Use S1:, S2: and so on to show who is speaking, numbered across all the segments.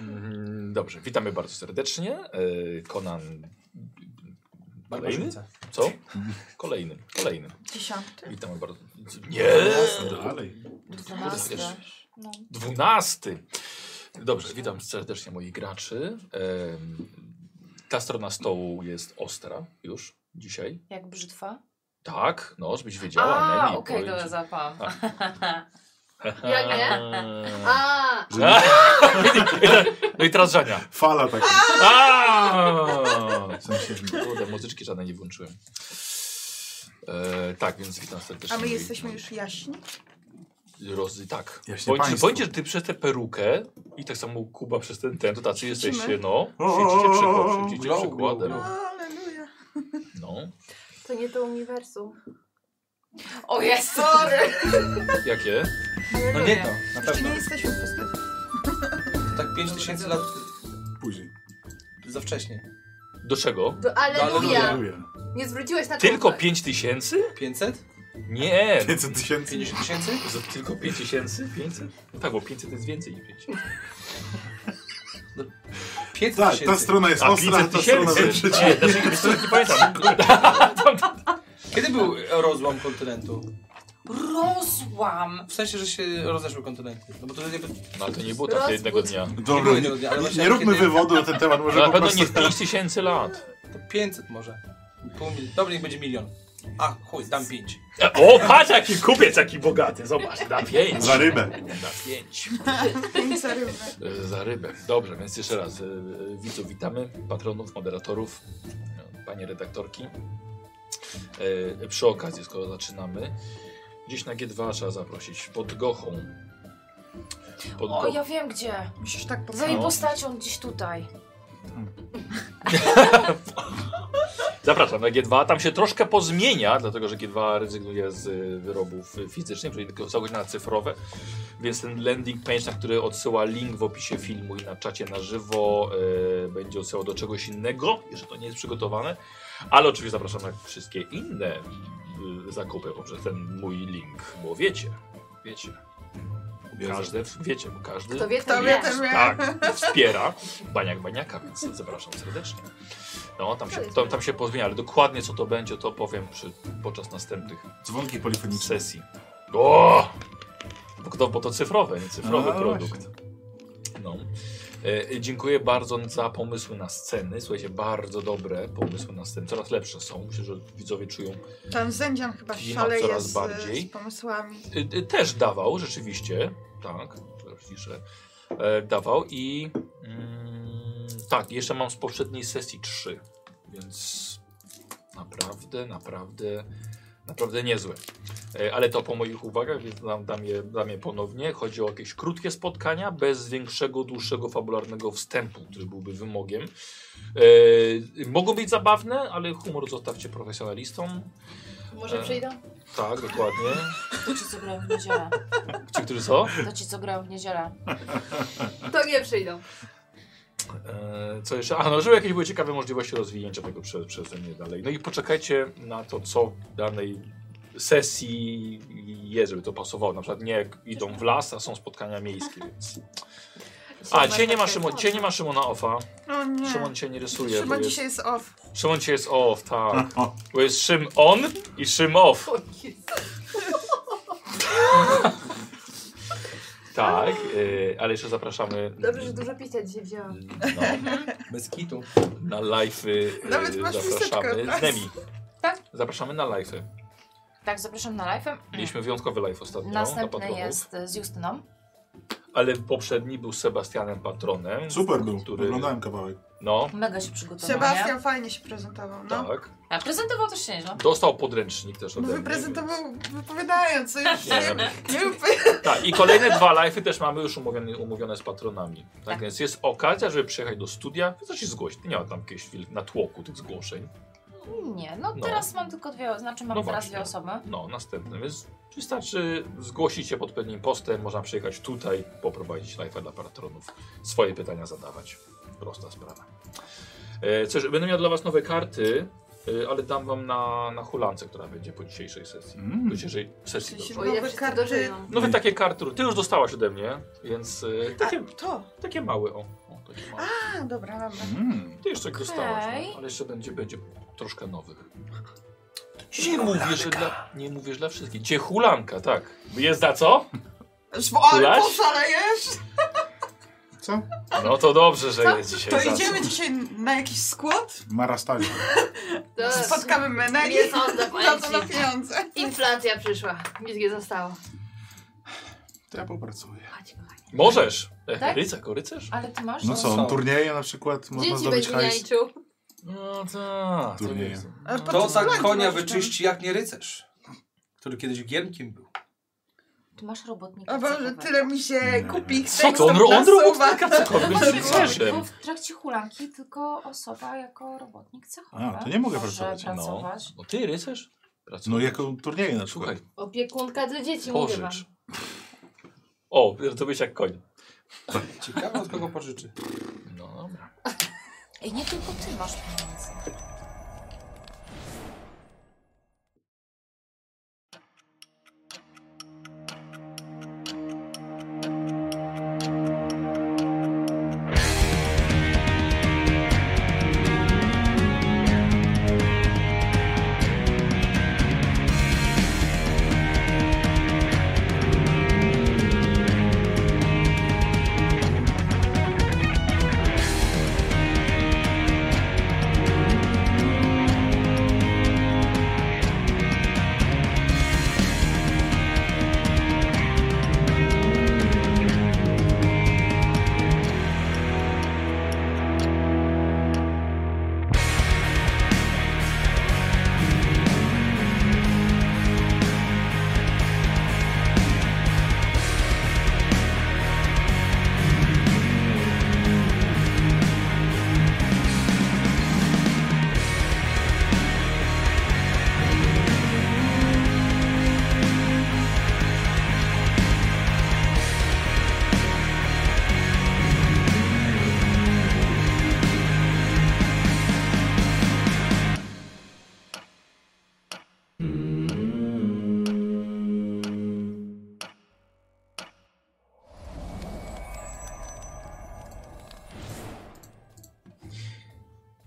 S1: Mm, Dobrze, witamy bardzo serdecznie. E, Konan. Kolejny?
S2: Barbarzyńca.
S1: Co? Kolejny, kolejny.
S3: Dziesiąty?
S1: Witamy bardzo. Nie!
S2: Dalej.
S3: Dwunasty?
S1: Wiesz.
S3: No.
S1: Dwunasty! Dobrze, witam serdecznie moich graczy. Em, Ta strona stołu jest ostra już dzisiaj.
S3: Jak brzytwa?
S1: Tak, no, żebyś wiedziała.
S3: A,
S1: Nemi,
S3: okej,
S1: powiem
S3: dobra,
S1: ci. Tak.
S3: zapam.
S4: Jak nie? A,
S1: No i teraz Żania.
S2: Fala taka.
S1: Aaaa! Kurde, muzyczki żadnej nie włączyłem. E, tak, więc witam serdecznie.
S5: A my
S1: moi-
S5: jesteśmy już jaśni?
S1: Rozy, tak.
S2: Jaśnie
S1: Bo, czy
S2: państwo.
S1: powiedziesz, że ty przez tę perukę i tak samo Kuba przez ten ten, to tacy jesteście,
S5: Siedzimy.
S1: no.
S2: O,
S1: Siedzicie
S2: o,
S1: przykład,
S2: o,
S1: siedzicie
S2: glow,
S1: przykładem.
S2: glow,
S5: Aleluja.
S1: No.
S4: to nie to uniwersum.
S3: O jest, sorry!
S1: Jakie?
S2: No nie to, na
S5: Jeszcze
S2: pewno.
S5: nie jesteśmy w postaci.
S6: Tak 5000 lat
S2: Później.
S6: za wcześnie.
S1: Do czego?
S4: Do
S1: No,
S4: Alleluja!
S2: Aleluja.
S4: Nie zwróciłeś na to
S1: Tylko
S4: uwagi.
S1: 5 tysięcy?
S6: 500?
S1: Nie.
S2: 500 tysięcy.
S6: 50 tysięcy?
S1: Z- Tylko 5 tysięcy? 500? No tak, bo 500 jest więcej niż 5.
S6: 500
S2: Tak, ta
S6: tysięcy.
S2: strona jest ostra, ta strona jest
S1: Nie, znaczy, wiesz co, nie pamiętam.
S6: Kiedy był rozłam kontynentu?
S3: Rosłam!
S6: W sensie, że się rozeszły kontynenty. No bo to nie...
S1: No ale to nie było tak jednego dnia.
S2: Dobra, nie,
S6: Nie, ale
S2: nie,
S6: właśnie
S2: nie róbmy
S6: kiedy-
S2: wywodu na ten temat, może
S1: Na
S2: po
S1: pewno nie
S2: prostu...
S1: w 5 tysięcy lat.
S6: To 500 może. Pół mil... Dobra, niech będzie milion. A, chuj, dam 5.
S1: E, O, patrz jaki kupiec, jaki bogaty, zobacz, na 5.
S2: Za rybę.
S1: Na 5.
S5: Pięca rybę.
S1: Za rybę. Dobrze, więc jeszcze raz e, e, widzów witamy, patronów, moderatorów, e, panie redaktorki. E, Przy okazji, skoro zaczynamy, gdzieś na G2 trzeba zaprosić, pod Gochą. Pod
S3: O,
S1: Gochą.
S3: ja wiem gdzie.
S5: Musisz tak
S3: Za
S1: No.
S5: podstawić.
S3: jej postacią gdzieś tutaj.
S1: Zapraszam na G2. Tam się troszkę pozmienia, dlatego że G2 rezygnuje z y, wyrobów y, fizycznych, czyli tylko całkowicie na cyfrowe. Więc ten landing page, na który odsyła link w opisie filmu i na czacie na żywo, y, będzie odsyłał do czegoś innego, jeżeli to nie jest przygotowane. Ale oczywiście zapraszam na wszystkie inne y, zakupy poprzez ten mój link, bo wiecie, wiecie. Każdy, wiecie, bo każdy
S4: Kto wie,
S5: To
S4: to
S5: wie,
S4: wie.
S5: to wie.
S1: tak, wspiera Baniak Baniaka, więc zapraszam serdecznie. No, tam się, tam, tam się pozmienia, ale dokładnie co to będzie, to powiem przy, podczas następnych
S2: Dzwonki polifoniczne.
S1: sesji. O! Bo, to, bo to cyfrowe, nie cyfrowy
S2: A,
S1: produkt. No. E, dziękuję bardzo za pomysły na sceny. Słuchajcie, bardzo dobre pomysły na sceny. Coraz lepsze są. Myślę, że widzowie czują
S5: Tam Zędzian chyba
S1: Klimat
S5: szaleje
S1: coraz
S5: z,
S1: bardziej.
S5: z pomysłami.
S1: Y, y, też dawał, rzeczywiście. Tak, teraz ciszę. E, dawał i. Mm, tak, jeszcze mam z poprzedniej sesji trzy, więc naprawdę, naprawdę, naprawdę niezłe. E, ale to po moich uwagach, więc dam, dam, je, dam je ponownie. Chodzi o jakieś krótkie spotkania, bez większego, dłuższego, fabularnego wstępu, który byłby wymogiem. E, mogą być zabawne, ale humor zostawcie profesjonalistom. E,
S4: Może przyjdą?
S1: Tak, dokładnie.
S3: To ci co grają w niedzielę.
S1: Ci, którzy są?
S3: To ci co grają w niedzielę.
S4: To nie przyjdą.
S1: E, Co jeszcze? A no, żeby jakieś były ciekawe możliwości rozwinięcia tego przez, przeze mnie dalej. No i poczekajcie na to, co w danej sesji jest, żeby to pasowało. Na przykład nie jak idą w las, a są spotkania miejskie, więc... A, cię nie ma, Szymon, cię nie ma Szymona Offa.
S5: O nie.
S1: Szymon cię nie rysuje, bo
S5: Szymon
S1: jest...
S5: dzisiaj jest off.
S1: Szymon cię jest off, tak.
S2: O,
S1: Bo jest Szym on i Szym off.
S4: O Jezu.
S1: Tak, e, ale jeszcze zapraszamy...
S4: Dobrze, że dużo picia dzisiaj wzięłam.
S1: No.
S6: Bez kitu.
S1: Na live
S5: Nawet masz
S1: zapraszamy
S5: miseczkę.
S1: z Nemi.
S3: Tak?
S1: Zapraszamy na live.
S3: Tak, zapraszam na live.
S1: Mieliśmy wyjątkowy live ostatnio dla
S3: Mm. Następny
S1: patronów.
S3: jest e, z Justyną.
S1: Ale poprzedni był z Sebastianem Patronem.
S2: Super był,
S1: Który-
S2: oglądałem kawałek.
S1: No,
S3: Mega się przygotował.
S5: Sebastian fajnie się prezentował. No.
S1: tak.
S3: A prezentował też się nieźle.
S1: Dostał podręcznik też ode
S5: No
S1: mnie.
S5: wyprezentował wypowiadając, co już
S1: Nie
S5: nie,
S1: wiem.
S5: nie wypowiadał.
S1: więc- Tak, i kolejne dwa live'y też mamy już umówione, umówione z patronami. Tak,
S3: Tak.
S1: więc jest okazja, żeby przyjechać do studia. Chcesz się zgłosić. Nie ma tam jakiegoś wiel- natłoku tych zgłoszeń.
S3: Nie, no
S1: No.
S3: teraz mam tylko dwie, znaczy mam
S1: No
S3: teraz
S1: właśnie.
S3: dwie osoby.
S1: No, następne. Więc wystarczy zgłosić się pod pewnym postem. Można przyjechać tutaj, poprowadzić live'a dla patronów. Swoje pytania zadawać. Prosta sprawa. E, Cóż, będę miał dla Was nowe karty. y, ale dam wam na, na hulance, która będzie po dzisiejszej sesji.
S2: Mm.
S1: Po dzisiejszej sesji.
S5: Czyli się-
S1: dobrze.
S4: Bo ja
S5: Nowe
S4: wszyscy
S5: karty.
S4: dożyją.
S1: No wy takie karty, ty już dostałaś ode mnie, więc y, takie,
S5: To.
S1: takie małe, o, o takie małe.
S5: Tak. A, dobra, dobra.
S1: Mhm.
S2: Mm.
S1: Ty jeszcze dostałaś,
S3: Okej.
S1: no, ale jeszcze będzie, będzie troszkę nowych. Nie mówię, że dla, nie mówię, że dla wszystkich. Ciechulanka, tak. Jest za co?
S5: Ale
S1: Kulaś?
S5: poszalejesz?
S2: Co?
S1: No to dobrze, że
S4: Co?
S1: jest dzisiaj
S5: To
S1: za
S5: idziemy
S1: co.
S5: dzisiaj na jakiś skład?
S2: Marastanie.
S4: To-
S5: Spotkamy meneli?
S4: Nie sądzę,
S5: Za to na
S4: powiem ci.
S5: pieniądze.
S4: Inflacja przyszła. Nic nie zostało.
S2: To ja popracuję.
S4: Chodź, kochani.
S1: Możesz. E,
S3: Tak?
S1: Rycerz, jako rycerz?
S3: Ale ty masz?
S2: No co,
S6: Są.
S2: turnieje na przykład można
S4: Dzieci
S2: zdobyć
S4: będzie
S2: hajs.
S4: niańczył.
S1: No tak. to
S2: Turnieje.
S1: jest.
S5: Ale po
S6: To
S5: co
S6: za
S5: flagi
S6: konia
S5: masz tam?
S6: wyczyści jak nie rycerz, no. który kiedyś giermkiem był.
S3: Ty masz robotnika.
S5: O Boże,
S3: cechowego.
S5: tyle mi się kupi
S1: Co to? On, on robotnika
S7: No
S1: cokolwiek z
S3: Może
S1: rycerzem.
S3: Bo w trakcie hulanki tylko osoba jako robotnik cechowy.
S2: A, to nie mogę
S3: może
S2: pracować, no.
S3: pracować.
S1: Bo ty rycerz? Pracujesz.
S2: No jako turnieje na przykład.
S1: Słuchaj,
S4: Opiekunka dla dzieci, mówię wam.
S1: pożycz. O, to byś jak koń.
S6: Ciekawe od kogo pożyczy.
S1: No dobra.
S3: Ej, nie tylko ty masz pieniądze.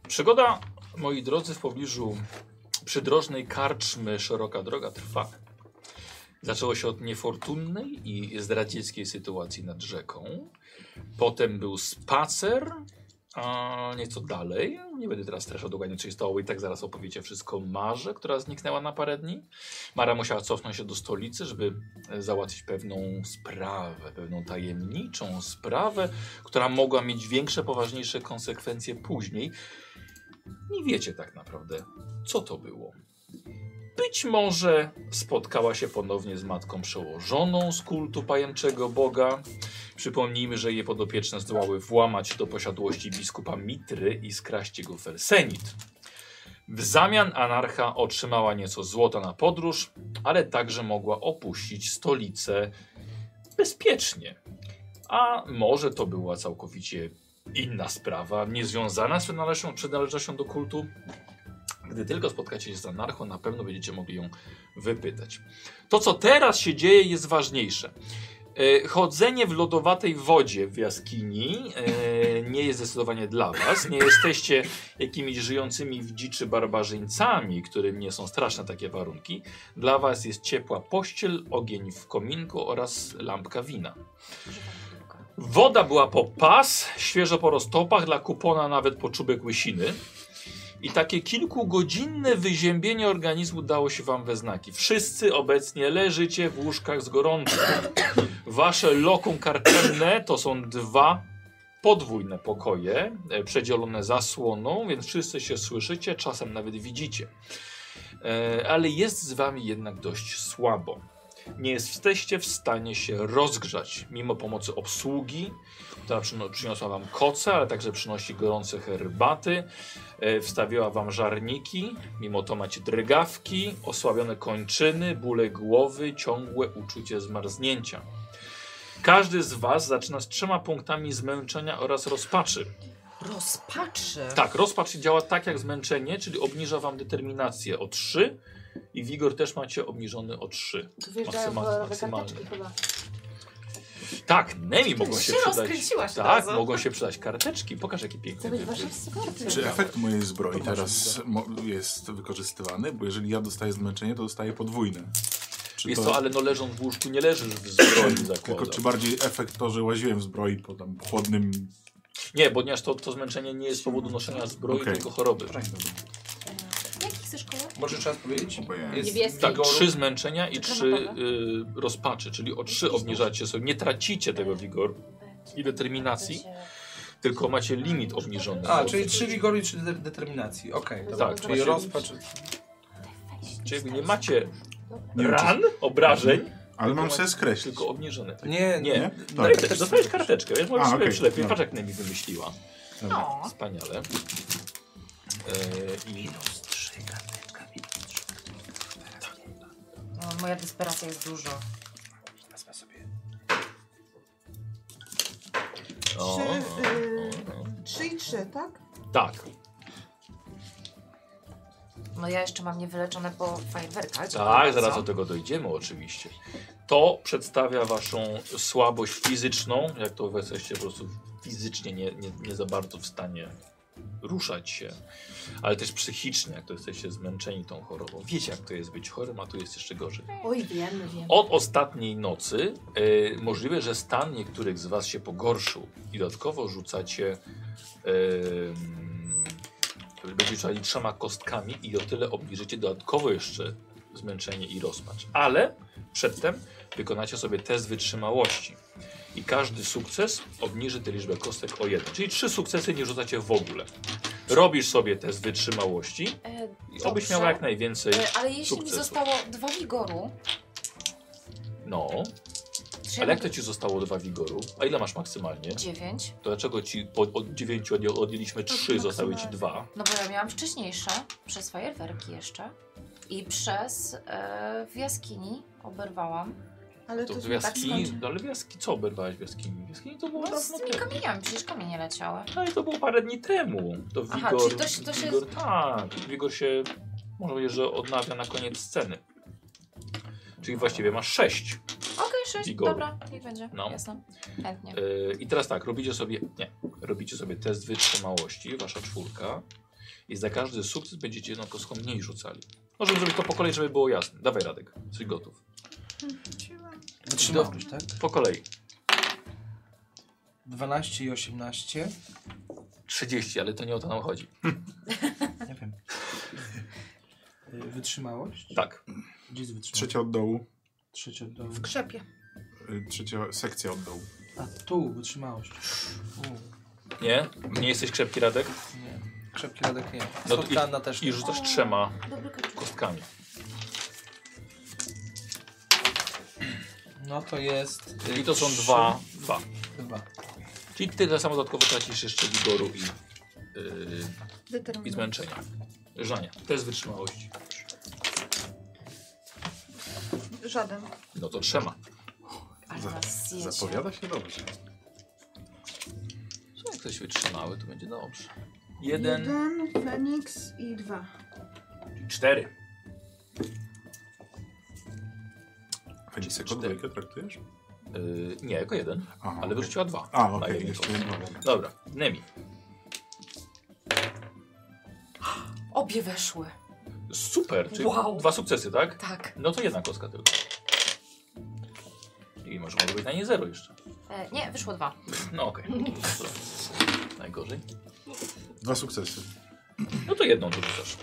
S1: Przygoda, moi drodzy, w pobliżu przydrożnej karczmy Szeroka Droga trwa. Zaczęło się od niefortunnej i zdradzieckiej sytuacji nad rzeką. Potem był spacer, a nieco dalej, nie będę teraz streszał dokładnie co się stało, bo i tak zaraz opowiecie wszystko Marze, która zniknęła na parę dni. Mara musiała cofnąć się do stolicy, żeby e, załatwić pewną sprawę, pewną tajemniczą sprawę, która mogła mieć większe, poważniejsze konsekwencje później. Nie wiecie tak naprawdę, co to było. Być może spotkała się ponownie z matką przełożoną z kultu pajęczego boga. Przypomnijmy, że jej podopieczne zdołały włamać do posiadłości biskupa Mitry i skraść jego felsenit. W zamian anarcha otrzymała nieco złota na podróż, ale także mogła opuścić stolicę bezpiecznie. A może to była całkowicie inna sprawa, niezwiązana z przynależnością, przynależnością do kultu? Gdy tylko spotkacie się z anarchą, na pewno będziecie mogli ją wypytać. To, co teraz się dzieje, jest ważniejsze. E, Chodzenie w lodowatej wodzie w jaskini e, nie jest zdecydowanie dla was. Nie jesteście jakimiś żyjącymi w dziczy barbarzyńcami, którym nie są straszne takie warunki. Dla was jest ciepła pościel, ogień w kominku oraz lampka wina. Woda była po pas, świeżo po roztopach, dla kupona nawet po czubek łysiny. I takie kilkugodzinne wyziębienie organizmu dało się wam we znaki. Wszyscy obecnie leżycie w łóżkach z gorączką. Wasze lokum karczemne to są dwa podwójne pokoje, e, przedzielone zasłoną, więc wszyscy się słyszycie, czasem nawet widzicie. E, Ale jest z wami jednak dość słabo nie jesteście w stanie się rozgrzać, mimo pomocy obsługi, która przyno- przyniosła wam koce, ale także przynosi gorące herbaty, e, wstawiła wam żarniki, mimo to macie drgawki, osłabione kończyny, bóle głowy, ciągłe uczucie zmarznięcia. Każdy z was zaczyna z trzema punktami zmęczenia oraz rozpaczy.
S7: Rozpaczy.
S1: Tak, rozpacz działa tak jak zmęczenie, czyli obniża wam determinację o 3 i wigor też macie obniżony o 3.
S4: Tu wjeżdżają w
S1: Maksymalnie.
S4: karteczki chyba.
S1: Tak, Nemi mogą
S3: Ty
S1: się
S3: się
S1: przydać.
S3: rozkręciłaś od
S1: Tak,
S3: razu.
S1: mogą się przydać karteczki. Pokaż jakie
S4: To
S1: piękne.
S4: być
S1: wy- wy-
S4: warszawscy karty.
S2: Czy efekt mojej zbroi
S1: To
S2: teraz mo- jest wykorzystywany? Bo jeżeli ja dostaję zmęczenie, to dostaję podwójne. Czy
S1: Jest to, ale no leżąc w łóżku nie leżysz w zbroi
S2: Tylko czy
S1: zakładam.
S2: bardziej efekt to, że łaziłem w zbroi po tam chłodnym...
S1: Nie, bo ponieważ to, to zmęczenie nie jest z powodu noszenia zbroi,
S2: Okej.
S1: tylko choroby.
S3: Jaki chcesz kolor?
S6: Możesz raz powiedzieć?
S2: Oboje.
S6: Jest
S4: Niebieski.
S1: Tak,
S6: wigoru.
S1: trzy zmęczenia i
S3: Czekam
S1: trzy
S3: na Pawła.
S1: y, rozpaczy, czyli o trzy obniżacie sobie. Nie tracicie tego wigoru i determinacji, tylko macie limit obniżony.
S6: A, czyli trzy wigoru i trzy de- determinacji. Okej, dobra.
S1: Tak,
S6: Czyli
S1: macie-
S6: rozpacz.
S1: Czyli nie macie
S2: Nie wiem,
S1: ran, obrażeń,
S2: Ale mam sobie skreślić.
S1: tylko obniżone.
S6: Nie, nie.
S1: Nie.
S2: Nie?
S1: No
S2: Dobra.
S1: i też dostajesz karteczkę, więc możesz
S2: Tak. A,
S1: sobie
S2: okej, No.
S1: przylepić.
S2: dobra.
S1: Patrz jak Nemi wymyśliła.
S7: No.
S2: Dobra.
S1: No, Wspaniale. Yy, I Tak,
S7: No, moja desperacja jest dużo.
S6: Wezmę sobie.
S1: O,
S5: Trzy,
S1: o,
S5: y,
S1: o, o.
S5: Trzy i trzy, tak?
S1: Tak,
S7: No ja jeszcze mam niewyleczone po fajerwerkach.
S1: tak, zaraz do tego dojdziemy oczywiście. To przedstawia waszą słabość fizyczną, jak to wy jesteście po prostu fizycznie nie, nie, nie za bardzo w stanie ruszać się, ale też psychicznie, jak to jesteście zmęczeni tą chorobą. Wiecie jak to jest być chorym, a tu jest jeszcze gorzej.
S4: Oj, wiem, wiem.
S1: Od ostatniej nocy e, możliwe, że stan niektórych z Was się pogorszył i dodatkowo rzucacie. E, mm, będziecie rzucali trzema kostkami i o tyle obniżycie dodatkowo jeszcze zmęczenie i rozpacz. Ale przedtem wykonacie sobie test wytrzymałości. I każdy sukces obniży tę liczbę kostek o jeden. Czyli trzy sukcesy nie rzucacie w ogóle. Robisz sobie test wytrzymałości
S7: E,
S1: i obyś
S7: Dobrze.
S1: miała jak najwięcej.
S7: e, ale jeśli mi
S1: Sukcesu.
S7: zostało dwa wigoru,
S1: No.
S7: czy
S1: Ale jak to ci zostało dwa wigoru? A ile masz maksymalnie?
S7: dziewięć,
S1: To dlaczego ci po, od dziewięciu odję- odjęliśmy trzy, zostały ci dwa?
S7: no bo ja miałam wcześniejsze, przez fajerwerki jeszcze i przez e, w jaskini oberwałam.
S5: Ale
S1: To
S5: to,
S1: w
S5: to tak
S1: jaskini,
S5: skończy.
S1: no ale w jaskini, co oberwałeś w jaskini? W jaskini to było
S7: No,
S1: dawno
S7: z tymi
S1: temu.
S7: kamieniami, przecież kamienie leciały.
S1: Ale to było parę dni temu. To wigor,
S7: Aha, czyli to się- to się-
S1: wigor, tak, wigor się, można powiedzieć, że odnawia na koniec sceny. Czyli właściwie masz sześć.
S7: Okej, sześć,
S1: Wigoru.
S7: dobra, niech będzie,
S1: No.
S7: jasne, chętnie.
S2: E,
S1: Yy, I teraz tak, robicie sobie, nie, robicie sobie test wytrzymałości, wasza czwórka i za każdy sukces będziecie jedną kostką mniej rzucali. Możemy zrobić to po kolei, żeby było jasne. Dawaj Radek, jesteś gotów.
S6: Wytrzymałość, tak?
S1: Po kolei.
S6: 12 i 18.
S1: 30, ale to nie o to nam chodzi.
S6: Nie wiem. Y, Wytrzymałość?
S1: Tak,
S6: Gdzie jest wytrzymałość?
S2: Trzecia od dołu.
S6: Trzecia do...
S5: Krzepie.
S2: y, Trzecia sekcja od dołu.
S6: A, tu, wytrzymałość. U,
S1: nie? Nie jesteś krzepki Radek
S6: nie. Krzepki Radek nie.
S1: No to
S6: Spotkana no też
S1: i
S6: nie.
S1: rzucasz trzema
S3: Dobry koczuszek.
S1: kostkami.
S6: No to jest... y,
S1: I to są
S6: trzy-
S1: dwa, dwa.
S6: Dwa.
S1: Czyli ty za samo dodatkowo tracisz jeszcze wigoru i, yy, i zmęczenia. Żania, test wytrzymałości.
S5: Żaden.
S1: No to trzema.
S7: Ale
S2: za-
S7: nas zjecie.
S2: Zapowiada się dobrze.
S1: Że Jak ktoś wytrzymały, to będzie dobrze. Jeden,
S5: Jeden, Feniks i dwa.
S1: cztery.
S2: Feniks jako
S1: Cztery.
S2: dwójkę traktujesz?
S1: Yy, nie, jako jeden,
S2: Aha,
S1: ale
S2: okej.
S1: wyrzuciła dwa.
S2: A,
S1: Na
S2: okej,
S1: jednej
S2: jeszcze
S1: kostce.
S2: jedno.
S1: Dobra, Nemi.
S7: Obie weszły,
S1: Super, czyli
S7: Wow.
S1: dwa sukcesy, tak?
S7: tak.
S1: No to jedna kostka tylko. I może może być na nie zero jeszcze.
S7: E, nie, wyszło dwa.
S1: No okej. Dobra. Najgorzej.
S2: Dwa sukcesy.
S1: No to jedną tu rzucasz.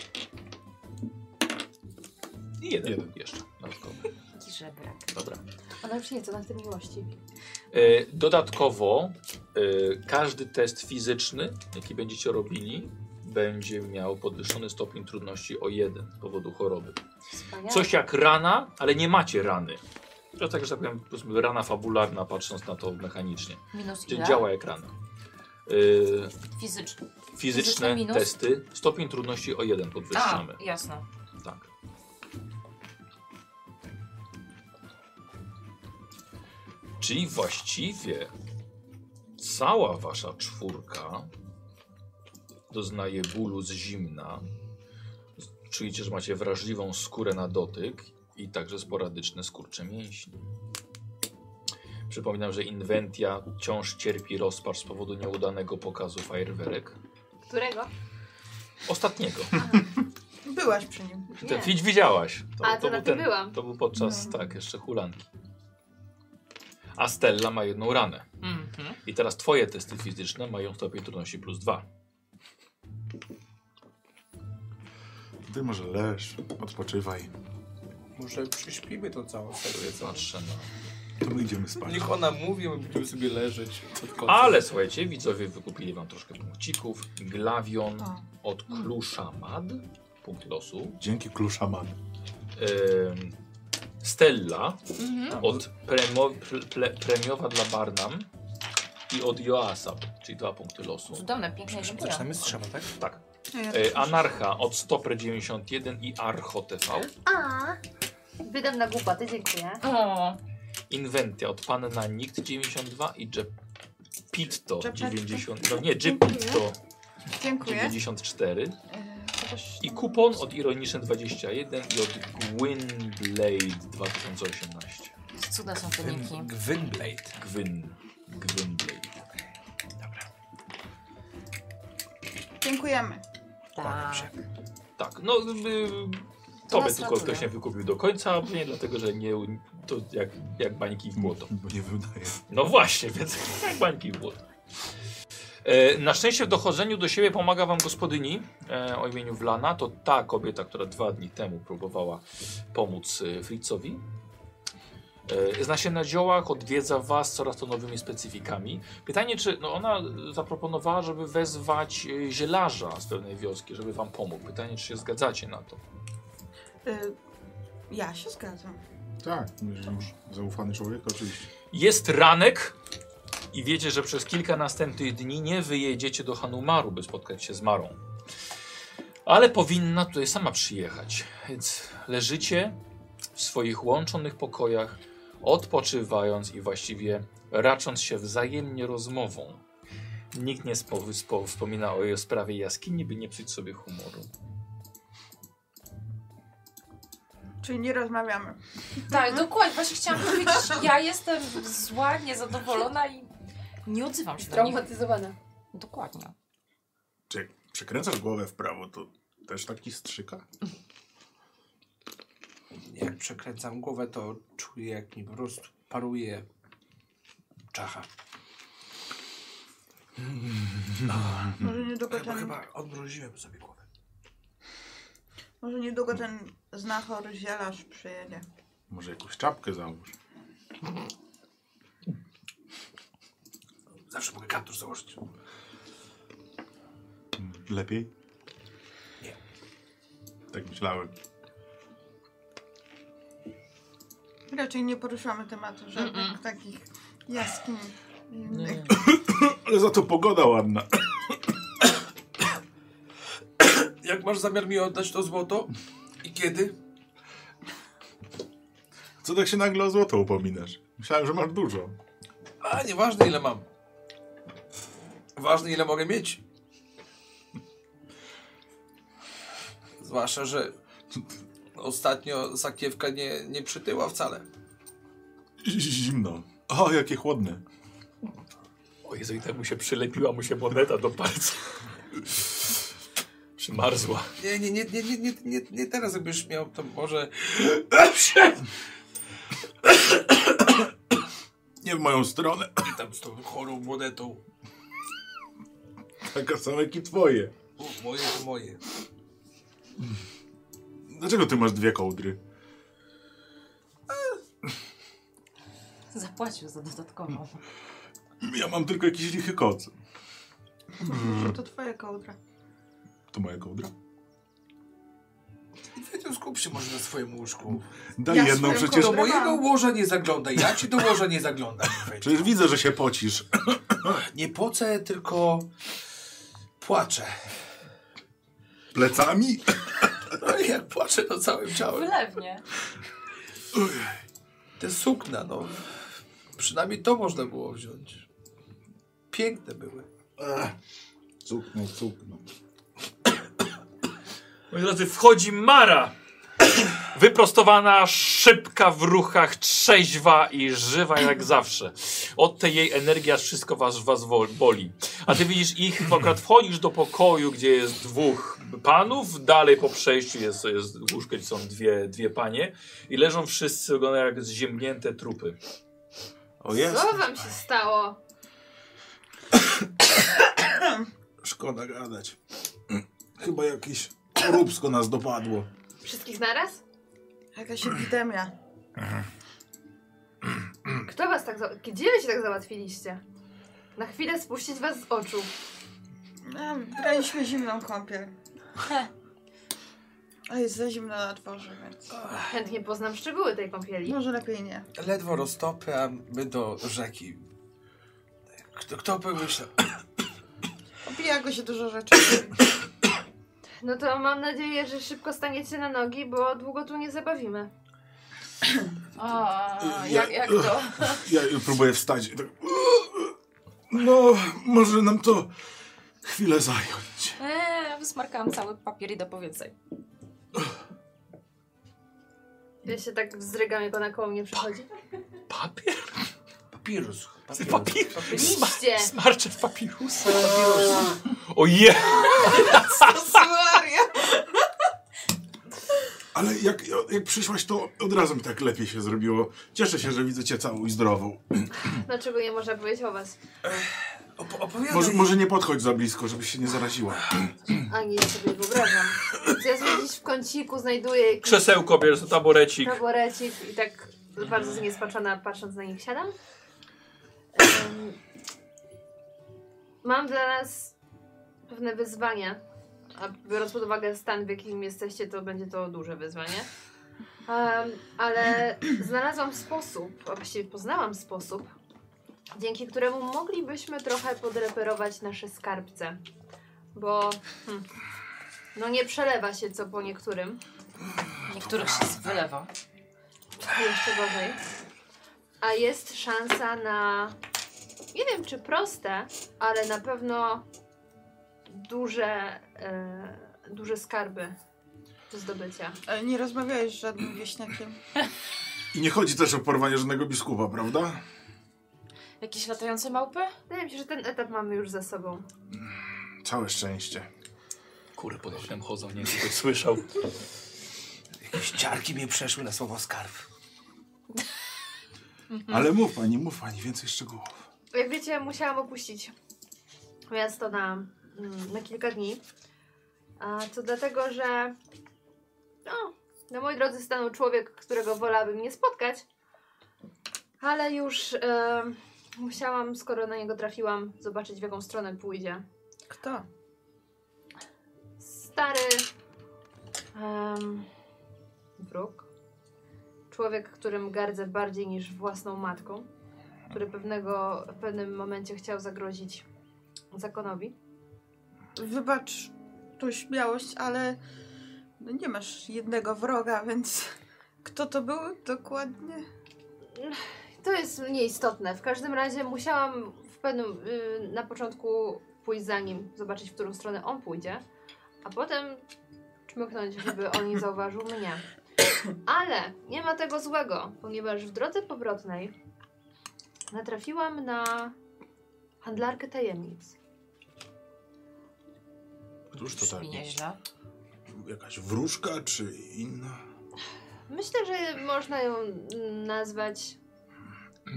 S1: I jeden,
S2: Jeden.
S1: jeszcze. Dodatkowo.
S7: Jaki żebrak.
S1: Dobra.
S4: Ona już nie, co tam w tej miłości.
S1: E, Dodatkowo e, każdy test fizyczny, jaki będziecie robili, będzie miał podwyższony stopień trudności o jeden z powodu choroby.
S4: Wspaniale.
S1: Coś jak rana, ale nie macie rany. To tak, że tak powiem, powiedzmy rana fabularna, patrząc na to mechanicznie.
S7: Minus
S1: Czyli
S7: ile?
S1: działa jak rana. E,
S7: Fizyczny. Fizyczny
S1: Fizyczne
S7: minus?
S1: testy, stopień trudności o jeden
S7: A,
S1: podwyższamy.
S7: jasno.
S1: Tak. Czyli właściwie cała wasza czwórka doznaje bólu z zimna. Czujecie, że macie wrażliwą skórę na dotyk i także sporadyczne skurcze mięśni. Przypominam, że Inventia wciąż cierpi rozpacz z powodu nieudanego pokazu fajerwerek.
S4: Którego?
S1: Ostatniego.
S5: Byłaś przy nim.
S1: Ten
S4: Nie.
S1: widz widziałaś.
S4: A, to na tym
S1: ten-
S4: byłam.
S1: To był podczas, tak, jeszcze hulanki. A Stella ma jedną ranę.
S7: Mhm.
S1: I teraz twoje testy fizyczne mają stopień trudności plus dwa.
S2: Ty może leż, odpoczywaj.
S6: Może przyśpimy to całą serię, co?
S1: Patrzę na...
S2: To my idziemy spać.
S6: Niech ona mówi, my będziemy sobie leżeć pod kocem.
S1: Ale słuchajcie, widzowie wykupili wam troszkę punkcików. Glawion
S5: O.
S1: od Kluszamad. Punkt losu.
S2: Dzięki Kluszaman.
S1: Ym, Stella
S7: Mhm.
S1: od premo, pre, pre, Premiowa dla Barnam. I od Joasa, czyli dwa punkty losu.
S7: Cudowne, piękne źródła.
S6: Zaczynamy z trzema, tak?
S1: Tak.
S5: A ja
S1: Y,
S5: tak
S1: Anarcha od Stopre 91 i Archo TV.
S4: A. Wydam na głupoty, dziękuję.
S7: O,
S1: Inventia od Panna Nikt 92 i Jepitto
S5: Jepetto.
S1: 90. No nie, Jepitto
S5: myślę. Dziękuję.
S1: 94.
S5: E, chociaż-
S1: I kupon od Ironiczne 21 i od Gwynblade 2018.
S7: cuda są te linki.
S6: Gwynblade.
S1: Gwyn. Gwynblade.
S5: Dziękujemy.
S7: Tak.
S1: Tak, no y,
S7: To
S1: tobie
S7: nas
S1: tylko
S7: ratuje.
S1: ktoś się wykupił do końca, a mnie dlatego, że nie to jak, jak bańki w błoto.
S2: Bo nie wydaje.
S1: No właśnie, więc jak bańki w błoto. E, Na szczęście w dochodzeniu do siebie pomaga wam gospodyni e, o imieniu Wlana. To ta kobieta, która dwa dni temu próbowała pomóc e, Fritzowi. E, Zna się na ziołach, odwiedza was coraz to nowymi specyfikami. Pytanie, czy no ona zaproponowała, żeby wezwać e, zielarza z pewnej wioski, żeby wam pomógł. Pytanie, czy się zgadzacie na to?
S5: E, ja się zgadzam.
S2: Tak, jeżeli już zaufany człowiek, to oczywiście.
S1: Jest ranek i wiecie, że przez kilka następnych dni nie wyjedziecie do Hanumaru, by spotkać się z Marą. Ale powinna tutaj sama przyjechać. Więc leżycie w swoich łączonych pokojach, odpoczywając i właściwie racząc się wzajemnie rozmową. Nikt nie spo- spo- wspomina o jej sprawie jaskini, by nie psuć sobie humoru.
S5: Czyli nie rozmawiamy.
S7: Tak, dokładnie, właśnie chciałam powiedzieć, ja jestem zła, niezadowolona i nie odzywam się do nich.
S4: Traumatyzowana.
S7: Dokładnie.
S2: Czy jak przekręcasz głowę w prawo, to też taki strzyka?
S6: Jak przekręcam głowę, to czuję, jak mi po prostu paruje czacha.
S5: Może niedługo
S6: Chyba,
S5: ten,
S6: chyba odmroziłem sobie głowę.
S5: może niedługo ten znachor zielarz przyjedzie.
S2: Może jakąś czapkę załóż.
S6: Zawsze mogę kaptur założyć.
S2: Lepiej?
S6: Nie.
S2: Tak myślałem.
S5: Raczej nie poruszamy tematu żadnych takich jaskiń. innych.
S2: Ale za to pogoda ładna.
S6: Jak masz zamiar mi oddać to złoto? I kiedy?
S2: Co tak się nagle o złoto upominasz? Myślałem, że masz dużo.
S6: A, nieważne ile mam. Ważne ile mogę mieć. Zwłaszcza, że ostatnio sakiewka nie, nie przytyła wcale.
S2: Zimno. O, jakie chłodne.
S1: O Jezu, i tak mu się przylepiła mu się moneta do palca. Przymarzła.
S6: Nie, nie, nie, nie, nie, nie, nie, nie teraz jakbyś miał, to może...
S2: Nie w moją stronę.
S6: I tam z tą chorą monetą.
S2: Taka sama jak i twoje.
S6: O, moje to moje.
S2: Dlaczego ty masz dwie kołdry?
S7: Zapłacił za dodatkową.
S2: Ja mam tylko jakiś lichy koc.
S5: To twoja kołdra.
S2: To moja kołdra?
S6: I Wiedział, skup się może na swoim łóżku.
S2: Daj
S5: Ja
S2: jedną
S5: swoją
S2: przecież.
S6: Do
S5: kołdrę.
S6: mojego łoża nie zaglądaj, ja ci do łoża nie zaglądam. Wiedział.
S2: Przecież widzę, że się pocisz.
S6: Nie pocę, tylko płaczę.
S2: Plecami?
S6: No i jak płaczę, to całym ciałem.
S7: Wylewnie.
S6: Te sukna, no. Przynajmniej to można było wziąć. Piękne były.
S2: Cukno, cukno.
S1: Moi drodzy, wchodzi Mara. Wyprostowana, szybka w ruchach, trzeźwa i żywa jak zawsze. Od tej jej energii aż wszystko was, was wo- boli. A ty widzisz ich, akurat wchodzisz do pokoju, gdzie jest dwóch panów, dalej po przejściu jest, jest łóżko, gdzie są dwie, dwie panie i leżą wszyscy, wyglądają jak zziemnięte trupy.
S2: O jest.
S4: Co wam się stało?
S2: Szkoda gadać. Chyba jakieś róbsko nas dopadło.
S4: Wszystkich naraz?
S5: Jakaś epidemia.
S4: Kto was tak... Za... Gdzie wy się tak załatwiliście? Na chwilę spuścić was z oczu.
S5: A, Braliśmy zimną kąpiel. A jest za zimno na dworze, więc
S4: Chętnie poznam szczegóły tej kąpieli.
S5: może lepiej nie.
S6: Ledwo roztopy, a my do rzeki. Kto, kto pomyślał?
S5: Obijago się dużo rzeczy.
S4: No to mam nadzieję, że szybko staniecie na nogi, bo długo tu nie zabawimy.
S7: O, jak, jak to?
S2: Ja próbuję wstać. Tak. No, może nam to chwilę zająć.
S7: Eee, wysmarkałam cały papier i do powiedzenia.
S4: Ja się tak wzrygam, jak ona koło mnie przychodzi.
S1: Papier?
S6: Papirus.
S1: Papir?
S4: Liście!
S1: Smarcze w papirusa. Oje!
S5: Maria!
S2: Ale jak, jak przyszłaś, to od razu mi tak lepiej się zrobiło. Cieszę się, że widzę cię całą i zdrową.
S4: Dlaczego No nie można powiedzieć o was?
S6: Op- opowiadaj.
S2: Może, może nie podchodź za blisko, żebyś się nie zaraziła.
S4: A nie sobie wyobrażam. Więc ja sobie gdzieś w kąciku znajduję jakiś
S1: Krzesełko bierz, taborecik.
S4: taborecik i tak bardzo zniesmaczona patrząc na nich siadam. Em, Mam dla nas pewne wyzwania. A biorąc pod uwagę stan, w jakim jesteście, to będzie to duże wyzwanie. Em, ale znalazłam sposób, a właściwie poznałam sposób, dzięki któremu moglibyśmy trochę podreperować nasze skarbce. Bo hm, no nie przelewa się co po niektórym.
S7: Niektórych się wylewa.
S4: jeszcze gorzej. A jest szansa na. Nie wiem czy proste, ale na pewno duże, e, duże skarby do zdobycia.
S5: Ale nie rozmawiałeś z żadnym wieśniakiem.
S2: I nie chodzi też o porwanie żadnego biskupa, prawda?
S7: Jakieś latające małpy?
S4: Wydaje mi się, że ten etap mamy już za sobą.
S2: Całe szczęście.
S1: Kury pod oknem chodzą, nie wiem, czy ktoś słyszał.
S6: Jakieś ciarki mnie przeszły na słowo skarb.
S7: Mhm.
S2: Ale mów pani, mów pani, więcej szczegółów.
S4: Jak wiecie, musiałam opuścić miasto na, mm, na kilka dni. A to dlatego, że no, na mojej drodze stanął człowiek, którego wolałabym nie spotkać. Ale już em, musiałam, skoro na niego trafiłam, zobaczyć w jaką stronę pójdzie.
S5: Kto?
S4: Stary em, wróg. Człowiek, którym gardzę bardziej niż własną matką, który pewnego, w pewnym momencie chciał zagrozić zakonowi.
S5: Wybacz tu śmiałość, ale no nie masz jednego wroga, więc kto to był dokładnie?
S4: To jest nieistotne. W każdym razie musiałam w pewnym, y, na początku pójść za nim, zobaczyć, w którą stronę on pójdzie, a potem czmychnąć, żeby on nie zauważył mnie. Ale nie ma tego złego, ponieważ w drodze powrotnej natrafiłam na handlarkę tajemnic.
S2: Cóż to tak
S7: Brzmi
S2: takie?
S7: nieźle.
S2: Jakaś wróżka czy inna?
S4: Myślę, że można ją nazwać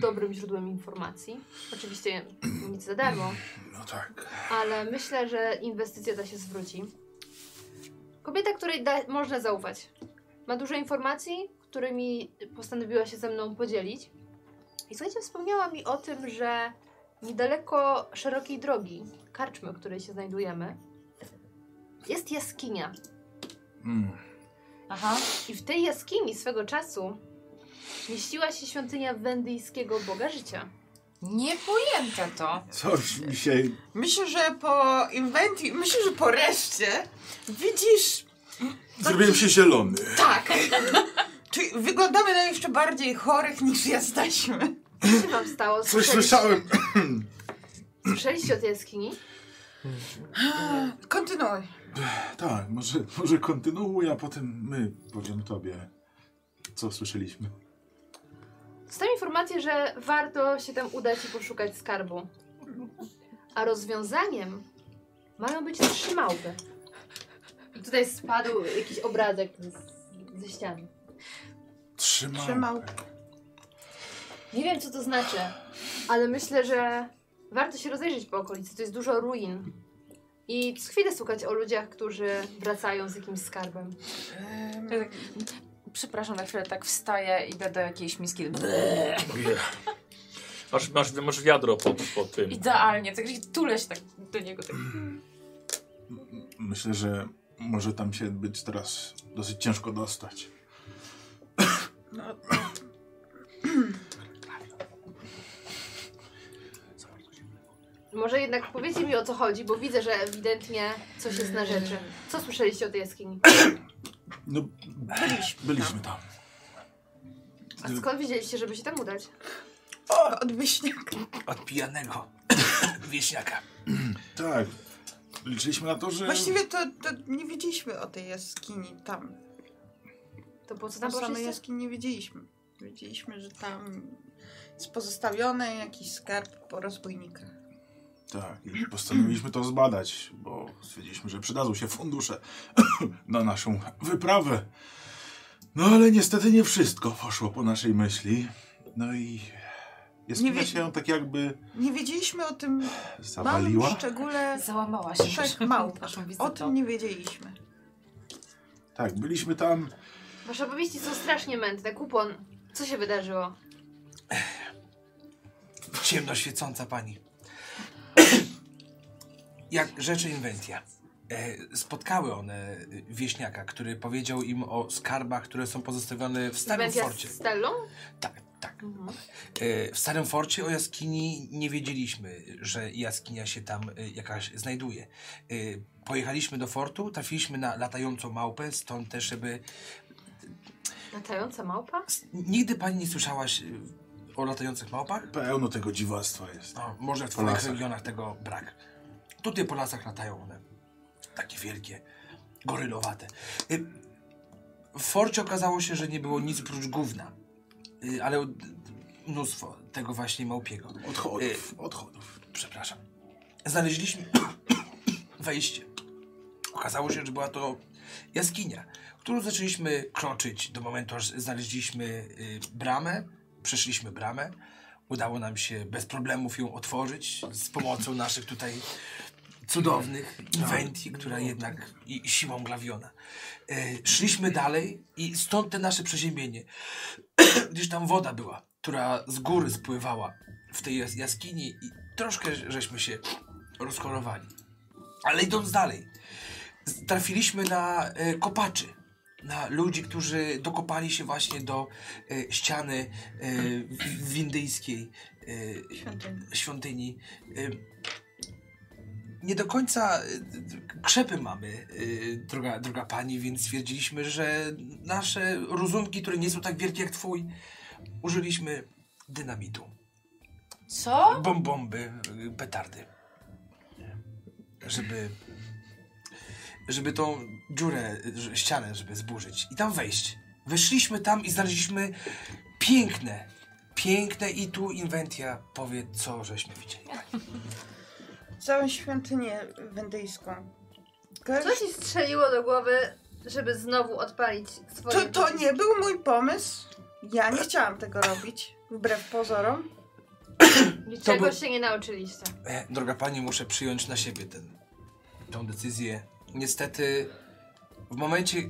S4: dobrym źródłem informacji. Oczywiście nic za darmo,
S2: No tak.
S4: ale myślę, że inwestycja ta się zwróci. Kobieta, której da, można zaufać. Ma dużo informacji, którymi postanowiła się ze mną podzielić. I słuchajcie, wspomniała mi o tym, że niedaleko szerokiej drogi, karczmy, w której się znajdujemy, jest jaskinia.
S2: Mm.
S7: Aha.
S4: I w tej jaskini swego czasu mieściła się świątynia wendyjskiego boga życia.
S7: Niepojęte to.
S2: Coś mi się...
S5: Myślę, że po inwentii, myślę, że po reszcie widzisz,
S2: Zrobiłem się zielony.
S5: tak. Czyli wyglądamy na jeszcze bardziej chorych niż jesteśmy.
S4: Co się wam stało?
S2: Coś
S4: Słyszeliście-
S2: słyszałem.
S4: Słyszeliście o tej jaskini?
S5: Kontynuuj.
S2: Tak, może, może kontynuuj, a potem my powiemy tobie, co słyszeliśmy.
S4: Dostałem informację, że warto się tam udać i poszukać skarbu. A rozwiązaniem mają być trzy małpy. I tutaj spadł jakiś obrazek z, ze ściany.
S2: Trzymał.
S5: Trzymał.
S4: Nie wiem, co to znaczy, ale myślę, że warto się rozejrzeć po okolicy. To jest dużo ruin. I co chwilę słuchać o ludziach, którzy wracają z jakimś skarbem.
S7: Przepraszam, na chwilę tak wstaję, idę do jakiejś miski.
S1: Masz, masz, masz wiadro pod, pod tym.
S7: Idealnie, tak się tulę się tak do niego. Tak.
S2: Myślę, że może tam się być teraz dosyć ciężko dostać.
S5: No,
S4: Może jednak powiecie mi o co chodzi, bo widzę, że ewidentnie coś jest na rzeczy. Co słyszeliście o tej jaskini?
S2: No,
S5: byliśmy.
S2: byliśmy tam.
S4: A skąd wiedzieliście, żeby się tam udać?
S5: O, od wieśniaka.
S6: Od pijanego wieśniaka.
S2: Tak. Liczyliśmy na to, że.
S5: Właściwie to, to nie wiedzieliśmy o tej jaskini tam.
S4: To po co
S5: Na
S4: tam
S5: samej
S4: poszliście?
S5: jaskini nie wiedzieliśmy. Wiedzieliśmy, że tam jest pozostawiony jakiś skarb po rozbójnikach.
S2: Tak. I postanowiliśmy to zbadać, bo stwierdziliśmy, że przydadzą się fundusze na naszą wyprawę. No ale niestety nie wszystko poszło po naszej myśli. No i.
S5: Nie
S2: Jaskinia
S5: wie-
S2: się tak jakby
S5: Nie wiedzieliśmy o tym małym
S2: zawaliła.
S5: szczególe
S7: Załamała się.
S5: trzech
S7: proszę,
S5: małp.
S7: naszą
S5: O
S7: wizytą.
S5: tym nie wiedzieliśmy.
S2: Tak, byliśmy tam.
S4: Wasze opowieści są strasznie mętne. Kupon, co się wydarzyło?
S6: Ciemno świecąca pani. Jak rzeczy inwentia. E, Spotkały one wieśniaka, który powiedział im o skarbach, które są pozostawione w starym
S4: Będzie
S6: forcie.
S4: z Stellą?
S6: Tak, tak. E, W starym forcie o jaskini nie wiedzieliśmy, że jaskinia się tam e, jakaś znajduje. E, Pojechaliśmy do fortu, trafiliśmy na latającą małpę, stąd też, żeby
S4: Latająca małpa?
S6: S- Nigdy pani nie słyszałaś y, o latających małpach?
S2: Pełno tego dziwactwa jest.
S6: No, może w
S2: Po
S6: twoich
S2: lasach.
S6: regionach tego brak. Tutaj po lasach latają one. Takie wielkie, gorylowate. Y, W forcie okazało się, że nie było nic prócz gówna. Y, Ale od- mnóstwo tego właśnie małpiego.
S2: Odchodów, odchodów.
S6: Przepraszam. Znaleźliśmy wejście. Okazało się, że była to jaskinia, którą zaczęliśmy kroczyć do momentu, aż znaleźliśmy y, bramę, przeszliśmy bramę. Udało nam się bez problemów ją otworzyć z pomocą naszych tutaj cudownych inwentii, która jednak i, i siłą glawiona. Y, szliśmy dalej i stąd te nasze przeziębienie, gdyż tam woda była, która z góry spływała w tej jas- jaskini i troszkę żeśmy się rozchorowali. Ale idąc dalej, z- trafiliśmy na e, kopaczy. Na ludzi, którzy dokopali się właśnie do e, ściany e, w- w indyjskiej e,
S5: Świątyni.
S6: świątyni. Y, Nie do końca y, krzepy mamy, y, droga, droga pani, więc stwierdziliśmy, że nasze rozumki, które nie są tak wielkie jak twój, użyliśmy dynamitu.
S7: Co?
S6: Bom bomby, y, petardy. Żeby. Żeby tą dziurę, y, że- ścianę, żeby zburzyć i tam wejść. Weszliśmy tam i znaleźliśmy piękne, piękne i tu inwentia powie, co żeśmy widzieli.
S5: Całą świątynię wendyjską.
S4: Co ci strzeliło do głowy, żeby znowu odpalić swoje...
S5: To, to nie był mój pomysł. Ja nie chciałam tego robić. Wbrew pozorom.
S4: Niczego
S6: był-
S4: się nie nauczyliście.
S6: E, droga pani, muszę przyjąć na siebie ten, tą decyzję. Niestety, w momencie,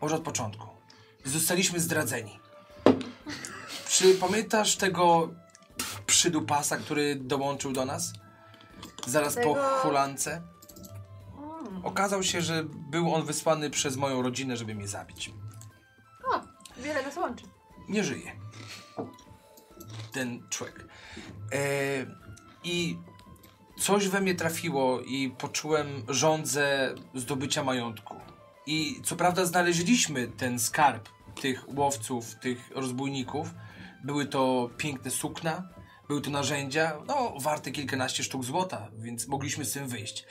S6: może od początku, zostaliśmy zdradzeni. Czy pamiętasz tego przydupasa, który dołączył do nas? Zaraz po
S4: Tego-
S6: hulance?
S4: Mm.
S6: Okazał się, że był on wysłany przez moją rodzinę, żeby mnie zabić.
S4: O, wiele nas łączy.
S6: nie żyje. Ten człowiek. E, I coś we mnie trafiło i poczułem żądzę zdobycia majątku. I co prawda znaleźliśmy ten skarb tych łowców, tych rozbójników. Były to piękne sukna, Były to narzędzia, no, warte kilkanaście sztuk złota, więc mogliśmy z tym wyjść.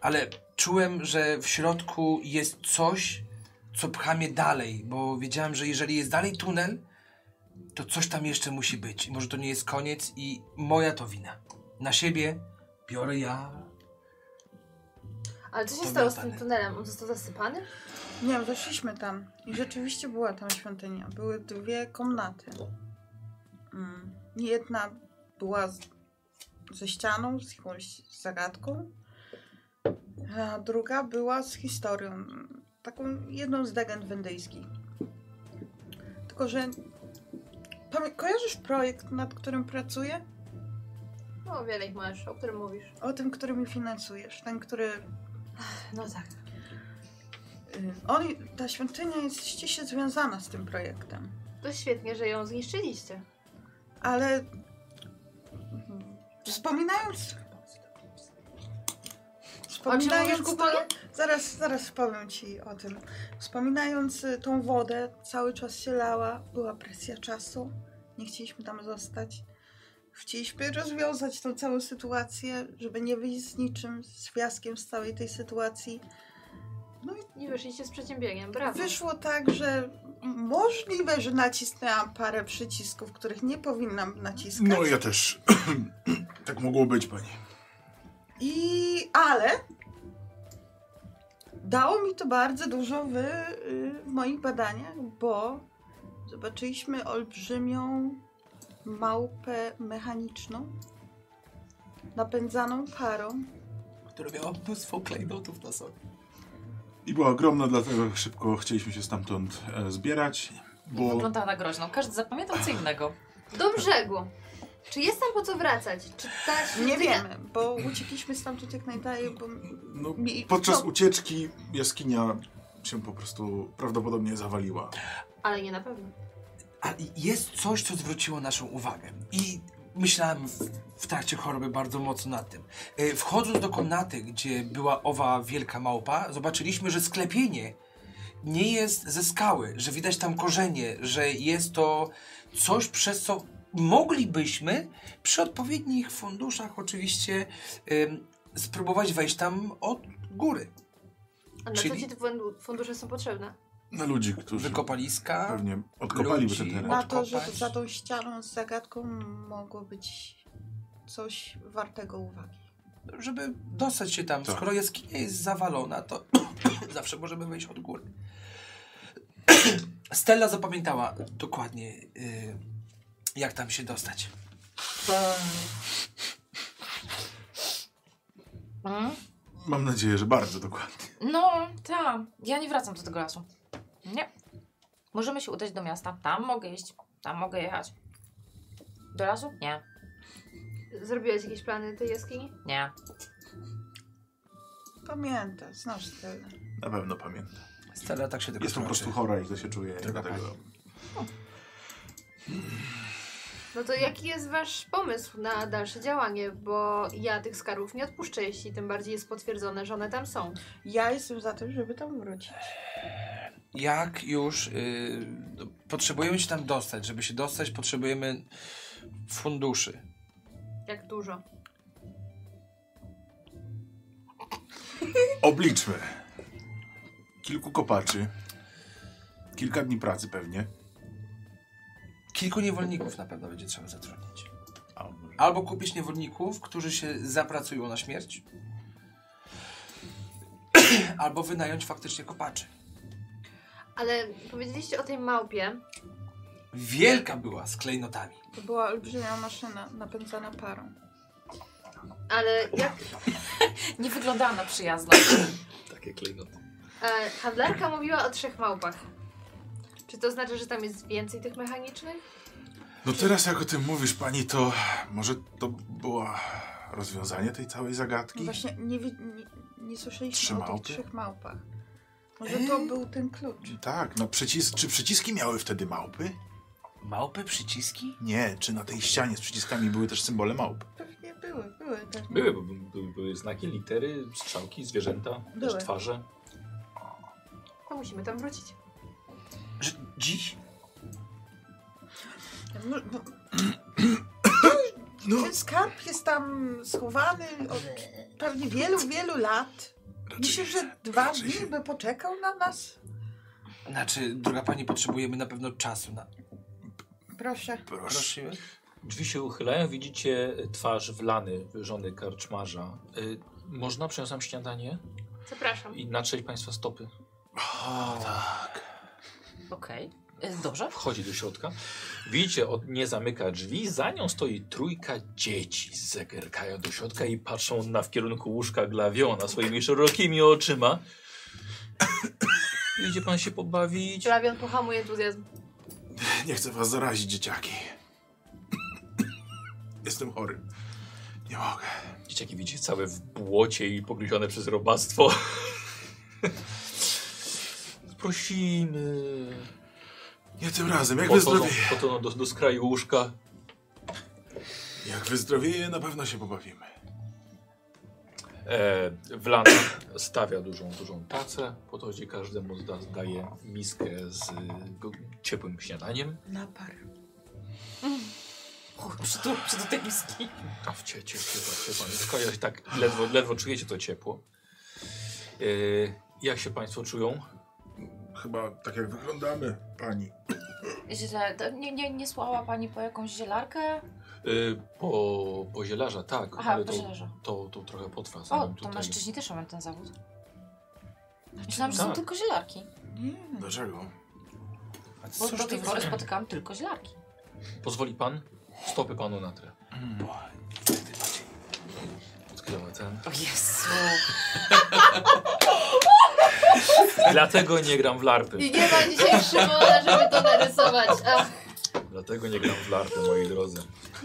S6: Ale czułem, że w środku jest coś, co pcha mnie dalej, bo wiedziałem, że jeżeli jest dalej tunel, to coś tam jeszcze musi być. I może to nie jest koniec i moja to wina. Na siebie biorę ja.
S4: Ale co się
S6: To
S4: stało z
S6: miotane.
S5: tak.
S4: tym tunelem? On został zasypany?
S5: Nie wiem, doszliśmy tam i rzeczywiście była tam świątynia. Były dwie komnaty. Mm, Jedna była z, ze ścianą, z jakąś zagadką, a druga była z historią, mm, taką jedną z legend wendyjskich. Tylko, że pamię- kojarzysz projekt, nad którym pracuję?
S4: No, wiele ich masz, o którym mówisz.
S5: O tym, który mi finansujesz, ten, który
S4: No tak.
S5: Y, On, ta świątynia jest ściśle związana z tym projektem,
S4: To świetnie, że ją zniszczyliście.
S5: ale wspominając.
S4: O czym
S5: Wspominając
S4: mówisz,
S5: to,
S4: Kuba?
S5: zaraz, zaraz powiem ci o tym. Wspominając y, tą wodę, cały czas się lała, była presja czasu, nie chcieliśmy tam zostać. Chcieliśmy rozwiązać tą całą sytuację, żeby nie wyjść z niczym, z fiaskiem z całej tej sytuacji.
S4: I wyszliście z przedsiębiegiem, brawo.
S5: Wyszło tak, że możliwe, że nacisnęłam parę przycisków, których nie powinnam naciskać.
S2: No ja też. tak mogło być, pani.
S5: I ale dało mi to bardzo dużo w, y, w moich badaniach, bo zobaczyliśmy olbrzymią małpę mechaniczną napędzaną parą.
S6: Która miała mnóstwo klejnotów na sobie.
S2: I była ogromna, dlatego szybko chcieliśmy się stamtąd e, zbierać, bo
S7: Wyglądała na groźną. Każdy zapamiętał co innego.
S4: Do brzegu. Czy jest tam po co wracać? Czy ta
S5: Nie
S4: świątynia-
S5: wiemy, bo uciekliśmy stamtąd jak najdalej, bo
S2: no,
S5: mi-
S2: podczas
S5: no.
S2: ucieczki jaskinia się po prostu prawdopodobnie zawaliła.
S4: Ale nie na pewno.
S6: Ale jest coś, co zwróciło naszą uwagę. I myślałem w, w trakcie choroby bardzo mocno nad tym. E, Wchodząc do komnaty, gdzie była owa wielka małpa, zobaczyliśmy, że sklepienie nie jest ze skały, że widać tam korzenie, że jest to coś, przez co moglibyśmy przy odpowiednich funduszach oczywiście em, spróbować wejść tam od góry.
S4: A na
S6: Czyli-
S4: co ci te fundu- fundusze są potrzebne?
S2: Na ludzi, którzy
S6: Wykopaliska,
S2: pewnie odkopaliby
S6: ludzi.
S2: ten teren.
S5: Na to, że
S6: odkopać.
S5: za tą ścianą z zagadką mogło być coś wartego uwagi.
S6: żeby dostać się tam.
S2: Tak.
S6: Skoro jaskinia jest zawalona, to zawsze możemy wejść od góry. Stella zapamiętała dokładnie, y, jak tam się dostać.
S7: Mm?
S2: Mam nadzieję, że bardzo dokładnie.
S7: No, tak. Ja nie wracam do tego lasu. Nie. Możemy się udać do miasta. Tam mogę iść. Tam mogę jechać. Do lasu? Nie.
S4: Zrobiłeś jakieś plany tej jaskini?
S7: Nie.
S5: Pamiętam, znasz tyle.
S2: Na pewno pamiętam.
S6: Stella tak się tego
S2: Jest po
S6: tłumaczy.
S2: prostu chora i to się czuje.
S6: Droga
S2: Dlatego...
S4: No to jaki jest wasz pomysł na dalsze działanie? Bo ja tych skarbów nie odpuszczę, jeśli tym bardziej jest potwierdzone, że one tam są.
S5: Ja jestem za tym, żeby tam wrócić.
S6: Jak już y, no, potrzebujemy się tam dostać, żeby się dostać, potrzebujemy funduszy.
S4: Jak dużo.
S2: Obliczmy. Kilku kopaczy. Kilka dni pracy pewnie.
S6: Kilku niewolników na pewno będzie trzeba zatrudnić.
S2: A,
S6: Albo kupić niewolników, którzy się zapracują na śmierć, albo wynająć faktycznie kopaczy.
S4: Ale powiedzieliście o tej małpie.
S6: Wielka była z klejnotami.
S5: To była olbrzymia maszyna napędzana parą.
S4: Ale jak
S7: Nie wyglądała na przyjazną.
S1: Takie klejnoty.
S4: e, handlarka mówiła o trzech małpach. Czy to znaczy, że tam jest więcej tych mechanicznych?
S2: No teraz jak o tym mówisz, pani, to może to było rozwiązanie tej całej zagadki?
S5: No Właśnie nie, wi- nie, nie słyszeliśmy
S2: Trzy
S5: o
S2: małpy? E?
S5: tych trzech małpach. Może to był ten klucz.
S2: Tak, no przycis- czy przyciski miały wtedy małpy?
S6: Małpy, przyciski?
S2: Nie, czy na tej ścianie z przyciskami były też symbole małp?
S5: Pewnie były, były pewnie.
S1: Były, były, były, były znaki, litery, strzałki, zwierzęta,
S5: Były.
S1: też twarze.
S4: To musimy tam wrócić.
S6: Że dziś?
S5: No, no.
S2: No,
S5: Ten skarb jest tam schowany od pewnie wielu, wielu lat. Myślę, że dwa
S2: raczej
S5: dni
S2: się-
S5: by poczekał na nas.
S6: Znaczy, droga pani, potrzebujemy na pewno czasu na...
S5: Proszę.
S2: proszę.
S6: Prosimy.
S1: Drzwi się uchylają, widzicie twarz wlany żony karczmarza. Y, można przyniosłem śniadanie
S4: Zapraszam.
S1: i natrzeć Państwa stopy.
S2: O, tak.
S7: Okej. Y, Dobrze.
S1: Wchodzi do środka. Widzicie, od, nie zamyka drzwi. Za nią stoi trójka dzieci. Zegerkają do środka i patrzą na w kierunku łóżka glawiona swoimi szerokimi oczyma. Idzie pan się pobawić.
S4: Glawion pohamuje entuzjazm.
S2: Nie chcę was zarazić, dzieciaki. Jestem chory. Nie mogę.
S1: Dzieciaki widzicie całe w błocie i pogryzione przez robactwo. Prosimy.
S2: Nie tym razem. Jak
S1: Podchodzą,
S2: wyzdrowieję,
S1: podchodzą do, do skraju łóżka.
S2: jak wyzdrowieję, na pewno się pobawimy.
S1: E, Wlan stawia dużą, dużą tacę. Podchodzi każdemu, zda, daje miskę z go, ciepłym śniadaniem.
S5: Napar.
S7: Uch, Przy do, przy do tej miski.
S1: A w cie, cie, ciepła, ciepła miska. Ja się tak ledwo, ledwo czujecie to ciepło. E, jak się Państwo czują?
S2: Chyba tak jak wyglądamy, pani.
S7: Źle. To Nie, nie, nie słała pani po jakąś zielarkę?
S1: E, po, po zielarza, tak,
S7: Aha,
S1: ale
S7: po
S1: to,
S7: zielarza.
S1: to, to trochę potrwa.
S7: O,
S1: zanim
S7: to mężczyźni też mają ten zawód. Myślałam, że
S5: Znaczy,
S7: są
S1: Tak.
S7: tylko zielarki.
S5: nie.
S2: Dlaczego?
S6: A
S7: Bo
S6: cóż
S7: do tej
S6: to
S7: pory
S6: za-
S7: spotykałam tylko zielarki.
S1: Pozwoli Pan? Stopy Panu na trę.
S6: Bo-
S1: Odkryła ten.
S7: O Jezu.
S1: Dlatego nie gram w larpy.
S4: I nie ma dzisiaj Szymona, żeby to narysować. Ach,
S1: Dlatego nie gram w larpy, moi drodzy.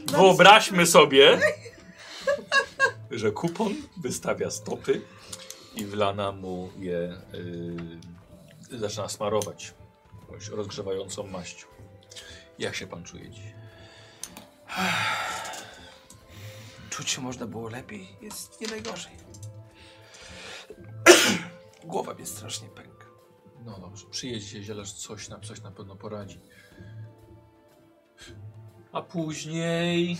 S1: Wyobraźmy sobie, że kupon wystawia stopy i wlana mu je yy, zaczyna smarować jakąś rozgrzewającą maścią. Jak się pan czuje dziś?
S6: Czuć się można było lepiej, jest nie najgorzej. Głowa mnie strasznie pęka.
S1: No dobrze, przyjedzie zielarz, coś nam coś na pewno poradzi. A później...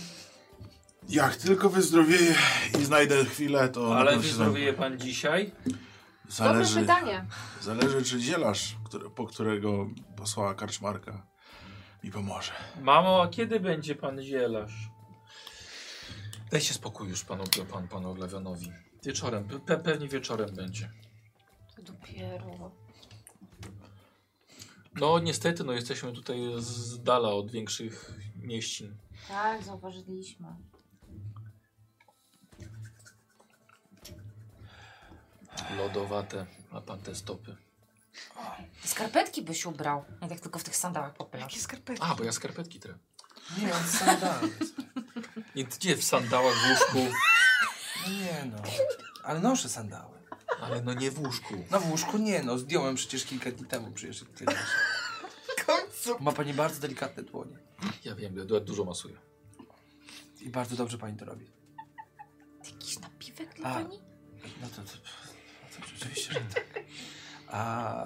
S2: Jak tylko wyzdrowieję i znajdę chwilę, to. na
S1: Ale
S2: pewno się
S1: wyzdrowieje pan dzisiaj?
S2: zam-
S4: dobre
S2: Zależy,
S4: pytanie.
S2: zależy, czy zielarz, który, po którego posłała karczmarka, mi pomoże.
S1: Mamo, a kiedy będzie pan zielarz? Dajcie spokój już panu, pan, panu Glawianowi. Wieczorem, pe- pe, pewnie wieczorem będzie.
S7: To dopiero.
S1: No niestety, no jesteśmy tutaj z dala od większych mieścin.
S7: Tak, zauważyliśmy.
S1: Lodowate, ma pan te stopy.
S7: Skarpetki byś ubrał, nie tak tylko w tych sandałach popylasz.
S5: Jakie skarpetki?
S1: A, bo ja skarpetki trę.
S6: Nie no, mam sandałów.
S1: Nie, gdzie w sandałach w łóżku?
S6: Nie no. Ale noszę sandały.
S1: Ale no nie w łóżku.
S6: No w łóżku nie no, zdjąłem przecież kilka dni temu przecież. jak ty noszę.
S5: W końcu.
S6: Ma pani bardzo delikatne dłonie.
S1: Ja wiem, ja dużo masuję.
S6: I bardzo dobrze pani to robi.
S7: Jakiś napiwek
S6: A.
S7: dla pani?
S6: No to, to, to, to rzeczywiście, że tak. A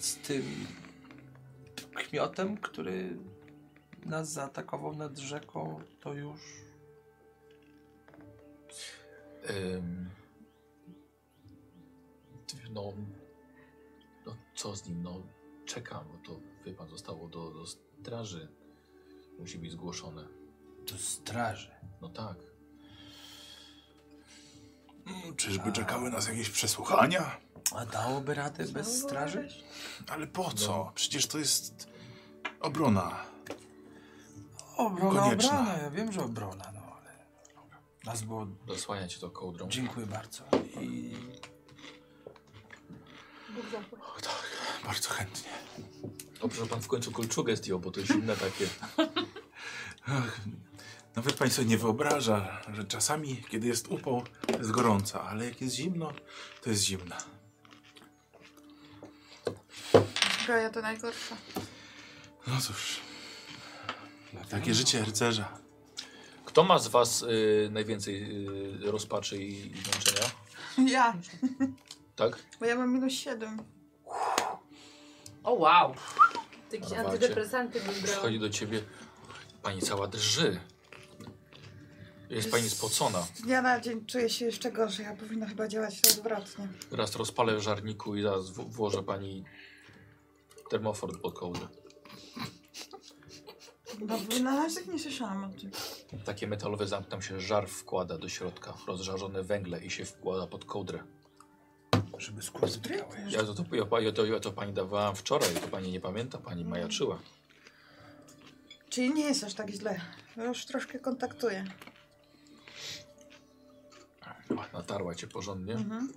S6: z tym kmiotem, który nas zaatakował nad rzeką, to już...
S1: Ym, no, no, co z nim? No, czekam, bo to wie pan, zostało do, do straży. Musi być zgłoszone.
S6: Do straży.
S1: No tak.
S2: Mm, Czyżby czekały nas jakieś przesłuchania?
S6: A dałoby radę bez straży?
S2: Ale po co?
S1: No.
S2: Przecież to jest obrona.
S6: Obrona,
S2: Konieczna.
S6: obrona. Ja wiem, że obrona, no ale... Nas było...
S1: Zasłania cię to kołdrą.
S6: Dziękuję bardzo. I
S4: Bóg zapłać.
S2: O, tak, bardzo chętnie.
S1: Dobrze, że pan w końcu kolczugę zdjął, bo to jest zimne takie.
S2: Ach, nawet pan sobie nie wyobraża, że czasami, kiedy jest upał, to jest gorąca, ale jak jest zimno, to jest zimna.
S5: Zbroja to najgorsza.
S2: No cóż, takie życie rycerza.
S1: Kto ma z was y, najwięcej y, rozpaczy i, i zmęczenia?
S5: Ja.
S1: Tak?
S5: Bo ja mam minus 7.
S7: O wow.
S4: To jakieś
S1: Zobaczcie.
S4: antydepresanty bym brała.
S1: Przychodzi do ciebie. Pani cała drży. Jest pani spocona.
S5: Z dnia na dzień czuję się jeszcze gorzej, a powinno chyba działać odwrotnie.
S1: Teraz rozpalę w żarniku i zaraz w- włożę pani termofort pod kołdrę.
S5: No, na razie nie słyszałam o tym.
S1: Takie metalowe zamki, tam się żar wkłada do środka, rozżarzone węgle i się wkłada pod kołdrę.
S6: Żeby skóry zbrykały.
S1: Ja to, to, ja, ja to, ja to pani dawałam wczoraj, to pani nie pamięta, pani majaczyła.
S5: Czyli nie jest aż tak źle. Ja Już troszkę kontaktuję.
S1: Tak. Ach, Natarła cię porządnie.
S5: Mhm.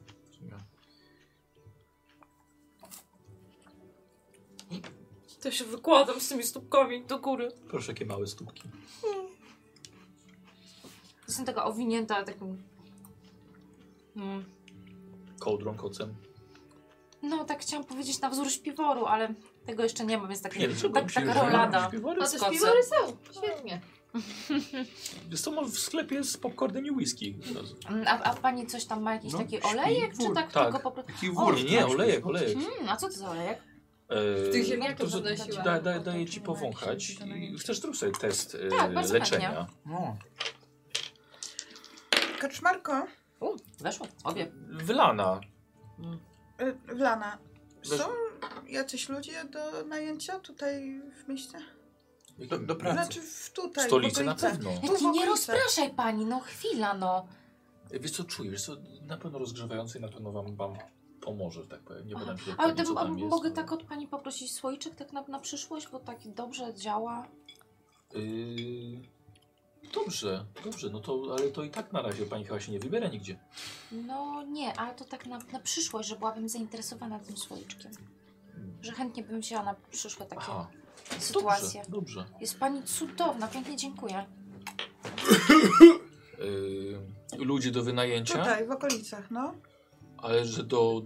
S7: To się wykładam z tymi stópkami do góry.
S1: Proszę, jakie małe stópki.
S7: Jestem taka owinięta takim... Mm.
S1: Kołdrą, kocem.
S7: No, tak chciałam powiedzieć na wzór śpiworu, ale tego jeszcze nie ma, więc takie,
S1: Pierwszy
S7: tak, taka rolada.
S4: No
S7: z
S4: to
S7: kocem.
S4: śpiwory są, świetnie.
S1: Jest to w sklepie z popcornem i whisky.
S7: Mm, A, a pani coś tam ma jakiś
S2: No,
S7: taki
S2: śpiwór,
S7: olejek, czy tak,
S1: tak.
S7: tylko po prostu...
S2: Taki
S7: O,
S1: Nie, nie, olejek, olejek.
S7: Mm, a co to za olejek?
S1: Eee,
S8: tych ziemniaków
S1: to, że-
S8: podnosiłam.
S1: da, da, Daję ci powąchać. I Chcesz zrób sobie test e,
S7: Tak, bardzo
S1: leczenia.
S6: No,
S5: Kaczmarko,
S7: U, weszło, obie.
S1: Wylana.
S5: y, Lana,
S1: Bez-
S5: są jacyś ludzie do najęcia tutaj w mieście?
S6: do, do pracy.
S5: Znaczy w
S7: Tak,
S5: tutaj,
S1: W
S5: w
S1: stolicy na
S5: okolicach.
S1: pewno.
S5: Tu w
S7: Jaki nie
S5: okolicach.
S7: rozpraszaj pani, no chwila no.
S1: E, Wiesz co, czujesz? Co, na pewno rozgrzewający na pewno wam, wam pomoże, że tak powiem. Nie
S7: Aha.
S1: będę się
S7: Ale
S1: dokładnie, co
S7: to, a,
S1: tam jest, no.
S7: mogę
S1: ale-
S7: tak od pani poprosić słoiczek tak na, na przyszłość, bo tak dobrze działa.
S1: Yy, Dobrze, dobrze, no to, ale to i tak na razie pani chyba się nie wybiera nigdzie.
S7: No nie, ale to tak na, na przyszłość, że byłabym zainteresowana tym słoiczkiem. Że chętnie bym wzięła na przyszłe takie
S1: Aha,
S7: sytuacje.
S1: dobrze, dobrze.
S7: Jest pani cudowna, pięknie dziękuję.
S1: Yy, ludzie do wynajęcia,
S5: Tutaj, w okolicach, no.
S1: ale że do,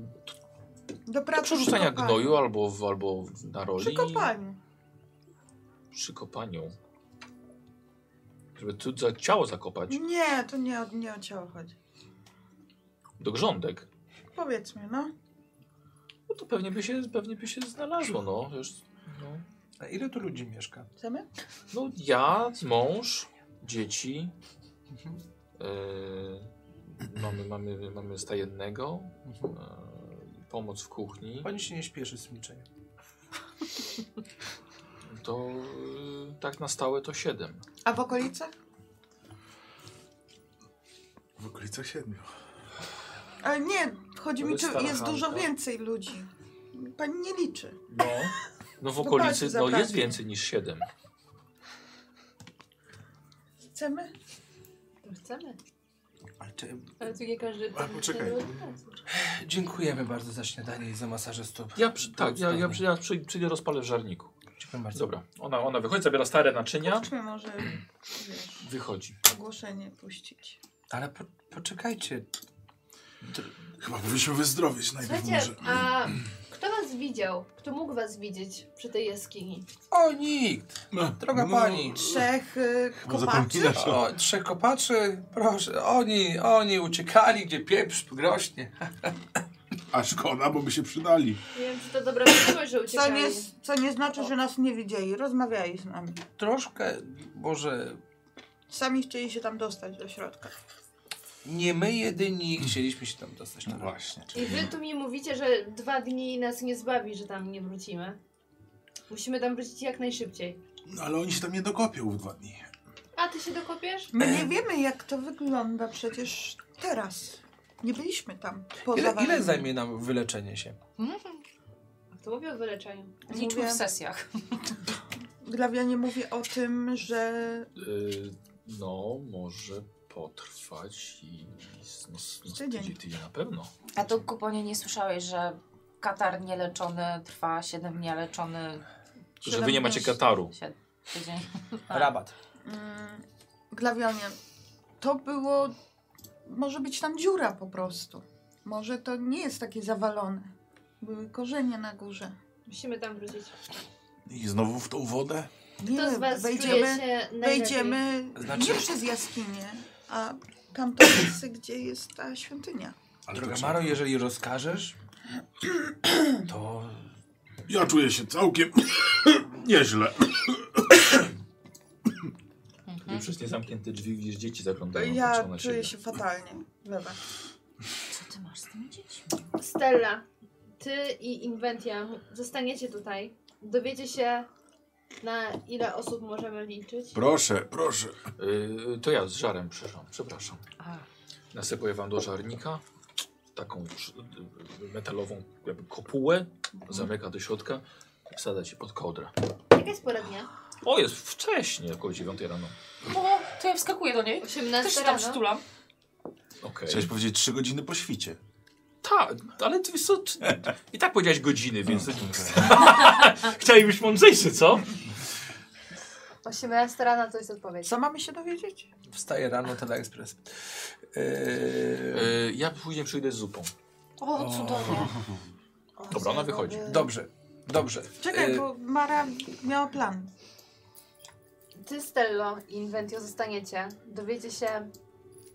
S5: Do
S1: do
S7: Tak,
S5: pracy
S1: przerzucania
S5: przy kopalni.
S1: gnoju albo, w, albo na roli.
S5: Przy kopalni.
S1: Przy kopaniu. Żeby tu za ciało zakopać.
S5: Nie, to nie, o- nie o ciało chodzi.
S1: Do grządek.
S5: Powiedzmy, no.
S1: No to pewnie by się, pewnie by się znalazło, no. Już, no.
S6: A ile tu ludzi mieszka?
S5: Chcemy?
S1: no ja, mąż, dzieci.
S6: Mhm.
S1: Yy, mamy, mamy, mamy stajennego.
S6: Mhm.
S1: Eee, pomoc w kuchni,
S6: Pani się nie śpieszy z milczeniem.
S1: to y, tak na stałe to 7.
S5: A w okolicach?
S2: W okolicach siedmiu.
S5: Ale nie, chodzi
S1: To
S5: mi,
S1: jest
S5: czy
S1: stara
S5: jest dużo
S1: Hanka.
S5: więcej ludzi. Pani nie liczy.
S1: No. No w
S5: No
S1: okolicy
S5: patrz,
S1: no, jest
S5: zabraknie.
S1: więcej niż 7.
S5: Chcemy?
S8: To Chcemy.
S6: Ale czy...
S8: Ale tu nie każdy...
S2: Ale poczekaj.
S6: Dziękujemy bardzo za śniadanie i za masaże stóp.
S1: Ja przy, tak, ja, ja, przy, ja przy, przyjdę rozpalę w żarniku.
S6: Dziękuję bardzo.
S1: Dobra, ona, ona wychodzi, zabiera stare naczynia,
S5: Chodźmy może, wiesz,
S1: wychodzi.
S5: ogłoszenie puścić.
S6: Ale po, poczekajcie.
S2: Chyba powinniśmy wyzdrowieć najpierw
S4: Słuchajcie,
S2: może.
S4: a kto was widział? Kto mógł was widzieć przy tej jaskini?
S6: O, nikt!
S2: No,
S6: Droga pani!
S5: Trzech y,
S2: Bo
S5: kopaczy?
S2: zapominasz o...
S6: O, trzech kopaczy, proszę. Oni, oni uciekali, gdzie pieprz grośnie.
S2: A szkoda, bo by się przydali.
S4: Nie wiem, czy to dobra wiadomość, że
S5: Co
S4: uciekali.
S5: nie, co nie znaczy, że nas nie widzieli. Rozmawiali z nami.
S6: Troszkę, może
S5: Sami chcieli się tam dostać do środka.
S6: nie my jedyni chcieliśmy się tam dostać.
S2: Mm. No
S6: Tak?
S2: właśnie.
S4: I wy tu mi mówicie, że dwa dni nas nie zbawi, że tam nie wrócimy. Musimy tam wrócić jak najszybciej.
S2: No, ale oni się tam nie dokopią w dwa dni.
S4: A ty się dokopiesz?
S5: My nie wiemy, jak to wygląda przecież teraz. Nie byliśmy tam. Poza
S6: Ile, ile
S5: wami.
S6: zajmie nam wyleczenie się?
S4: A kto mówi o wyleczeniu?
S7: Liczmy w
S5: Mówię.
S7: sesjach.
S5: Glawianie mówi o tym, że
S1: Yy, no, może potrwać i, i s- no, s- no, z
S5: Tydzień.
S1: tydzień, tydzień na pewno.
S7: A to kuponie nie słyszałeś, że katar nieleczony trwa 7 dni, a leczony
S1: Że wy nie macie
S7: Siedem-
S1: kataru.
S7: siedem- tydzień.
S6: Rabat.
S5: mm, glawianie to było. Może być tam dziura po prostu. Może to nie jest takie zawalone. Były korzenie na górze.
S4: Musimy tam wrócić.
S2: I znowu w tą wodę?
S5: Nie,
S4: Kto z was czuje się najlepiej?
S5: wejdziemy
S6: Znaczy-
S5: No nie przez jaskinię, a tamto miejsce, gdzie jest ta świątynia.
S2: Ale
S6: Droga
S2: to
S6: Maro,
S2: trzeba.
S6: jeżeli rozkażesz, to
S2: Ja czuję się całkiem nieźle.
S7: Mhm.
S1: przez nie zamknięte drzwi widzisz dzieci zaglądają
S5: Ja
S1: patrzą na siebie.
S5: czuję się fatalnie. Lewa.
S7: Co ty masz z tymi dziećmi?
S4: Stella, ty i Inventia zostaniecie tutaj. Dowiecie się, na ile osób możemy liczyć.
S2: Proszę, proszę.
S1: Y, to ja z żarem przyszłam, przepraszam.
S7: A,
S1: Nasypuję wam do żarnika taką sz- y, metalową jakby kopułę,
S5: Mhm.
S1: zamyka do środka i wsadza się pod kołdrę.
S4: Jaka jest pora dnia?
S1: O, jest wcześnie, około 9 rano.
S7: o, No, to ja wskakuję do niej. Też
S4: 18
S7: się tam
S4: rano.
S7: przytulam.
S1: Okej.
S2: Chciałeś powiedzieć trzy godziny po świcie.
S1: Tak, ale ty wiesz co, ty- i tak powiedziałeś godziny, więc... Chciałeś być mądrzejszy, co?
S4: 18 rano to jest odpowiedź.
S5: Co mamy się dowiedzieć?
S6: Wstaje rano teleekspres. Yy,
S1: Y, ja później przyjdę z zupą.
S7: O, cudownie.
S1: Dobra, ona wychodzi.
S6: dobrze, dobrze.
S5: Czekaj,
S6: Yy,
S5: bo Mara miała plan.
S4: Ty, Stello i Inventio zostaniecie. Dowiecie się,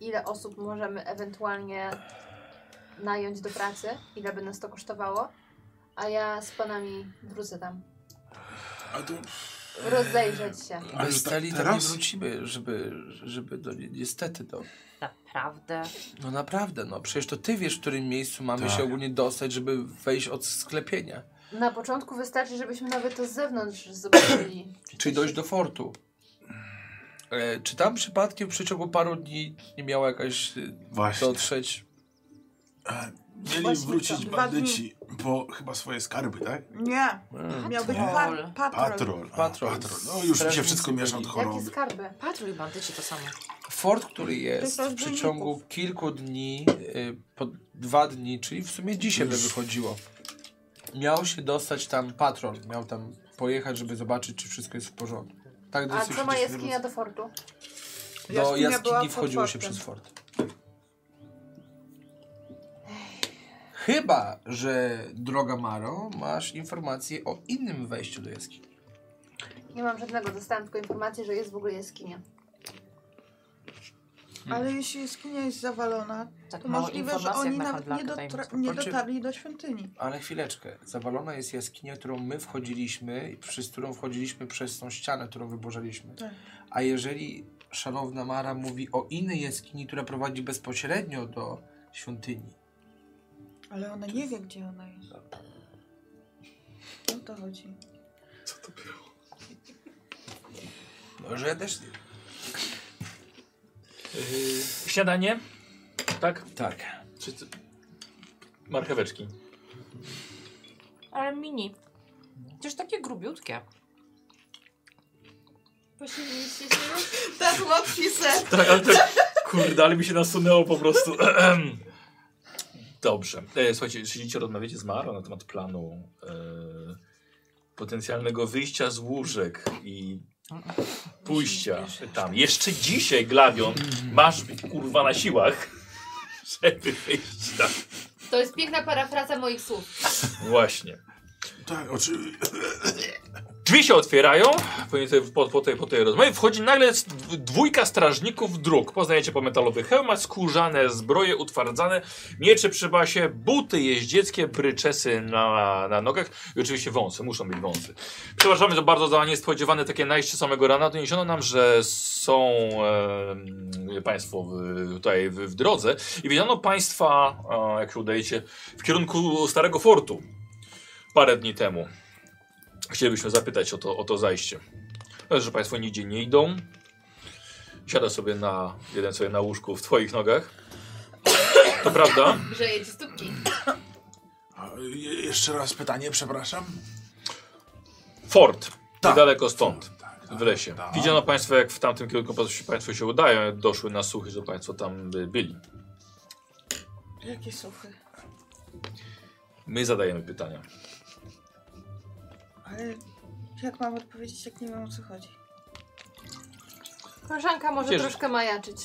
S4: ile osób możemy ewentualnie nająć do pracy, ile by nas to kosztowało. A ja z panami wrócę tam.
S2: A to...
S4: Rozejrzeć się.
S2: Ale
S6: Bez
S2: ta-
S6: Steli tam nie
S2: teraz?
S6: wrócimy, żeby, żeby do, niestety do.
S7: Naprawdę.
S6: No naprawdę, no przecież to ty wiesz, w którym miejscu mamy
S2: Tak.
S6: się ogólnie dostać, żeby wejść od sklepienia.
S4: Na początku wystarczy, żebyśmy nawet to z zewnątrz zobaczyli.
S6: Czyli dojść do fortu. E, czy tam przypadkiem w przeciągu paru dni nie miała jakaś e,
S2: Właśnie.
S6: dotrzeć?
S2: E, Mieli
S4: Właśnie
S2: wrócić
S5: to.
S2: bandyci po chyba swoje skarby, tak?
S5: Nie,
S6: Mm.
S5: miał być
S7: Patrol.
S5: pa patrol.
S2: Patrol. a,
S6: Patrol.
S2: patrol. No już mi się
S6: Strażnicy
S2: wszystko miesza od
S6: byli.
S2: choroby.
S4: Jakie skarby?
S7: Patrol i bandyci to samo.
S6: Fort, który
S5: jest
S6: jest w
S5: rozbójników.
S6: przeciągu kilku dni, y, po dwa dni, czyli w sumie dzisiaj by
S2: Już.
S6: wychodziło. Miał się dostać tam patrol, miał tam pojechać, żeby zobaczyć, czy wszystko jest w porządku. Tak
S4: A
S6: dosyć
S4: co ma jaskinia do fortu?
S6: Do
S5: Jaskinia była
S6: jaskini
S5: pod
S6: wchodziło się
S5: fortem.
S6: przez fort. Chyba, że droga Maro, masz informację o innym wejściu do jaskini.
S4: Nie mam żadnego, dostałam tylko informację, że jest w ogóle jaskinia.
S5: Ale jeśli jaskinia jest zawalona,
S7: Tak
S5: to
S7: mało
S5: możliwe, że
S7: informacji jak
S5: oni
S7: na
S5: nawet nie,
S7: handlarkę dajmy
S5: dotra-
S7: spokój.
S5: nie
S6: Znaczy-
S5: dotarli do świątyni.
S6: Ale chwileczkę, zawalona jest jaskinia, którą my wchodziliśmy, i przez którą wchodziliśmy przez tą ścianę, którą wyborzeliśmy.
S5: Tak.
S6: A jeżeli szanowna Mara mówi o innej jaskini, która prowadzi bezpośrednio do świątyni,
S5: Ale ona nie wie, gdzie ona jest. O to chodzi.
S6: no że ja też nie.
S1: Y, śniadanie? Tak?
S6: Tak.
S1: Czy ty... Marcheweczki.
S7: Ale mini. Też takie grubiutkie.
S4: Posililiście się już?
S5: Ten łatwi ser.
S1: Tak, ale tak, kurde, ale mi się nasunęło po prostu. Dobrze. E, słuchajcie, siedzicie, rozmawiacie z Marą na temat planu e, potencjalnego wyjścia z łóżek i pójścia tam. Jeszcze dzisiaj, Glawion, masz być kurwa na siłach, żeby wyjść tam.
S4: To jest piękna parafraza moich słów.
S1: Właśnie.
S2: Tak, oczy...
S1: Drzwi się otwierają, po, tej- po, po, tej, po tej rozmowie wchodzi nagle s- dwójka strażników dróg. Poznajecie po metalowych hełmach, skórzane zbroje, utwardzane, miecze przy basie, buty jeździeckie, bryczesy na, na nogach i oczywiście wąsy, muszą mieć wąsy. Przepraszamy za bardzo za niespodziewane takie najście samego rana. Doniesiono nam, że są em, państwo w, tutaj w, w drodze i wiedziano państwa, e, jak się udajecie, w kierunku Starego Fortu parę dni temu. Chcielibyśmy zapytać o to, o to zajście. Ale że Państwo nigdzie nie idą. Siada sobie na jeden sobie na łóżku w Twoich nogach. To prawda.
S4: Grzeje ci stópki.
S2: A, je- jeszcze raz pytanie, przepraszam.
S1: Fort.
S2: Tak.
S1: Niedaleko stąd.
S2: Tak, tak,
S1: W lesie.
S2: tak.
S1: Widziano Państwo, jak w tamtym kierunku Państwo się- Państwo się udają. jak Doszły na suchy, że Państwo tam by- byli.
S5: Jakie suchy.
S1: My zadajemy pytania.
S5: Ale jak mam odpowiedzieć, jak nie wiem o co chodzi?
S4: Koleżanka może
S1: Cieszę.
S4: troszkę majaczyć.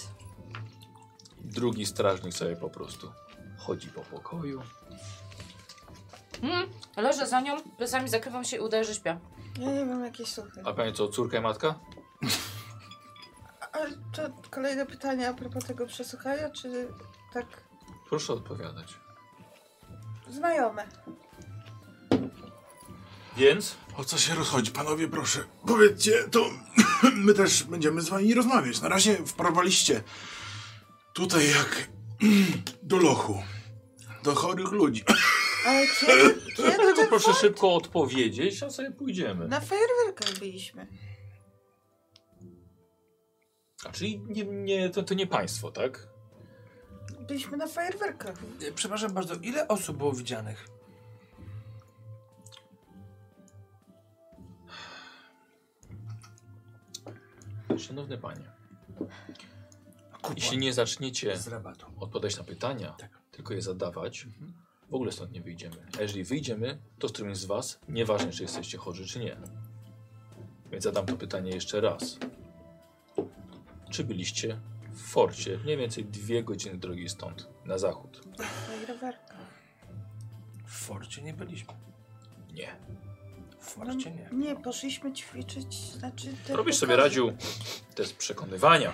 S1: Drugi strażnik sobie po prostu chodzi po pokoju.
S7: Mm, leżę za nią, plecami zakrywam się i udaję, że śpię.
S5: Ja nie wiem, jakie suchy.
S1: A Pani co, córka i matka?
S5: Ale to kolejne pytanie a propos tego przesłuchania, czy tak
S1: Proszę odpowiadać.
S5: znajome?
S1: Więc?
S2: O co się rozchodzi? Panowie, proszę, powiedzcie to My też będziemy z wami rozmawiać. Na razie wparowaliście tutaj jak do lochu. Do chorych ludzi.
S5: Ale kiedy, kiedy
S1: Dlatego
S5: ten...
S1: proszę szybko odpowiedzieć, a sobie pójdziemy.
S5: Na fajerwerkach byliśmy.
S1: A czyli nie, nie, to, to nie państwo, tak?
S5: Byliśmy na fajerwerkach.
S6: E, Przepraszam bardzo, ile osób było widzianych?
S1: Szanowny panie,
S6: Kupa.
S1: jeśli nie zaczniecie
S6: Z rabatu.
S1: odpowiadać na pytania,
S6: Tak. Mhm.
S1: tylko je zadawać, w ogóle stąd nie wyjdziemy. A jeżeli wyjdziemy, to z którymś z was, nieważne czy jesteście chorzy czy nie. Więc zadam to pytanie jeszcze raz. Czy byliście w forcie mniej więcej dwie godziny drogi stąd, na zachód?
S5: Fajerwerkach.
S6: W forcie nie byliśmy.
S1: Nie.
S6: W
S9: No
S6: forcie nie.
S5: Nie, poszliśmy ćwiczyć, znaczy... te
S1: Robisz sobie
S5: pokazy.
S1: radził test przekonywania.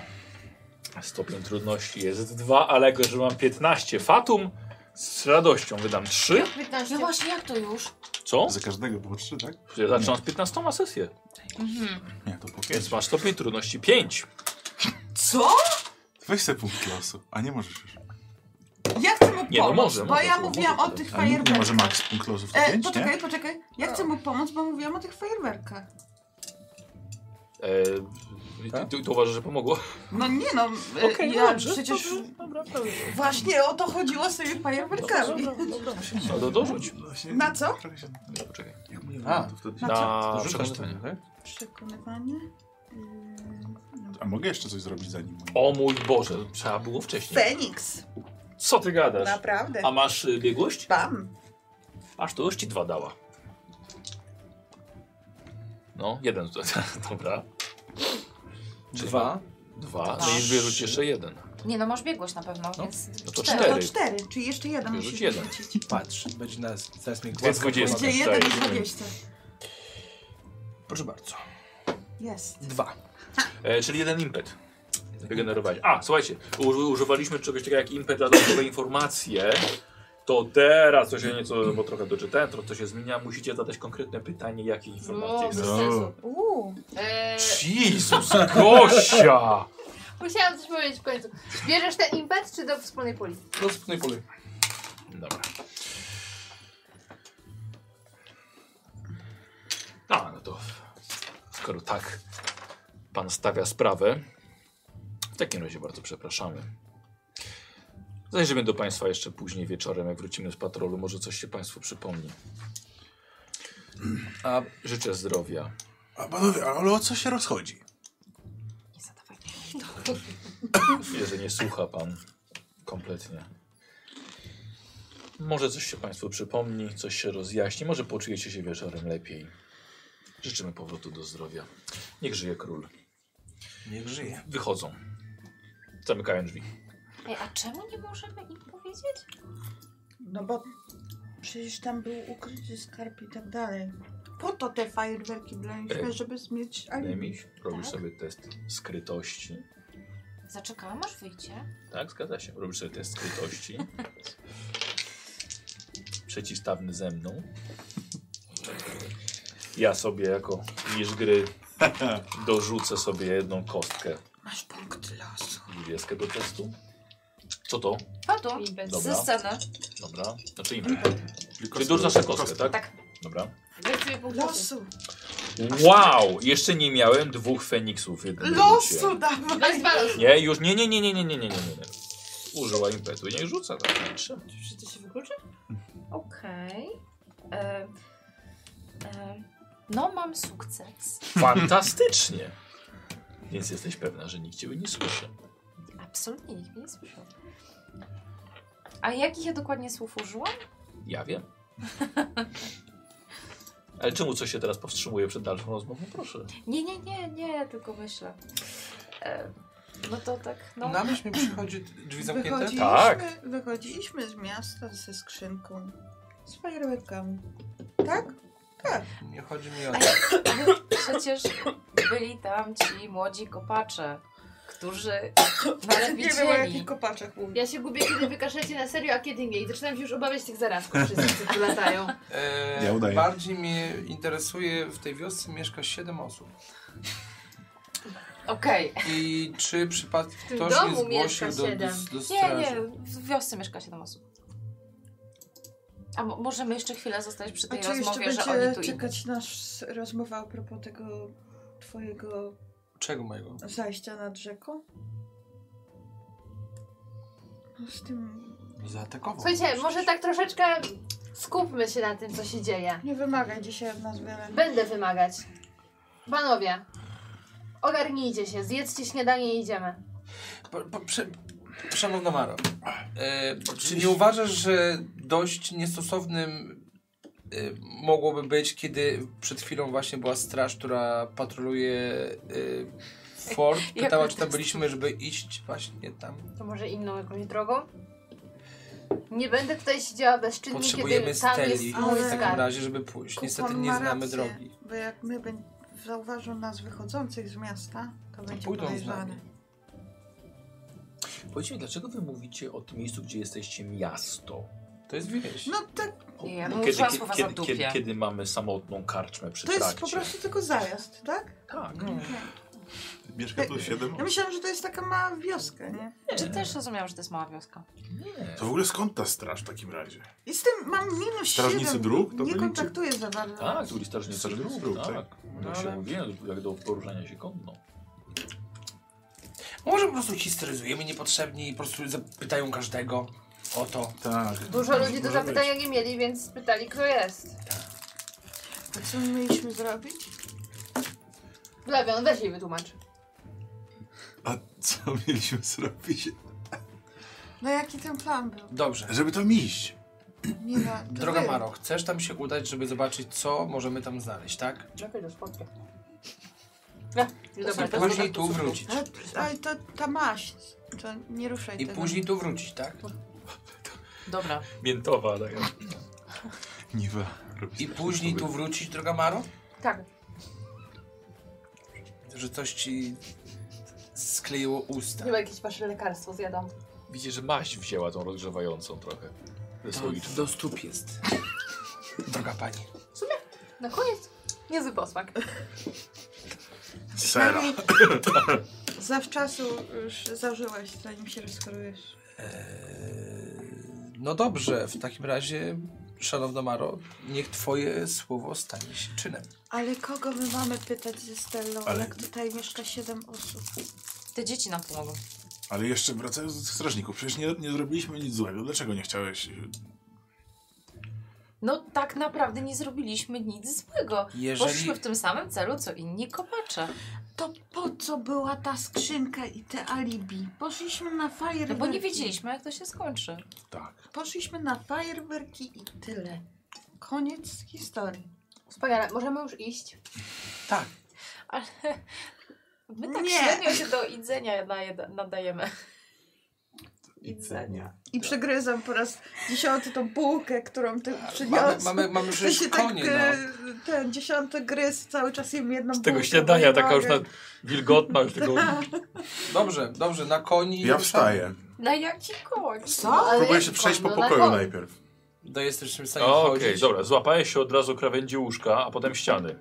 S1: Stopień trudności jest 2, ale jako, że mam 15 fatum, z radością wydam 3.
S4: 15.
S7: No właśnie, jak to już?
S1: Co?
S2: Za każdego było trzy, tak?
S1: Ja zaczynam z 15 sesję,
S7: Mhm.
S2: Nie, to po pięć.
S1: więc masz stopień trudności 5.
S5: Co?
S2: Weź sobie punkt losu. A nie możesz już.
S9: Ja chcę mu pomóc,
S1: Nie, no może,
S9: bo
S1: może,
S9: ja
S1: może,
S9: mówiłam
S1: może.
S9: o tych
S2: A nikt nie może
S9: fajerwerkach.
S2: maks punkt losu w to
S9: E,
S2: pięć, nie?
S9: poczekaj, poczekaj. Ja chcę mu pomóc, bo mówiłam o tych fajerwerkach.
S1: E, ty, ty, ty uważasz, że pomogło?
S9: No nie no, e,
S1: Okej,
S9: ja
S1: dobrze,
S9: przecież... Właśnie o to chodziło z tymi fajerwerkami.
S1: No to dorzuć.
S2: Właśnie-
S9: Na co?
S2: Trochę się-
S1: No, Poczekaj.
S2: Jak mówiłem,
S6: A.
S2: to wtedy się-
S9: Znaczy,
S1: Na
S6: To rzucasz
S1: przekonywanie.
S6: tak?
S5: Przekonywanie?
S9: Yy,
S2: A mogę jeszcze coś zrobić zanim?
S1: O mój Boże, trzeba było wcześniej.
S5: Feniks!
S1: Co ty gadasz?
S5: Naprawdę.
S1: A masz y, biegłość?
S5: Bam!
S1: Aż to już ci dwa dała. No, jeden tutaj. Dobra.
S6: Dwa.
S1: Dwa. No i wyrzuć jeszcze jeden.
S7: Nie no, masz biegłość na pewno,
S1: No.
S7: więc...
S1: No to
S9: To
S1: cztery.
S9: cztery, czyli jeszcze jeden
S1: Wyrzuć
S9: musisz
S1: jeden.
S9: wyrzucić.
S6: Patrz, będzie nas zaraz mnie
S1: Więc dwudziestka.
S9: Będzie
S1: Cztery.
S9: jeden i dwadzieścia.
S6: Proszę bardzo.
S9: Jest.
S6: Dwa.
S1: E, czyli jeden impet. Wygenerowali. A, słuchajcie, u, używaliśmy czegoś takiego jak impet na dodatkowe informacje. To teraz to się nieco, bo trochę doczytałem, to, to się zmienia. Musicie zadać konkretne pytanie, jakie informacje
S4: No,
S1: jest.
S4: bez sensu.
S5: Uuu,
S4: Eee,
S1: Jezus, Gosia!
S4: musiałam coś powiedzieć w końcu. Bierzesz ten impet czy do wspólnej puli?
S6: Do wspólnej puli.
S1: Dobra. A, no to skoro tak pan stawia sprawę, w takim razie bardzo przepraszamy. Zajrzymy do Państwa jeszcze później wieczorem, jak wrócimy z patrolu. Może coś się Państwu przypomni.
S6: A
S1: Życzę zdrowia.
S2: A panowie, ale o co się rozchodzi?
S7: Nie zadawaj.
S1: Widzę, że nie słucha Pan kompletnie. Może coś się Państwu przypomni, coś się rozjaśni, może poczujecie się wieczorem lepiej. Życzymy powrotu do zdrowia. Niech żyje król.
S6: niech żyje.
S1: Wychodzą. Zamykają drzwi.
S7: Ej, a czemu nie możemy im powiedzieć?
S5: no bo przecież tam był ukryty skarb i tak dalej.
S9: Po to te fajerwerki
S1: Ej.
S9: braliśmy, żeby zmieć alibi.
S1: Nemi, robisz
S7: Tak.
S1: sobie test skrytości.
S7: Zaczekałam aż wyjdzie.
S1: Tak, zgadza się. Robisz sobie test skrytości. Przeciwstawny ze mną. Ja sobie jako mistrz gry dorzucę sobie jedną kostkę
S5: Masz punkt losu.
S1: niebieską do testu. Co to?
S7: Fatum,
S4: Impet.
S1: Dobra.
S7: ze sceny.
S1: Dobra. Znaczy impet. Czyli dorzucasz kostkę, tak?
S7: Tak.
S1: Dobra.
S4: Weź sobie punkt losu.
S9: Losu.
S1: Mhm. Wow! Jeszcze nie miałem dwóch feniksów w jednym rzucie.
S9: Losu dawaj.
S4: Weź dwa losy.
S1: Nie, już nie, nie, nie, nie, nie, nie, nie, nie, nie. nie. Użyła impetu i nie rzuca tak. nie trzeba.
S4: Czy to się wykluczy?
S7: Okej. E, e, No, mam sukces.
S1: Fantastycznie. Więc jesteś pewna, że nikt ciebie nie słyszy.
S7: Absolutnie nikt mnie nie słyszał. A jakich ja dokładnie słów użyłam?
S1: Ja wiem. Ale czemu coś się teraz powstrzymuje przed dalszą rozmową? Proszę.
S7: Nie, nie, nie, nie, tylko myślę. E, No to tak, no.
S6: Na myśl mi przychodzi drzwi zamknięte.
S5: Wychodziliśmy,
S1: Tak.
S5: wychodziliśmy z miasta ze skrzynką. Z fajerwerkami. Tak?
S6: Nie chodzi mi o
S7: A
S6: to.
S7: jak- ale przecież byli tam ci młodzi kopacze, którzy nas
S5: Nie wiem o
S7: widzieli.
S5: jakich kopaczach mówię.
S4: Ja się gubię, kiedy wykaszlecie na serio, a kiedy nie. I zaczynam się już obawiać tych zarazków wszystkich, co tu latają.
S6: E,
S2: Ja udaję.
S6: Bardziej mnie interesuje, w tej wiosce mieszka 7 osób.
S7: Okej.
S6: I czy przypadkiem
S4: tym
S6: ktoś nie
S4: domu
S6: zgłosił
S4: mieszka
S6: do, do,
S4: siedem.
S6: do
S7: Nie, nie,
S6: straży?
S7: w wiosce mieszka 7 osób. A mo- możemy jeszcze chwilę zostać przy tej
S5: A czy jeszcze
S7: rozmowie, że oni
S5: będzie
S7: tu i...
S5: czekać nas rozmowa a propos tego twojego
S6: Czego mojego?
S5: zajścia nad rzeką? No Z tym...
S6: Zaatakował.
S4: Słuchajcie, może tak troszeczkę skupmy się na tym, co się dzieje.
S5: Nie wymagaj dzisiaj od nas wiele.
S4: Będę wymagać. Panowie, ogarnijcie się, zjedzcie śniadanie i idziemy.
S6: Po, po, prze, szanowna Maro, e, czy nie uważasz, że dość niestosownym e, mogłoby być, kiedy przed chwilą właśnie była straż, która patroluje e, fort,
S7: Jak
S6: pytała,
S7: my
S6: czy tam
S7: teraz-
S6: byliśmy, żeby iść właśnie tam?
S4: To może inną jakąś drogą? Nie będę tutaj siedziała bezczynnie,
S6: Potrzebujemy
S4: kiedy tam
S6: steli
S4: jest
S5: Ale-
S4: mój
S6: w takim
S4: skarb.
S6: razie, żeby pójść. Niestety
S5: Kupon
S6: nie
S5: ma
S6: znamy
S5: rację,
S6: drogi.
S5: Bo jak my będ... zauważą nas wychodzących z miasta, to będzie
S6: Pójdą z
S5: podejrzane.
S6: nami.
S1: Powiedzcie mi, dlaczego wy mówicie o tym miejscu, gdzie jesteście miasto?
S6: To jest wieś.
S5: No tak,
S7: Nie, ja bym
S1: Kiedy,
S7: użyła
S1: kiedy,
S7: słowa za
S1: kiedy,
S7: dupie.
S1: kiedy, kiedy mamy samotną karczmę przy
S5: to jest
S1: trakcie?
S5: po prostu tylko zajazd, tak?
S1: Tak.
S6: No.
S2: Mieszka tu siedem
S5: Ja myślałam, że to jest taka mała wioska, nie?
S7: Czy też rozumiałam, że to jest mała wioska?
S1: Nie.
S2: To w ogóle skąd ta straż w takim razie?
S5: I z tym mam minus
S2: Strażnicy
S5: 7.
S2: dróg to
S5: nie
S2: byli,
S5: kontaktuję za bardzo.
S1: Tak, to byli strażnicy
S2: Strażnicy
S1: dróg,
S2: dróg,
S1: tak.
S2: tak.
S1: No
S6: No
S1: się
S6: ale-
S1: mówiłem, jak do poruszania się konno.
S6: Może po prostu historyzujemy niepotrzebnie i po prostu zapytają każdego o to.
S2: Tak.
S4: Dużo ludzi do
S2: Może być.
S4: zapytania nie mieli, więc spytali, kto jest.
S5: A co my mieliśmy zrobić?
S4: Lewion, weź jej wytłumacz.
S2: A co mieliśmy zrobić?
S5: No jaki ten plan był?
S6: Dobrze.
S2: Żeby tam iść.
S5: Nie no, to
S6: Droga
S5: wy.
S6: Maro, chcesz tam się udać, żeby zobaczyć, co możemy tam znaleźć, tak?
S4: Lepiej do spotka.
S6: I
S4: Dobra, to
S6: później tu wrócić.
S5: Ale, ale to ta maść, Tak, to nie ruszaj
S6: I
S5: tego.
S6: później tu wrócić, tak?
S7: Dobra.
S1: Miętowa, tak.
S2: Niwa. robi
S6: I później tu wrócić, droga Maro?
S4: Tak.
S6: Że coś ci skleiło usta.
S4: Chyba jakieś wasze lekarstwo zjadą.
S1: Widzicie, że maść wzięła tą rozgrzewającą trochę. To jest
S6: To
S1: logiczne.
S6: do stóp jest. Droga pani.
S4: Na koniec. Niezły posmak.
S2: Sera.
S5: Zawczasu już zażyłeś, zanim się rozchorujesz.
S6: E, No dobrze, w takim razie, szanowna Maro, niech twoje słowo stanie się czynem.
S5: Ale kogo my mamy pytać ze Stellą,
S2: Ale-
S5: jak tutaj mieszka 7 osób?
S7: Te dzieci nam pomogą.
S2: Ale jeszcze wracając do tych strażników, przecież nie, nie zrobiliśmy nic złego. Dlaczego nie chciałeś?
S7: No tak naprawdę nie zrobiliśmy nic złego.
S6: Jeżeli
S7: Poszliśmy w tym samym celu, co inni kopacze.
S5: To po co była ta skrzynka i te alibi? Poszliśmy na fajerwerki.
S7: No bo nie wiedzieliśmy, jak to się skończy.
S2: Tak.
S5: Poszliśmy na fajerwerki i tyle. Koniec historii.
S4: Wspaniale. Możemy już iść?
S6: tak,
S7: Ale my tak
S5: Nie.
S7: średnio się do idzenia naje- nadajemy. Idzenia.
S5: I przegryzam po raz dziesiąty tą bułkę, którą ty
S6: mamy,
S5: przyniosłeś.
S6: mamy, mamy
S5: To
S6: przecież
S5: się
S6: konie,
S5: tak,
S6: no.
S5: e, ten dziesiąty gryz, cały czas jem jedną
S1: Z tego
S5: bułkę, no
S1: śniadania
S5: moje
S1: taka już na,
S5: nogi.
S1: wilgotna, już tego
S6: Dobrze, dobrze, na koni.
S2: Ja wstaję.
S7: Na jaki koń?
S4: Co?
S2: Próbuję się przejść po pokoju najpierw.
S6: Do jesteśmy w stanie
S1: O, Okej,
S6: chodzić.
S1: dobra, złapałeś się od razu krawędzi łóżka, a potem ściany.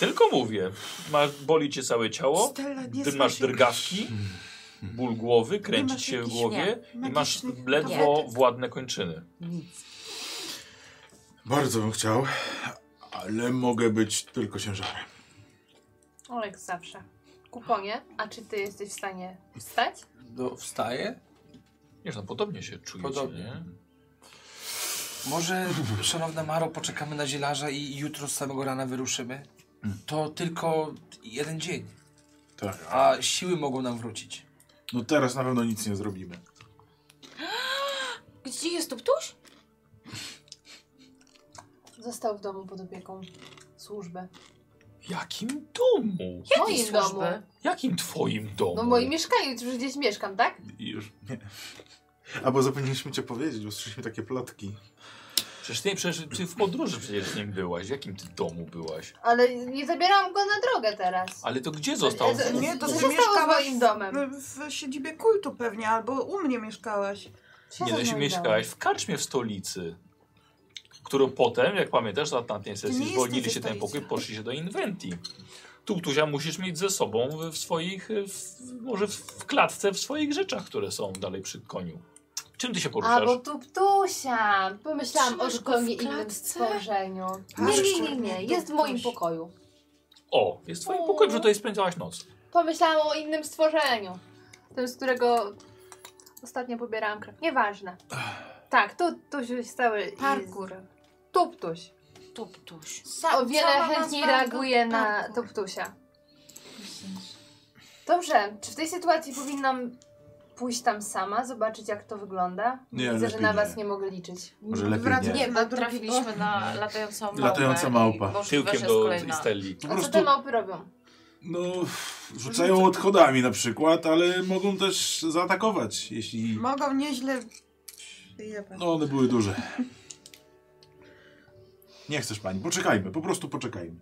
S1: Tylko mówię, masz, boli cię całe ciało,
S5: Stella, nie
S1: ty
S5: smaż
S1: masz
S5: się.
S1: drgawki, ból głowy, kręcić
S5: masz
S1: się w
S5: jakichś
S1: głowie i masz
S5: magicznych
S1: ledwo
S5: tabletek?
S1: władne kończyny.
S2: Bardzo bym chciał, ale mogę być tylko ciężarem.
S4: O, jak zawsze. Kuponie, a czy ty jesteś w stanie wstać?
S6: Do, wstaję?
S1: Wiesz, no podobnie się czujecie,
S6: Podobnie.
S1: nie?
S6: Może, szanowna Maro, poczekamy na zielarza i jutro z samego rana wyruszymy? To tylko jeden dzień,
S2: Tak. a-
S6: a siły mogą nam wrócić.
S2: No teraz na pewno nic nie zrobimy.
S7: Gdzie jest tuptuś?
S4: Został w domu pod opieką służby.
S1: W jakim domu?
S7: Jakiej
S4: moim
S7: służby?
S4: domu.
S1: Jakim twoim domu?
S4: No w moim mieszkaniu, już gdzieś mieszkam, tak?
S2: I już nie. Albo zapomnieliśmy cię powiedzieć, bo słyszeliśmy takie plotki.
S1: Przecież ty, przecież ty w podróży przecież z nim byłaś. W jakim ty domu byłaś?
S4: Ale nie zabierałam go na drogę teraz.
S1: Ale to gdzie został?
S4: Ale to-
S5: E, Nie, to
S4: Co
S5: ty
S4: się stało z
S5: mieszkałaś
S4: moim domem?
S5: W, w siedzibie kultu pewnie, albo u mnie mieszkałaś.
S1: Nie,
S4: za
S1: no, się
S4: mną
S1: mieszkałaś w karczmie w stolicy, którą potem, jak pamiętasz, na tamtej
S5: nie
S1: sesji
S5: jesteś
S1: zwolnili
S5: ze
S1: się ten
S5: stolicy.
S1: pokój, poszli się do Inventi. Tuptuzia musisz mieć ze sobą w- w swoich, w, w- może w, w klatce, w swoich rzeczach, które są dalej przy koniu. Czym ty się poruszasz?
S3: Albo tuptusia.
S8: Pomyślałam o
S3: Trzymasz go w
S8: zupełnie innym
S3: klatce?
S8: spojrzeniu.
S3: Nie, nie, nie, nie. Jest w moim pokoju.
S1: O, jest w twoim
S3: O.
S1: pokoju, że tutaj spędzałaś noc.
S8: Pomyślałam o innym stworzeniu.
S4: Ten, z którego ostatnio pobierałam krew. Nieważne. Tak, tu, tu się stały.
S5: Parkour.
S4: Tuptuś.
S7: Tuptuś.
S5: Sa-
S4: O wiele
S5: sama
S4: chętniej
S5: nazwa to
S4: reaguje na
S5: parkour.
S4: tuptusia. Dobrze, czy w tej sytuacji powinnam pójść tam sama, zobaczyć jak to wygląda?
S2: Nie,
S4: Widzę, że
S2: lepiej
S4: na
S2: nie.
S4: was nie mogę liczyć.
S2: Może lepiej
S5: Wracam
S2: nie.
S7: Nie,
S5: Na
S7: bo
S5: drugi-
S7: trafiliśmy na latającą małpę.
S2: Latająca
S7: i
S2: małpa.
S7: możliwe,
S1: Tyłkiem
S7: że
S1: do
S7: jest kolejna.
S1: Istelli.
S2: Po
S4: A co te
S2: prostu,
S4: małpy robią?
S2: no, rzucają odchodami na przykład, ale mogą też zaatakować, jeśli...
S5: Mogą nieźle... Jebać.
S2: No, one były duże. Nie chcesz pani, poczekajmy, po prostu poczekajmy.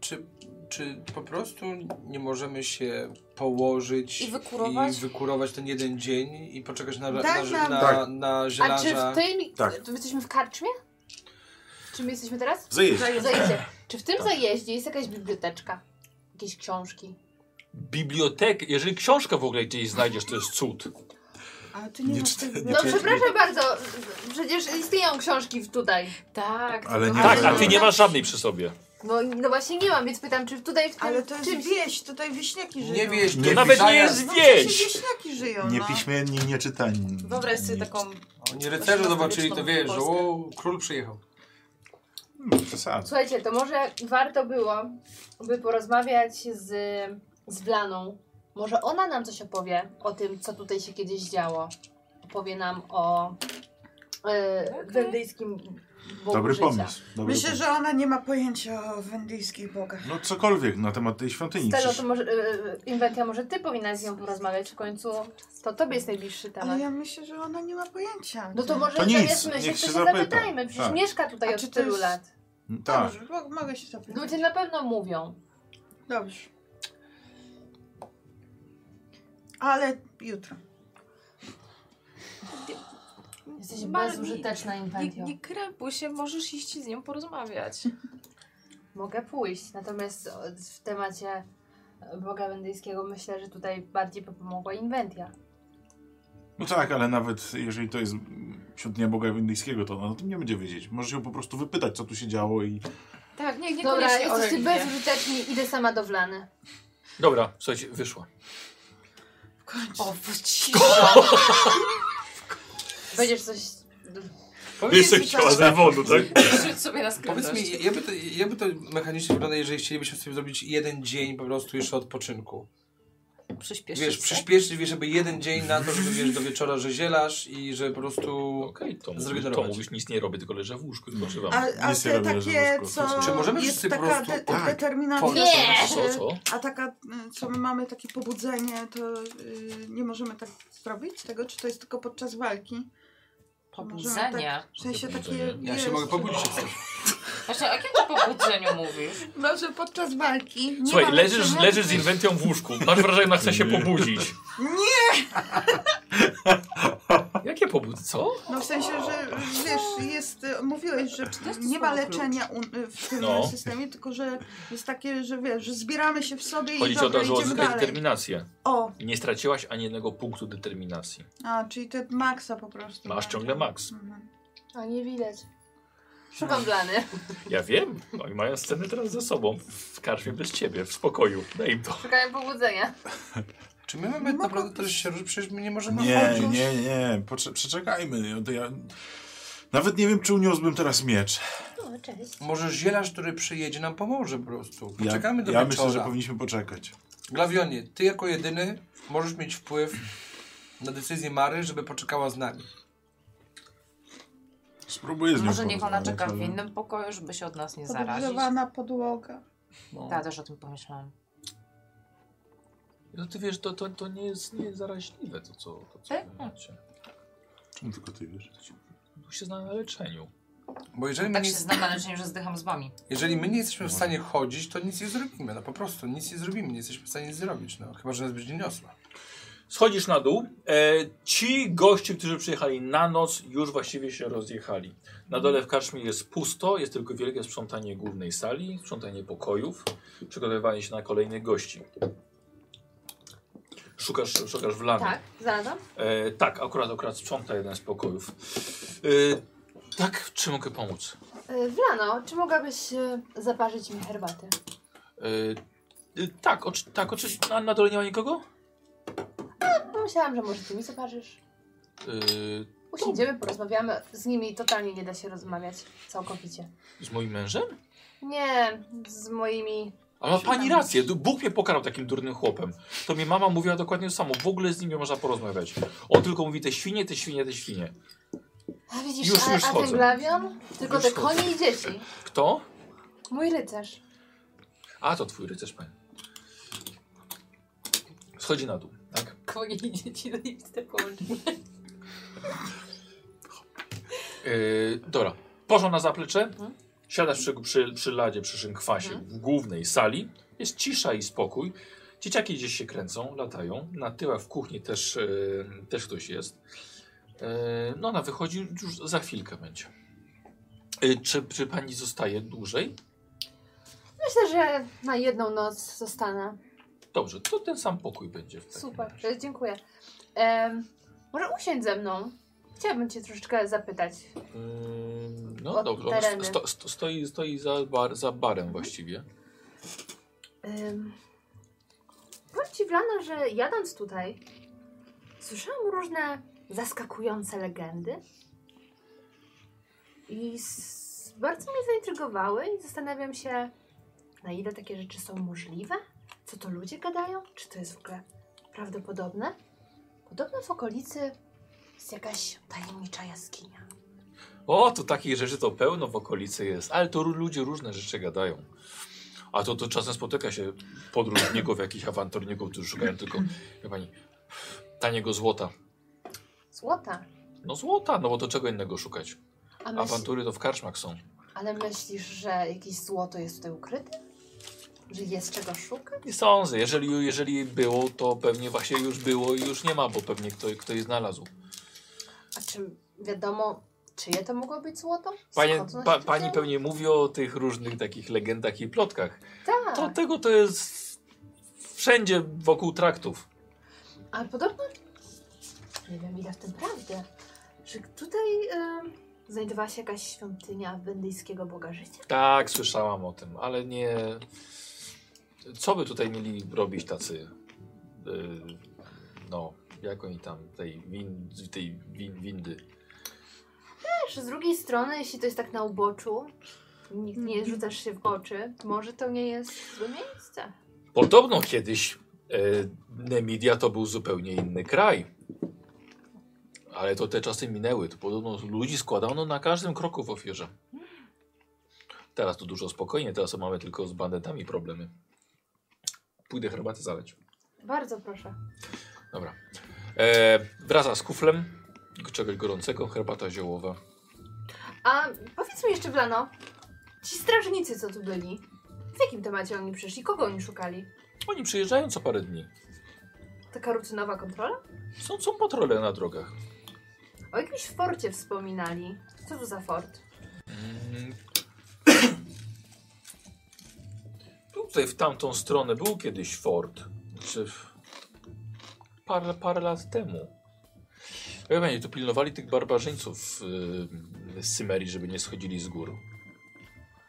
S6: Czy, czy po prostu nie możemy się położyć
S7: I wykurować?
S6: i wykurować ten jeden dzień i poczekać na,
S5: Tak,
S6: na, na,
S5: nam-
S6: na,
S2: Tak.
S6: na
S4: A czy
S6: zielarza?
S4: w tej...
S2: Tak.
S4: Tu jesteśmy w karczmie? Czy my jesteśmy teraz?
S2: Zajeść.
S4: W zajeździe. Czy w
S2: Tak.
S4: tym zajeździe jest jakaś biblioteczka? Jakieś książki?
S1: Bibliotek, jeżeli książkę w ogóle gdzieś znajdziesz, to jest cud.
S5: Ale ty nie,
S2: Nie
S5: masz
S2: czytaj-
S5: tego...
S2: nie
S4: No przepraszam bardzo, przecież istnieją książki w- tutaj.
S7: Tak,
S2: Ale
S7: tylko-
S2: nie
S1: Tak, a
S2: wiem.
S1: ty nie masz żadnej przy sobie.
S4: No, no właśnie nie mam, więc pytam, czy tutaj w tym
S5: Ale to jest
S4: czymś...
S5: wieś, tutaj wieśniaki żyją.
S6: Nie wiesz,
S2: To
S6: nie
S1: nawet nie
S6: wydaje-
S1: jest
S5: No
S1: Wieś!
S5: przecież wieśniaki żyją, no.
S2: Niepiśmienni, nieczytani.
S7: Wyobraź sobie taką...
S6: Oni rycerze zobaczyli, to wiesz, że o, król przyjechał.
S2: Hmm, przesadzę.
S4: Słuchajcie, to może warto było, by porozmawiać z, z Blaną. Może ona nam coś opowie o tym, co tutaj się kiedyś działo. Opowie nam o yy, wendyjskim bogu
S2: Dobry
S4: życia.
S2: pomysł. Dobry
S5: Myślę,
S2: pomysł.
S5: że ona nie ma pojęcia o wendyjskich bogach.
S2: No cokolwiek na temat tej świątyni.
S4: Stelo, to
S2: Przecież-
S4: może, yy, Inwentia, może ty powinnaś z nią porozmawiać w końcu. To tobie jest najbliższy temat.
S5: Ale ja myślę, że ona nie ma pojęcia.
S4: Tak. No to może
S2: To nic,
S4: zamiast myśleć,
S2: niech
S4: to
S2: się
S4: się
S2: zapyta.
S4: zapytajmy. Przecież
S2: Tak.
S4: mieszka tutaj
S5: A
S4: od
S5: czy to
S4: tylu
S5: jest-
S4: lat.
S2: Tak.
S5: Dobrze, mo- mogę się zapytać.
S4: Ludzie na pewno mówią.
S5: Dobrze. Ale jutro.
S4: Jesteś
S7: Marni.
S4: bezużyteczna,
S7: Nie,
S4: Inventio.
S7: nie krępuj się, możesz iść i z nią porozmawiać.
S4: Mogę pójść, natomiast o- w temacie Boga Wendyjskiego myślę, że tutaj bardziej by pomogła Inventia.
S2: No tak, ale nawet jeżeli to jest mm, świątynia Boga Indyjskiego, to ona o tym nie będzie wiedzieć. Możesz ją po prostu wypytać, co tu się działo i...
S7: Tak, nie, nie
S4: Dobra,
S7: koniecznie o
S4: jesteście
S7: religię.
S4: bezużyteczni, idę sama do Wlany.
S1: Dobra, słuchajcie, wyszła.
S5: W końcu.
S7: O, bo cisza.
S4: Będziesz coś...
S7: Powiedz mi, co-
S1: zawodu, tak?
S7: Rzuć sobie na skrętność.
S6: Powiedz mi, jakby to, jakby to mechanicznie wygląda, jeżeli chcielibyśmy sobie zrobić jeden dzień po prostu jeszcze odpoczynku?
S7: Przyspieszyć
S6: Wiesz,
S7: się.
S6: przyspieszyć, wiesz, żeby jeden dzień na to, żeby wiesz do wieczora, że zielasz i że po prostu...
S1: Okej, to, mówisz, to
S6: Zregenerować.
S1: mówisz, nic nie robię, tylko leżę w łóżku i proszę wam.
S5: A, a
S2: Nic nie
S5: te
S2: robię, leżę w
S5: takie,
S2: łóżku.
S5: co
S6: Czy możemy
S5: jest
S6: wszyscy po
S5: taka
S6: prostu-
S5: de-
S2: Tak.
S5: determinacja,
S6: Nie!
S5: że-
S1: Co, co?
S5: a taka, y, co my mamy takie pobudzenie, to y, nie możemy tak zrobić tego, czy to jest tylko podczas walki?
S7: Pobudzenie.
S5: W sensie takie...
S1: Pobudzenie.
S6: Ja się
S5: wiesz,
S6: mogę pobudzić. jak chcesz.
S7: No, tak. Właśnie, o jakim ty pobudzeniu mówisz?
S5: No, że podczas walki nie
S1: Słuchaj,
S5: mamy
S1: leżysz,
S5: przemiany.
S1: leżysz z inwentją w łóżku. Masz wrażenie, że ona chce się pobudzić.
S5: Nie!
S1: Jakie pobud... Co?
S5: No w sensie, że wiesz, jest, y, mówiłeś, że nie ma leczenia u, y, w tym
S1: No.
S5: systemie, tylko że jest takie, że wiesz, że zbieramy się w sobie i
S1: Chodzi ci o
S5: dobra,
S1: to, że
S5: idziemy
S1: odzyskać
S5: dalej.
S1: determinację.
S5: O,
S1: Nie straciłaś ani jednego punktu determinacji.
S5: a, czyli te maksa po prostu. tak.
S1: Masz ciągle maks.
S5: Mhm.
S4: A nie widać. Szukam Wlany.
S1: Ja wiem. No i mają sceny teraz ze sobą. W karczmie bez ciebie, w spokoju. Daj im to.
S4: Szukałem pobudzenia.
S6: Czy my mamy naprawdę też się ruszyć? Przecież my nie możemy
S2: Nie,
S6: chodzić.
S2: nie, nie, Pocze- przeczekajmy. No To ja... Nawet nie wiem, czy uniósłbym teraz miecz.
S4: No, cześć.
S6: Może zielarz, który przyjedzie, nam pomoże po prostu.
S2: Ja,
S6: Poczekamy do
S2: ja
S6: wieczora.
S2: myślę, że powinniśmy poczekać.
S6: Glawionie, ty jako jedyny możesz mieć wpływ na decyzję Mary, żeby poczekała z nami.
S2: Spróbuję z nią
S7: Może niech ona
S2: porozmawiać,
S7: czeka w
S2: ale-
S7: innym pokoju, żeby się od nas nie zarazić.
S5: Podgrzewana podłoga.
S6: No.
S7: Ja też o tym pomyślałam.
S1: No ty wiesz, to, to, to nie jest nie jest zaraźliwe, to co, to, co
S7: Tak?
S1: wy macie.
S2: Czemu no tylko ty wiesz?
S1: Tu się zna na leczeniu.
S6: Bo jeżeli my,
S7: Tak
S6: nie,
S7: się znam na leczeniu, że zdycham z wami.
S6: jeżeli my nie jesteśmy w stanie no. chodzić, to nic nie zrobimy. No po prostu nic nie zrobimy, nie jesteśmy w stanie nic zrobić. No, chyba, że nas będzie niosła.
S1: Schodzisz na dół. E, ci goście, którzy przyjechali na noc, już właściwie się rozjechali. Na dole w karczmie jest pusto, jest tylko wielkie sprzątanie głównej sali, sprzątanie pokojów, przygotowywanie się na kolejnych gości. Szukasz, szukasz w lamie.
S4: Tak, znalazłam?
S1: E, tak, akurat, akurat sprząta jeden z pokojów. E, tak, czy mogę pomóc?
S4: Y, Wlano, czy mogłabyś y, zaparzyć mi herbatę?
S1: E, e, tak, oczy, tak oczywiście. Na, na dole nie ma nikogo?
S4: Pomyślałam, No, że może ty mi zaparzysz.
S1: E,
S4: Usiądziemy, porozmawiamy. Z nimi totalnie nie da się rozmawiać całkowicie.
S1: z moim mężem?
S4: Nie, z moimi...
S1: Ale ma pani rację, d- Bóg mnie pokarał takim durnym chłopem. To mi mama mówiła dokładnie to samo. W ogóle z nim nie można porozmawiać. On tylko mówi te świnie, te świnie, te świnie.
S4: A widzisz,
S1: Już-
S4: a,
S1: już
S4: a ten
S1: schodzę.
S4: glawion? Tylko
S1: Już
S4: te
S1: schodzę.
S4: konie i dzieci.
S1: Kto?
S4: Mój rycerz.
S1: A, to twój rycerz, panie. Schodzi na dół, tak?
S7: Konie i
S6: no
S7: dzieci do listy połączone.
S1: Yy, dobra, poszła na zaplecze, siadasz przy, przy, przy ladzie, przy szynkwasie
S4: Mhm.
S1: w głównej sali. Jest cisza i spokój. Dzieciaki gdzieś się kręcą, latają. Na tyłach w kuchni też, yy, też ktoś jest. Yy, no ona wychodzi, już za chwilkę będzie. Yy, czy, czy pani zostaje dłużej?
S4: Myślę, że na jedną noc zostanę.
S1: Dobrze, to ten sam pokój będzie. w takim
S4: Super,
S1: razie.
S4: to jest- dziękuję. Em, może usiądź ze mną. Chciałabym cię troszeczkę zapytać.
S1: Yy, no
S4: Od
S1: dobrze,
S4: tereny. Mhm.
S1: on sto, sto, stoi, stoi za, bar, za barem właściwie.
S4: Um, powiem ci, Wlana, że jadąc tutaj, słyszałam różne zaskakujące legendy. I s- bardzo mnie zaintrygowały i zastanawiam się, na ile takie rzeczy są możliwe? Co to ludzie gadają? Czy to jest w ogóle prawdopodobne? Podobno w okolicy jest jakaś tajemnicza jaskinia.
S1: O, to takich rzeczy to pełno w okolicy jest, ale to ró- ludzie różne rzeczy gadają. A to, to czasem spotyka się podróżników, jakichś awanturników, którzy szukają tylko, wie pani, taniego złota.
S4: Złota.
S1: No złota, no bo to czego innego szukać?
S4: A myśl,
S1: Awantury to w karczmach są.
S4: ale myślisz, że jakieś złoto jest tutaj ukryte? Że jest czego szukać?
S1: Nie sądzę, jeżeli, jeżeli było, to pewnie właśnie już było i już nie ma, bo pewnie ktoś, ktoś znalazł.
S4: A czy wiadomo, czyje to mogło być złoto?
S1: Panie,
S4: Skąd ono się tak.
S1: pa,
S4: tu
S1: pani
S4: wzięło?
S1: pewnie mówi o tych różnych takich legendach i plotkach.
S4: Tak,
S1: To tego to jest wszędzie wokół traktów.
S4: ale podobno... Nie wiem ile w tym prawdy. Że tutaj em, znajdowała się jakaś świątynia wendyjskiego boga życia?
S1: Tak, słyszałam o tym, ale nie. Co by tutaj mieli robić tacy. y, no, jak oni tam, tej, win, tej win, windy.
S4: Też, z drugiej strony, jeśli to jest tak na uboczu, nikt nie rzucasz się w oczy, może to nie jest złe miejsce.
S1: Podobno kiedyś y, Nemidia to był zupełnie inny kraj. Ale to te czasy minęły. To podobno ludzi składano na każdym kroku w ofierze. Teraz to dużo spokojnie, teraz to mamy tylko z bandytami problemy. Pójdę herbatę zaleć.
S4: Bardzo proszę.
S1: Dobra. E, wraca z kuflem, czegoś gorącego, herbata ziołowa.
S4: A powiedz mi jeszcze, Blano, ci strażnicy, co tu byli, w jakim temacie oni przyszli? Kogo oni szukali?
S1: Oni przyjeżdżają co parę dni.
S4: Taka rutynowa kontrola?
S1: Są, są patrole na drogach.
S4: O jakimś forcie wspominali. Co to za fort?
S1: Mm. Tutaj w tamtą stronę był kiedyś fort. Czy w... parę, parę lat temu. Wie pani, tu pilnowali tych barbarzyńców yy, z Symerii, żeby nie schodzili z gór.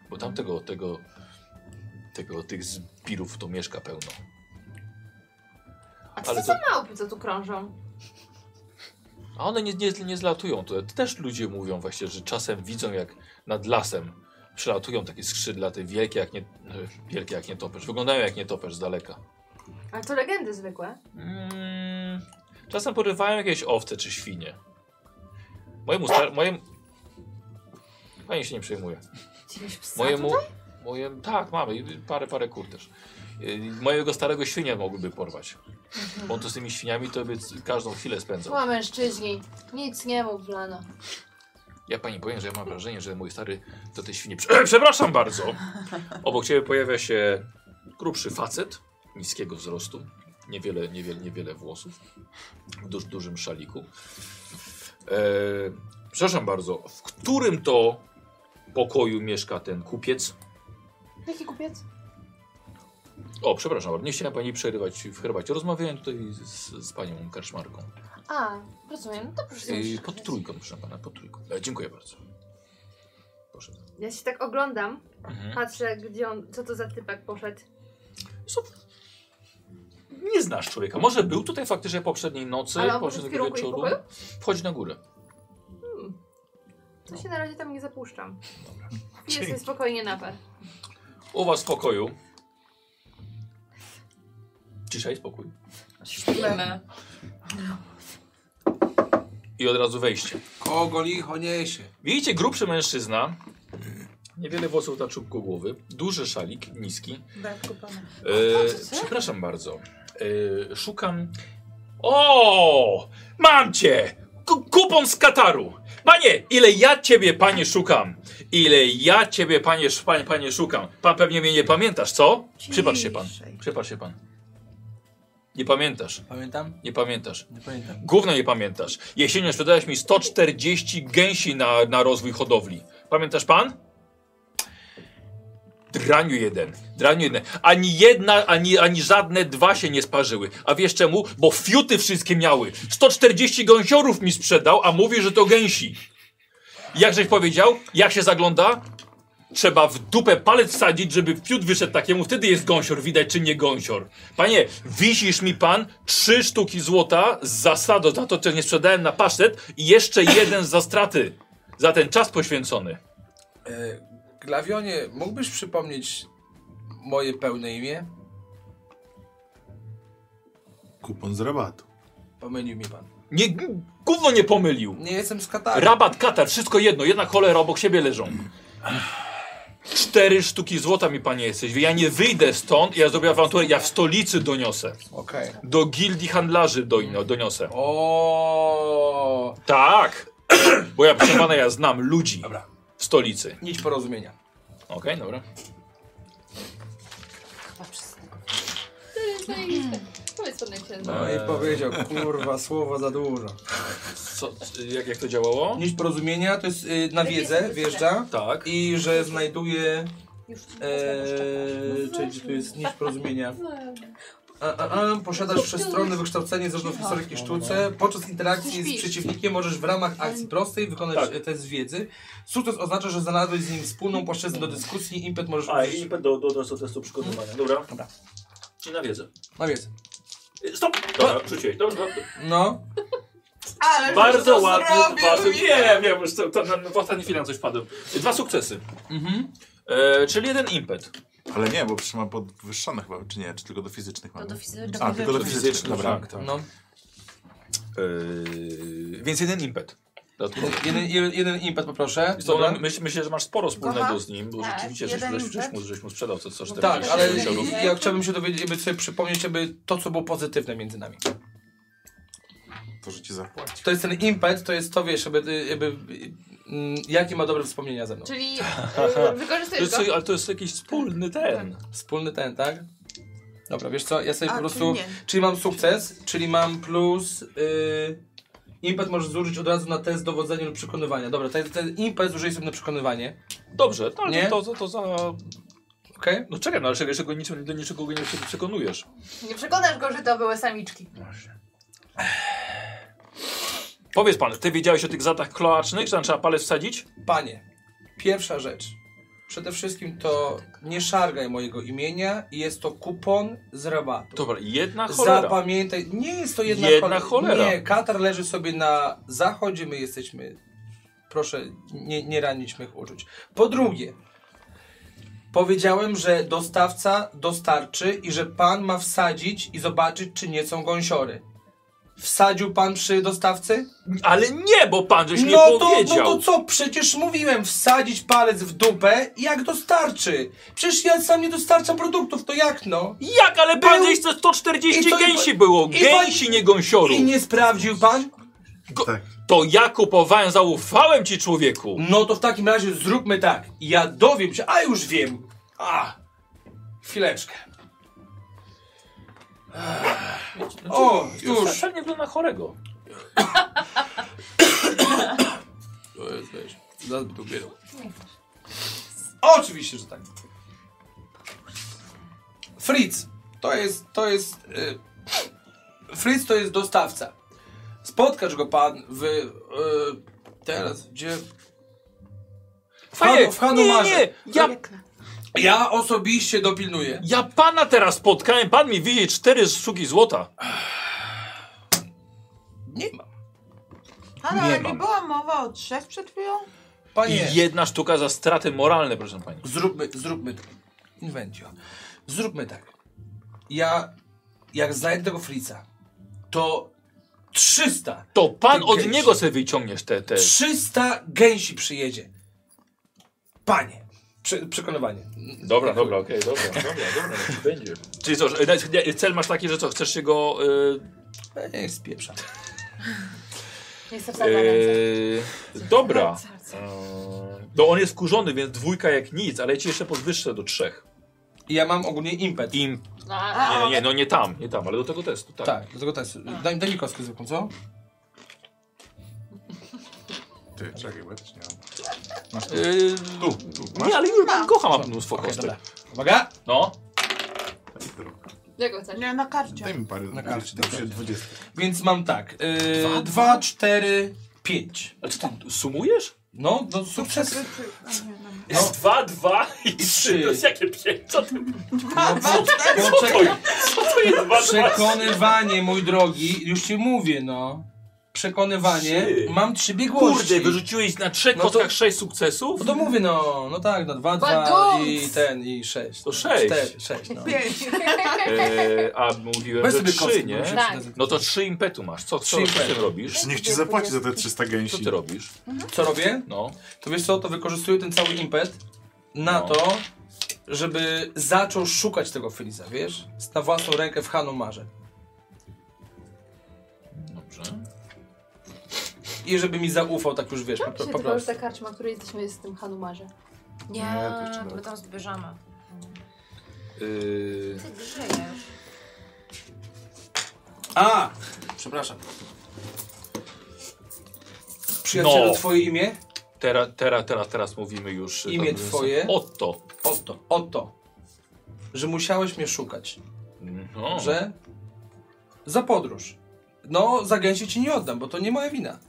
S1: Bo tam tego, tego, tego tych zbirów to mieszka pełno.
S4: A co
S1: Ale
S4: to
S1: to-
S4: za małpy, co tu krążą?
S1: A one nie, nie, nie zlatują. To też ludzie mówią właśnie, że czasem widzą jak nad lasem przelatują takie skrzydlaty wielkie jak, nie, wielkie jak nietoperz. Wyglądają jak nietoperz z daleka.
S4: Ale to legendy zwykłe.
S1: Mm, czasem porywają jakieś owce czy świnie. Mojemu star... Mojem... Pani się nie przejmuje.
S4: Jakiegoś psa
S1: Mojemu...
S4: tutaj?
S1: Mojem... Tak, mamy. i Parę, parę kur też. Yy, Mojego starego świnia mogłyby porwać. Bo on to z tymi świniami to by c- każdą chwilę spędzał.
S4: Ła mężczyźni. Nic nie mów, Blano.
S1: Ja pani powiem, że ja mam wrażenie, że mój stary do tej świni. Prze- Przepraszam bardzo! Obok ciebie pojawia się grubszy facet niskiego wzrostu, niewiele, niewiele, niewiele włosów w duż, dużym szaliku. E, przepraszam bardzo, w którym to pokoju mieszka ten kupiec?
S8: Jaki kupiec?
S1: O, przepraszam, bardzo, nie chciałem pani przerywać w herbacie. Rozmawiałem tutaj z, z panią karczmarką.
S8: A,
S7: Rozumiem, no to proszę.
S1: E,
S7: sobie
S1: pod trójką, proszę pana, pod trójką. E, dziękuję bardzo. Proszę.
S4: Ja się tak oglądam,
S1: Mhm.
S4: patrzę, gdzie on, co to za typek poszedł.
S1: Co? Nie znasz człowieka. Może był tutaj faktycznie poprzedniej nocy,
S4: Ale on poszedł w
S1: poprzedniego
S4: kierunku ich
S1: wieczoru.
S4: pokoju?
S1: Wchodź na górę. No.
S4: To się na razie tam nie zapuszczam. Piję sobie spokojnie napę.
S1: U was w pokoju. Cisza i spokój.
S7: Śpimy.
S1: I od razu wejście.
S6: Kogo licho niesie?
S1: Widzicie, grubszy mężczyzna. Niewiele włosów na czubku głowy. Duży szalik, niski.
S5: Brat kupana.
S1: E, przepraszam bardzo. E, szukam. O! Mam cię! Ku- Kupon z Kataru! Panie, ile ja ciebie, panie, szukam! Ile ja ciebie, panie, sz- panie, panie szukam! Pan pewnie mnie nie pamiętasz, co? Przypatrz się pan.
S5: Ciszej.
S1: Przypatrz się pan. Nie pamiętasz,
S6: Pamiętam?
S1: nie pamiętasz.
S6: Nie pamiętam.
S1: Gówno nie pamiętasz. Jesienią sprzedałeś mi 140 gęsi na, na rozwój hodowli. Pamiętasz pan? Draniu jeden, draniu jeden. Ani jedna, ani, ani żadne dwa się nie sparzyły. A wiesz czemu? Bo fiuty wszystkie miały. 140 gąsiorów mi sprzedał, a mówi, że to gęsi. Jakżeś powiedział? Jak się zagląda? Trzeba w dupę palec wsadzić, żeby fiut wyszedł takiemu. Wtedy jest gąsior, widać czy nie gąsior. Panie, wisisz mi pan trzy sztuki złota z zasadu za to, co nie sprzedałem na pasztet i jeszcze jeden za straty. Za ten czas poświęcony.
S6: E, Glawionie, mógłbyś przypomnieć moje pełne imię?
S2: Kupon z rabatu.
S6: Pomylił mi pan.
S1: Nie, gówno nie pomylił.
S6: Nie jestem z Kataru.
S1: Rabat, katar, wszystko jedno, jedna cholera obok siebie leżą. Cztery sztuki złota mi panie jesteś. Ja nie wyjdę stąd, ja zrobię awanturę, ja w stolicy doniosę.
S6: Okej.
S1: Do gildii handlarzy doino- doniosę.
S6: O,
S1: Tak! Bo ja proszę pana, ja znam ludzi
S6: Dobra.
S1: w stolicy.
S6: Nić porozumienia.
S1: Okej, dobra.
S7: Chyba przez tego.
S4: Powiedz pan jak się nazywa.
S6: No i powiedział, kurwa, słowo za dużo.
S1: Co, jak, jak to działało?
S6: Nić porozumienia to jest y, na wiedzę, wjeżdża.
S1: Tak.
S6: I że znajduje.
S7: Już ci No
S6: E, czyli gdzie tu jest nić porozumienia. A, a, a, posiadasz wszechstronne wykształcenie zarówno w historii, jak i
S10: no.
S6: sztuce. Podczas interakcji z przeciwnikiem możesz w
S7: Mm.
S6: ramach akcji prostej wykonać
S10: Tak.
S6: e, test wiedzy. Sukces oznacza, że znalazłeś z nim wspólną płaszczyznę do dyskusji. Impet możesz
S10: A,
S6: użyć
S10: i do, do, do, do testu przygotowania. Dobra.
S6: Dobra.
S10: I na wiedzę.
S6: na wiedzę.
S10: Y, Stop! Dobra, rzuciłeś. Dobra, dobra.
S6: No,
S5: Ale żeś
S10: Bardzo
S5: to
S10: ładny.
S5: zrobił,
S10: Dwa,
S5: mi-
S10: nie, wiem, już to, to, na,
S1: no,
S10: w ostatniej chwili na coś padłem.
S1: Y, Dwa sukcesy.
S6: mhm.
S1: E, czyli jeden impet.
S2: Ale nie, bo przecież ma podwyższone chyba, czy nie? Czy tylko do fizycznych mam?
S7: do fizy- do
S2: A,
S7: fizycznych.
S2: tylko do fizycznych. Dobra.
S1: Tak, tak.
S6: no.
S1: E, więc jeden impet. Dodatkowo.
S6: Jeden, jeden, jeden impet poproszę.
S1: Wiesz co,
S6: Dobra.
S1: no, myśl, myślę, że masz sporo wspólnego
S5: Kocha?
S1: z nim, bo
S5: Tak,
S1: rzeczywiście żeś,
S5: jeden
S1: żeś, żeś,
S5: impet.
S1: mu, żeś mu sprzedał co, co 40
S6: Tak, ale
S1: euro.
S6: ja chciałbym się dowiedzieć, jakby sobie przypomnieć jakby to, co było pozytywne między nami.
S2: Tak, To, że ci zapłaci.
S6: To jest ten impet, to jest to, wiesz, jakby, jakby mm, jakie ma dobre wspomnienia ze mną.
S4: Czyli y,
S1: To
S4: wykorzystujesz
S1: jest,
S4: go.
S1: co- ale to jest jakiś wspólny ten.
S6: Wspólny ten, tak? Dobra, wiesz co, ja sobie
S5: A,
S6: po
S5: czyli
S6: prostu...
S5: nie.
S6: Czyli mam sukces, czyli mam plus... Yy, impet możesz zużyć od razu na test dowodzenia lub przekonywania. Dobra, ten, ten impet zużyję sobie na przekonywanie,
S1: Dobrze, to, ale
S6: Nie?
S1: to, to, to za...
S6: okej?
S1: No czekaj, no ale jeszcze go nic, do niczego go nie przekonujesz.
S9: Nie przekonasz go, że to były samiczki.
S1: Powiedz pan, ty wiedziałeś o tych zatach kloacznych, że tam trzeba palec wsadzić?
S6: Panie, pierwsza rzecz. Przede wszystkim to nie szargaj mojego imienia i jest to kupon z rabatu.
S1: Dobra, jedna cholera.
S6: Zapamiętaj, nie jest to jedna,
S1: Jedna
S6: chole-
S1: cholera.
S6: Nie, Katar leży sobie na zachodzie, my jesteśmy. Proszę, nie, nie ranić mych uczuć. Po drugie, powiedziałem, że dostawca dostarczy i że pan ma wsadzić i zobaczyć, czy nie są gąsiory. Wsadził pan przy dostawcy?
S1: Ale nie, bo pan żeś nie
S6: no, to,
S1: powiedział.
S6: no to co? Przecież mówiłem, wsadzić palec w dupę, jak dostarczy. Przecież ja sam nie dostarczam produktów, to jak no?
S1: Jak, ale pan
S6: Był-
S1: żeś te 140
S6: i to- i
S1: gęsi
S6: pa-
S1: było.
S6: i pa-
S1: Gęsi, nie gąsiorów.
S6: I nie sprawdził pan?
S2: Tak.
S1: To ja kupowałem, zaufałem ci człowieku.
S6: No to w takim razie zróbmy tak. Ja dowiem się, a już wiem. A, chwileczkę. O,
S1: Już.
S6: już.
S1: Sam nie wygląda na chorego.
S6: To jest, weź. Zaraz by to ubierał. Oczywiście, że tak. Fritz. To jest, to jest... e, Fritz to jest dostawca. Spotkasz go pan w... e, teraz, gdzie... W, Hanu,
S1: Panie,
S6: w Hanumarze.
S1: Tak nie, nie, ja,
S6: Ja osobiście dopilnuję.
S1: ja pana teraz spotkałem, pan mi widzi cztery sztuki złota.
S6: Nie mam.
S5: Ale,
S1: Nie
S5: ale nie
S1: mam.
S5: była mowa o trzech przed chwilą?
S6: Panie,
S1: I jedna sztuka za straty moralne, proszę pani.
S6: zróbmy, zróbmy tak. Inwentio. Zróbmy tak. Ja, jak znajdę tego Fritza, to 300
S1: To pan
S6: Ten
S1: od
S6: gęś.
S1: niego sobie wyciągniesz te, te...
S6: 300 gęsi przyjedzie. Panie. Prze przekonywanie.
S1: Dobra, dobra, okej, dobra, dobra, dobra, niech będzie. Czyli co, że- e, cel masz taki, że co, chcesz się go... y,
S6: Ej, spieprza.
S3: Jestem
S1: e,
S2: Eee,
S3: zadowolona.
S1: dobra. E, No on jest wkurzony, więc dwójka jak nic, ale ja ci jeszcze podwyższę do trzech.
S6: I ja mam ogólnie impet.
S1: Im...
S7: No, a-
S5: A,
S1: Nie, nie, no nie tam, nie tam, ale do tego testu, tak.
S6: Tak, dlatego też. Daj, daj mi kostkę zwykłą, co?
S2: Ty, czekaj, bo ja też nie mam. Masz tu.
S1: Y,
S2: Tu, tu, masz?
S1: nie, ale już
S5: Mam.
S1: kocham mam mnóstwo
S6: Okej,
S1: kostek.
S6: dobra. Uwaga!
S1: No,
S4: Jaką chcesz?
S5: Nie, na karcie.
S2: Daj mi parę,
S6: Na karcie,
S2: dam się 20.
S6: Więc mam tak. Yy, 2, 4, 5.
S1: ale co ty sumujesz?
S6: No, no sukces.
S5: A, nie, dobra.
S10: Jest dwa, dwa i trzy.
S6: No. trzy.
S10: To jest jakie pięć? Co ty?
S6: No, no,
S10: Co to jest? Co to jest? Dwa, dwa,
S6: Przekonywanie, mój drogi, już ci mówię, no. Przekonywanie,
S10: Trzy.
S6: mam trzy biegłości.
S1: Kurde, wyrzuciłeś na trzech
S6: No to-
S1: kostkach sześć sukcesów?
S6: No to mówię, no, no tak, no dwa,
S4: Badum!
S6: dwa i ten, i sześć.
S1: To sześć.
S6: Cztery, sześć, no.
S1: E, a mówiłem,
S6: Weź
S1: że
S6: sobie
S1: trzy,
S6: kostkę, bo mi się
S1: nie?
S4: Tak.
S6: przyda-
S1: No to trzy impetu masz. Co, co
S6: Trzy
S1: z tym
S6: impetu.
S1: robisz?
S2: Niech ci zapłaci za te 300
S1: Co
S2: gęsi.
S1: ty robisz?
S6: Co robię?
S1: No.
S6: To wiesz co, to wykorzystuję ten cały impet na
S1: No.
S6: to, żeby zaczął szukać tego Friza, wiesz? Na własną rękę w Hanumarze.
S1: Dobrze.
S6: I żeby mi zaufał, tak już wiesz, po, po,
S4: Czy
S6: po
S4: tylko już
S6: prostu.
S4: ta karczma, w której jesteśmy, jest w tym Hanumarze?
S7: nie,
S2: Nie, to jeszcze
S7: to my
S2: nawet.
S7: tam zbierzemy.
S2: Eee,
S1: Yy,
S7: Ty żyjesz.
S4: tak-
S6: A! Przepraszam. Przyjacielu,
S1: No.
S6: twoje imię?
S1: teraz, teraz, teraz, teraz mówimy już.
S6: Imię
S1: tak, mówiąc,
S6: twoje?
S1: Otto.
S6: Oto, oto. Że musiałeś mnie szukać.
S1: No.
S6: Że za podróż. No, za gęsi ci nie oddam, bo to nie moja wina.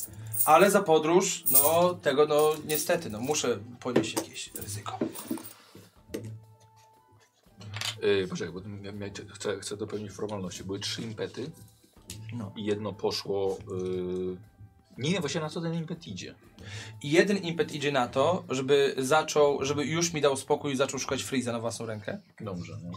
S6: Ale za podróż, no tego, no niestety, no muszę ponieść jakieś ryzyko.
S1: Yy, poczekaj, bo ja, ja, chcę, chcę dopełnić formalności. Były trzy impety
S6: No.
S1: i jedno poszło. Yy, nie, właśnie na co ten impet idzie?
S6: I jeden impet idzie na to, żeby zaczął, żeby już mi dał spokój i zaczął szukać Freeza na własną rękę.
S1: Dobrze. No.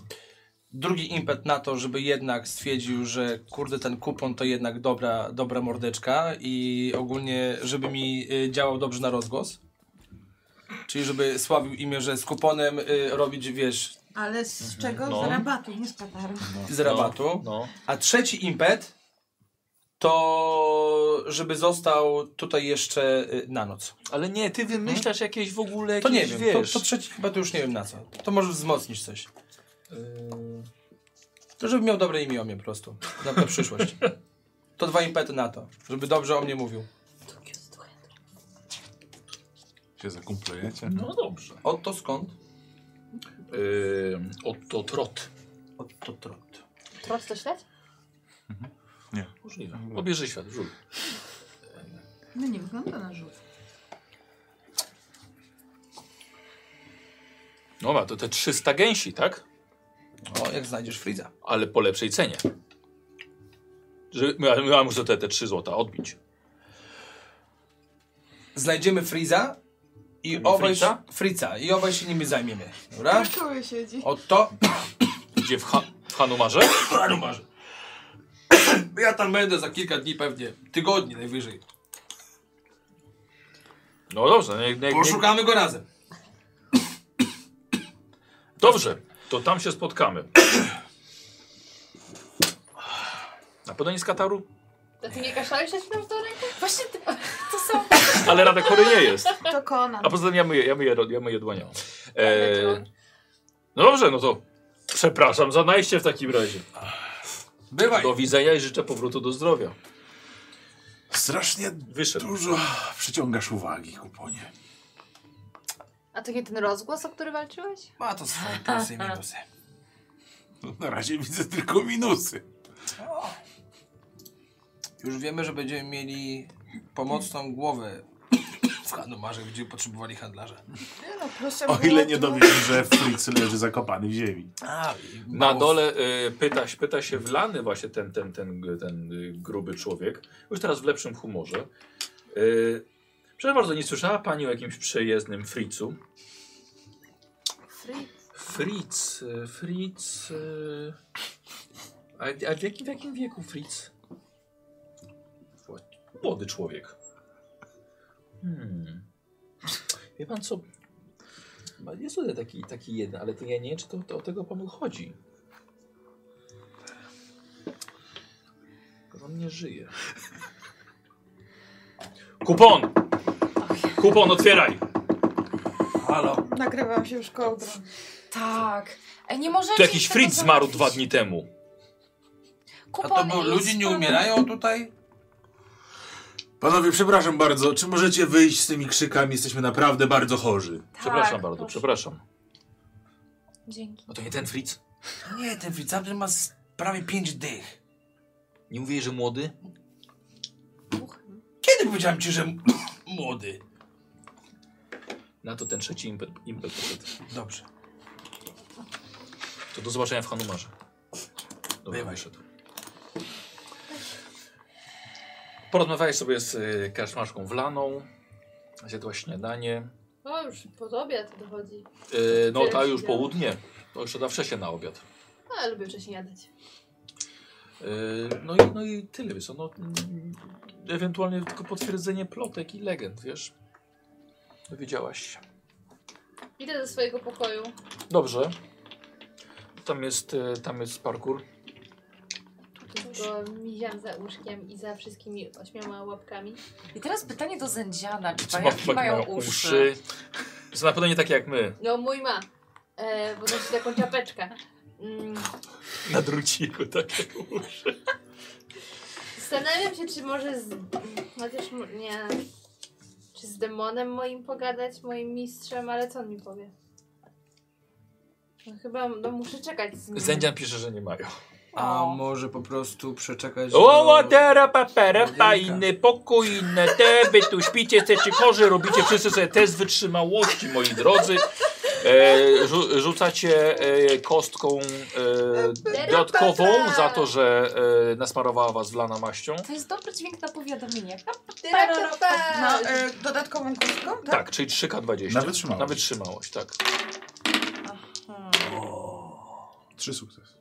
S6: Drugi impet na to, żeby jednak stwierdził, że kurde, ten kupon to jednak dobra, dobra mordeczka i ogólnie, żeby mi y, działał dobrze na rozgłos. Czyli żeby sławił imię, że z kuponem y, robić, wiesz,
S5: Ale z czego?
S1: No.
S5: Z rabatu, nie z Kataru.
S6: z rabatu.
S1: No.
S6: A trzeci impet to żeby został tutaj jeszcze y, na noc.
S1: Ale nie, ty wymyślasz jakieś w ogóle.
S6: To nie
S1: jakieś,
S6: wiem,
S1: wiesz.
S6: To, to trzeci chyba to już nie wiem na co. To może wzmocnić coś.
S1: Yy,
S6: To żeby miał dobre imię o mnie po prostu. Na, na przyszłość. To dwa impety na to, żeby dobrze o mnie mówił.
S2: Się zakumplujecie?
S1: No dobrze.
S6: Oto skąd?
S1: Yy, Otto Trot.
S6: Oto trot.
S4: Trot to śledź?
S1: Możliwe. Obieży świat, żul.
S5: No nie wygląda na żółt.
S1: No ma to te 300 gęsi, tak?
S6: O, jak znajdziesz Friza.
S1: Ale po lepszej cenie. Że, ja, ja muszę te, te 3 złota odbić.
S6: Znajdziemy Friza i
S1: Tego
S6: obaj...
S1: Friza?
S6: Friza. I obaj się nimi zajmiemy. Dobra?
S5: Kraszoły siedzi.
S6: Oto...
S1: Gdzie w, ha w Hanumarze?
S6: Hanumarze. Ja tam będę za kilka dni pewnie. Tygodni najwyżej.
S1: No dobrze, nie, nie, nie,
S6: Poszukamy go razem.
S1: dobrze. To tam się spotkamy. Na pewno nie z Kataru?
S4: A ty nie kaszałeś się tam do ręki?
S7: Właśnie ty, to są...
S1: Ale Rada Kory nie jest.
S5: To Conan.
S1: A poza tym ja myję, ja myję, ro- ja myję dłonią. E, no dobrze, no to przepraszam za najście w takim razie.
S6: Bywaj.
S1: Do widzenia i życzę powrotu do zdrowia.
S2: Strasznie
S1: Wyszedł.
S2: dużo przyciągasz uwagi, kuponie.
S4: A to nie ten rozgłos, o który walczyłeś?
S6: Ma to swoje plusy i minusy.
S2: No, na razie widzę tylko minusy.
S6: Już wiemy, że będziemy mieli pomocną głowę w handlarze, gdzie potrzebowali handlarza.
S5: Nie no, proszę
S2: O
S5: było
S2: ile nie
S5: tu-
S2: dowiesz, że Fritz leży zakopany w ziemi.
S6: A, i
S1: Na
S6: mało-
S1: dole y, pyta, się- pyta się wlany właśnie ten, ten, ten, ten y, gruby człowiek, już teraz w lepszym humorze. Y, Przepraszam bardzo, nie słyszała Pani o jakimś przejezdnym Fricu?
S4: Fritz.
S1: Fritz, y, Fritz... y, A, a w, jakim, w jakim wieku Fritz? Młody człowiek. Hmm. Wie Pan co... Chyba Jest tutaj taki, taki jeden, ale to ja nie wiem, czy to, to o tego Panu chodzi. Tylko On nie żyje. Kupon! Kupon, otwieraj!
S6: Halo.
S5: Nagrywam się już kołdrą.
S7: Tak. Ej, nie możecie
S1: Tu jakiś
S7: tego
S1: Fritz zmarł
S7: załatwić.
S1: dwa dni temu.
S7: Tak,
S6: A
S7: Kupon
S6: to bo
S7: i
S6: ludzie nie
S7: listy.
S6: umierają tutaj?
S2: Panowie, przepraszam bardzo, czy możecie wyjść z tymi krzykami? Jesteśmy naprawdę bardzo chorzy.
S1: Przepraszam
S7: Tak,
S1: bardzo,
S7: proszę.
S1: przepraszam.
S7: Dzięki.
S1: No to nie ten Fritz?
S6: Nie, ten Fitzabry ma z- prawie pięć dych.
S1: Nie mówię, że młody?
S6: Kiedy powiedziałem ci, że m- młody?
S1: Na to ten trzeci impet, impet poszedł.
S6: Dobrze.
S1: To do zobaczenia w Hanumarze. Dobra,
S6: Bywaj.
S1: wyszedł. Porozmawiałeś sobie z y, karczmarzką Wlaną. Zjadła śniadanie.
S4: No już po tobie to dochodzi.
S1: Y, no, ta
S4: Tyle
S1: już
S4: się działo.
S1: południe. To już da wcześniej na obiad.
S4: No, ale lubię wcześniej jadać.
S1: Yy, No i, no i tyle, wiesz, co, no, mm, ewentualnie tylko potwierdzenie plotek i legend, wiesz. Dowiedziałaś się.
S4: Idę do swojego pokoju.
S1: Dobrze. Tam jest, e, tam jest parkour.
S4: Tylko miziam za łóżkiem i za wszystkimi ośmioma łapkami.
S7: I teraz pytanie do Zędziana. Czy
S1: Trzeba
S7: pająki mają uszy?
S1: tak uszy. Są na pewno nie takie jak my.
S4: No mój ma. E, bo nosi taką czapeczkę. Mm,
S1: Na druciku tak? takie uszy.
S4: zastanawiam się, czy może z... m, Chociaż mo- nie... Czy z demonem moim pogadać, moim mistrzem, ale co on mi powie? No chyba no, muszę czekać z nim.
S1: Zędzian pisze, że nie mają.
S6: A
S7: O.
S6: może po prostu przeczekać
S1: O,
S6: do...
S1: tera, papera,
S6: Łodzianka.
S1: pa, inny pokój, inne te, wy tu śpicie, jesteście chorzy, robicie wszyscy sobie test wytrzymałości, moi drodzy. E, rzu, rzucacie e, kostką e, dodatkową za to, że e, nasmarowała was wlana maścią.
S5: Tak.
S7: To jest dobry dźwięk na powiadomienie.
S4: no,
S5: Na e, dodatkową kostką, tak?
S1: Tak, czyli 3K20.
S2: Na wytrzymałość.
S1: Na wytrzymałość, tak.
S2: Trzy sukcesy.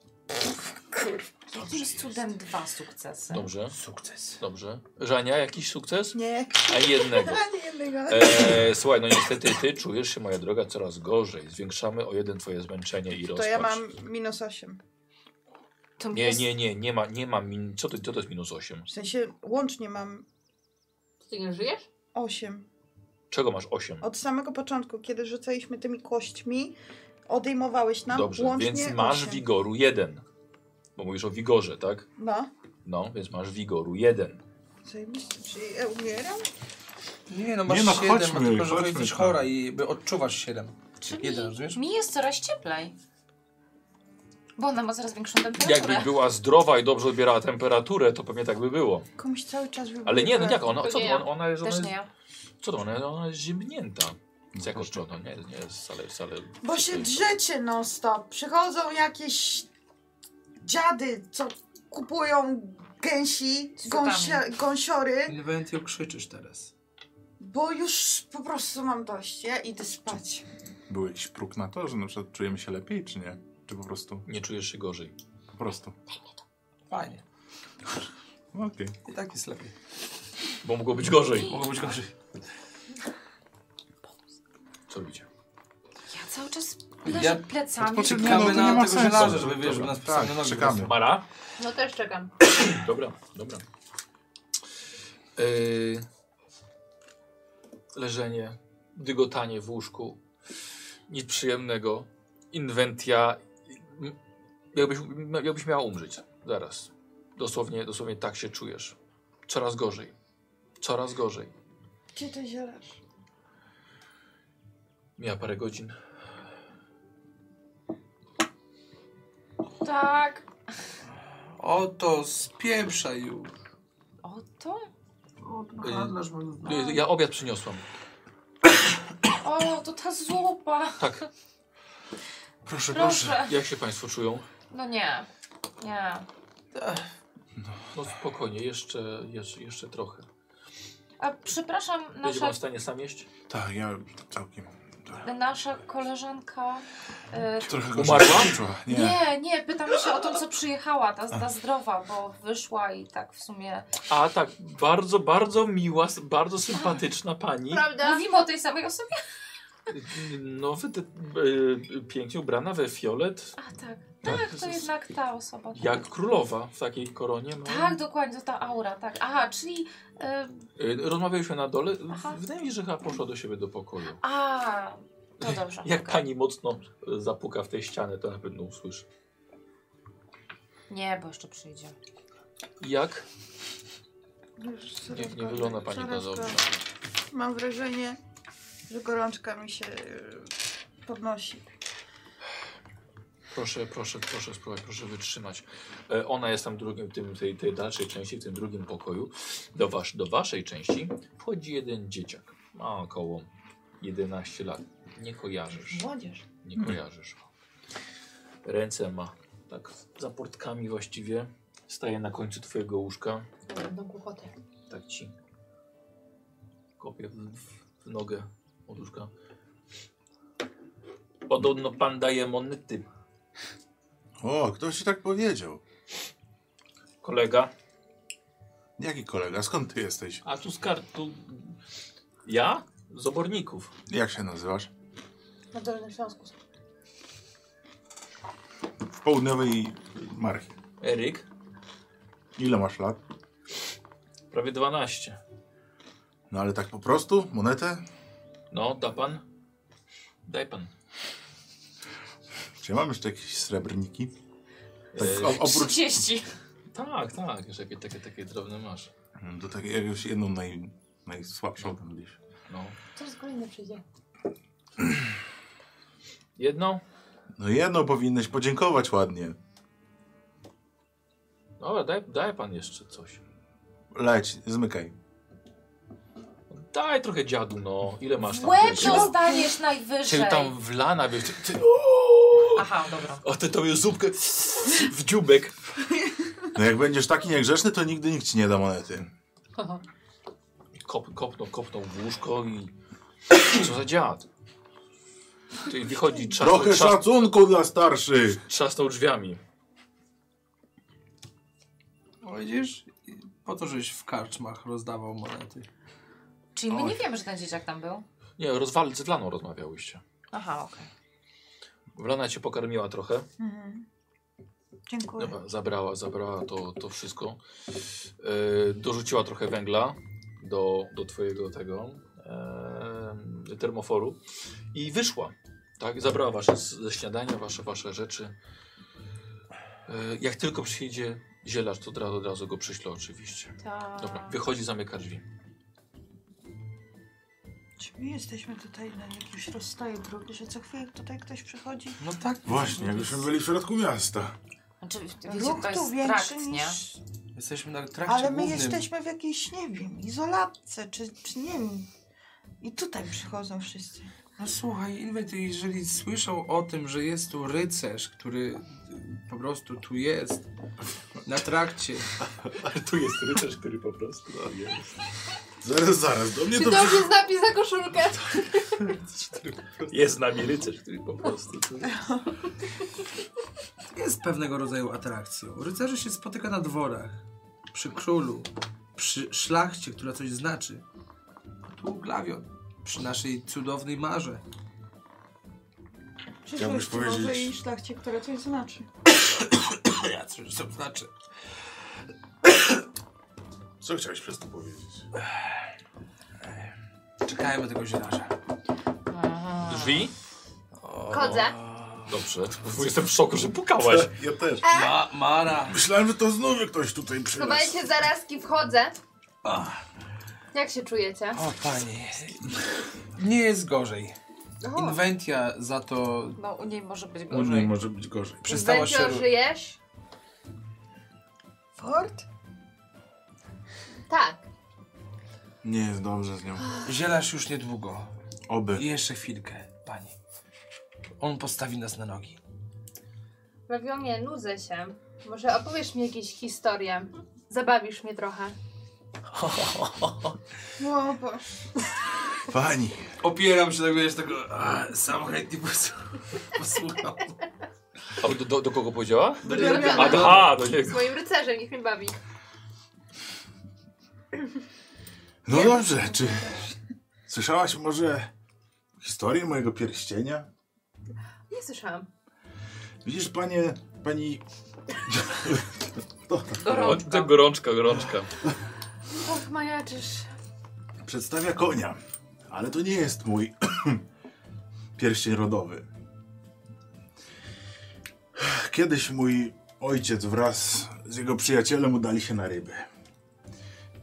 S7: Jakimś cudem dwa sukcesy.
S1: Dobrze,
S6: Sukces.
S1: dobrze. Żania, jakiś sukces?
S5: Nie,
S1: A jednego.
S5: ani jednego.
S1: E, słuchaj, no niestety ty czujesz się, moja droga, coraz gorzej. Zwiększamy o jeden twoje zmęczenie i rozpacz.
S5: To ja mam minus 8.
S7: To
S1: Nie,
S7: jest-
S1: nie, nie, nie ma, nie ma min... Co to, co to jest minus 8?
S5: W sensie łącznie mam
S4: Ty nie żyjesz?
S5: 8.
S1: Czego masz 8?
S5: Od samego początku, kiedy rzucaliśmy tymi kośćmi, odejmowałeś nam
S1: Dobrze,
S5: łącznie
S1: więc masz
S5: osiem.
S1: wigoru 1. Bo mówisz o wigorze, tak?
S5: No,
S1: No, więc masz wigoru 1.
S5: zajebiście, czyli ja umieram?
S6: Nie no, masz
S2: Nie no,
S6: siedem,
S2: chodźmy,
S6: a tylko, że
S2: chodźmy
S6: jesteś
S2: tam.
S6: chora i by odczuwasz siedem.
S7: Czyli
S6: Jeden, rozumiesz?
S7: mi jest coraz cieplej. Bo ona ma coraz większą temperaturę.
S1: Jakby była zdrowa i dobrze odbierała temperaturę, to pewnie tak by było.
S5: Komuś cały czas wybiera.
S1: Ale nie, no jak ona,
S4: To
S1: co to,
S4: nie
S1: ona, ona jest, ona
S7: Też
S1: jest,
S7: nie ja.
S1: co to, ona jest, ona jest ziemnięta. Z jako no nie, nie jest wcale, wcale.
S5: Bo się drzecie non stop. Przychodzą jakieś dziady, co kupują gęsi,
S7: Z
S5: gąsia, gąsiory,
S6: Inwentio krzyczysz teraz.
S5: bo już po prostu mam dość. Ja idę spać.
S2: Był jakiś próg na to, że na przykład czujemy się lepiej, czy nie? Czy po prostu?
S1: Nie czujesz się gorzej.
S2: Po prostu.
S6: Fajnie.
S2: No, Okej.
S6: I tak jest lepiej.
S1: Bo mogło być gorzej.
S6: Mogło być gorzej.
S1: Co robicie?
S7: Ja cały czas leżę
S6: Ja
S7: plecami.
S2: odpoczywam.
S6: Czekamy
S2: Nie, no, to nie
S6: na
S2: ma
S6: tego
S2: sensu.
S6: żelaza, żeby wiesz, żeby
S2: Dobra,
S6: nas
S2: tak,
S6: tak, nogi.
S2: czekamy.
S6: wyrosły.
S1: Mara?
S4: No też czekam.
S1: Dobra, dobra. Yy, leżenie, dygotanie w łóżku, nic przyjemnego, inwentia, m- jakbyś, jakbyś miała umrzeć zaraz. Dosłownie, dosłownie tak się czujesz. Coraz gorzej. Coraz gorzej.
S5: Gdzie to zielasz?
S1: Mija parę godzin.
S7: Tak.
S6: Oto spieprza już.
S7: O to?
S1: Y, y, Ja obiad przyniosłam.
S7: O, to ta zupa.
S1: Tak.
S2: Proszę,
S7: Proszę.
S1: Jak się Państwo czują?
S7: No nie. Nie.
S1: No spokojnie, jeszcze, jeszcze, jeszcze trochę.
S7: A przepraszam,
S1: Będzie
S7: nasza,
S1: Pan w stanie sam jeść?
S2: Tak, ja całkiem.
S7: nasza koleżanka. e,
S2: Trochę gorzej
S1: Umarła?
S2: się czuła. Nie.
S7: nie, nie, pytam się o to, co przyjechała, ta, ta zdrowa, bo wyszła i tak w sumie.
S1: A tak, bardzo, bardzo miła, s- bardzo sympatyczna pani.
S4: Prawda?
S7: Mówimy o tej samej osobie?
S1: No, wy, te- y, pięknie ubrana we fiolet,
S7: A tak.
S1: Tak,
S7: Tak,
S1: to
S7: to
S1: jest-
S7: jednak ta osoba. tak.
S1: jak królowa w takiej koronie. No.
S7: Tak, dokładnie, to ta aura, tak. Aha, czyli. e,
S1: Y, Rozmawialiśmy na dole.
S7: Aha.
S1: Wydaje mi się, że chyba poszła do siebie do pokoju.
S7: a, to dobrze.
S1: Jak
S7: okej.
S1: pani mocno y, zapuka w tej ścianę, to na pewno usłyszy.
S7: Nie, bo jeszcze przyjdzie.
S1: Jak?
S5: Już
S1: Nie,
S5: coraz
S1: nie
S5: gorzej.
S1: wygląda pani na
S5: Coraz
S1: dobrze.
S5: gorzej. Mam wrażenie, że gorączka mi się y, podnosi.
S1: Proszę, proszę, proszę spróbować, proszę wytrzymać. E, ona jest tam w drugim, w tym, tej, tej dalszej części, w tym drugim pokoju. Do, wasz, do waszej części wchodzi jeden dzieciak. Ma około 11 lat. Nie kojarzysz.
S9: Młodzież.
S1: Nie kojarzysz. Ręce ma tak za portkami właściwie. Staje na końcu twojego łóżka.
S9: Będą kłopoty.
S1: Tak ci kopię w, w nogę od łóżka. Podobno pan daje monety.
S2: O, ktoś ci tak powiedział.
S1: Kolega.
S2: Jaki kolega? Skąd ty jesteś?
S1: A tu z kartu. Ja? Z oborników.
S2: Jak się nazywasz?
S9: Na Dolnym Śląsku.
S2: W południowej marchi.
S1: Eryk?
S2: Ile masz lat?
S1: Prawie 12.
S2: No ale tak po prostu? Monetę?
S1: No, da pan? Daj pan.
S2: Czy mam jeszcze jakieś srebrniki? Tak,
S1: Eee,
S2: o, oprócz
S7: 30.
S1: Tak, tak. Jeszcze takie, takie, takie drobne masz.
S2: Hmm, do takiej jakąś jedną naj, najsłabszą tam gdzieś.
S1: No.
S9: Coraz kolejny przyjdzie.
S1: Jedno?
S2: No jedno powinnyś podziękować ładnie.
S1: Dobra, No, daj, daj pan jeszcze coś.
S2: Leć, zmykaj.
S1: Daj trochę dziadu, no. Ile masz
S7: W
S1: tam?
S7: łeb
S1: Czy-
S7: dostaniesz
S1: Czy
S7: najwyżej.
S1: tam wlana, wiesz, ty, ty,
S7: Aha, dobra.
S1: o ty tą zupkę w dziubek.
S2: No jak będziesz taki niegrzeczny, to nigdy nikt ci nie da monety.
S1: Kop, kopnął, kopnął w łóżko i co za dziad. Ty wychodzi, trzasnął,
S2: Trochę
S1: trzas-
S2: szacunku dla starszych!
S1: trzasnął drzwiami.
S6: No widzisz? I Po to, żeś w karczmach rozdawał monety.
S7: Czyli my
S2: Oj.
S7: nie wiemy, że ten dzieciak tam był.
S1: Nie, rozwal, z Wlaną rozmawiałyście.
S7: Aha, okej.
S1: Wlana cię pokarmiła trochę,
S5: Mhm. Dziękuję.
S1: Dobra, zabrała, zabrała to, to wszystko. E, dorzuciła trochę węgla do, do twojego tego e, termoforu i wyszła. Tak, zabrała wasze z- ze śniadania, wasze, wasze rzeczy. E, jak tylko przyjdzie zielarz, to od razu, od razu go przyślę oczywiście.
S7: Ta-
S1: Dobra, wychodzi, zamyka drzwi.
S5: Czy my jesteśmy tutaj na jakimś rozstaju drogi, że co chwilę tutaj ktoś przychodzi?
S6: No tak.
S2: Właśnie, jakbyśmy byli w środku miasta.
S7: Znaczy, wiecie,
S5: Ruch
S7: to
S5: tu
S7: jest
S5: większy
S7: trakt, nie?
S5: niż...
S6: Jesteśmy na trakcie
S5: Ale my
S6: głównym.
S5: jesteśmy w jakiejś, nie wiem, izolatce, czy, czy nie wiem. I tutaj przychodzą wszyscy.
S6: No słuchaj, Inwet, jeżeli słyszą o tym, że jest tu rycerz, który y, po prostu tu jest, na trakcie,
S1: Tu jest rycerz, który po prostu no,
S2: Zaraz, zaraz, do mnie
S4: Czy
S2: to
S4: to już jest napis na koszulkę?
S1: jest z nami rycerz, który po prostu...
S6: jest pewnego rodzaju atrakcją. Rycerze się spotyka na dworach, przy królu, przy szlachcie, która coś znaczy. A Tu glawion, przy naszej cudownej marze.
S2: Chciałbyś
S5: Przyszłość
S2: powiedzieć-
S5: może i szlachcie, które coś znaczy.
S6: Ja coś to znaczy.
S2: Co chciałeś przez to powiedzieć?
S6: Czekajmy tego zielarza.
S7: Aha.
S1: Drzwi?
S4: Tak? Chodzę.
S1: Dobrze. Bo jestem w szoku, że pukałaś.
S2: Ja też.
S6: Ma, Mara.
S2: Myślałem, że to znowu ktoś tutaj przylazł.
S4: Schowajcie zarazki, wchodzę. Jak się czujecie?
S6: O panie. Nie jest gorzej.
S4: O.
S6: Inwentia za to
S7: No u niej może być
S2: U niej
S7: gorzej.
S2: może być gorzej.
S6: przestała się...
S4: Zbędzio, żyjesz?
S5: Ford?
S4: Tak.
S2: Nie jest dobrze z nią.
S6: Zielasz już niedługo.
S2: Oby.
S6: I jeszcze chwilkę, pani. On postawi nas na nogi.
S4: Prawionie, nudzę się. Może opowiesz mi jakieś historię. Zabawisz mnie trochę.
S5: O Boże.
S2: Pani.
S6: Opieram się tak, wiesz, tego... A, sam chętnie posłu- posłucham.
S1: A do, do, do kogo powiedziała?
S4: Drabiona.
S1: Aha, do
S4: Z
S1: niego.
S4: moim rycerzem, niech mnie bawi.
S2: No dobrze, czy słyszałaś może historię mojego pierścienia?
S4: Nie słyszałam.
S2: Widzisz, panie, pani... to,
S1: Gorączka. gorączka, gorączka.
S4: Och, majaczysz.
S2: przedstawia konia, ale to nie jest mój pierścień rodowy. Kiedyś mój ojciec wraz z jego przyjacielem udali się na ryby.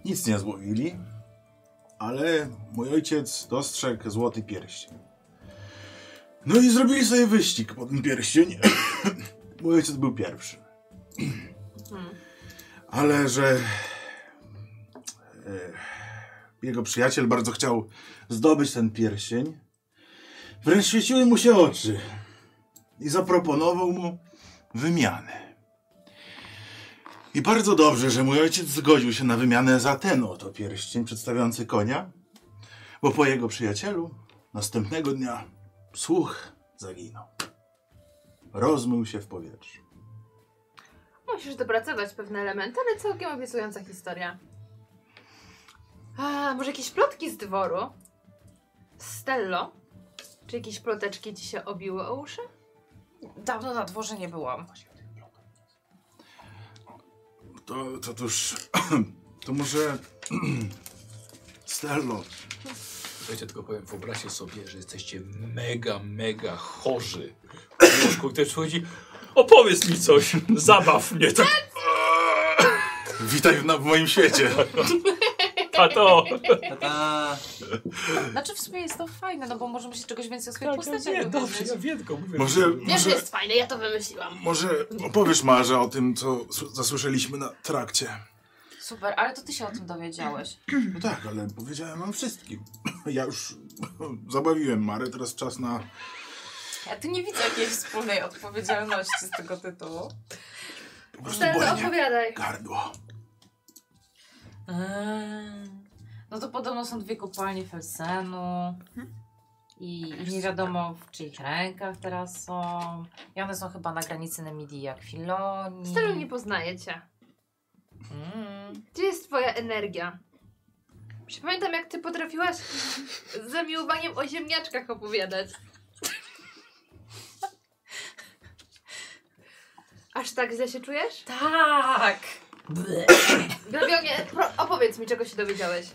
S2: Nic nie złowili, ale mój ojciec dostrzegł złoty pierścień. No i zrobili sobie wyścig po ten pierścień. mój ojciec był pierwszy. Ale że e, jego przyjaciel bardzo chciał zdobyć ten pierścień. Wręcz świeciły mu się oczy i zaproponował mu wymianę. I bardzo dobrze, że mój ojciec zgodził się na wymianę za ten oto pierścień przedstawiający konia, bo po jego przyjacielu następnego dnia słuch zaginął. Rozmył się w powietrzu.
S4: Musisz dopracować pewne elementy, ale całkiem obiecująca historia. A, może jakieś plotki z dworu? Stello? Czy jakieś ploteczki ci się obiły o uszy?
S7: Dawno na dworze nie byłam.
S2: To, to tuż, to może Stello,
S1: Słuchajcie, tylko powiem, wyobraźcie sobie, że jesteście mega, mega chorzy. W łóżku i ktoś przychodzi,
S10: Opowiedz mi coś. Zabaw mnie tak.
S2: witaj w, na, w moim świecie.
S10: Tato.
S6: A,
S7: Znaczy w sumie jest to fajne, no bo możemy się czegoś więcej o swoich
S10: Tak, ja
S7: postaciach
S10: wiem, dobrze, ja
S7: dowiedzieć.
S10: wiem, tylko mówię.
S2: Może,
S4: Wiesz,
S2: może,
S4: że jest fajne, ja to wymyśliłam.
S2: Może opowiesz Marze o tym, co s- zasłyszeliśmy na trakcie.
S7: Super, ale to ty się o tym dowiedziałeś.
S2: No tak, ale powiedziałem wam wszystkim. Ja już zabawiłem Marę, teraz czas na...
S7: Ja tu nie widzę jakiejś wspólnej odpowiedzialności z tego tytułu.
S2: Po prostu
S4: Stello,
S2: bolenie
S4: opowiadaj.
S2: gardło.
S7: Eee, No to podobno są dwie kopalnie Felsenu. I, I nie wiadomo w czyich rękach teraz są. I one są chyba na granicy Nemidii i Akwilonii.
S4: Stello nie poznaje cię.
S7: Mm.
S4: Gdzie jest twoja energia? Przypamiętam, jak ty potrafiłaś z zamiłowaniem o ziemniaczkach opowiadać. Aż tak źle się czujesz?
S7: Tak!
S4: Glebionie, pro- opowiedz mi, czego się dowiedziałeś.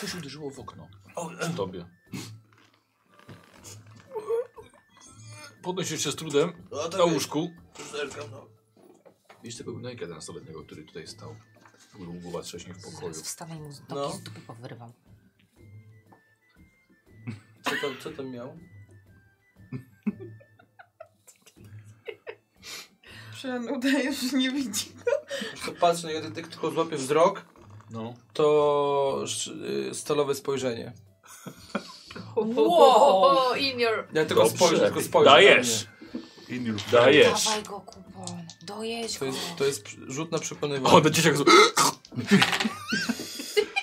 S1: coś uderzyło w okno.
S6: o, e,
S1: Przy tobie. Podnosisz się z trudem
S6: o, tak
S1: na łóżku.
S6: zerkam, no.
S1: Wiesz tego gnojka 11-letniego, który tutaj stał. Był głowa trześnie w pokoju.
S7: Zaraz wstanę i mu z nogi
S6: No.
S7: z dupy powyrywam.
S6: Co tam, co tam miał?
S5: Przelan udaje, że nie widzi.
S6: Już to patrzę, ja tak tylko złapię wzrok,
S1: No.
S6: to sz- y, stalowe spojrzenie.
S4: Wow. In your...
S6: Ja tylko
S1: Dobrze.
S6: spojrzę, tylko spojrzę.
S1: Dajesz.
S6: na mnie.
S2: In your
S1: Dajesz.
S7: Dawaj go kupon, dojedź
S6: To
S7: go.
S6: jest, to jest przy- rzut na
S1: O,
S6: przekonywanie.
S1: do dzieciak z...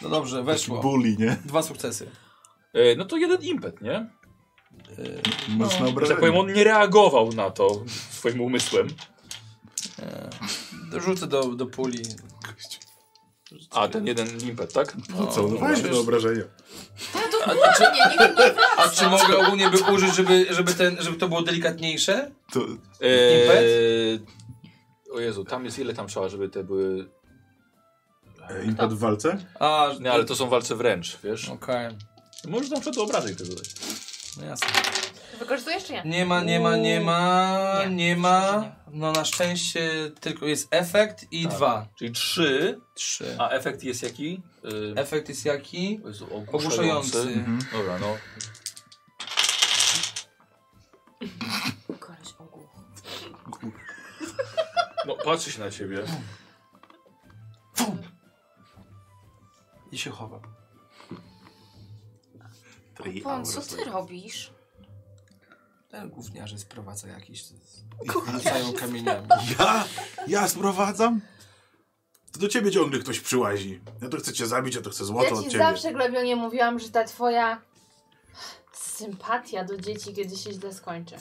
S6: No dobrze, weszło.
S2: Bully, nie?
S6: Dwa sukcesy.
S1: E, No to jeden impet, nie?
S6: Y,
S4: No.
S2: Mocno
S1: Że tak
S2: obrażenie.
S1: powiem, on nie reagował na to swoim umysłem.
S6: Rzucę do, do puli.
S1: A, ten jeden impet, tak?
S2: No co, no właśnie
S6: wiesz-
S2: do obrażenia.
S7: Dokładnie, nie wiem, no
S6: A czy mogę ogólnie by użyć, żeby, żeby, ten, żeby to było delikatniejsze?
S2: To,
S1: Eee, o Jezu, tam jest ile tam trzeba, żeby te były...
S2: e,
S4: Tak.
S2: impet w walce?
S6: A,
S1: Nie, ale to są walce wręcz, wiesz?
S6: Okej.
S1: Możesz tam przed obrażeń tego dać.
S6: No jasne.
S4: Wykorzystujesz czy nie?
S6: Nie ma, nie ma, nie ma,
S7: Nie,
S6: nie ma. No na szczęście tylko jest efekt i
S1: Tak.
S6: dwa.
S1: Czyli trzy,
S6: Trzy.
S1: a efekt jest jaki? Yy,
S6: Efekt jest jaki?
S1: Jezu,
S6: Ogłuszający.
S1: Mhm. Dobra, no.
S7: Koleś ogłuch.
S1: no patrzy się na ciebie.
S6: I się chowa.
S2: Three
S7: Pon,
S2: hours
S7: co ty
S2: later.
S7: robisz?
S6: Ten gówniarze sprowadza jakiś. Rzucają kamieniami.
S2: Ja? Ja sprowadzam? To do ciebie ciągle ktoś przyłazi. Ja to chcę cię zabić, ja to chcę złoto
S4: Ja
S2: od
S4: ci
S2: ciebie.
S4: zawsze, Glawionie, mówiłam, że ta twoja sympatia do dzieci kiedyś się źle skończy.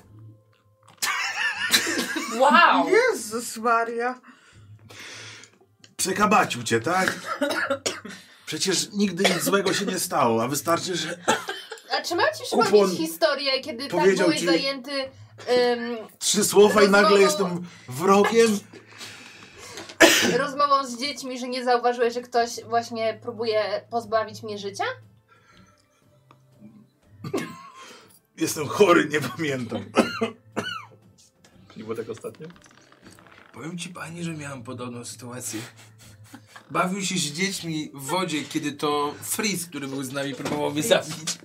S7: Wow!
S5: Jezus Maria.
S2: Przekabacił cię, tak? Przecież nigdy nic złego się nie stało, a wystarczy, że
S4: A czy mam ci
S2: Kupon
S4: przypomnieć historię, kiedy tak
S2: powiedział
S4: byłeś
S2: ci-
S4: zajęty... Ym,
S2: trzy słowa i nagle
S4: Rozmową-
S2: jestem wrogiem?
S4: rozmową z dziećmi, że nie zauważyłeś, że ktoś właśnie próbuje pozbawić mnie życia?
S2: Jestem chory, nie pamiętam.
S1: Nie było tak ostatnio?
S6: Powiem ci pani, że miałem podobną sytuację. Bawił się z dziećmi w wodzie, kiedy to Fritz, który był z nami, próbował mnie zabić.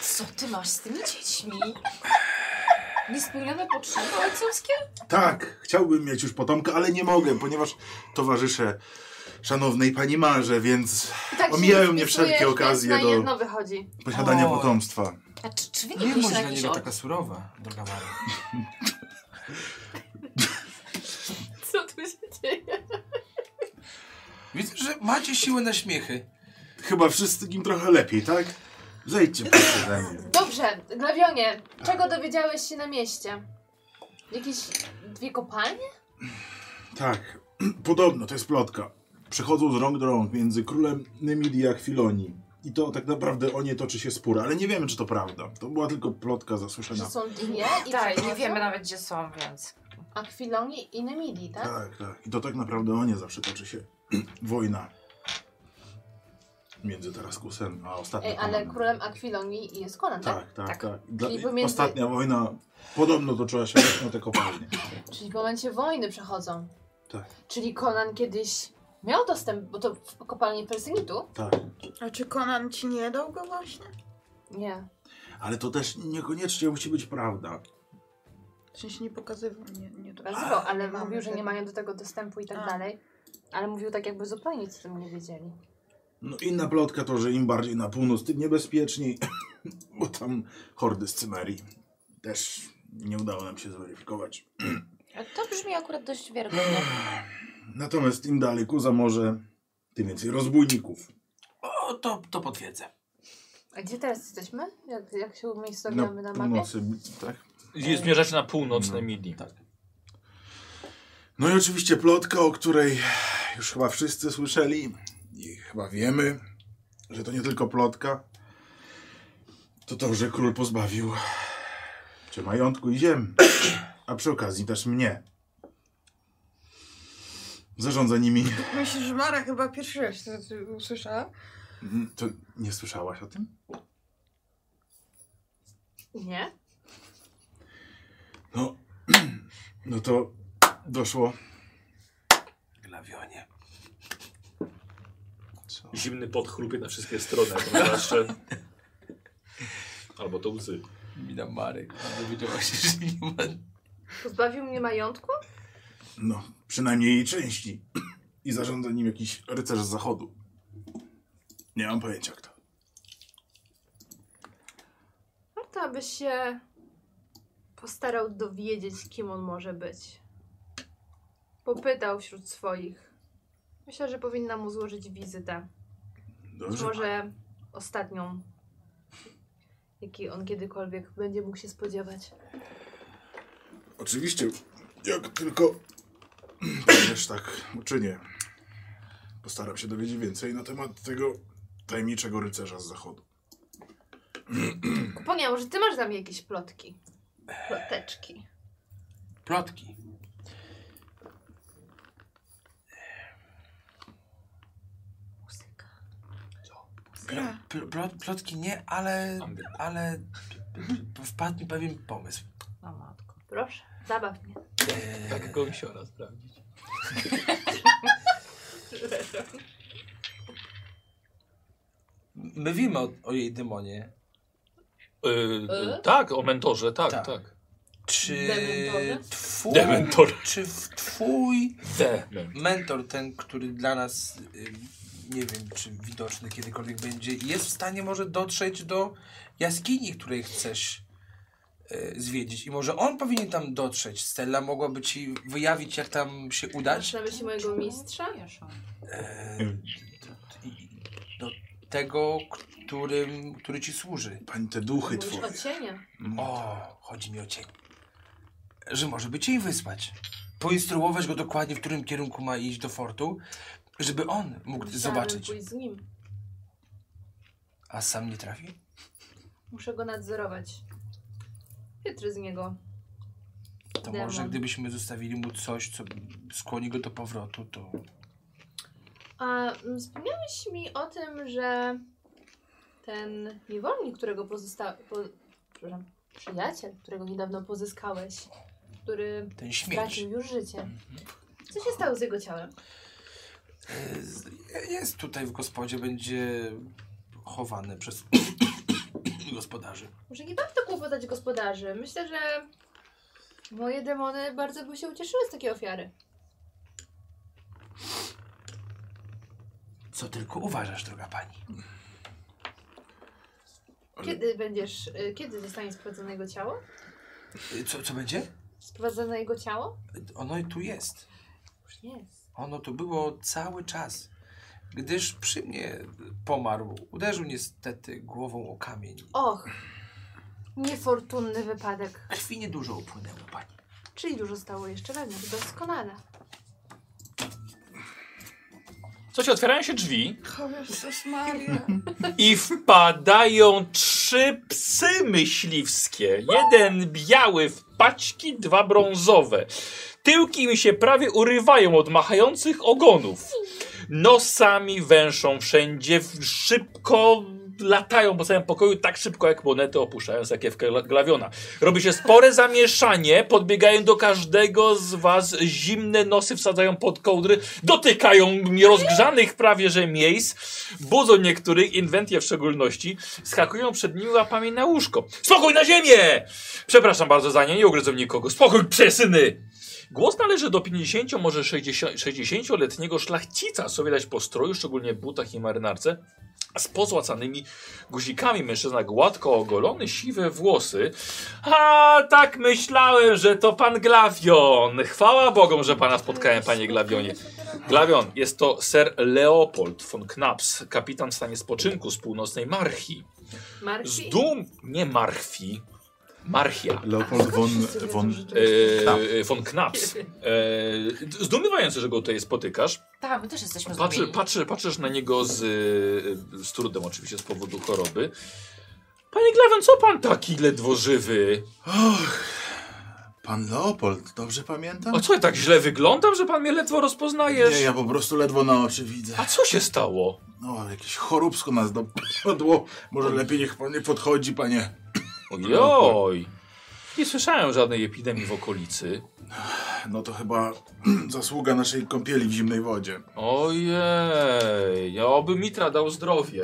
S7: Co ty masz z tymi dziećmi? Niespełnione potrzeby ojcowskie?
S2: Tak, chciałbym mieć już potomka, ale nie mogę, ponieważ towarzyszę szanownej pani Marze, więc
S4: I Tak się
S2: Omijają mnie
S4: wpisujesz,
S2: wszelkie
S4: więc
S2: okazje
S4: na
S2: do-
S4: jedno wychodzi.
S2: posiadania
S6: Oj.
S2: potomstwa.
S7: A czy, czy wy nie
S6: Nie
S7: byliście
S6: bądź
S7: na
S6: dla
S7: jakiejś
S6: niego
S7: od...
S6: taka surowa, droga Mary.
S4: Co tu się dzieje?
S6: Widzę, że macie siłę na śmiechy.
S2: Chyba wszystkim trochę lepiej, tak? Zejdźcie proszę ze mnie.
S4: Dobrze, Glawionie, czego dowiedziałeś się na mieście? Jakieś dwie kopalnie?
S2: Tak, podobno, to jest plotka. Przechodzą z rąk do rąk między królem Nemidii a Chwilonii. I to tak naprawdę o nie toczy się spór, ale nie wiemy, czy to prawda. To była tylko plotka
S4: Że
S2: zasłyszana.
S4: są dwie i
S7: Tak, nie
S4: przechodzą?
S7: wiemy nawet gdzie są, więc...
S4: Akwilonii i Nemidii, tak?
S2: Tak, tak. I to tak naprawdę o nie zawsze toczy się wojna. Między Taraskusem a ostatnim.
S4: Ej, E, ale
S2: Konanem.
S4: królem Akwilonii jest Konan, tak?
S2: Tak, tak, tak. Dla,
S4: Czyli
S2: i
S4: pomiędzy-
S2: Ostatnia wojna podobno toczyła się właśnie o te kopalnie.
S4: Czyli w momencie wojny przechodzą.
S2: Tak.
S4: Czyli Konan kiedyś miał dostęp, bo to w kopalni Felsynitu?
S2: Tak.
S5: A czy Conan ci nie dał go właśnie?
S4: Nie.
S2: Ale to też niekoniecznie musi być prawda.
S5: W sensie nie pokazywał, nie, nie dał.
S4: Nazywał, ale
S2: no,
S5: Mamy
S4: mówił, że
S5: tego.
S4: nie mają do tego dostępu i tak
S5: A.
S4: dalej. Ale mówił tak, jakby zupełnie nic o tym nie wiedzieli.
S2: No inna plotka to, że im bardziej na północ, tym niebezpieczniej, bo tam hordy z Cymerii. Też nie udało nam się zweryfikować.
S7: To brzmi akurat dość wiarygodnie.
S2: Natomiast im dalej ku za morze, tym więcej rozbójników.
S6: O, to, to potwierdzę.
S4: A gdzie teraz jesteśmy? Jak, jak się
S2: Na
S4: umiejscowiamy na, mapie?
S2: No, północy, tak?
S1: I Zmierzacie na północne
S2: No.
S1: midi.
S6: Tak.
S2: No i oczywiście plotka, o której już chyba wszyscy słyszeli i chyba wiemy, że to nie tylko plotka, to to, że król pozbawił czy majątku i ziem, a przy okazji też mnie. Zarządza nimi.
S5: Myślę, że Mara chyba pierwszy raz to to usłyszała.
S2: Mm, To nie słyszałaś o tym?
S4: Nie?
S2: No, no to doszło.
S6: Glawionie.
S2: Co?
S1: Zimny pot chrupie na wszystkie strony. jak on zawsze. Albo to łzy.
S6: Mina Marek. Dowiedziała się, że nie ma.
S4: Pozbawił mnie majątku?
S2: No, przynajmniej jej części. I zarządza nim jakiś rycerz z zachodu. Nie mam pojęcia kto.
S4: Warto, aby się postarał dowiedzieć, kim on może być. Popytał wśród swoich. Myślę, że powinna mu złożyć wizytę. Być
S2: Dobrze.
S4: może ostatnią, jakiej on kiedykolwiek będzie mógł się spodziewać.
S2: Oczywiście, jak tylko będziesz tak uczynię, postaram się dowiedzieć więcej na temat tego tajemniczego rycerza z zachodu.
S4: Kuponia, może ty masz za mnie jakieś plotki? Ploteczki.
S6: Plotki.
S7: Muzyka.
S5: gra.
S4: Tak.
S6: Pl- plot- plotki nie, ale,
S1: Ambient.
S6: ale wpadł mi pewien pomysł.
S7: O matko.
S4: Proszę, zabaw mnie.
S6: Eee,
S1: Tak go wisiora sprawdzić.
S6: my wiemy o, o jej demonie.
S1: E,
S7: E?
S1: Tak, o mentorze, tak,
S6: Tak.
S1: tak.
S6: Czy
S7: Dementorze?
S6: twój,
S1: Dementor.
S6: czy w- twój
S1: De.
S6: mentor, ten, który dla nas, y, nie wiem, czy widoczny kiedykolwiek będzie, jest w stanie może dotrzeć do jaskini, której chcesz y, zwiedzić i może on powinien tam dotrzeć. Stella mogłaby ci wyjawić, jak tam się udać.
S4: Masz na myśli mojego mistrza?
S6: Eee, do tego, którym, który ci służy.
S2: Pani, te duchy
S4: Mówisz
S2: twoje.
S4: o cienie.
S6: O, chodzi mi o cień. Że może by cień wysłać. Poinstruować go dokładnie, w którym kierunku ma iść do fortu, żeby on mógł
S4: Chciałabym
S6: zobaczyć.
S4: pójść z nim.
S6: A sam nie trafi?
S4: Muszę go nadzorować. Chytry z niego.
S6: To
S4: Demon.
S6: może gdybyśmy zostawili mu coś, co skłoni go do powrotu, to...
S4: A mm, wspomniałeś mi o tym, że ten niewolnik, którego pozostał... Po, przepraszam, przyjaciel, którego niedawno pozyskałeś, który
S6: Ten śmieć.
S4: stracił już życie. Co się stało z jego ciałem?
S6: Eee, z- Jest tutaj w gospodzie, będzie chowany przez gospodarzy.
S4: Może nie warto kłopotać gospodarzy. Myślę, że moje demony bardzo by się ucieszyły z takiej ofiary.
S6: Co tylko uważasz, droga pani.
S2: Ale-
S4: Kiedy będziesz, y, kiedy zostanie sprowadzone jego ciało?
S6: Y, Co, co będzie?
S4: Sprowadzone jego ciało?
S6: Ono tu jest.
S4: Już nie jest.
S6: Ono tu było cały czas. Gdyż przy mnie pomarł. Uderzył niestety głową o kamień.
S4: Och, niefortunny wypadek.
S6: Krwi niedużo upłynęło, pani.
S4: Czyli dużo stało jeszcze wewnątrz. Doskonale.
S1: Słuchajcie, otwierają się drzwi
S5: Jezus Maria.
S1: i wpadają trzy psy myśliwskie. Jeden biały w paćki, dwa brązowe. Tyłki im się prawie urywają od machających ogonów. Nosami węszą wszędzie, w- szybko latają po całym pokoju, tak szybko jak monety opuszczają sakiewkę gla- glawiona. Robi się spore zamieszanie, podbiegają do każdego z was, zimne nosy wsadzają pod kołdry, dotykają rozgrzanych prawie że miejsc, budzą niektórych, inwentje w szczególności, skakują przed nimi łapami na łóżko. Spokój na ziemię! Przepraszam bardzo za nie, nie ugryzą nikogo. Spokój, przesyny! Głos należy do 50, może 60 60-letniego szlachcica, co widać po stroju, szczególnie butach i marynarce, z pozłacanymi guzikami. Mężczyzna gładko ogolony, siwe włosy. A tak myślałem, że to pan Glawion. Chwała Bogom, że pana spotkałem, panie Glawionie. Glawion, jest to ser Leopold von Knaps, kapitan w stanie spoczynku z północnej Marchi. Z
S4: Marki?
S1: dum... nie Marchi, Marchia.
S2: Leopold von... von...
S1: Eee, von Knaps. Eee, zdumiewające, że go tutaj spotykasz.
S7: Tak, my też jesteśmy
S1: Patrzy,
S7: zgubieni.
S1: patrzy, patrzysz na niego z, y, z trudem, oczywiście z powodu choroby. Panie Glawion, co pan taki ledwo żywy?
S2: Och, pan Leopold, dobrze pamiętam?
S1: A co, ja tak źle wyglądam, że pan mnie ledwo
S2: Nie,
S1: rozpoznajesz?
S2: ja po prostu ledwo na oczy widzę.
S1: A co się stało?
S2: No, jakieś choróbsko nas dopadło. Może lepiej niech pan nie podchodzi, panie. No,
S1: Ojoj. Nie słyszałem żadnej epidemii w okolicy.
S2: No to chyba zasługa naszej kąpieli w zimnej wodzie.
S1: Ojej, ja oby Mitra dał zdrowie.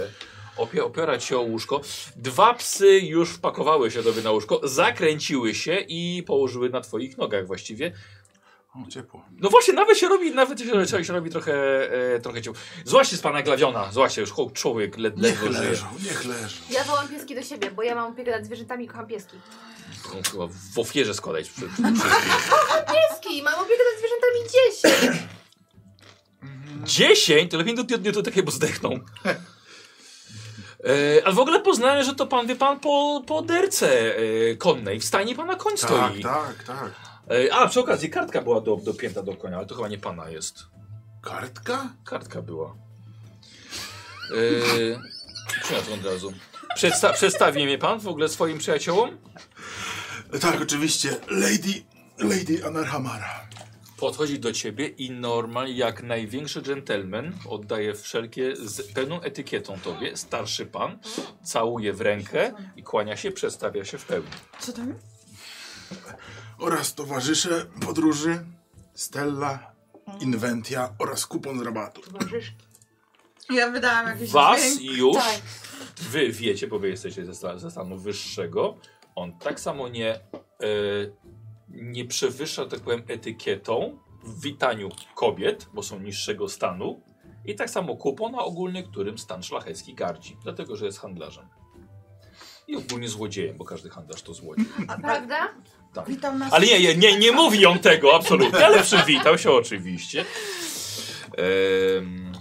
S1: Opie, opierać się o łóżko. Dwa psy już wpakowały się tobie na łóżko, zakręciły się i położyły na twoich nogach właściwie.
S2: O, ciepło.
S1: No właśnie, nawet się robi, nawet się, się robi trochę, e, trochę ciepło. Złaście z pana Glawiona, złaście, już chłop- człowiek led,
S2: Niech
S1: ledwo żyje.
S2: leżą, niech leżą.
S4: Ja wołam pieski do siebie, bo ja mam opiekę nad zwierzętami i kocham pieski.
S1: Taką No, Chyba w ofierze składać. Przy, przy,
S4: Pieski! Mam opiekę nad zwierzętami 10!
S1: Dziesięć? To lepiej do tygodnia to takie, bo zdechną. E, ale w ogóle poznałem, że to pan, wie pan, po, po derce e, konnej. W stanie pana koń stoi.
S2: tak, tak.
S1: E, A, przy okazji, kartka była do, dopięta do konia, ale to chyba nie pana jest.
S2: Kartka?
S1: Kartka była. Yy, Przyniosę od razu. Przedsta przedstawi mnie pan w ogóle swoim przyjaciołom?
S2: Tak, oczywiście. Lady... Lady Anarhamara.
S1: Podchodzi do ciebie i normalnie jak największy dżentelmen oddaje wszelkie z pełną etykietą tobie, starszy pan, całuje w rękę i kłania się, przedstawia się w pełni.
S5: Co tam?
S2: Oraz towarzysze podróży, Stella, Inventia oraz kupon z rabatu.
S5: Ja wydałam jakieś
S1: Was
S5: dźwięk.
S1: już,
S5: Tak.
S1: wy wiecie, bo wy jesteście ze, sta- ze stanu wyższego, on tak samo nie, e, nie przewyższa, tak powiem, etykietą w witaniu kobiet, bo są niższego stanu i tak samo kupon, a ogólnie którym stan szlachecki gardzi, dlatego, że jest handlarzem. I ogólnie złodziejem, bo każdy handlarz to złodziej.
S4: Prawda?
S1: Tak.
S5: Witam nas.
S1: Ale nie, nie, nie, nie mówi on tego, absolutnie, ale przywitał się oczywiście. Em,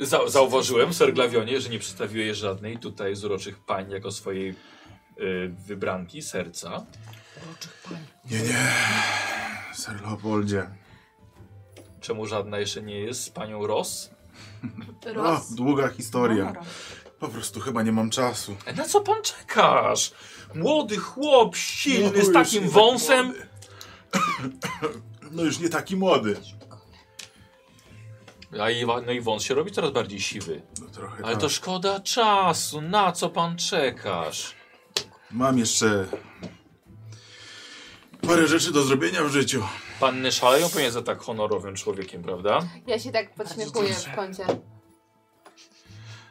S1: e, za, zauważyłem, ser Glawionie, że nie przedstawiłeś żadnej tutaj z uroczych pań jako swojej e, wybranki serca.
S2: Nie, nie. Sir Leopoldzie.
S1: Czemu żadna jeszcze nie jest z panią Ross?
S2: O, długa historia. Po prostu chyba nie mam czasu.
S1: E, Na co pan czekasz? Młody chłop,
S2: No,
S1: silny,
S2: już
S1: z
S2: nie
S1: takim
S2: taki
S1: wąsem.
S2: młody. No już nie taki młody.
S1: A i, wa- no i wąs się robi coraz bardziej siwy.
S2: No trochę
S1: Ale
S2: tak.
S1: to szkoda czasu, na co pan czekasz?
S2: Mam jeszcze parę rzeczy do zrobienia w życiu.
S1: Panny szaleją pewnie za tak honorowym człowiekiem, prawda?
S4: Ja się tak podśmiechuję w kącie.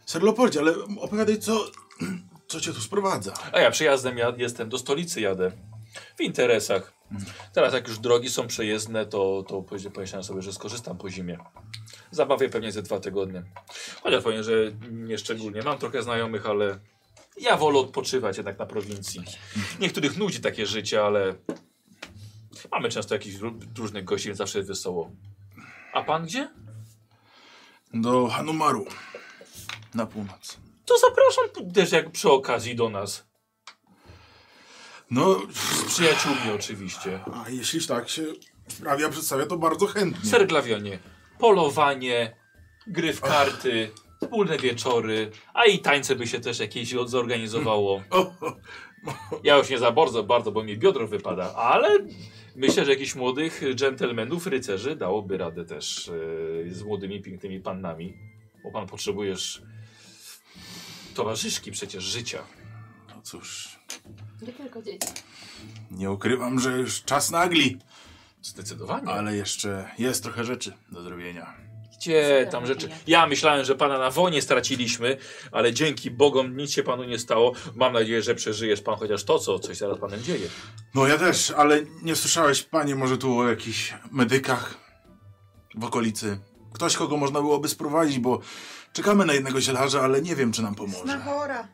S2: Sir Leopoldzie, ale opowiadaj co... Co cię tu sprowadza?
S1: A ja przyjazdem ja jestem, do stolicy jadę. W interesach. Teraz jak już drogi są przejezdne, to, to powie- pomyślałem sobie, że skorzystam po zimie. Zabawię pewnie ze dwa tygodnie. Chociaż powiem, że nie szczególnie. Mam trochę znajomych, ale ja wolę odpoczywać jednak na prowincji. Niektórych nudzi takie życie, ale mamy często jakichś ró- różnych gości, więc zawsze jest wesoło. A pan gdzie?
S2: Do Hanumaru. Na północ.
S1: To zapraszam też jak przy okazji do nas.
S2: No,
S1: Z przyjaciółmi oczywiście.
S2: a jeśli tak się sprawia, przedstawia to bardzo chętnie.
S1: Ser Glawionie, polowanie, gry w karty, wspólne wieczory, a i tańce by się też jakieś od- zorganizowało.
S2: O,
S1: Ja już nie za bardzo, bardzo, bo mi biodro wypada, ale myślę, że jakichś młodych dżentelmenów, rycerzy dałoby radę też e, z młodymi, pięknymi pannami. Bo pan potrzebujesz towarzyszki przecież życia.
S2: no cóż,
S4: Nie tylko dzieci.
S2: nie ukrywam, że już czas nagli,
S1: Zdecydowanie.
S2: ale jeszcze jest trochę rzeczy do zrobienia.
S1: Gdzie tam rzeczy? Ja myślałem, że pana na wojnie straciliśmy, ale dzięki Bogom nic się panu nie stało. Mam nadzieję, że przeżyjesz pan chociaż to, co coś zaraz panem dzieje.
S2: No ja też, ale nie słyszałeś, panie, może tu o jakichś medykach w okolicy. Ktoś, kogo można byłoby sprowadzić, bo czekamy na jednego zielarza, ale nie wiem, czy nam
S5: Na
S2: pomoże.
S5: chora.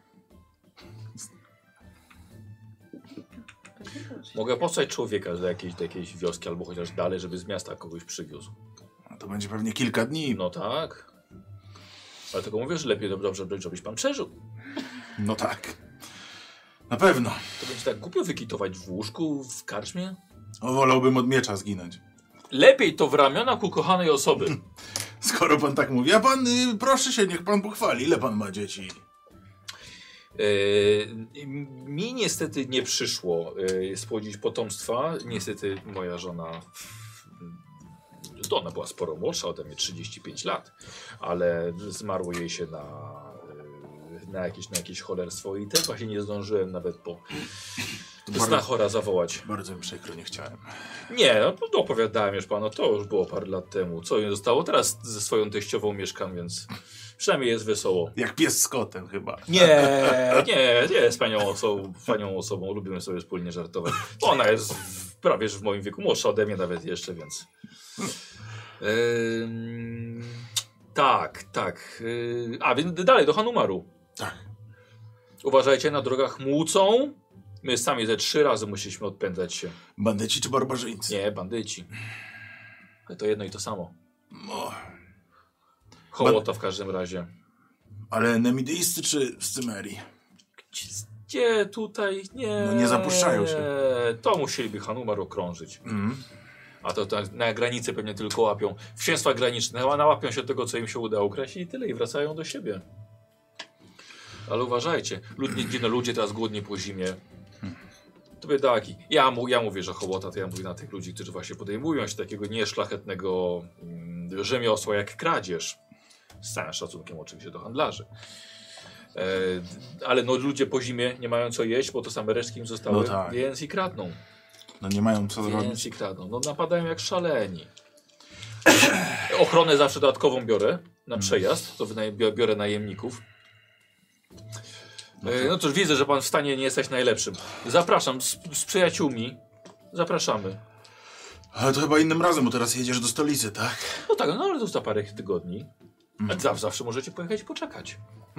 S1: Mogę posłać człowieka do jakiejś, do jakiejś wioski albo chociaż dalej, żeby z miasta kogoś przywiózł.
S2: No To będzie pewnie kilka dni.
S1: No tak. Ale tylko mówię, że lepiej dob- dobrze, by- żebyś pan przeżył.
S2: No tak. Na pewno.
S1: To będzie tak głupio wykitować w łóżku, w karczmie.
S2: O, wolałbym od miecza zginąć.
S1: Lepiej to w ramionach ukochanej osoby.
S2: Skoro pan tak mówi, a pan, y, proszę się, niech pan pochwali, ile pan ma dzieci.
S1: Yy, mi niestety nie przyszło yy, spłodzić potomstwa. Niestety moja żona. To ona była sporo młodsza ode mnie, 35 lat, ale zmarło jej się na, yy, na, jakieś, na jakieś cholerstwo i też właśnie nie zdążyłem nawet po
S2: bardzo-
S1: znachora zawołać.
S2: Bardzo mi przykro, nie chciałem.
S1: Nie, no, to opowiadałem już panu, to już było parę lat temu. Co jej zostało? Teraz ze swoją teściową mieszkam, więc przynajmniej jest wesoło.
S2: Jak pies z kotem chyba.
S1: Nie, nie, nie jest panią osobą, panią osobą, lubimy sobie wspólnie żartować. Ona jest w, prawie że w moim wieku, młodsza ode mnie nawet jeszcze, więc... Ym, tak, tak. Yy, a, więc dalej, do Hanumaru.
S2: Tak.
S1: Uważajcie, na drogach młócą. My sami ze trzy razy musieliśmy odpędzać się.
S2: Bandyci czy barbarzyńcy?
S1: Nie, bandyci. Ale to jedno i to samo.
S2: O,
S1: Hołota w każdym razie.
S2: ale nemidyjscy czy z Cymerii?
S1: Gdzie tutaj? Nie.
S2: No nie zapuszczają się.
S1: To musieliby Hanumar okrążyć.
S2: Mm.
S1: A to tak na granicy pewnie tylko łapią. Wsięstwa graniczne a nałapią się tego, co im się uda ukraść i tyle, i wracają do siebie. Ale uważajcie, ludzie, no, ludzie teraz głodni po zimie. To To biedaki. Ja, mu, ja mówię, że hołota, to ja mówię na tych ludzi, którzy właśnie podejmują się takiego nieszlachetnego mm, rzemiosła jak kradzież. Z całym szacunkiem oczywiście do handlarzy. E, d- ale no ludzie po zimie nie mają co jeść, bo to same resztki im zostały,
S2: No tak.
S1: więc i kradną.
S2: No nie mają co zrobić.
S1: Więc i kradną. No napadają jak szaleni. Ochronę zawsze dodatkową biorę na przejazd, to wynajem- bio- biorę najemników.
S2: No
S1: E,
S2: to-
S1: No cóż, widzę, że pan w stanie nie jesteś najlepszym. Zapraszam z, z przyjaciółmi. Zapraszamy.
S2: Ale to chyba innym razem, bo teraz jedziesz do stolicy, tak?
S1: No tak, no ale to za parę tygodni. A za, zawsze możecie pojechać i poczekać.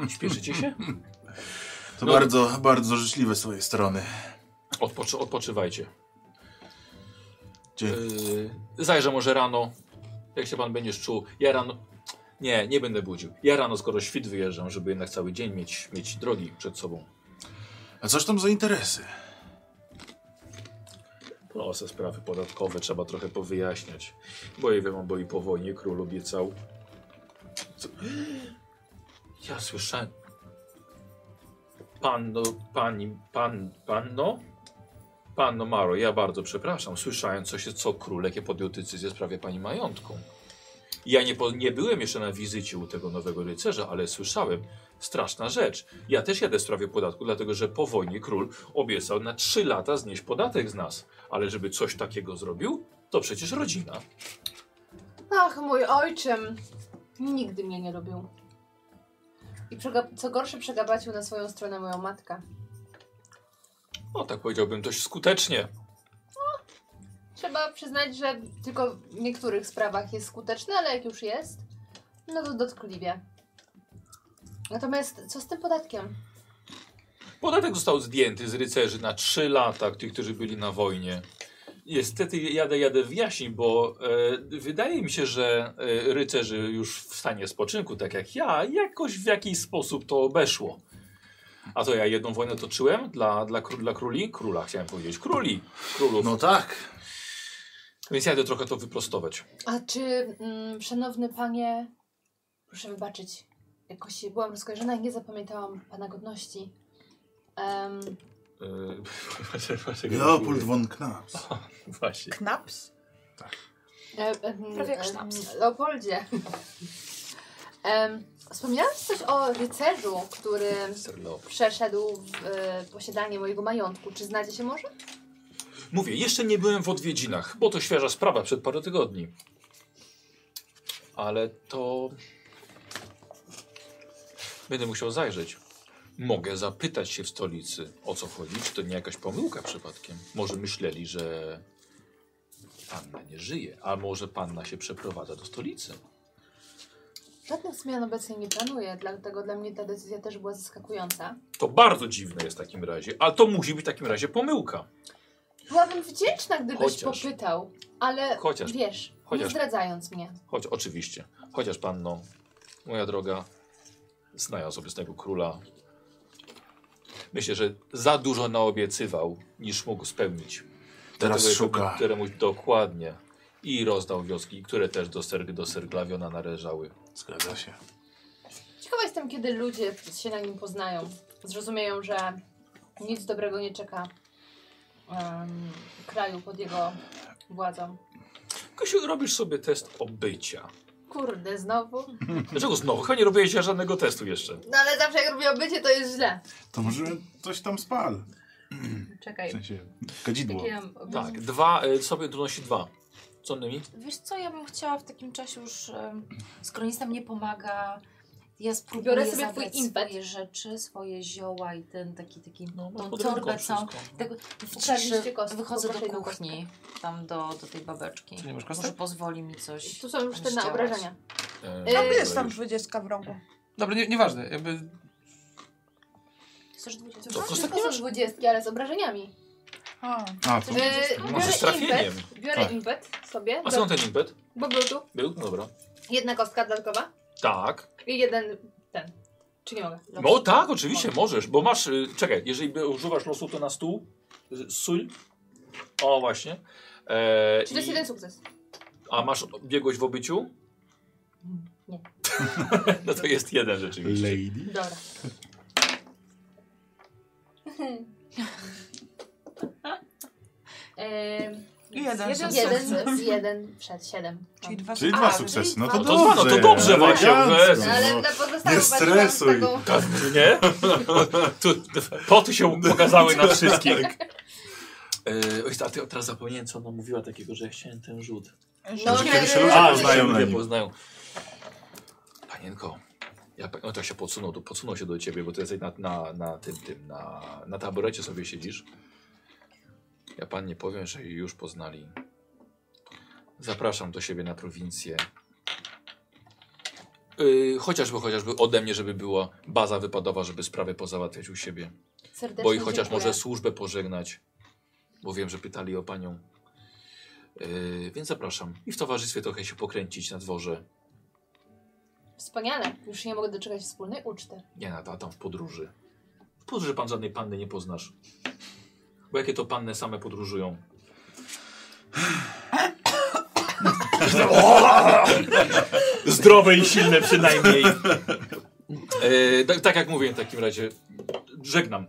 S1: Śpieszycie się?
S2: To
S1: No.
S2: bardzo, bardzo życzliwe z twojej strony.
S1: Odpoczy, odpoczywajcie.
S2: Dzień.
S1: Yy, zajrzę może rano, jak się pan będziesz czuł. Ja rano... Nie, nie będę budził. Ja rano, skoro świt wyjeżdżam, żeby jednak cały dzień mieć, mieć drogi przed sobą.
S2: A coś tam za interesy?
S1: Proste No, sprawy podatkowe trzeba trochę powyjaśniać. Bo i wiem, bo i po wojnie król obiecał. Co? Ja słyszałem. Panno, pani, pan, panno? Panno Maro, ja bardzo przepraszam. Słyszałem, co się, co król, jakie podjął decyzję w sprawie pani majątką. Ja nie, po, nie byłem jeszcze na wizycie u tego nowego rycerza, ale słyszałem. Straszna rzecz. Ja też jadę w sprawie podatku, dlatego że po wojnie król obiecał na 3 lata znieść podatek z nas. Ale żeby coś takiego zrobił, to przecież rodzina.
S4: Ach, mój ojczym. Nigdy mnie nie lubił. I przega- co gorsze, przegabacił na swoją stronę moją matkę.
S1: No tak powiedziałbym dość skutecznie.
S4: Trzeba przyznać, że tylko w niektórych sprawach jest skuteczny, ale jak już jest, no to dotkliwie. Natomiast co z tym podatkiem?
S1: Podatek został zdjęty z rycerzy na 3 lata, tych, którzy byli na wojnie. Niestety jadę, jadę w jaśń, bo e, wydaje mi się, że e, rycerzy już w stanie spoczynku, tak jak ja, jakoś w jakiś sposób to obeszło. A to ja jedną wojnę toczyłem dla, dla, kró- dla króli, króla chciałem powiedzieć, króli, królów.
S2: No tak.
S1: Więc jadę trochę to wyprostować.
S4: A czy, mm, szanowny panie, proszę wybaczyć, jakoś byłam rozkojarzona i nie zapamiętałam pana godności. Em,
S1: E, Yy,
S2: Leopold von Knaps.
S1: Właśnie.
S5: Knaps?
S4: E, em,
S3: Prawie jak
S4: em,
S3: sznaps.
S4: Leopoldzie. Em, Wspomniałeś coś o rycerzu, który
S1: Sir Leopold.
S4: przeszedł w e, posiadanie mojego majątku. Czy znacie się może?
S1: Mówię, jeszcze nie byłem w odwiedzinach, bo to świeża sprawa przed parę tygodni. Ale to. Będę musiał zajrzeć. Mogę zapytać się w stolicy o co chodzi. Czy to nie jakaś pomyłka przypadkiem? Może myśleli, że panna nie żyje, a może panna się przeprowadza do stolicy?
S4: Żadnych zmian obecnie nie planuję, dlatego dla mnie ta decyzja też była zaskakująca.
S1: To bardzo dziwne jest w takim razie, a to musi być w takim razie pomyłka.
S4: Byłabym wdzięczna, gdybyś
S1: Chociaż-
S4: popytał, ale
S1: chociaż-
S4: wiesz,
S1: chociaż-
S4: nie zdradzając mnie.
S1: Choć oczywiście, chociaż panno, moja droga, znając obecnego króla, myślę, że za dużo naobiecywał, niż mógł spełnić.
S2: Teraz
S1: Dlatego
S2: szuka.
S1: jakby Któremuś dokładnie i rozdał wioski, które też do, ser, do Serglawiona należały.
S2: Zgadza się.
S4: Ciekawa jestem, kiedy ludzie się na nim poznają. Zrozumieją, że nic dobrego nie czeka em, kraju pod jego władzą.
S1: Kasiu, robisz sobie test obycia.
S4: Kurde, znowu?
S1: Dlaczego znowu? Chyba nie robiłeś żadnego testu jeszcze.
S4: No ale zawsze jak robię obycie, to jest źle.
S2: To może coś tam spal. W
S7: Czekaj.
S2: sensie kadzidło.
S7: Takie mam obiad.
S1: Tak, dwa, y, sobie trudności dwa. Co innymi?
S7: Wiesz co, ja bym chciała w takim czasie już, em, skoro nic nam nie pomaga, ja spróbuję
S4: Biorę sobie
S7: zabrać
S4: twój impet.
S7: swoje rzeczy, swoje zioła i ten taki, taki,
S1: No, masz
S7: tą
S1: pod ręką
S7: torbę całą.
S1: wszystko.
S7: Tak, w
S4: Ukradliście
S7: ciszy
S4: kostkę,
S7: wychodzę do
S4: poproszę jedną
S7: kuchni, tam do, do tej babeczki.
S6: Co, nie masz kostek?
S7: Może pozwoli mi coś
S4: Tu są już
S7: tam
S4: te na
S7: zdziałać.
S4: obrażenia.
S1: E,
S5: Yy,
S4: No,
S1: dobra,
S5: Jest tam
S1: już.
S5: 20 w rogu.
S6: Dobra, nie, nieważne. Jakby
S7: Chcesz dwudziestkę?
S1: To kostek
S4: Wszystko są dwudziestki, ale z obrażeniami.
S5: A,
S2: A, to.
S4: Yy,
S1: Może z
S4: biorę
S1: trafieniem.
S4: impet, biorę
S2: Tak.
S4: impet sobie,
S1: A
S4: do,
S1: skąd ten impet?
S4: bo był tu
S1: Był? No dobra.
S4: jedna kostka dodatkowa
S1: Tak.
S4: i jeden ten. Czy nie mogę?
S1: No tak, oczywiście możesz, bo masz. y, Czekaj, jeżeli by używasz losu, to na stół. y, Sól. O, właśnie. E,
S4: Czy to jest
S1: i-
S4: jeden sukces?
S1: a masz biegłość w obyciu?
S4: nie.
S1: no to jest jeden rzeczywiście.
S2: Lady.
S4: Dobra. Ehm,
S9: Jeden
S4: jeden,
S9: sukces.
S4: jeden, jeden przed siedem.
S9: Czyli dwa
S2: Czyli
S9: A,
S2: dwa
S9: czyli
S2: sukcesy. No
S9: dwa
S2: to
S1: No to
S2: dobrze.
S1: dwa, no to dobrze, Wasia,
S2: elegancko.
S1: weź.
S4: No, ale
S2: No.
S4: dla pozostałych
S2: nie
S4: walczyłam z
S2: stresuj.
S4: taką...
S1: Tak, nie? Tu, poty się pokazały na wszystkich. E, oj, a ty teraz zapomniałem, co ona mówiła takiego, że ja chciałem ten rzut.
S9: No,
S2: Że
S9: nie,
S2: pierwsze
S9: nie,
S2: ludzie
S9: nie.
S2: poznają
S1: że
S2: na
S1: ludzie
S2: nim.
S1: poznają. Panienko, ja, pa- no tak się podsunął, to podsunął się do ciebie, bo ty jesteś na, na, na tym, tym, na, na taborecie sobie siedzisz. Ja pan nie powiem, że jej już poznali. Zapraszam do siebie na prowincję. Yy, chociażby, chociażby ode mnie, żeby była baza wypadowa, żeby sprawy pozałatwiać u siebie.
S4: Serdecznie
S1: Bo i chociaż
S4: dziękuję.
S1: może służbę pożegnać, bo wiem, że pytali o panią. Yy, więc zapraszam. I w towarzystwie trochę się pokręcić na dworze.
S4: Wspaniale. Już nie mogę doczekać wspólnej uczty.
S1: Nie na tam w podróży. W podróży pan żadnej panny nie poznasz. Bo jakie to panny same podróżują?
S10: Zdrowe i silne przynajmniej.
S1: Yy, tak, tak jak mówiłem w takim razie, żegnam.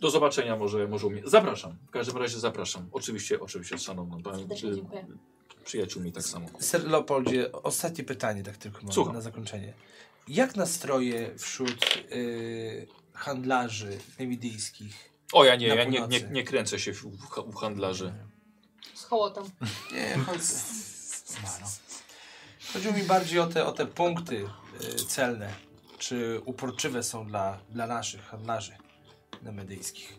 S1: Do zobaczenia może, może u mnie. Zapraszam. W każdym razie zapraszam. Oczywiście, oczywiście z no, szanowną panią.
S4: Serdecznie dziękuję.
S1: Przyjaciółmi tak samo.
S6: Ser Leopoldzie, ostatnie pytanie tak tylko mam
S1: Słucham.
S6: na zakończenie. Jak nastroje wśród y, handlarzy nemidyjskich?
S1: O, ja nie,
S6: Na
S1: ja nie, nie,
S6: północy.
S1: nie kręcę się w- u, u handlarzy.
S4: Z hołotą.
S6: Nie, chodź. No, no. Hmm. Chodziło mi bardziej o te, o te punkty y, celne. Czy uporczywe są dla, dla naszych handlarzy nemedyjskich.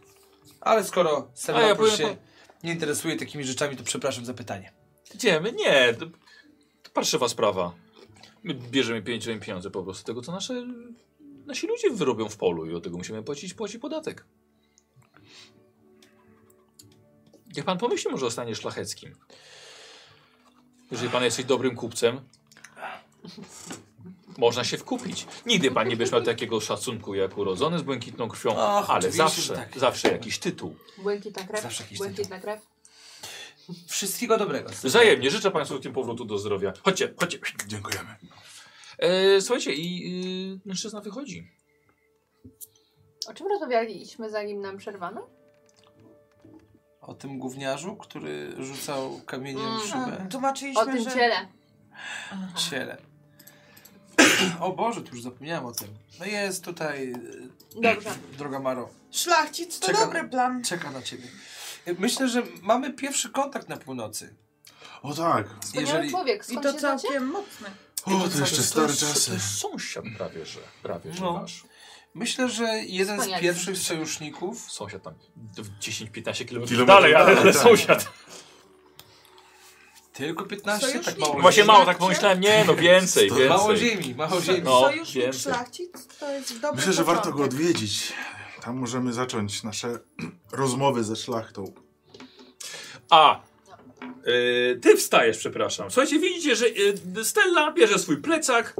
S6: Ale skoro Ser
S1: A ja
S6: Leopold
S1: powiem-
S6: się nie interesuje takimi rzeczami, to przepraszam za pytanie.
S1: Idziemy? Nie. To, to parszywa sprawa. My bierzemy pięć razy pieniądze po prostu tego, co nasze, nasi ludzie wyrobią w polu i od tego musimy płacić, płacić podatek. Jak pan pomyśli, może o stanie szlacheckim. Jeżeli pan jesteś dobrym kupcem, można się wkupić. Nigdy pan nie będziesz miał takiego szacunku jak urodzony z błękitną krwią,
S6: Och,
S1: ale
S6: oczywiście, że
S1: zawsze,
S6: tak.
S1: zawsze jakiś tytuł.
S4: Błękitna krew.
S6: Zawsze jakiś
S4: Błękitna krew.
S6: Wszystkiego dobrego.
S1: Wzajemnie życzę Państwu w tym powrotu do zdrowia. Chodźcie, chodźcie.
S2: Dziękujemy.
S1: E, słuchajcie, i
S10: y,
S1: e, mężczyzna wychodzi.
S4: O czym rozmawialiśmy zanim nam przerwano?
S6: O tym gówniarzu, który rzucał kamieniem
S4: Mm.
S6: w szybę.
S4: O
S5: Tłumaczyliśmy,
S4: tym
S5: że...
S4: ciele.
S6: Ciele. O Boże, tu już zapomniałem o tym. No jest tutaj, e,
S4: Dobrze.
S6: droga Maro,
S5: Szlachcic to
S6: Czekam.
S5: dobry plan.
S6: czeka na ciebie. E, Myślę, że mamy pierwszy kontakt na północy.
S2: O tak.
S4: Wspaniały człowiek.
S5: I
S4: Skąd
S5: to
S4: się znacie?
S5: całkiem mocny.
S2: O, to jeszcze stare
S1: To
S2: czasy.
S1: jest sąsiad prawie, że, prawie, że
S6: No.
S1: nasz.
S6: Myślę, że jeden z
S4: Wspaniale.
S6: pierwszych sojuszników.
S1: Sąsiad tam w 10-15 km
S2: Kilometrów
S10: Dalej, ale, ale
S2: dalej, tak.
S10: sąsiad.
S6: Tylko 15, tak
S5: Sojusznik.
S6: mało.
S1: Właśnie
S6: ziemi.
S1: mało tak pomyślałem, nie no więcej,
S2: To
S6: Mało
S1: więcej.
S6: ziemi, mało ziemi.
S1: No,
S5: Sojusznik
S1: więcej.
S5: szlachcic to jest dobry
S2: Myślę, że warto go
S5: początek.
S2: odwiedzić. Tam możemy zacząć nasze rozmowy ze szlachtą.
S10: A. y, ty wstajesz, przepraszam. Słuchajcie, widzicie, że y, Stella bierze swój plecak,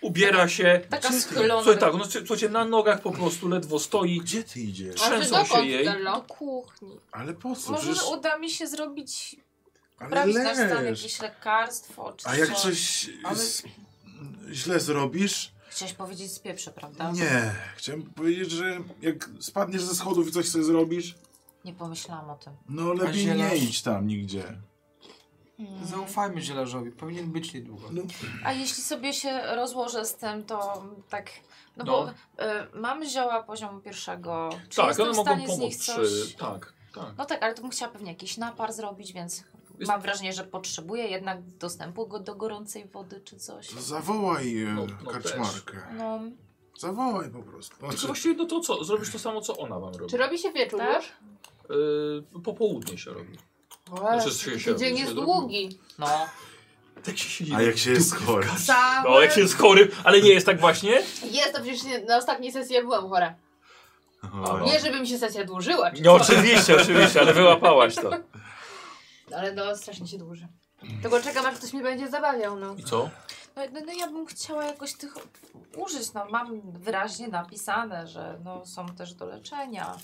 S10: ubiera się.
S7: Taka schylona.
S10: Słuchaj, tak, no, słuchajcie, na nogach po prostu ledwo stoi.
S2: Gdzie ty idziesz?
S4: A wy
S10: Trzęsą się
S4: dokąd,
S10: jej.
S7: Do
S4: Dello?
S7: kuchni.
S2: Ale po co?
S7: Może
S2: Przecież...
S7: uda mi się zrobić,
S2: Ale
S7: prawić na stan
S2: leż.
S7: jakieś lekarstwo. Czy
S2: A jak
S7: coś.
S2: coś
S7: Ale-
S2: z... źle zrobisz?
S7: Chciałeś powiedzieć z pieprze, prawda?
S2: Nie. Chciałem powiedzieć, że jak spadniesz ze schodów i coś sobie zrobisz,
S7: Nie pomyślałam o tym.
S2: no lepiej
S6: zielarz?
S2: nie idź tam nigdzie.
S6: Zaufajmy zielarzowi, powinien być niedługo.
S2: No.
S7: A jeśli sobie się rozłożę z tym, to tak. No,
S1: No.
S7: bo y, mam zioła poziomu pierwszego. Czy
S10: Tak,
S7: jestem
S10: one
S7: w
S10: mogą
S7: stanie z nich
S10: pomóc
S7: coś...
S10: przy... Tak, tak.
S7: No tak, ale to bym chciała pewnie jakiś napar zrobić, więc
S10: Jest-
S7: mam wrażenie, że potrzebuję jednak dostępu go do gorącej wody czy coś.
S2: To zawołaj e,
S1: No, no
S2: karczmarkę.
S7: No,
S2: Zawołaj po prostu.
S1: Znaczy,
S2: Znaczy,
S1: właściwie no to co? Zrobisz to samo, co ona wam robi.
S4: Czy robi się wieczór
S7: Tak?
S4: już?
S1: Yy, popołudnie się robi. Znaczy, się, się
S4: Dzień
S1: robi,
S4: jest
S1: się robi.
S4: długi.
S7: no.
S1: Tak się siedzi.
S2: a jak się jest chory?
S5: Cały...
S10: No, jak się jest chory, ale nie jest tak właśnie.
S4: Jest, to przecież nie- na ostatniej sesji ja byłam chora.
S2: Oj.
S4: Nie, żeby mi się sesja dłużyła, czy
S10: No
S4: co?
S10: oczywiście, oczywiście, ale wyłapałaś to.
S4: ale no strasznie się dłuży. Tego czekam, aż ktoś mi będzie zabawiał, no.
S1: I co?
S7: No, no, no ja bym chciała jakoś tych użyć. No, mam wyraźnie napisane, że no, są też do leczenia.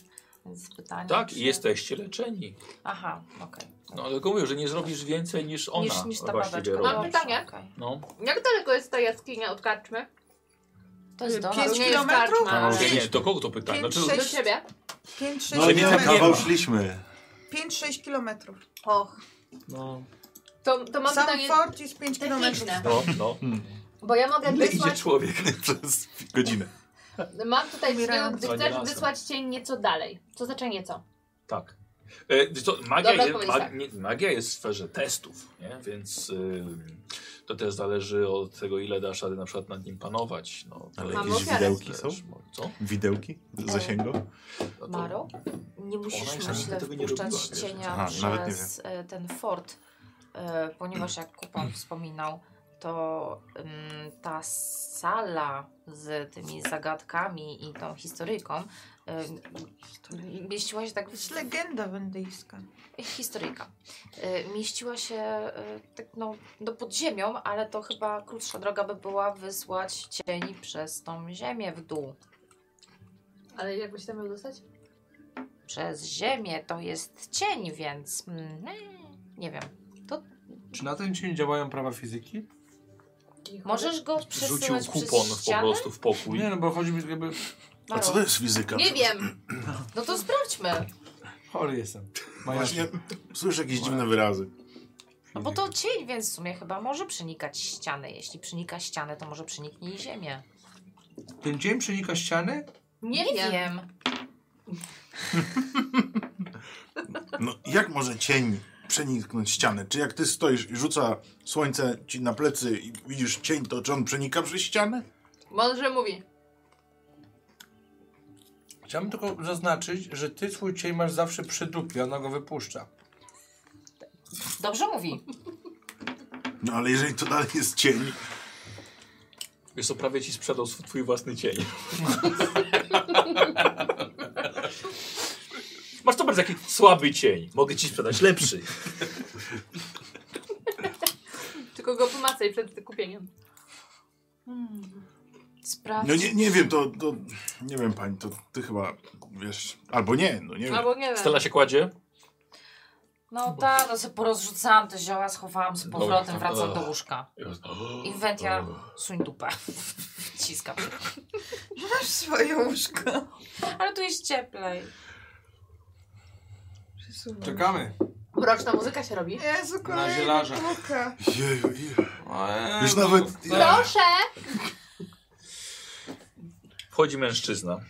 S7: Więc pytanie.
S1: Tak,
S7: czy...
S1: i jesteście leczeni.
S7: Aha, okej.
S1: No ale tylko mówię, że nie zrobisz więcej niż ona
S7: niż, niż ta
S1: właściwie
S7: babeczka.
S1: robi.
S4: Mam pytanie.
S7: okej.
S1: No,
S4: Jak daleko jest ta jaskinia od karczmy?
S7: To jest do nas.
S5: Pięć
S4: nie jest
S5: kilometrów?
S4: karczma, ale...
S1: nie, nie, do kogo to pytanie? Znaczy,
S5: Pięć,
S4: Do ciebie?
S5: Pięć, sześć
S2: No nie,
S1: Czyli
S2: tak
S1: tak nie
S2: kawał
S1: ma.
S2: szliśmy.
S5: 5-6 kilometrów. Och.
S1: No,
S4: To, to mam
S5: Sam
S4: pytanie
S5: fort jest 5 kilometrów.
S4: techniczne,
S1: no, no.
S4: bo ja mogę
S10: Ile idzie
S4: wysłać,
S10: człowiek?
S2: Przez godzinę.
S4: mam tutaj
S5: Umierając.
S4: skill, gdy
S1: To nie
S4: chcesz
S1: razem.
S4: wysłać cię nieco dalej. Co znaczy nieco?
S1: Tak. E, to magia,
S4: Dobra,
S1: je,
S4: powiedz
S1: ma,
S4: tak.
S1: nie, magia jest w sferze testów, nie? więc ym, to też zależy od tego, ile dasz rady na przykład nad nim panować. No, to
S2: Ale
S4: Mam
S2: jakieś
S4: ofiarę.
S2: widełki
S1: też
S2: są?
S1: mo- Co?
S2: Widełki? Zasięgu?
S1: No to-
S7: Maro, nie
S1: Ona
S7: musisz
S1: jeszcze
S7: myślę
S1: tego nie
S7: wpuszczać
S1: robiła, wiesz.
S7: cienia
S2: Aha, nawet nie
S7: przez e, ten fort, e, ponieważ jak Kupon wspominał, to ym, ta sala z tymi zagadkami i tą historyjką y, mieściła się tak
S5: To jest legenda wendyjska.
S7: historyjka. Y, Mieściła się y, tak no, do podziemią, ale to chyba krótsza droga by była wysłać cień przez tą ziemię w dół.
S4: Ale jakbyś tam miał dostać?
S7: Przez ziemię to jest cień, więc mm, nie wiem.
S6: Czy na ten dzień działają prawa fizyki?
S7: Możesz go
S1: Rzucił
S7: przesunąć
S1: kupon
S7: przez
S1: po
S7: ścianę?
S1: prostu w pokój.
S6: Nie, no bo chodzi mi jakby...
S2: A co to jest fizyka?
S4: Nie wiem.
S7: No to sprawdźmy.
S6: Chory jestem.
S2: Właśnie słyszę jakieś dziwne wyrazy.
S7: No bo to cień, więc w sumie chyba może przenikać ściany. Jeśli przenika ścianę, to może przeniknie i ziemię.
S6: Ten dzień przenika ściany?
S7: Nie,
S4: wiem.
S7: wiem.
S2: No jak może cień przeniknąć ścianę? Czy jak ty stoisz i rzuca słońce ci na plecy i widzisz cień, to czy on przenika przez ścianę?
S4: Mądrze mówi.
S6: Chciałbym tylko zaznaczyć, że ty swój cień masz zawsze przy dupie, ona go wypuszcza.
S7: Dobrze mówi.
S2: No ale jeżeli to dalej jest cień,
S1: Wiesz co, prawie ci sprzedał sw- twój własny cień. Masz to bardzo taki słaby cień. Mogę ci sprzedać lepszy.
S4: Tylko go pomacaj przed kupieniem.
S7: Sprawdź.
S2: no nie, nie wiem, to, to nie wiem pani, to ty chyba wiesz, albo nie, no nie wiem.
S4: Albo nie wiem.
S1: Stella się kładzie.
S7: No tak, no sobie porozrzucałam te zioła, schowałam z powrotem, wracam do łóżka. Inwentia, suń dupę. Wciskam.
S5: Masz swoje łóżko.
S7: Ale tu jest cieplej.
S6: Czekamy.
S4: Mroczna muzyka się robi.
S5: Jezu,
S6: Na
S5: kolejna
S6: zielarza.
S5: taka.
S2: Jeju, ile.
S6: Eee,
S2: Już
S6: no
S2: nawet-
S6: to-
S4: Proszę!
S1: Wchodzi mężczyzna.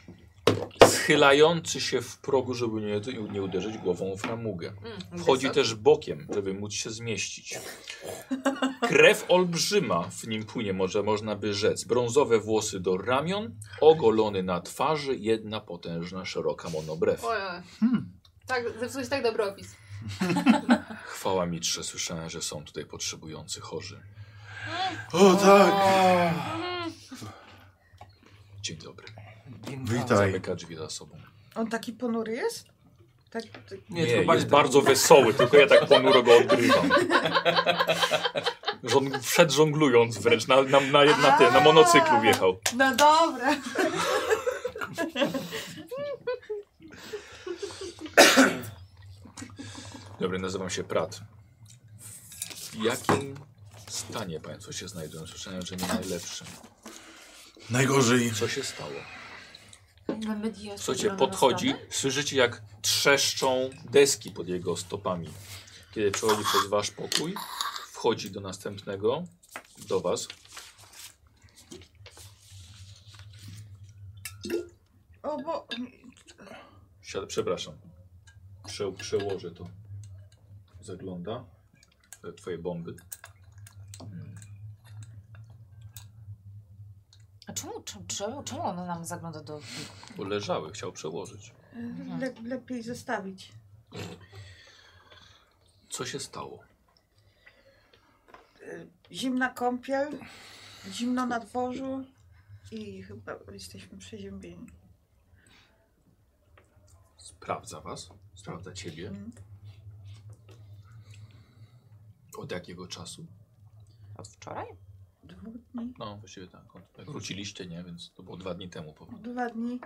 S1: Schylający się w progu, żeby nie, nie uderzyć głową w ramugę. Wchodzi też bokiem, żeby móc się zmieścić. Krew olbrzyma w nim płynie, może można by rzec. Brązowe włosy do ramion, ogolony na twarzy, jedna potężna, szeroka monobrew.
S4: Oj, oj.
S2: Hmm.
S4: Tak, zepsułeś tak dobry opis.
S1: Chwała mitrze, słyszałem, że są tutaj potrzebujący chorzy.
S2: O tak!
S1: Dzień dobry.
S2: Witaj.
S1: Zamyka drzwi za sobą.
S5: On taki ponury jest? Tak, tak.
S1: Nie,
S6: Nie,
S1: jest
S6: tylko
S1: bardzo, wesoły, tylko ja tak ponuro go odgrywam. Żon wszedł żonglując wręcz, na, na, na, na, ty, na monocyklu wjechał.
S5: No dobra.
S1: Dobry, nazywam się Prat. W jakim stanie Państwo się znajdują? Słyszałem, że nie najlepszym.
S2: Najgorzej.
S1: Co się stało?
S7: Media
S1: Słuchajcie, podchodzi, słyszycie jak trzeszczą deski pod jego stopami. Kiedy przechodzi przez wasz pokój, wchodzi do następnego, do was.
S5: O bo...
S1: Siada, przepraszam. Prze, przełożę to. Zagląda. E, Twoje bomby.
S7: A czemu, czemu- czemu, czemu ona nam zagląda do...
S1: Bo leżały, chciał przełożyć.
S5: Le, lepiej zostawić.
S1: Co się stało?
S5: Y, Zimna kąpiel, zimno na dworzu i chyba jesteśmy przeziębieni.
S1: Sprawdza was. Sprawdza ciebie.
S5: Mhm.
S1: Od jakiego czasu?
S7: Od wczoraj?
S5: Dwóch dni,
S1: No, właściwie tak. Od, jak wróciliście, nie? Więc to było dwa dni temu. Pewnie.
S5: dwa dni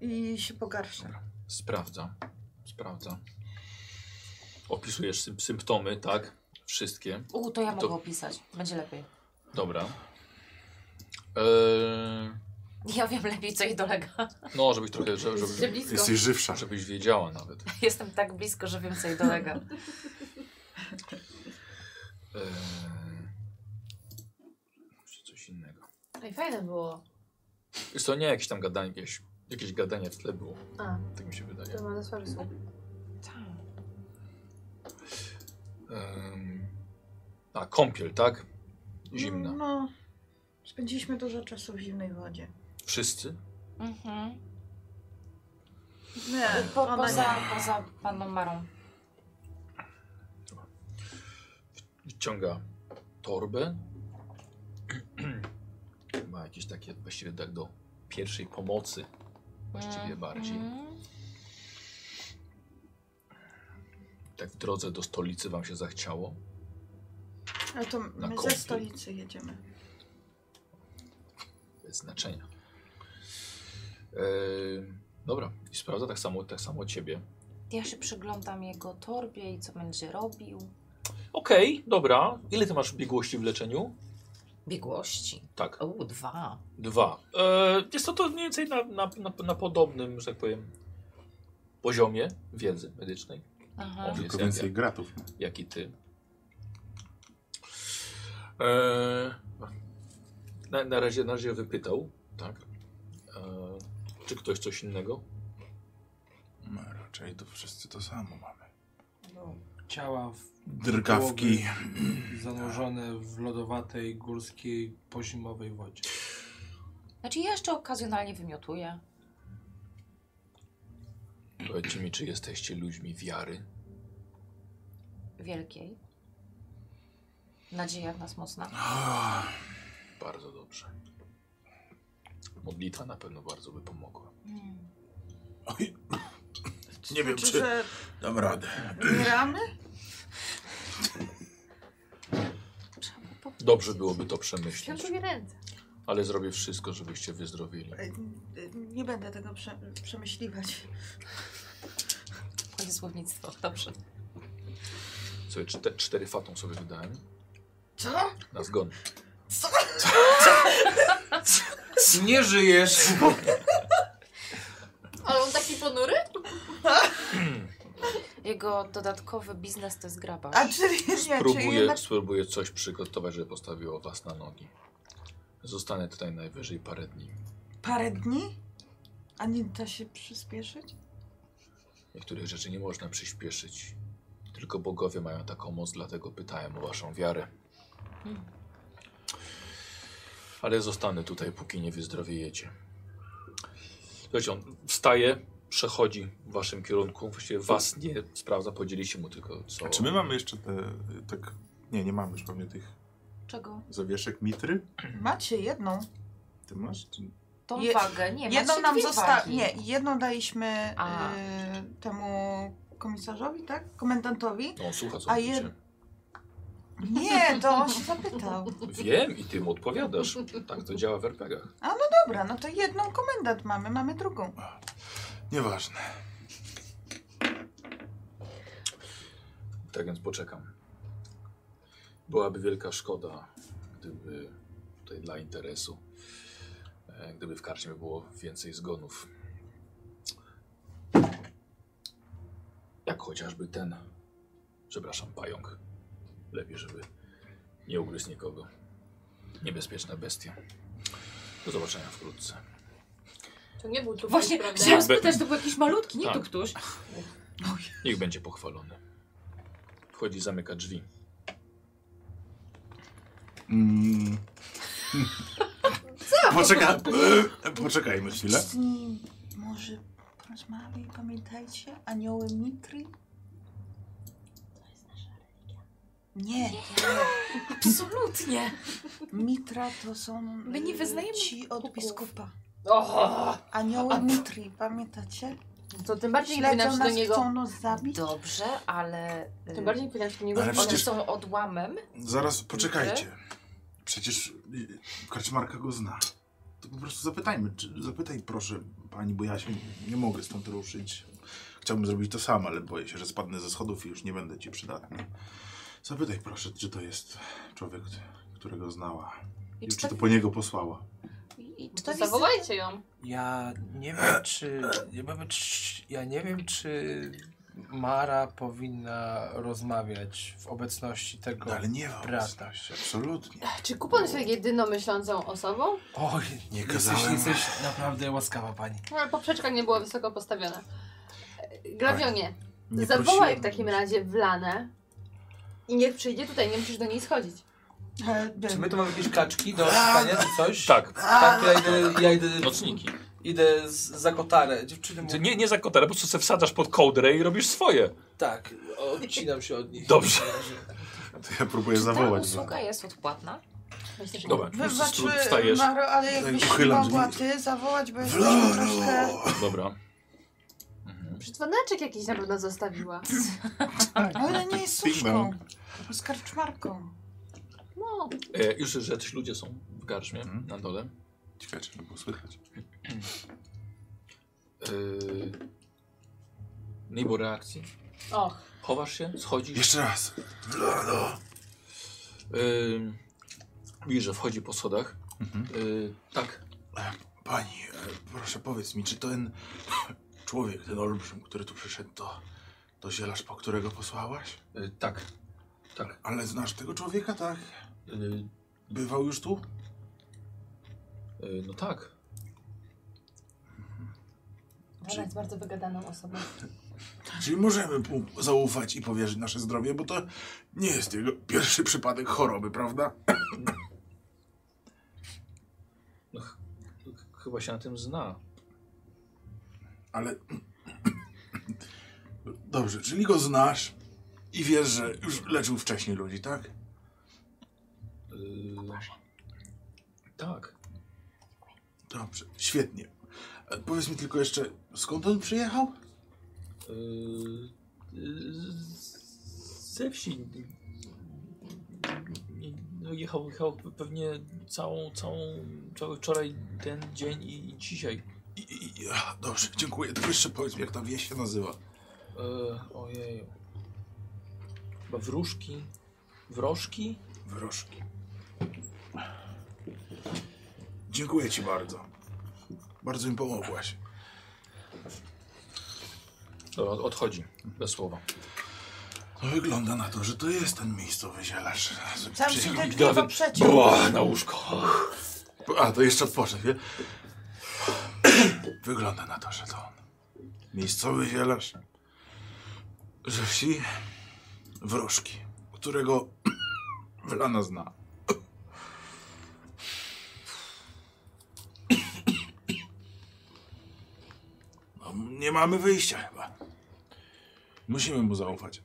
S5: i się pogarsza.
S1: Sprawdza. Sprawdza. Opisujesz sym- symptomy, tak? Wszystkie.
S7: U, to ja
S1: To-
S7: mogę opisać. Będzie lepiej.
S1: Dobra. Eee,
S7: Ja wiem lepiej, co jej dolega.
S1: No, żebyś trochę, żeby,
S4: Jesteście
S1: żeby,
S4: blisko.
S2: Jesteś żywsza.
S1: żebyś wiedziała nawet.
S7: Jestem tak blisko, że wiem, co jej dolega.
S1: Eee, Może coś innego.
S4: Ej, fajne było.
S1: Jest to nie jakieś tam gadanie, jakieś, jakieś gadanie w tle było.
S4: A,
S1: Tak mi się wydaje.
S4: to ma na słaby słuch.
S5: Tak.
S1: Ehm, a, kąpiel, tak? Zimna.
S5: No, spędziliśmy dużo czasu w zimnej wodzie.
S1: Wszyscy?
S7: Mhm.
S5: Nie,
S7: Po,
S5: ona
S7: poza, poza panną Marą.
S1: Wyciąga torbę. Ma jakieś takie właściwie tak do pierwszej pomocy. Właściwie bardziej.
S7: Mhm.
S1: Tak w drodze do stolicy wam się zachciało.
S5: nie. Ale to
S1: Na
S5: my ze
S1: kąpiel.
S5: stolicy jedziemy.
S1: bez znaczenia. E, dobra, i sprawdza tak samo, tak samo ciebie.
S7: Ja się przyglądam jego torbie i co będzie robił.
S1: Okej, dobra. Ile ty masz biegłości w leczeniu?
S7: Biegłości.
S1: Tak,
S7: O, dwa.
S1: dwa. E, jest to, to mniej więcej na, na, na, na podobnym, że tak powiem, poziomie wiedzy medycznej,
S7: Aha.
S1: Obie.
S2: Tylko
S1: Jest
S2: więcej
S1: jak-
S2: gratów.
S1: jak i ty. E, na, na, razie, na razie wypytał, tak? E, czy ktoś coś innego?
S2: No, raczej to wszyscy to samo mamy.
S6: No, ciała w,
S2: Drgawki.
S6: zanurzone w lodowatej, górskiej, pozimowej wodzie.
S7: Znaczy ja jeszcze okazjonalnie wymiotuję.
S1: Powiedzcie mi, czy jesteście ludźmi wiary?
S7: Wielkiej. Nadzieja w nas mocna.
S1: Bardzo dobrze. Modlitwa na pewno bardzo by pomogła.
S7: Mm.
S2: Oj, nie wiem,
S5: Znaczy,
S2: czy-
S5: że
S2: dam radę.
S5: umieramy?
S7: Trzeba było powiedzieć.
S1: Dobrze byłoby to przemyśleć,
S4: Świętuj ręce.
S1: ale zrobię wszystko, żebyście wyzdrowieli.
S5: E, e, Nie będę tego prze, przemyśliwać.
S7: Moje słownictwo. Dobrze.
S1: Sobie czte, cztery fatą sobie wydałem
S5: Co?
S1: na zgon.
S6: Nie żyjesz!
S4: Ale on taki ponury?
S7: Jego dodatkowy biznes to jest graba.
S5: A czy nie, czy
S1: Próbuję,
S5: jednak...
S1: spróbuję coś przygotować, żeby postawiło was na nogi. Zostanę tutaj najwyżej parę dni.
S5: Parę dni? A nie da się przyspieszyć?
S1: Niektórych rzeczy nie można przyspieszyć. Tylko bogowie mają taką moc, dlatego pytałem o waszą wiarę.
S7: Hmm.
S1: Ale zostanę tutaj, póki nie wyzdrowiejecie. Słuchajcie, on wstaje, przechodzi w waszym kierunku. Właściwie was nie sprawdza, podzieliście mu tylko co.
S2: A czy my mamy jeszcze te, y, tak, nie, nie mamy już pewnie tych
S7: Czego?
S2: zawieszek mitry?
S5: Macie jedną.
S2: Ty masz? Czy...
S7: Tą
S5: Je-
S7: wagę? Nie,
S5: jedną
S7: macie
S5: nam
S7: dwie
S5: została.
S7: wagi.
S5: Nie, jedną daliśmy
S7: A.
S5: y, temu komisarzowi, tak? Komendantowi.
S1: No, on słucha, co
S5: A
S1: mówicie.
S5: jed- Nie, to on się zapytał.
S1: Wiem i ty mu odpowiadasz. Tak to działa w RPGach.
S5: Dobra, no to jedną komendant mamy, mamy drugą.
S2: Nieważne.
S1: Tak więc poczekam. Byłaby wielka szkoda, gdyby tutaj dla interesu, e, gdyby w karczmie było więcej zgonów. Jak chociażby ten, przepraszam, pająk. Lepiej, żeby nie ugryzł nikogo. Niebezpieczna bestia. Do zobaczenia wkrótce.
S4: To nie był tu
S7: Właśnie,
S4: prawda?
S7: chciałam spytać, to był jakiś malutki, nie
S1: Tak.
S7: tu ktoś.
S1: Niech będzie pochwalony. Wchodzi, zamyka drzwi.
S2: Mm. Co? Poczeka... Poczekajmy chwilę.
S5: Z nim może porozmawiaj, pamiętajcie? Anioły Mitri? To jest nasza religia.
S7: Absolutnie.
S5: Nie, Mitra to są
S7: My nie
S5: y,
S7: wyznajemy
S5: ci od
S7: Bogów.
S5: biskupa.
S4: O,
S5: Anioły Mitri, pamiętacie?
S4: to tym bardziej nie
S5: Śledzą
S4: powinnam się
S5: nas,
S4: do niego...
S5: chcą nas zabić.
S7: Dobrze, ale... y,
S4: Tym bardziej nie powinnam się do niego...
S2: Ale
S7: One
S2: przecież-
S7: są odłamem.
S2: Zaraz, poczekajcie. Przecież y, karczmarka go zna. To po prostu zapytajmy, czy, zapytaj proszę pani, bo ja się nie mogę stąd ruszyć. Chciałbym zrobić to sam, ale boję się, że spadnę ze schodów i już nie będę ci przydatny. Zapytaj proszę, czy to jest człowiek, którego znała
S7: I
S2: i
S7: czy
S2: czy
S7: tak-
S2: to po niego posłała.
S7: I
S4: To
S7: cztery
S4: zawołajcie ją.
S6: Ja nie wiem, czy. Ja, bym- czy- ja nie wiem, czy Mara powinna rozmawiać w obecności tego
S2: No, ale nie w
S6: brata.
S2: obecności, absolutnie.
S4: Czy kupon jest jedyną myślącą osobą?
S6: Oj,
S2: Nie
S6: jesteś,
S2: kazałem.
S6: jesteś naprawdę łaskawa pani.
S4: No, ale poprzeczka nie była wysoko postawiona. E, Grawionie,
S2: Tak, Nie
S4: zawołaj
S2: prosiłem.
S4: w takim razie Wlanę i niech przyjdzie tutaj, nie musisz do niej schodzić.
S5: E,
S6: Czy
S5: dym.
S6: my tu mamy jakieś klaczki do szukania czy coś?
S1: Tak,
S6: Tak, ja idę, ja idę,
S1: nocniki.
S6: idę z- za kotarę. Dziewczyny mu...
S1: Ty nie, nie za kotara, Tak, po prostu se wsadzasz pod kołdrę i robisz swoje.
S6: Tak, odcinam się od nich.
S1: Dobrze.
S2: To ja próbuję
S7: Czy ta
S2: zawołać.
S7: usługa jest odpłatna?
S4: Myślę, że nie.
S1: Dobra, po prostu
S5: Wybaczy,
S1: stru- wstajesz.
S5: znaczy, Maro, ale jakbyś
S2: Uchylam
S5: mogła
S2: drzwi.
S5: ty zawołać, bo jesteśmy troszkę...
S2: Floro!
S1: Dobra.
S4: Przy dzwoneczek jakiś na pewno zostawiła.
S5: Ale nie jest
S2: Big
S5: suszką. Z karczmarką.
S4: No,
S1: E, już, że jacyś ludzie są w garczmie,
S2: Mhm.
S1: na dole.
S2: Ciekawe, czy to było słychać.
S1: E, nie było reakcji.
S4: och.
S1: Chowasz się, schodzisz.
S2: Jeszcze raz. Floro!
S1: Yy, widzisz, że wchodzi po schodach.
S2: Mhm.
S1: Y, tak,
S2: Pani, e, proszę powiedz mi, czy ten człowiek, ten olbrzym, który tu przyszedł, to, to zielarz, po którego posłałaś?
S1: y, tak.
S2: Ale znasz tego człowieka, tak?
S1: Y,
S2: Bywał już tu?
S1: y, no tak.
S4: Ona jest bardzo wygadaną osobą.
S2: Czyli możemy mu zaufać i powierzyć nasze zdrowie, bo to nie jest jego pierwszy przypadek choroby, prawda?
S1: No, ch ch- chyba się na tym zna.
S2: Ale... Dobrze, czyli go znasz i wiesz, że już leczył wcześniej ludzi, tak?
S1: Y, tak.
S2: Dobrze, świetnie. E, Powiedz mi tylko jeszcze, skąd on przyjechał?
S1: Y,
S6: Yy,
S1: y, z- ze wsi. Nie- No jechał, jechał pewnie całą, całą, cały wczoraj ten dzień i, i dzisiaj.
S2: I, i, i, a, dobrze, dziękuję. Tylko jeszcze powiedz mi, jak ta wieś się nazywa.
S6: Yy,
S1: E, ojej. Chyba wróżki. Wrożki?
S2: Wróżki. Dziękuję ci bardzo. Bardzo mi pomogłaś.
S1: Dobra, od- odchodzi. Bez słowa.
S2: To wygląda na to, że to jest ten miejscowy zielarz.
S5: Tam się
S2: Przyjechał-
S5: te drzwi
S1: Gawin-
S5: poprzeciął.
S1: Była na łóżko.
S2: A, to jeszcze odpocznę, wie? Wygląda na to, że to on. Miejscowy zielarz ze wsi Wróżki, którego Wlana zna. No, nie mamy wyjścia chyba. Musimy mu zaufać.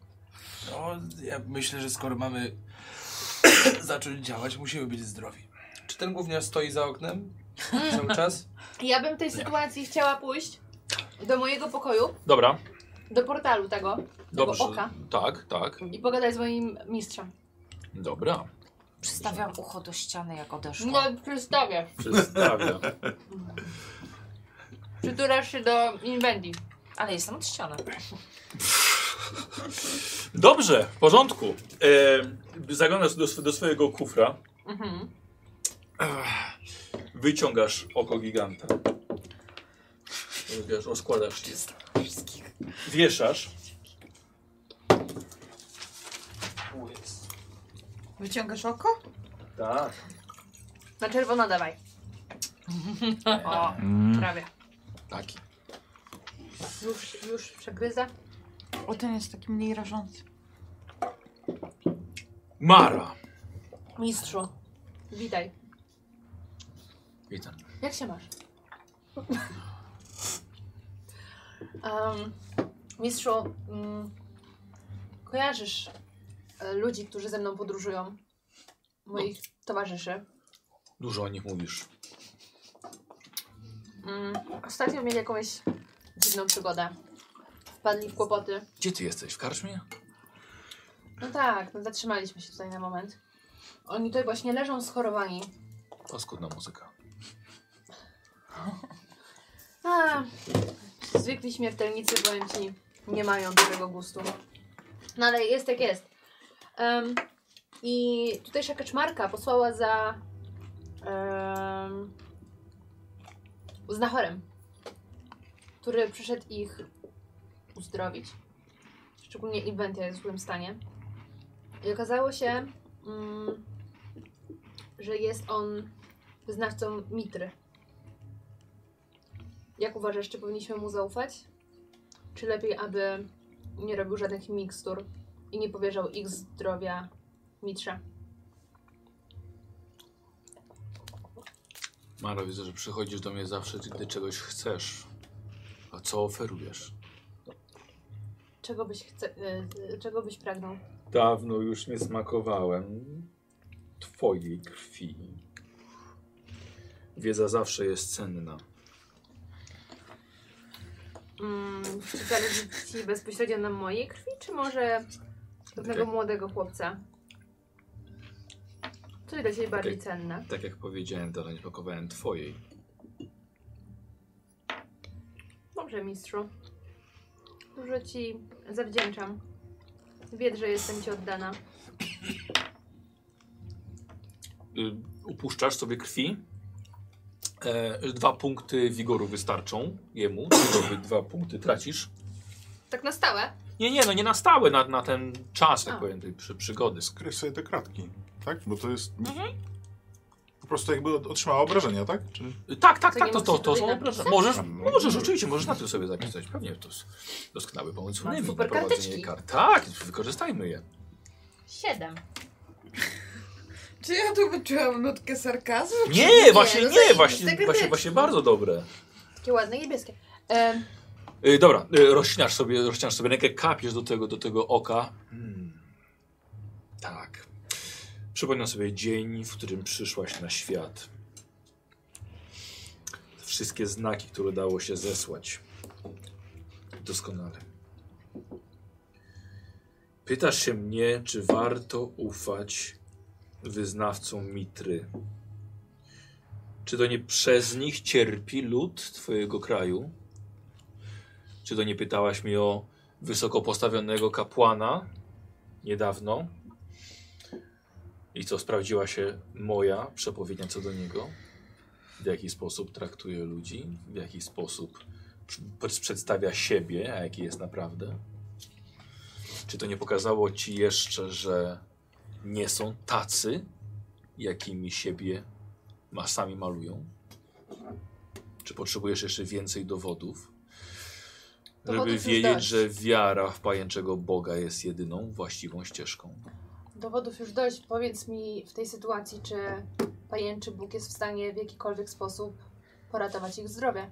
S6: No, ja myślę, że skoro mamy zacząć działać, musimy być zdrowi. Czy ten gówniarz stoi za oknem cały czas?
S4: Ja bym w tej sytuacji chciała pójść do mojego pokoju,
S1: Dobra,
S4: do portalu tego, tego
S1: dobrze.
S4: oka
S1: Tak, tak.
S4: i pogadać z moim mistrzem.
S1: Dobra.
S7: Przystawiam ucho do ściany, jak odeszła.
S4: No, przedstawię.
S1: Przedstawiam.
S4: Przyturasz się do Inwendi.
S7: Ale jestem od ściany.
S1: Dobrze, w porządku. E, zaglądasz do, sw- do swojego kufra.
S4: Mhm.
S1: Ach, Wyciągasz oko giganta. Wiesz, rozkładasz je. Wieszasz.
S5: Wyciągasz oko?
S1: Tak.
S4: Na czerwono dawaj. O, prawie.
S1: Taki.
S4: Już, już przegryza.
S5: O, ten jest taki mniej rażący.
S1: Mara.
S4: Mistrzu, witaj.
S1: Witam.
S4: Jak się masz? Em, Um, mistrzu, mm, kojarzysz e, ludzi, którzy ze mną podróżują? Moich towarzyszy.
S1: Dużo o nich mówisz.
S4: Mm, ostatnio mieli jakąś dziwną przygodę. Wpadli w kłopoty.
S1: Gdzie ty jesteś? W karczmie?
S4: No tak, no zatrzymaliśmy się tutaj na moment. Oni tutaj właśnie leżą schorowani.
S1: Paskudna muzyka.
S4: A, zwykli śmiertelnicy, powiem ci, nie mają dużego gustu. No ale jest jak jest. Em, I tutejsza kaczmarka posłała za em, z Nahorem, który przyszedł ich uzdrowić. Szczególnie Inventia jest w złym stanie. I okazało się, mm, że jest on wyznawcą Mitry. Jak uważasz, czy powinniśmy mu zaufać? Czy lepiej, aby nie robił żadnych mikstur i nie powierzał ich zdrowia Mitrze?
S1: Mara, widzę, że przychodzisz do mnie zawsze, gdy czegoś chcesz. A co oferujesz?
S4: Czego byś, chce, y, y, czego byś pragnął?
S10: Dawno już nie smakowałem twojej krwi.
S1: Wiedza zawsze jest cenna.
S4: Mm, czy zależy ci bezpośrednio na mojej krwi, czy może pewnego
S1: Okej.
S4: młodego chłopca? Co jest dla ciebie bardziej
S1: Okej.
S4: cenne?
S1: Tak jak powiedziałem, dalej nie pakowałem twojej.
S4: Dobrze, mistrzu. Dużo ci zawdzięczam. Wiedz, że jestem ci oddana.
S1: Y, upuszczasz sobie krwi. E, dwa punkty wigoru wystarczą jemu. Tylko dwa punkty tracisz.
S4: Tak na stałe?
S1: Nie, nie, no nie na stałe, na, na ten czas,
S4: A.
S1: jak powiem, tej przy, przygody.
S2: Skreś sobie te kratki, tak? Bo to jest... Po prostu jakby od- otrzymała obrażenia, tak? Czy...
S1: Tak, tak,
S4: To
S1: tak,
S4: nie
S1: to, to,
S4: musisz
S1: to są
S4: tutaj
S1: obrażenia.
S4: napisać?
S1: Możesz,
S2: A, no.
S1: możesz, oczywiście, możesz na tym sobie zapisać. Pewnie to jest doskonały pomysł.
S7: Mam
S1: Nie,
S7: super
S1: prowadzenie
S7: karteczki.
S1: kart. Tak, wykorzystajmy je.
S7: Siedem.
S9: Czy ja tu wyczułam nutkę sarkazmu?
S1: Nie, właśnie
S9: no
S1: nie,
S9: zajebiste
S1: właśnie,
S9: karteczki.
S1: właśnie, właśnie bardzo dobre.
S4: Takie ładne niebieskie. Em,
S1: Y, dobra, y, rozcinasz sobie, rozcinasz sobie rękę, kapiesz do tego, do tego oka. Hmm. Tak. Przypominam sobie dzień, w którym przyszłaś na świat. Wszystkie znaki, które dało się zesłać. Doskonale. Pytasz się mnie, czy warto ufać wyznawcom Mitry. Czy to nie przez nich cierpi lud twojego kraju? Czy to nie pytałaś mnie o wysoko postawionego kapłana niedawno? I co sprawdziła się moja przepowiednia co do niego? W jaki sposób traktuje ludzi? W jaki sposób pr- przedstawia siebie, a jaki jest naprawdę? Czy to nie pokazało ci jeszcze, że nie są tacy, jakimi siebie ma- sami malują? Czy potrzebujesz jeszcze więcej dowodów?
S3: Dowodów
S1: żeby
S3: już
S1: wiedzieć,
S3: dałeś.
S1: że wiara w pajęczego Boga jest jedyną właściwą ścieżką.
S4: Dowodów już dość. Powiedz mi w tej sytuacji, czy pajęczy Bóg jest w stanie w jakikolwiek sposób poratować ich zdrowie.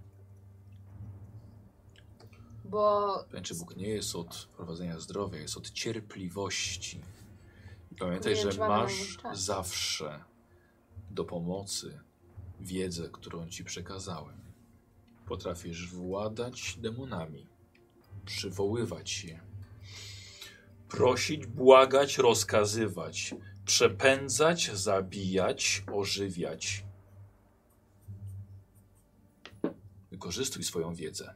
S4: Bo
S1: Pajęczy Bóg nie jest od prowadzenia zdrowia, jest od cierpliwości. I pamiętaj,
S4: Nie,
S1: że
S4: trzeba na nią
S1: masz
S4: czas.
S1: zawsze do pomocy wiedzę, którą ci przekazałem. Potrafisz władać demonami, przywoływać je, prosić, błagać, rozkazywać, przepędzać, zabijać, ożywiać. Wykorzystuj swoją wiedzę.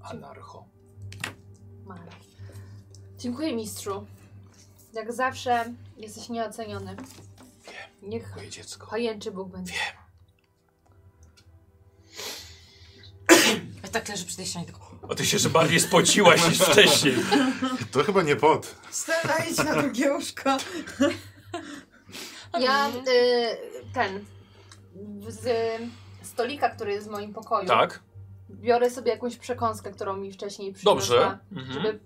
S1: Anarcho.
S4: Mara. Dziękuję mistrzu. Jak zawsze jesteś nieoceniony. Niech
S1: Moje dziecko.
S4: pajęczy Bóg będzie.
S7: Ja tak leży przy tej ścianie tylko...
S1: A ty się jeszcze bardziej spociłaś niż wcześniej.
S2: To chyba nie pot.
S9: Stara, idź na drugie łóżko.
S4: Ja y, ten z stolika, który jest w moim pokoju,
S1: Tak?
S4: biorę sobie jakąś przekąskę, którą mi wcześniej przyniosła.
S1: Dobrze. Mhm.
S4: Żeby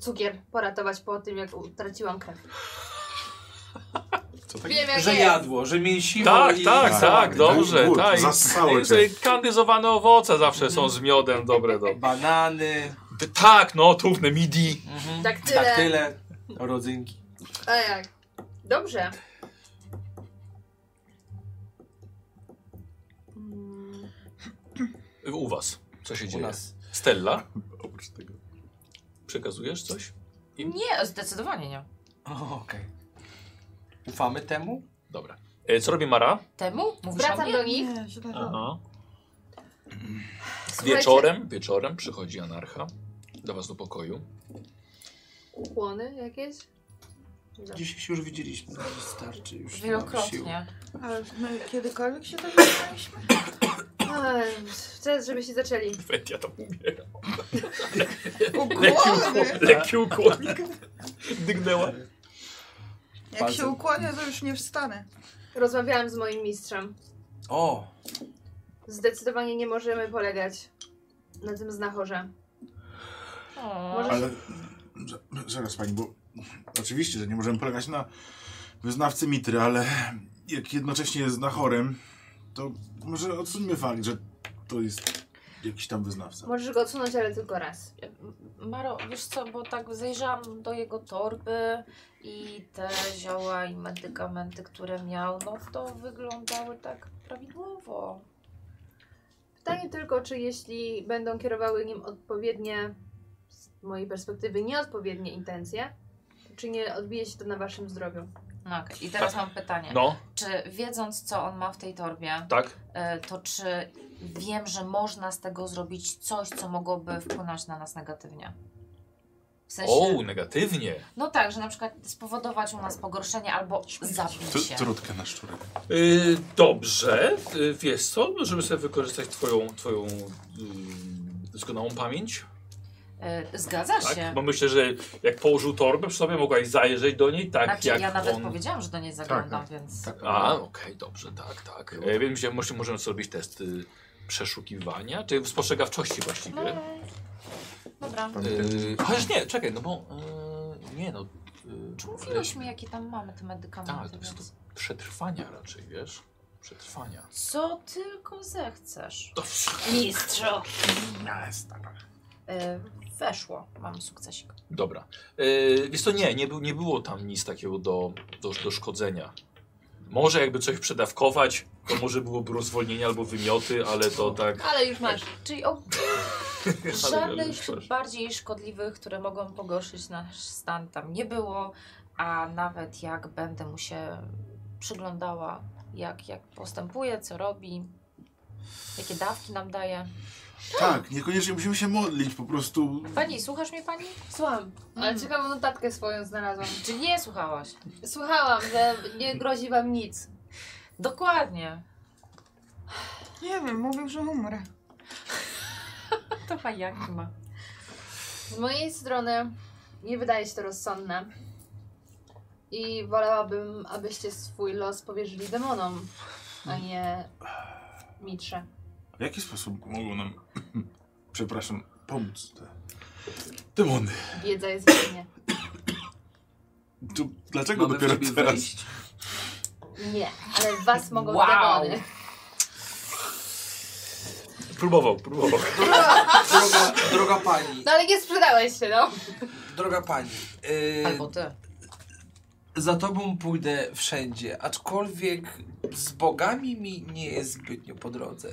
S4: cukier poratować po tym, jak utraciłam krew.
S2: Co tak?
S4: Wiem jak
S6: Że
S4: jest.
S6: jadło, że mięsiło
S1: Tak,
S6: i...
S1: tak, tak, dobrze.
S2: Głód,
S1: Tak.
S2: zasały
S1: I
S2: cię.
S1: tutaj Kandyzowane owoce zawsze są z miodem, dobre, dobre.
S6: Banany,
S1: Tak, no, trufne midi.
S6: mhm.
S4: Daktyle.
S6: daktyle, rodzynki.
S4: Tak A jak? Dobrze. Mm,
S1: U was. Co się
S6: U
S1: dzieje?
S6: nas.
S1: Stella,
S2: Oprócz tego.
S1: przekazujesz coś?
S7: Nie, zdecydowanie nie.
S6: O, Okej. Ufamy temu?
S1: Dobra. E, co robi Mara?
S7: Temu? Mówisz o
S4: Wracam
S7: mnie?
S4: do nich.
S5: Nie, źle robię.
S1: Aha.
S4: Słuchajcie,
S1: Wieczorem, wieczorem przychodzi anarcha do was do pokoju.
S4: Ukłony jakieś?
S6: Dzisiaj się już widzieliśmy, ale wystarczy już. nie mam sił.
S7: Wielokrotnie.
S5: Ale my kiedykolwiek się dowiedzieliśmy?
S4: Ej, Teraz, żebyście zaczęli.
S10: Fetia tam umiera.
S5: Ukłony!
S10: Lekki ukłonik. Dygnęła.
S5: Jak się ukłonię, to już nie wstanę.
S4: Rozmawiałam z moim mistrzem.
S6: O,
S4: Zdecydowanie nie możemy polegać na tym znachorze.
S7: O,
S4: Może-
S2: Ale za- zaraz pani, bo oczywiście, że nie możemy polegać na wyznawcy mitry, ale jak jednocześnie jest nachorem, to może odsuńmy fakt, że to jest jakiś tam wyznawca.
S4: Możesz go odsunąć, ale tylko raz.
S7: Maro, wiesz co, bo tak zajrzałam do jego torby i te zioła i medykamenty, które miał, no to wyglądały tak prawidłowo.
S4: Pytanie tylko, czy jeśli będą kierowały nim odpowiednie, z mojej perspektywy, nieodpowiednie intencje, czy nie odbije się to na waszym zdrowiu?
S7: No okej, i teraz mam pytanie.
S1: No,
S7: Czy wiedząc, co on ma w tej torbie,
S1: tak.
S7: e, to czy wiem, że można z tego zrobić coś, co mogłoby wpłynąć na nas negatywnie? W sensie,
S1: O, negatywnie.
S7: no tak, że na przykład spowodować u nas pogorszenie albo
S2: Tr-
S7: zabić się.
S2: Trutkę na szczurek.
S1: Yy, dobrze, yy, wiesz co, możemy sobie wykorzystać twoją, twoją yy, doskonałą pamięć.
S7: E, Zgadza
S1: Tak?
S7: się.
S1: Bo myślę, że jak położył torbę przy sobie, mogłaś zajrzeć do niej, tak
S7: Znaczy,
S1: jak
S7: ja nawet
S1: on... Tak, no.
S7: powiedziałam, że do niej zaglądam, więc...
S1: A, okej, dobrze, tak, tak. E, wiem, że może- możemy zrobić test y, przeszukiwania, czy spostrzegawczości właściwie.
S7: No, dobra.
S1: Y, chociaż nie, czekaj, no bo... y, nie no... y,
S7: Czy mówiłeś mi, jakie tam mamy te medykamenty?
S1: Tak, to jest to
S7: więc-
S1: przetrwania raczej, wiesz? Przetrwania.
S7: Co tylko zechcesz.
S1: Dobrze.
S7: Mistrzu!
S2: Jest, tak.
S7: E, weszło. Mam sukcesik.
S1: Dobra. Yy, wiesz to nie, nie, był, nie było tam nic takiego do, do, do szkodzenia. Może jakby coś przedawkować, to może byłoby rozwolnienie albo wymioty, ale to tak...
S4: Ale już masz.
S7: Czyli o,
S1: Ale
S7: żadnych
S1: już masz.
S7: bardziej szkodliwych, które mogą pogorszyć nasz stan tam nie było, a nawet jak będę mu się przyglądała, jak, jak postępuje, co robi, jakie dawki nam daje.
S2: Tak, niekoniecznie musimy się modlić, po prostu...
S7: Pani, słuchasz mnie pani?
S4: Słucham, ale
S7: Mm.
S4: ciekawą notatkę swoją znalazłam.
S7: Czy nie słuchałaś?
S4: Słuchałam, że nie grozi wam nic.
S7: Dokładnie.
S5: Nie wiem, mówił, że umrę.
S7: To ma jak ma.
S4: Z mojej strony nie wydaje się to rozsądne. I wolałabym, abyście swój los powierzyli demonom, a nie mitrze.
S2: W jaki sposób mogą nam, przepraszam, pomóc te demony?
S4: Wiedza jest we mnie.
S2: To dlaczego
S6: mamy w
S2: dopiero
S6: ciebie
S2: teraz?
S6: wejść.
S4: Nie, ale w was mogą
S7: Wow.
S4: demony.
S1: Próbował, próbował.
S6: Droga, droga pani,
S4: No ale nie sprzedałeś się, no.
S6: droga pani. y,
S7: Albo ty.
S6: Za tobą pójdę wszędzie, aczkolwiek z bogami mi nie jest zbytnio po drodze.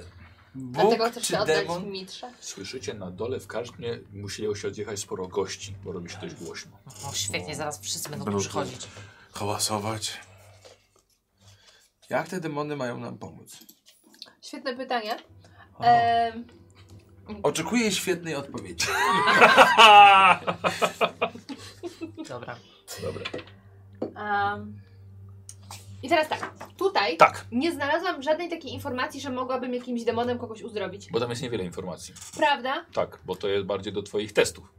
S6: Bóg
S4: Dlatego chcesz
S6: czy
S4: się oddać
S6: demon?
S4: mitrze.
S1: Słyszycie na dole w karczmie musieli się odjechać sporo gości, bo robi się dość głośno.
S7: O, świetnie, zaraz wszyscy będą tu
S2: Dobrze.
S7: przychodzić.
S2: Hałasować.
S6: Jak te demony mają nam pomóc?
S4: Świetne pytanie.
S6: O,
S4: Ehm,
S6: Oczekuję świetnej odpowiedzi.
S7: Dobra.
S1: Dobra.
S4: Em, I teraz tak, tutaj
S1: Tak,
S4: nie znalazłam żadnej takiej informacji, że mogłabym jakimś demonem kogoś uzdrowić.
S1: bo tam jest niewiele informacji.
S4: Prawda?
S1: Tak, bo to jest bardziej do twoich testów.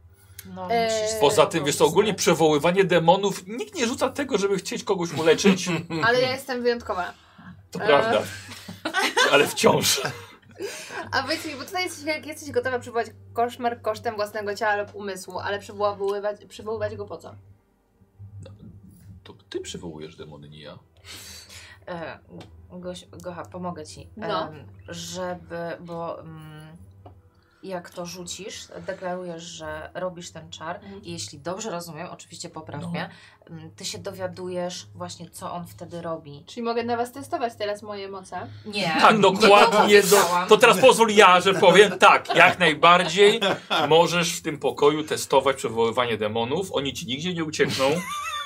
S7: No,
S3: E,
S4: Eee,
S7: musisz-
S1: Poza tym, wiesz co, ogólnie przywoływanie demonów, nikt nie rzuca tego, żeby chcieć kogoś uleczyć.
S6: Mhm.
S4: Ale ja jestem wyjątkowa.
S1: To prawda. Ale wciąż.
S4: A powiedz mi, bo tutaj jesteś, jak jesteś gotowa przywołać koszmar kosztem własnego ciała lub umysłu, ale przywoływać, przywoływać go po co?
S1: To ty przywołujesz demony, nie ja.
S7: E, Goś, Gocha, pomogę ci.
S4: No.
S7: Em, żeby, bo mm, jak to rzucisz, deklarujesz, że robisz ten czar
S4: Mhm.
S7: i jeśli dobrze rozumiem, oczywiście popraw
S1: No.
S7: mnie, mm, ty się dowiadujesz właśnie, co on wtedy robi.
S4: Czyli mogę na was testować teraz moje moce.
S7: Nie.
S1: Tak, dokładnie.
S7: Nie
S1: Do, to teraz pozwól ja, że powiem tak, jak najbardziej możesz w tym pokoju testować przywoływanie demonów. Oni ci nigdzie nie uciekną.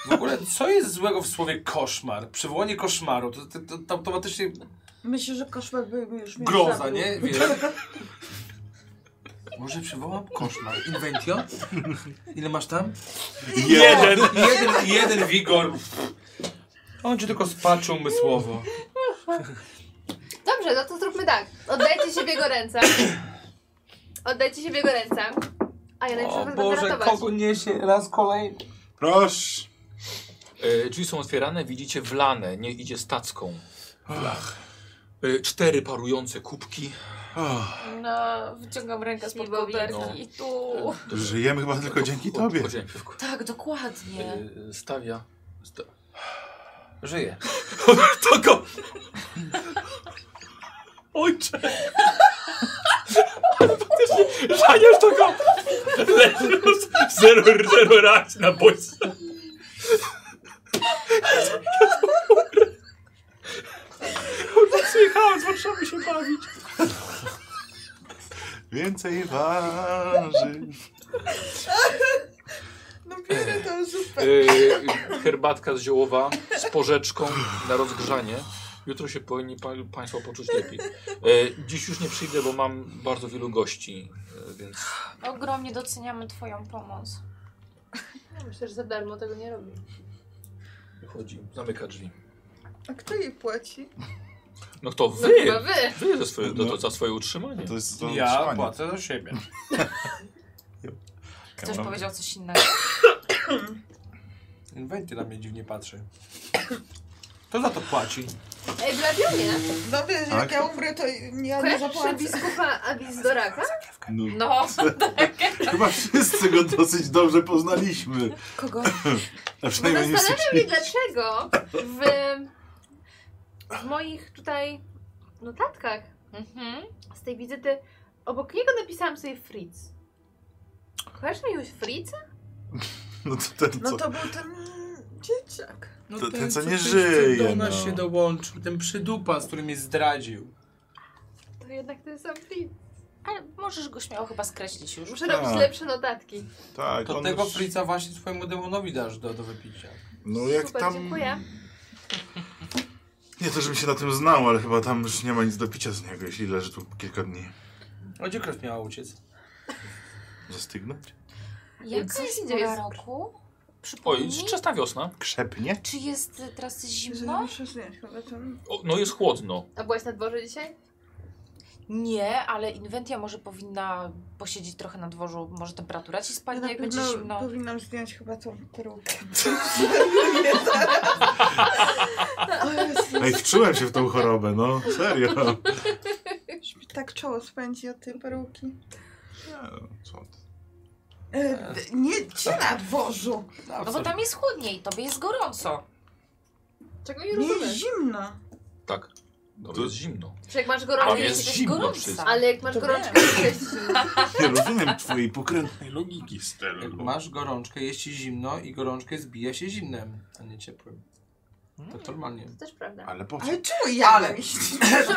S6: W ogóle, co jest złego w słowie koszmar? Przywołanie koszmaru, to, to, to, to automatycznie
S5: Myślę, że koszmar byłby już mnie
S6: groza,
S5: zabił.
S6: nie? Wiesz. Może przywołam koszmar. Inventio? Ile masz tam?
S10: Jeden.
S6: jeden, jeden wigor. On cię tylko spaczy umysłowo.
S4: Dobrze, no to zróbmy tak. Oddajcie się w jego ręce. Oddajcie się w jego ręce. A ja najpierw
S6: O
S4: was będę
S6: Boże,
S4: ratować.
S6: kogo niesie raz kolejny.
S2: Proszę.
S1: E, drzwi są otwierane, widzicie wlane, nie idzie stacką. E, cztery parujące kubki.
S2: Oh,
S3: No, wyciągam rękę spod
S4: Piwo,
S1: wino.
S3: koperki i tu.
S2: żyjemy chyba tylko dzięki tobie.
S1: Chodzimy piwko.
S7: Tak, dokładnie.
S1: E, Stawia. Sta
S6: Żyje.
S10: To go... Ojcze! Faktycznie, Żaniasz to go! Leży z- zero, zero raz na bodźce. Kurde, Przyjechałem z Warszawy się bawić.
S2: Więcej waży.
S5: No biorę tą zupę.
S1: E, herbatka z ziołowa z porzeczką na rozgrzanie. Jutro się powinni pa Państwo poczuć lepiej. E, dziś już nie przyjdę, bo mam bardzo wielu gości, e, więc
S3: Ogromnie doceniamy twoją pomoc.
S4: Ja Myślę, że za darmo tego nie robi.
S1: wychodzi, zamyka drzwi.
S5: A kto jej płaci?
S1: No to
S4: No
S1: wy!
S4: chyba wy.
S1: Wy za swoje, do, do, za swoje utrzymanie.
S2: To jest to
S6: Ja
S2: utrzymanie.
S6: płacę za siebie.
S7: Ktoś powiedział coś innego.
S6: Inwenty na mnie dziwnie patrzy. Kto za to płaci?
S4: Ej, w Labionie
S5: Dobrze, że
S2: Tak.
S5: No jak ja umrę, to ja nie
S4: kojarzysz się
S5: zapłacę.
S4: biskupa Abizdoraka?
S2: No,
S7: No,
S2: Chyba wszyscy go dosyć dobrze poznaliśmy.
S7: kogo?
S2: A
S4: Bo
S2: przynajmniej nie
S4: zastanawiam
S2: jesteśmy...
S4: się, dlaczego w, w moich tutaj notatkach
S7: Mhm.
S4: z tej wizyty obok niego napisałam sobie Fritz. Kojarzysz mi już Fritza?
S2: No to ten, co...
S5: No to był ten dzieciak.
S6: No
S2: To ten, co nie żyje,
S6: Do nas
S2: no.
S6: się dołączył, ten przydupa, z którym mnie zdradził.
S4: To jednak ten sam Fritz.
S7: Ale możesz go śmiało chyba skreślić już.
S4: Muszę robić
S2: Tak.
S4: lepsze notatki.
S2: Tak,
S6: To
S2: on
S6: tego
S2: już-
S6: frica właśnie swojemu demonowi dasz do, do wypicia.
S2: No jak
S4: Super,
S2: tam...
S4: dziękuję.
S2: Nie to, żebym się na tym znał, ale chyba tam już nie ma nic do picia z niego, jeśli leży tu kilka dni.
S6: A gdzie krew miała uciec?
S2: Zastygnąć?
S7: Jaka jest
S4: dzieje
S7: pora
S4: z-
S7: roku?
S1: Oj,
S7: Przypomnij,
S1: wczesna wiosna.
S2: Krzepnie?
S7: czy jest y, teraz
S5: Że
S7: zimno?
S5: muszę zjeść, chyba to...
S1: O, no jest chłodno.
S4: A byłaś na dworze dzisiaj?
S7: Nie, ale Inwentia może powinna posiedzieć trochę na dworzu, może temperatura ci
S5: Ja
S7: spadnie,
S5: na
S7: jak będzie
S5: pewno
S7: zimno.
S5: powinnam zdjąć chyba tą perukę.
S2: Ej, wczułem się w tą chorobę, no. Serio.
S5: Już mi tak czoło spędzi od tej peruki.
S2: Co ty?
S5: E, d- nie, gdzie na dworzu?
S7: No bo tam jest chłodniej, tobie jest gorąco.
S4: Czego nie
S5: Nie,
S4: rozumiesz?
S5: zimno.
S1: Tak. No
S2: To-
S1: jest zimno.
S4: Czy jak masz
S1: Tam
S4: gorączkę,
S1: jest
S7: też
S1: zimno
S7: gorąca.
S1: wszystko.
S4: ale jak masz
S5: To
S4: gorączkę,
S5: wiem.
S4: to jest zimno.
S2: Nie rozumiem twojej pokrętnej logiki,
S6: Jak
S2: Stelu.
S6: masz gorączkę, jest ci zimno i gorączkę zbija się zimnem, a nie ciepłym. To normalnie.
S4: To też prawda.
S2: Ale po co?
S5: Ale czemu ja
S6: Ale-
S5: mam iść?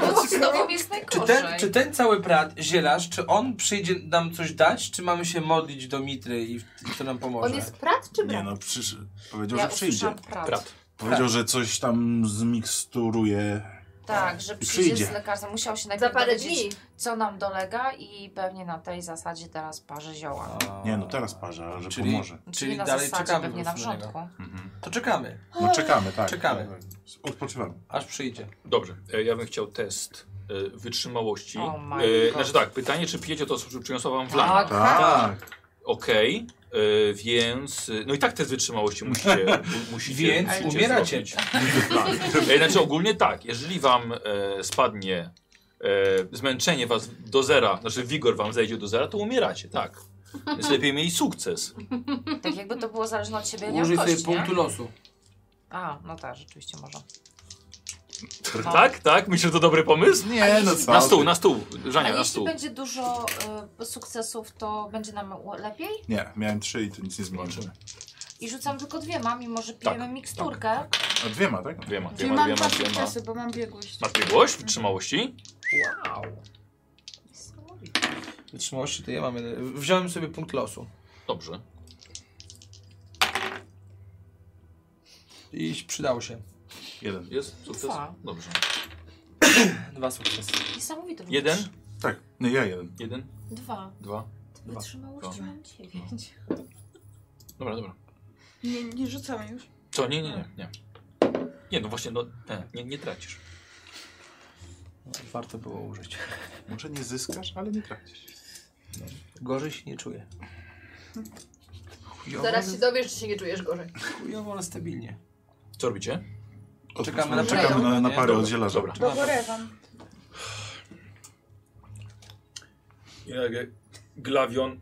S7: Bo z tobą jest
S6: Czy
S7: najgorzej.
S6: ten, czy ten cały brat, zielarz, czy on przyjdzie nam coś dać, czy mamy się modlić do Mitry i w- co nam pomoże?
S4: On jest prat czy
S2: Nie
S4: brat?
S2: no, przysz... powiedział,
S7: ja
S2: że przyjdzie.
S7: usłyszałam prawdę.
S1: Brat.
S2: Powiedział, że coś tam zmiksturuje.
S7: Tak, że
S2: I
S7: przyjdzie,
S2: przyjdzie.
S7: z lekarzem. Musiał się
S4: Za
S7: najpierw
S4: parę
S7: dowiedzieć,
S4: dni.
S7: co nam dolega i pewnie na tej zasadzie teraz parzę zioła.
S6: A-
S2: Nie no, teraz parze, ale że
S6: Czyli-
S2: pomoże.
S7: Czyli,
S6: Czyli
S7: na
S6: dalej
S7: zasadzie,
S6: czekamy
S7: pewnie
S6: po
S7: na
S6: prostu na niego.
S7: wrzątku.
S2: Mhm.
S6: To czekamy,
S2: No czekamy, tak.
S6: Czekamy.
S2: Odpoczywamy.
S6: aż przyjdzie.
S1: Dobrze, e, ja bym chciał test e, wytrzymałości.
S7: Oh my
S1: E,
S7: God.
S1: Znaczy tak, pytanie, czy pijecie to, co przyniosła wam wlana.
S7: Tak,
S2: Tak.
S1: Okej, e, więc... e, No i tak test wytrzymałości musicie, mu- musicie
S6: Więc
S1: musicie
S6: umieracie.
S1: zrobić. Tak. E, Znaczy ogólnie tak, jeżeli wam e, spadnie e, zmęczenie was do zera, znaczy wigor wam zejdzie do zera, to umieracie, tak. Więc lepiej mieli sukces.
S7: tak jakby to było zależne od siebie, nie
S6: Użyj
S7: od
S6: sobie
S7: kości, nie?
S6: punktu losu.
S7: A, no tak, rzeczywiście może.
S1: Tak, tak? Myślę, że to dobry pomysł?
S2: Nie, no co?
S1: Na stół, na stół,
S7: A
S1: Żania, na
S7: jeśli
S1: stół.
S7: będzie dużo y, sukcesów, to będzie nam u- lepiej?
S2: Nie, miałem trzy i to nic nie zmieniło.
S1: Zobaczymy.
S7: I rzucam tylko dwiema, mimo że pijemy
S1: Tak.
S7: miksturkę.
S2: A dwiema, tak?
S1: Dwiema,
S5: Czyli
S1: dwiema,
S5: mam
S1: dwiema,
S5: dwa
S1: dwiema.
S5: sukcesy, bo mam biegłość.
S1: Masz biegłość, wytrzymałości?
S6: Wow. Wytrzymałości to ja mam. jeden. Wziąłem sobie punkt losu.
S1: Dobrze.
S6: I przydało się.
S2: Jeden.
S1: Jest sukces?
S7: Dwa.
S1: Dobrze.
S6: Dwa sukcesy.
S7: Niesamowity.
S1: Jeden,
S7: wręcz.
S2: Tak, nie, ja jeden.
S1: jeden,
S7: Dwa.
S1: dwa. Dwa.
S3: Wytrzymałości mam dziewięć.
S1: Dobra, dobra.
S5: Nie, nie rzucam już.
S1: Co? Nie, nie, nie. Nie, nie no właśnie, no, nie, nie, nie tracisz.
S6: Warto było użyć.
S2: Może nie zyskasz, ale nie tracisz.
S6: Gorzej się nie czuję. Chujowo,
S4: Zaraz się dowiesz, czy się nie czujesz gorzej.
S6: chujowo ale stabilnie.
S1: Co robicie?
S6: Czekamy na
S2: Czekamy na, na
S6: Nie,
S2: parę
S6: dobra,
S2: oddzielarzy.
S1: dobra.
S5: Do Borewan.
S10: Jak glawion,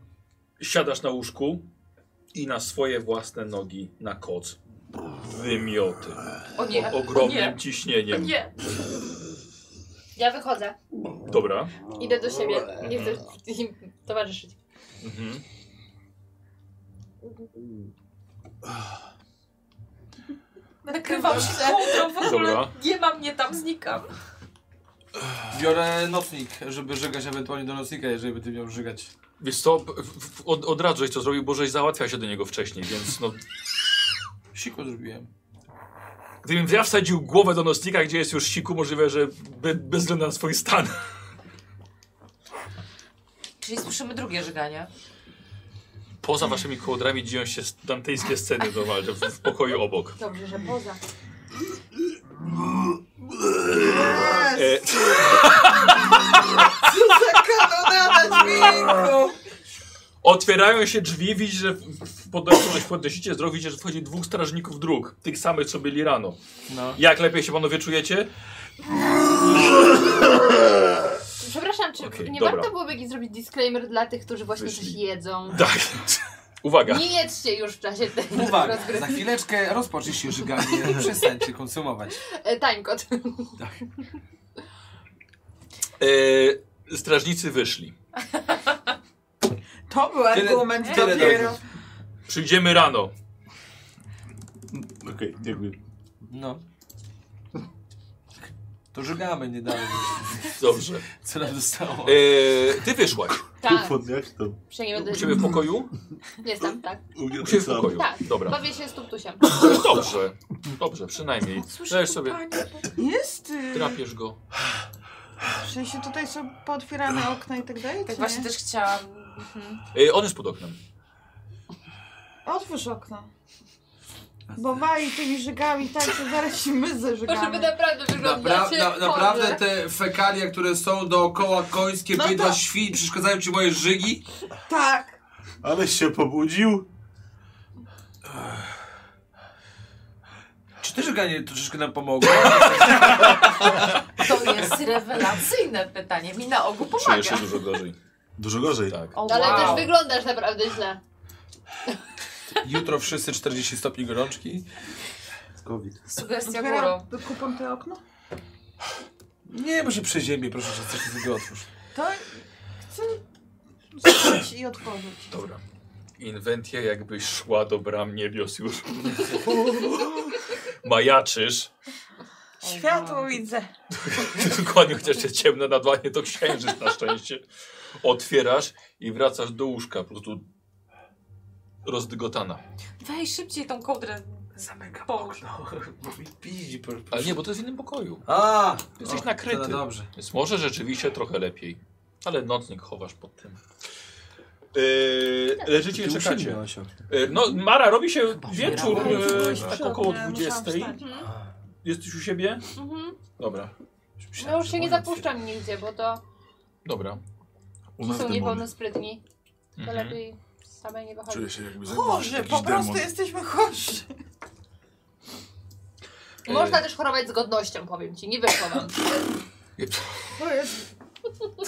S10: siadasz na łóżku i na swoje własne nogi na koc. Wymioty.
S7: O nie,
S10: Pod
S7: o
S10: ogromnym
S7: nie, o
S10: ciśnieniem.
S7: nie.
S4: Ja wychodzę.
S10: Dobra.
S4: Idę do siebie. Nie chcę im towarzyszyć.
S10: Mhm.
S7: Nakrywam się kołdrą, w ogóle
S10: Dobra.
S7: nie ma mnie tam, znikam.
S6: Biorę nocnik, żeby żygać ewentualnie do nocnika, jeżeli by ty miał żygać.
S1: Wiesz co, w- w- od, od razu żeś to zrobił, bo żeś załatwiał się do niego wcześniej, więc no...
S6: Siku zrobiłem.
S1: Gdybym ja wsadził głowę do nocnika, gdzie jest już siku, możliwe, że be, bez względu na swój stan.
S7: Czyli słyszymy drugie żyganie.
S1: Poza waszymi kołdrami dzieją się dantejskie sceny normalnie, w, w pokoju obok.
S4: Dobrze, że poza.
S1: E,
S5: Zakanonada dźwięku!
S1: otwierają się drzwi, widzisz, że w- w- podnoszą coś podnosicie, zdrowo widzicie, że wchodzi dwóch strażników dróg, tych samych, co byli rano.
S6: No.
S1: Jak lepiej się panowie czujecie?
S4: Przepraszam, czy
S1: Okej,
S4: nie
S1: dobra.
S4: warto byłoby jakiś zrobić disclaimer dla tych, którzy właśnie coś
S1: Wyszli.
S4: jedzą?
S1: Tak. Uwaga.
S4: Nie jedzcie już w czasie tej
S6: Uwaga,
S4: rozgrywki.
S6: za chwileczkę rozpocznie się żyganie i przestańcie konsumować.
S4: E, Tańkot.
S1: E, strażnicy wyszli.
S5: To był argument
S6: tyle
S5: dopiero.
S6: dobrze.
S1: Przyjdziemy rano.
S2: Okej, dziękuję.
S6: No. To żygamy niedalej.
S1: Dobrze.
S6: Co nam zostało?
S1: E, ty wyszłaś.
S4: Tak,
S2: Podniać to.
S4: przynajmniej
S1: U
S4: będę...
S1: ciebie w pokoju?
S4: Nie Jestem, tak.
S2: U mnie
S1: U
S2: tak
S1: ciebie w
S2: samo.
S1: pokoju.
S4: Tak.
S1: Dobra.
S4: Bawię się z tuptusiem.
S1: Dobrze. Dobrze, przynajmniej. Dajesz sobie,
S5: Jest. y,
S1: drapiesz go.
S5: W sensie tutaj są pootwierane okna i tak dalej?
S7: Tak
S5: czy
S7: właśnie
S5: nie?
S7: też chciałam.
S1: E, on jest pod oknem.
S5: Otwórz okno. Bo wali tymi żygami tak, że zaraz się my
S4: To, żeby
S5: zażygamy.
S4: naprawdę wyglądać
S6: Napra- na- naprawdę te fekalia, które są dookoła końskie,
S5: No to-
S6: bydła, świn, przeszkadzają ci moje żygi?
S5: Tak.
S2: Aleś się pobudził.
S6: Czy też żyganie troszeczkę nam pomogło?
S7: To jest rewelacyjne pytanie. Mi na ogół
S1: Czujesz się
S7: pomaga.
S1: dużo gorzej.
S2: Dużo gorzej.
S1: Tak.
S7: O,
S4: No, Ale
S7: wow.
S4: też wyglądasz naprawdę źle.
S6: Jutro wszyscy 40 stopni gorączki.
S2: COVID.
S7: Sugestia
S5: Otwieram
S7: górą.
S5: kupą te okno.
S6: Nie, bo się przeziębię, proszę cię, coś sobie otwórz.
S5: To chcę zacząć i otworzyć.
S1: Dobra. Inwentia jakbyś szła do bram niebios już. Majaczysz.
S5: Światło widzę.
S1: Dokładnie, chociaż jest ciemno na dłanie, to księżyc na szczęście. Otwierasz i wracasz do łóżka, po prostu rozdygotana.
S7: Weź szybciej tą kołdrę.
S6: Zamykam
S7: Połóż.
S6: okno, No, bo mi piździ, proszę.
S1: Ale nie, bo to jest w innym pokoju.
S6: A!
S1: Jesteś
S6: o,
S1: nakryty.
S6: to dobrze.
S1: Więc może rzeczywiście trochę lepiej. Ale nocnik chowasz pod tym. Yy, leżycie i czekacie. Yy, no, Mara, robi się wieczór yy, tak około
S5: Ja musiałam
S1: 20.
S5: wstać.
S1: Jesteś u siebie?
S4: Mhm.
S1: Dobra,
S4: No już się nie zapuszczam nigdzie, bo to
S1: dobra.
S2: U
S4: ci
S2: nas
S4: są
S2: demony.
S4: niepełnosprytni. To
S1: Mhm.
S4: lepiej samej nie wychodzi.
S2: Czuję się jakby zagrożony.
S5: Chorzy, po prostu jesteśmy chorzy.
S4: Można też chorować z godnością, powiem ci. Nie wyszło wam.
S5: To jest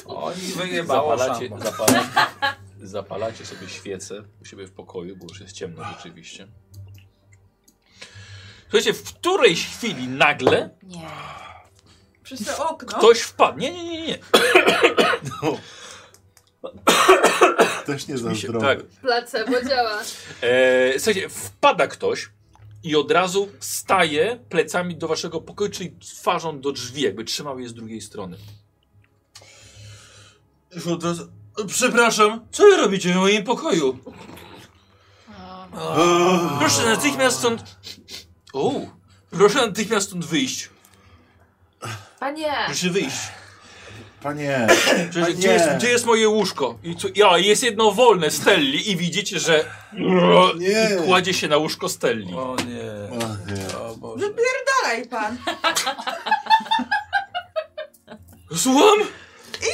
S6: Oni wyjebało
S1: Zapalacie,
S6: szambo.
S1: zapalacie, zapalacie sobie świecę u siebie w pokoju, bo już jest ciemno rzeczywiście. Słuchajcie, w którejś chwili nagle
S7: Nie.
S5: przez to
S6: No.
S5: okno.
S1: ktoś wpadł. Nie, nie, nie, nie.
S2: Też nie za
S1: Mi się-
S2: zdrowy.
S1: Tak.
S4: Placebo działa.
S1: E, słuchajcie, wpada ktoś i od razu staje plecami do waszego pokoju, czyli twarzą do drzwi, jakby trzymał je z drugiej strony. Już od razu- Przepraszam, co wy robicie w moim pokoju?
S2: Eee,
S1: Proszę natychmiast stąd. O, proszę natychmiast stąd wyjść.
S7: Panie,
S1: Proszę wyjść.
S2: Panie,
S10: Przecież,
S2: panie.
S10: gdzie, jest, gdzie jest moje łóżko? I co, ja, jest jedno wolne Stelli i widzicie, że
S2: Nie.
S10: I kładzie się na łóżko Stelli.
S6: O nie.
S2: O nie.
S6: O Boże.
S5: Wypierdalaj pan.
S10: Słucham?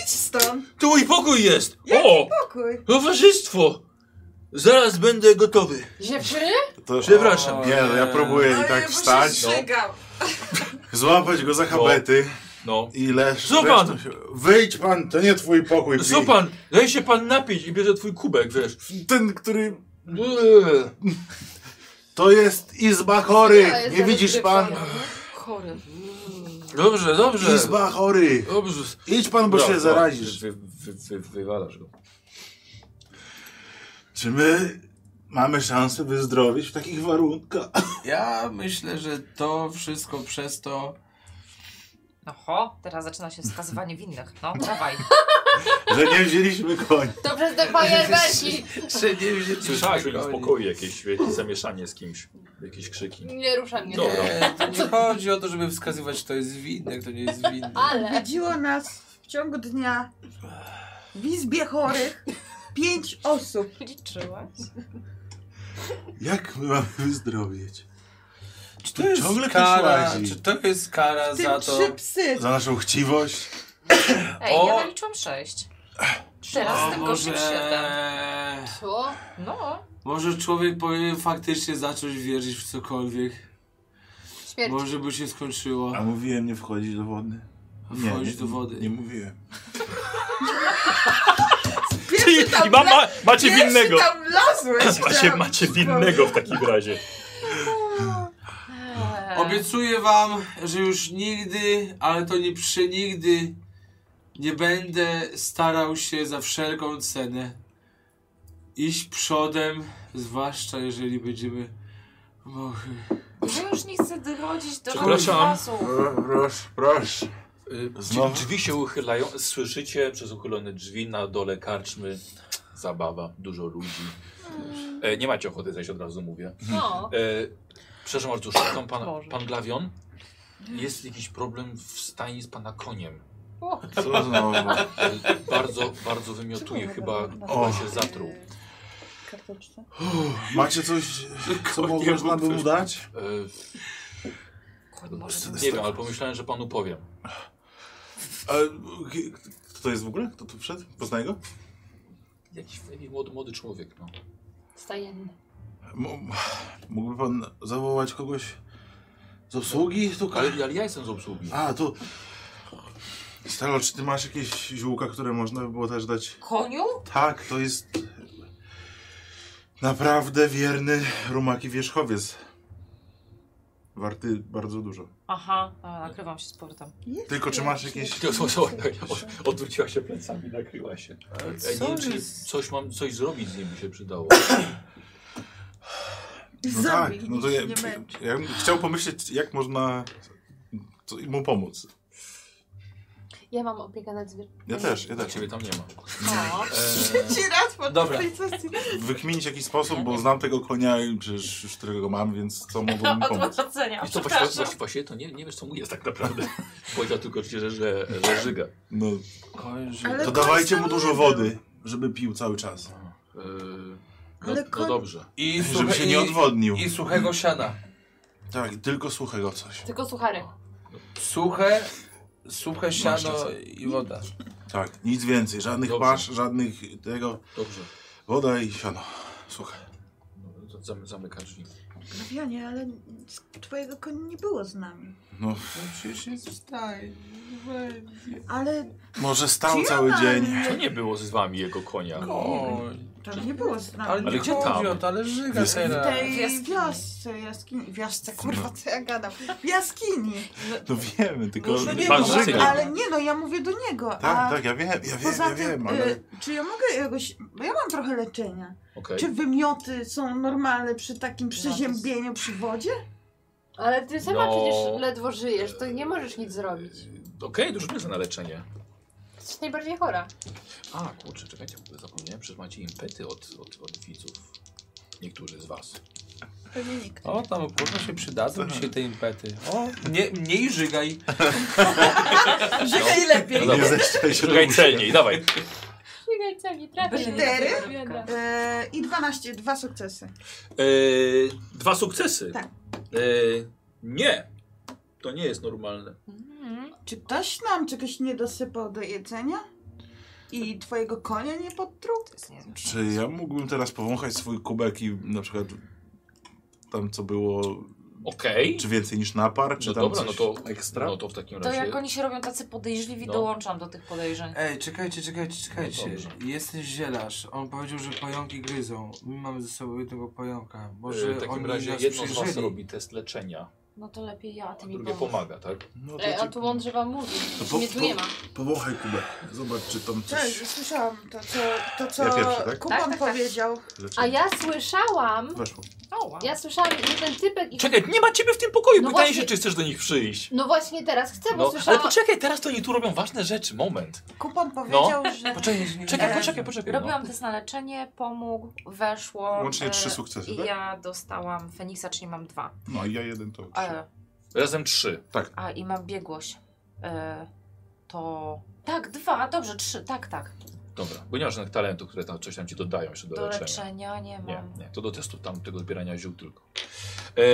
S5: Idź stąd.
S10: To mój pokój jest! O!
S5: Pokój.
S10: Towarzystwo! Zaraz będę gotowy.
S3: Dziewczyny?
S2: To,
S10: Przepraszam.
S2: nie, no ja próbuję i
S5: Ojej,
S2: tak
S5: bo się
S2: wstać, no.
S5: zżygał.
S2: złapać go za habety
S10: No.
S2: i leż...
S10: Co pan?
S2: resztą Się... Wyjdź pan, to nie twój pokój. pij.
S10: Co pan? Daj się pan napić i bierze twój kubek, wiesz.
S2: Ten, który...
S10: Eee.
S2: To jest izba chory, nie widzisz pan?
S3: Chory.
S10: Dobrze, dobrze.
S2: Izba chory.
S10: Dobrze.
S2: Idź pan, bo
S10: Dobra,
S2: się
S10: dobra.
S2: zarazisz.
S1: Wy, wy, wy, wywalasz go.
S2: Czy my mamy szansę wyzdrowieć w takich warunkach?
S6: Ja myślę, że to wszystko przez to,
S7: No ho, teraz zaczyna się wskazywanie winnych. No, dawaj.
S2: Że nie wzięliśmy koń.
S3: To przez te fajerwerki.
S6: że nie wzięliśmy
S1: Słyszałeś
S6: koni.
S1: w pokoju jakieś, jakieś zamieszanie z kimś, jakieś krzyki.
S3: Nie rusza mnie.
S1: Dobra.
S6: Nie, to nie chodzi o to, żeby wskazywać, kto jest winny, kto nie jest winny.
S3: Ale.
S5: Widziło nas w ciągu dnia w izbie chorych pięć osób.
S7: Liczyłaś?
S2: Jak my mamy wyzdrowieć?
S6: Czy to jest
S2: Ciągle ktoś
S6: kara,
S2: łazi.
S6: czy to jest kara
S5: W tym
S6: za to?
S5: trzy psy.
S2: Za naszą chciwość?
S7: Ej,
S10: O!
S7: ja naliczyłam sześć. Teraz tylko
S6: może,
S7: szybciej siedem.
S3: Co?
S7: No,
S6: może człowiek powinien faktycznie zacząć wierzyć w cokolwiek.
S4: Śmierć.
S6: Może by się skończyło.
S2: A mówiłem nie wchodzić do wody.
S6: Wchodzić do wody.
S2: Nie mówiłem.
S5: Pierwszy tam,
S1: I ma, ma, macie
S5: pierwszy
S1: winnego.
S5: tam lazłeś.
S1: Macie, macie winnego w takim razie.
S6: Tak. Obiecuję wam, że już nigdy, ale to nie przenigdy, nie będę starał się za wszelką cenę iść przodem, zwłaszcza jeżeli będziemy mogli.
S7: ja już nie chcę dochodzić do
S10: Przepraszam.
S7: czasu.
S2: Proszę, proszę.
S10: Y, drzwi-
S2: Znowu?
S1: Drzwi się uchylają, słyszycie przez uchylone drzwi na dole karczmy. Zabawa, dużo ludzi. E, nie macie ochoty zejść, od razu mówię.
S3: No.
S1: E, przepraszam bardzo, szukam pana,
S7: Boże.
S1: pan Glawion. Jest jakiś problem w stajni z pana koniem.
S2: Co znowu?
S1: E, bardzo, bardzo wymiotuje, chyba, chyba się zatruł. E,
S5: Karteczce.
S2: Macie coś, co
S10: Konie
S2: można by
S10: mu
S2: mu dać?
S1: E,
S7: Koń może to
S1: nie wiem, ale pomyślałem, że panu powiem.
S2: A, ki- kto to jest w ogóle? Kto tu wszedł? Poznaj go?
S1: Jakiś jakiś młody, młody człowiek, no.
S3: Stajenny.
S2: M- mógłby pan zawołać kogoś z obsługi tutaj?
S1: Ale, ale ja jestem z obsługi.
S2: A, to... Staro, czy ty masz jakieś ziółka, które można by było też dać
S7: Koniu?
S2: Tak, to jest naprawdę wierny rumaki wierzchowiec. Warty bardzo dużo.
S7: Aha, a, nakrywam się z powrotem.
S2: Tylko czy masz jakieś...
S1: To, to, to, od- odwróciła się plecami, nakryła się. Ja nie wiem, czy coś mam, coś zrobić z nim by się przydało.
S2: No
S5: Zabij,
S2: tak, no to ja,
S5: nie męcz.
S2: ja bym chciał pomyśleć, jak można co- mu pomóc.
S4: Ja mam opiekę nad zwierzętami.
S2: Ja też, ja
S1: Tak,
S2: też.
S1: ciebie tam nie ma.
S7: No.
S1: Eee,
S5: Ci raz po
S1: Dobra.
S5: tej sesji.
S2: Wykminić jakiś sposób, bo znam tego konia i przecież już którego mam, więc co mogłoby mi pomóc.
S7: Odwrócenia,
S1: I co, właściwie,
S2: znaczy-
S7: przepraszam.
S1: właściwie, właściwie to nie, nie wiesz, co mu jest tak naprawdę. Powiedział tylko, ci, że, że, że żyga. E,
S2: No,
S5: Ale
S2: to
S5: koń
S2: dawajcie
S5: sam
S2: mu dużo
S5: nie
S2: wody, żeby pił cały czas.
S1: Eee, no,
S5: Ale
S1: no
S5: koń-
S1: dobrze.
S6: I,
S2: Żeby się nie
S6: i,
S2: odwodnił.
S6: i suchego siana.
S2: Tak, tylko suchego coś.
S4: Tylko suchary.
S6: Suche, suche siano
S2: rację.
S6: i woda.
S2: Tak, nic więcej, żadnych
S1: Dobrze.
S2: pasz, żadnych tego...
S1: Dobrze.
S2: Woda i siano. Słuchaj.
S1: No, to zamy- Zamyka drzwi.
S5: Grawianie, ale twojego konia nie było z nami.
S2: No,
S6: No przecież jest wstań.
S5: Ale
S2: może stał
S5: Gdzie
S2: cały
S5: mam?
S2: dzień.
S1: To nie było z wami jego konia.
S5: tam nie było z nami.
S6: Ale nie
S1: Ale gdzie
S6: chodzi
S1: tam?
S6: o to, ale żyga
S2: Jest-
S5: W
S6: teraz.
S5: tej
S7: W jaskini.
S5: wiosce, jaskini, wiosce, kurwa, co ja gadam, w jaskini,
S2: No wiemy, tylko...
S5: No nie
S1: Pan
S5: no,
S1: żyga.
S5: ale nie no, ja mówię do niego, a
S2: Tak, tak, ja wiem, ja wiem,
S5: poza
S2: ja
S5: tym,
S2: wiem, ale...
S5: y, czy ja mogę jakoś, bo ja mam trochę leczenia,
S1: Okej.
S5: czy wymioty są normalne przy takim przeziębieniu przy wodzie?
S4: Ale ty sama
S1: No.
S4: przecież ledwo żyjesz, to nie możesz nic zrobić.
S1: Okej, dużo pieniędzy na leczenie.
S4: Jesteś najbardziej chora.
S1: A, kurczę, czekajcie, w ogóle zapomniałem, przecież macie impety od, od, od widzów. Niektórzy z was.
S5: Pewnie nikt.
S11: O, tam kurwa się przydadzą dzisiaj te impety. O, nie, mniej żygaj.
S5: Żygaj lepiej.
S11: No dobra.
S1: Szukaj celniej, dawaj.
S3: Czekaj, co mi trafi?
S5: Cztery e, i 12, dwa sukcesy.
S1: E,
S10: Eee, dwa sukcesy.
S5: Tak.
S10: Eee, nie. To nie jest normalne.
S5: Czy ktoś nam czegoś nie dosypał do jedzenia? I twojego konia nie podtruł?
S2: Czy ja mógłbym teraz powąchać swój kubek i na przykład tam co było...
S1: Okej.
S2: Czy więcej niż napar, czy
S1: No
S2: tam
S1: dobra, no
S2: coś
S1: to,
S2: ekstra?
S1: no to w takim
S7: To
S1: razie...
S7: jak oni się robią tacy podejrzliwi,
S1: No.
S7: dołączam do tych podejrzeń.
S6: Ej, czekajcie, czekajcie, czekajcie.
S1: No dobrze.
S6: Jesteś zielarz. On powiedział, że pająki gryzą. My mamy ze sobą jednego pająka. Może
S1: Może E, w takim
S6: oni
S1: razie
S6: nas
S1: jedno z was
S6: przyjrzeli.
S1: robi test leczenia,
S7: No to lepiej ja, a ty
S1: a
S7: mi
S1: drugie
S7: pomóż.
S1: pomaga, tak?
S2: No
S4: Ej, E, a
S2: to,
S4: tu mądrze wam mówi.
S2: to po,
S4: Mnie tu nie
S2: po,
S4: ma.
S2: powąchaj kubek. Zobacz, czy tam coś...
S5: Cześć, słyszałam to, co, to, co
S2: Ja pierwszy, tak?
S5: Kuban
S4: Tak, tak, tak.
S5: powiedział.
S2: Leczenie.
S4: A ja słyszałam,
S2: Weszło.
S7: O, wow.
S4: ja słyszałam jeden typek i...
S1: Czekaj, nie ma ciebie w tym pokoju,
S4: No
S1: pytanie
S4: właśnie-
S1: się, czy chcesz do nich przyjść.
S4: No właśnie teraz chcę, bo
S1: No, ale
S4: słyszałam...
S1: poczekaj, teraz to oni tu robią ważne rzeczy, moment.
S5: Kuban powiedział, że...
S1: Poczekaj,
S5: E,
S1: czekaj, poczekaj, poczekaj. No.
S7: Robiłam test na leczenie, pomógł, weszło.
S2: Łącznie
S7: e,
S2: trzy sukcesy,
S7: I
S2: tak?
S7: ja dostałam Feniksa, czyli mam dwa.
S2: No i ja jeden to...
S7: E,
S1: Razem trzy.
S7: a i mam biegłość. E, to. Tak, dwa, dobrze, trzy, tak, tak.
S1: Dobra, bo nie masz żadnych talentów, które tam coś tam ci dodają jeszcze do,
S7: Do
S1: leczenia.
S7: leczenia nie
S1: Nie,
S7: mam.
S1: nie, to do testu tam tego zbierania ziół tylko. Eee,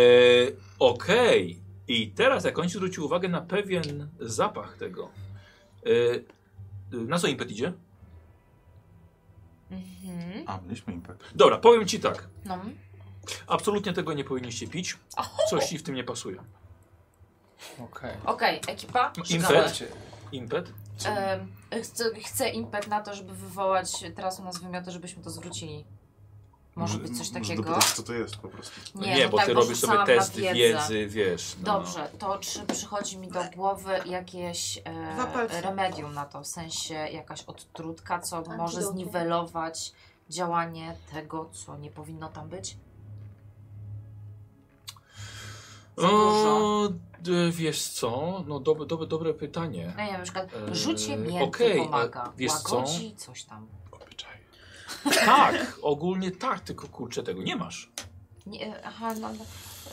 S1: Okej. I teraz jak on ci zwrócił uwagę na pewien zapach tego. Eee, na co impet idzie?
S7: Mhm.
S2: A, mieliśmy impet.
S1: Dobra, powiem ci tak.
S7: No.
S1: Absolutnie tego nie powinniście pić. Coś ci w tym nie pasuje.
S11: Okej.
S7: Okej, ekipa. szukamy.
S1: Impet. Impet.
S7: E, chcę, chcę impet na to, żeby wywołać teraz u nas wymioty, żebyśmy to zwrócili. Może być coś
S2: Może
S7: takiego?
S2: dopytać, co to jest po prostu.
S1: No nie,
S7: no
S1: bo
S7: tak,
S1: ty robisz
S7: rzucałam
S1: sobie
S7: na
S1: testy
S7: wiedzę.
S1: wiedzy, wiesz. No,
S7: Dobrze, to czy przychodzi mi do głowy jakieś
S5: Dwa
S7: e,
S5: palce.
S7: remedium na to, w sensie jakaś odtrutka, co może
S4: Antidotum.
S7: zniwelować działanie tego, co nie powinno tam być? Za
S1: No.
S7: dużo.
S1: O, d- No, e, wiesz co? No dobre, dobre, dobre pytanie.
S7: No nie wiem, na przykład
S1: E,
S7: rzucie mięty
S1: okej, a
S7: pomaga,
S1: wiesz co?
S7: łagodzi coś tam.
S2: Obyczaj.
S1: Tak, ogólnie tak, tylko kurczę tego nie masz.
S7: Nie, aha, no, no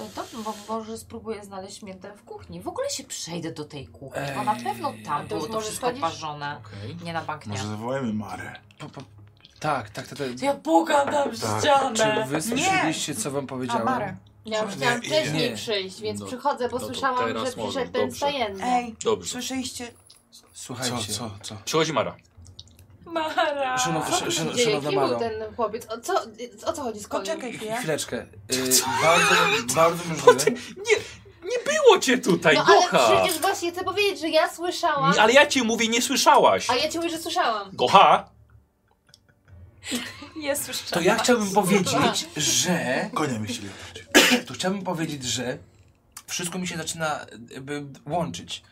S7: e, dobrze, bo może spróbuję znaleźć miętę w kuchni. W ogóle się przejdę do tej kuchni, bo na
S11: Ej.
S7: pewno
S4: A
S7: tam
S4: to
S7: było
S4: już
S7: to
S4: może
S7: wszystko
S4: schodzisz?
S7: parzone.
S1: Okej.
S7: Nie na bank nie.
S2: Może zawołajmy Marę.
S11: Po- po- Tak, tak, tak. tak.
S7: To ja pogadam w
S2: Tak.
S7: ścianę.
S11: Czy wy słyszeliście, co wam powiedziałem?
S5: Amare.
S4: Ja już chciałam
S2: Nie,
S4: wcześniej
S11: nie.
S4: przyjść, więc
S1: No,
S4: przychodzę, bo
S1: no to
S4: słyszałam,
S1: teraz
S4: że
S1: możesz,
S4: przyszedł ten
S1: dobrze.
S4: stajenny.
S5: Ej,
S1: Dobrze.
S5: słyszeliście?
S2: Co,
S11: Słuchajcie.
S2: co, co?
S1: Przychodzi Mara.
S7: Mara.
S11: Szanowna,
S4: Co tu
S11: sz,
S4: się
S11: sz,
S4: dzieje?
S11: szanowna
S4: Kim był
S11: Maro,
S4: ten chłopiec? O co, o co chodzi z koniem?
S5: Poczekaj chwilę.
S11: chwileczkę. Y, bardzo, bardzo możliwe.
S1: Było cię tutaj,
S4: No ale
S1: Gocha!
S4: przecież właśnie chcę powiedzieć, że ja słyszałam,
S1: Nie, ale ja ci mówię, nie słyszałaś.
S4: a ja ci mówię, że słyszałam.
S1: Gocha!
S7: Nie słyszałam.
S11: To ja chciałbym powiedzieć, że
S2: Konia mi chcieli oddać.
S6: To chciałbym powiedzieć, że wszystko mi się zaczyna jakby łączyć.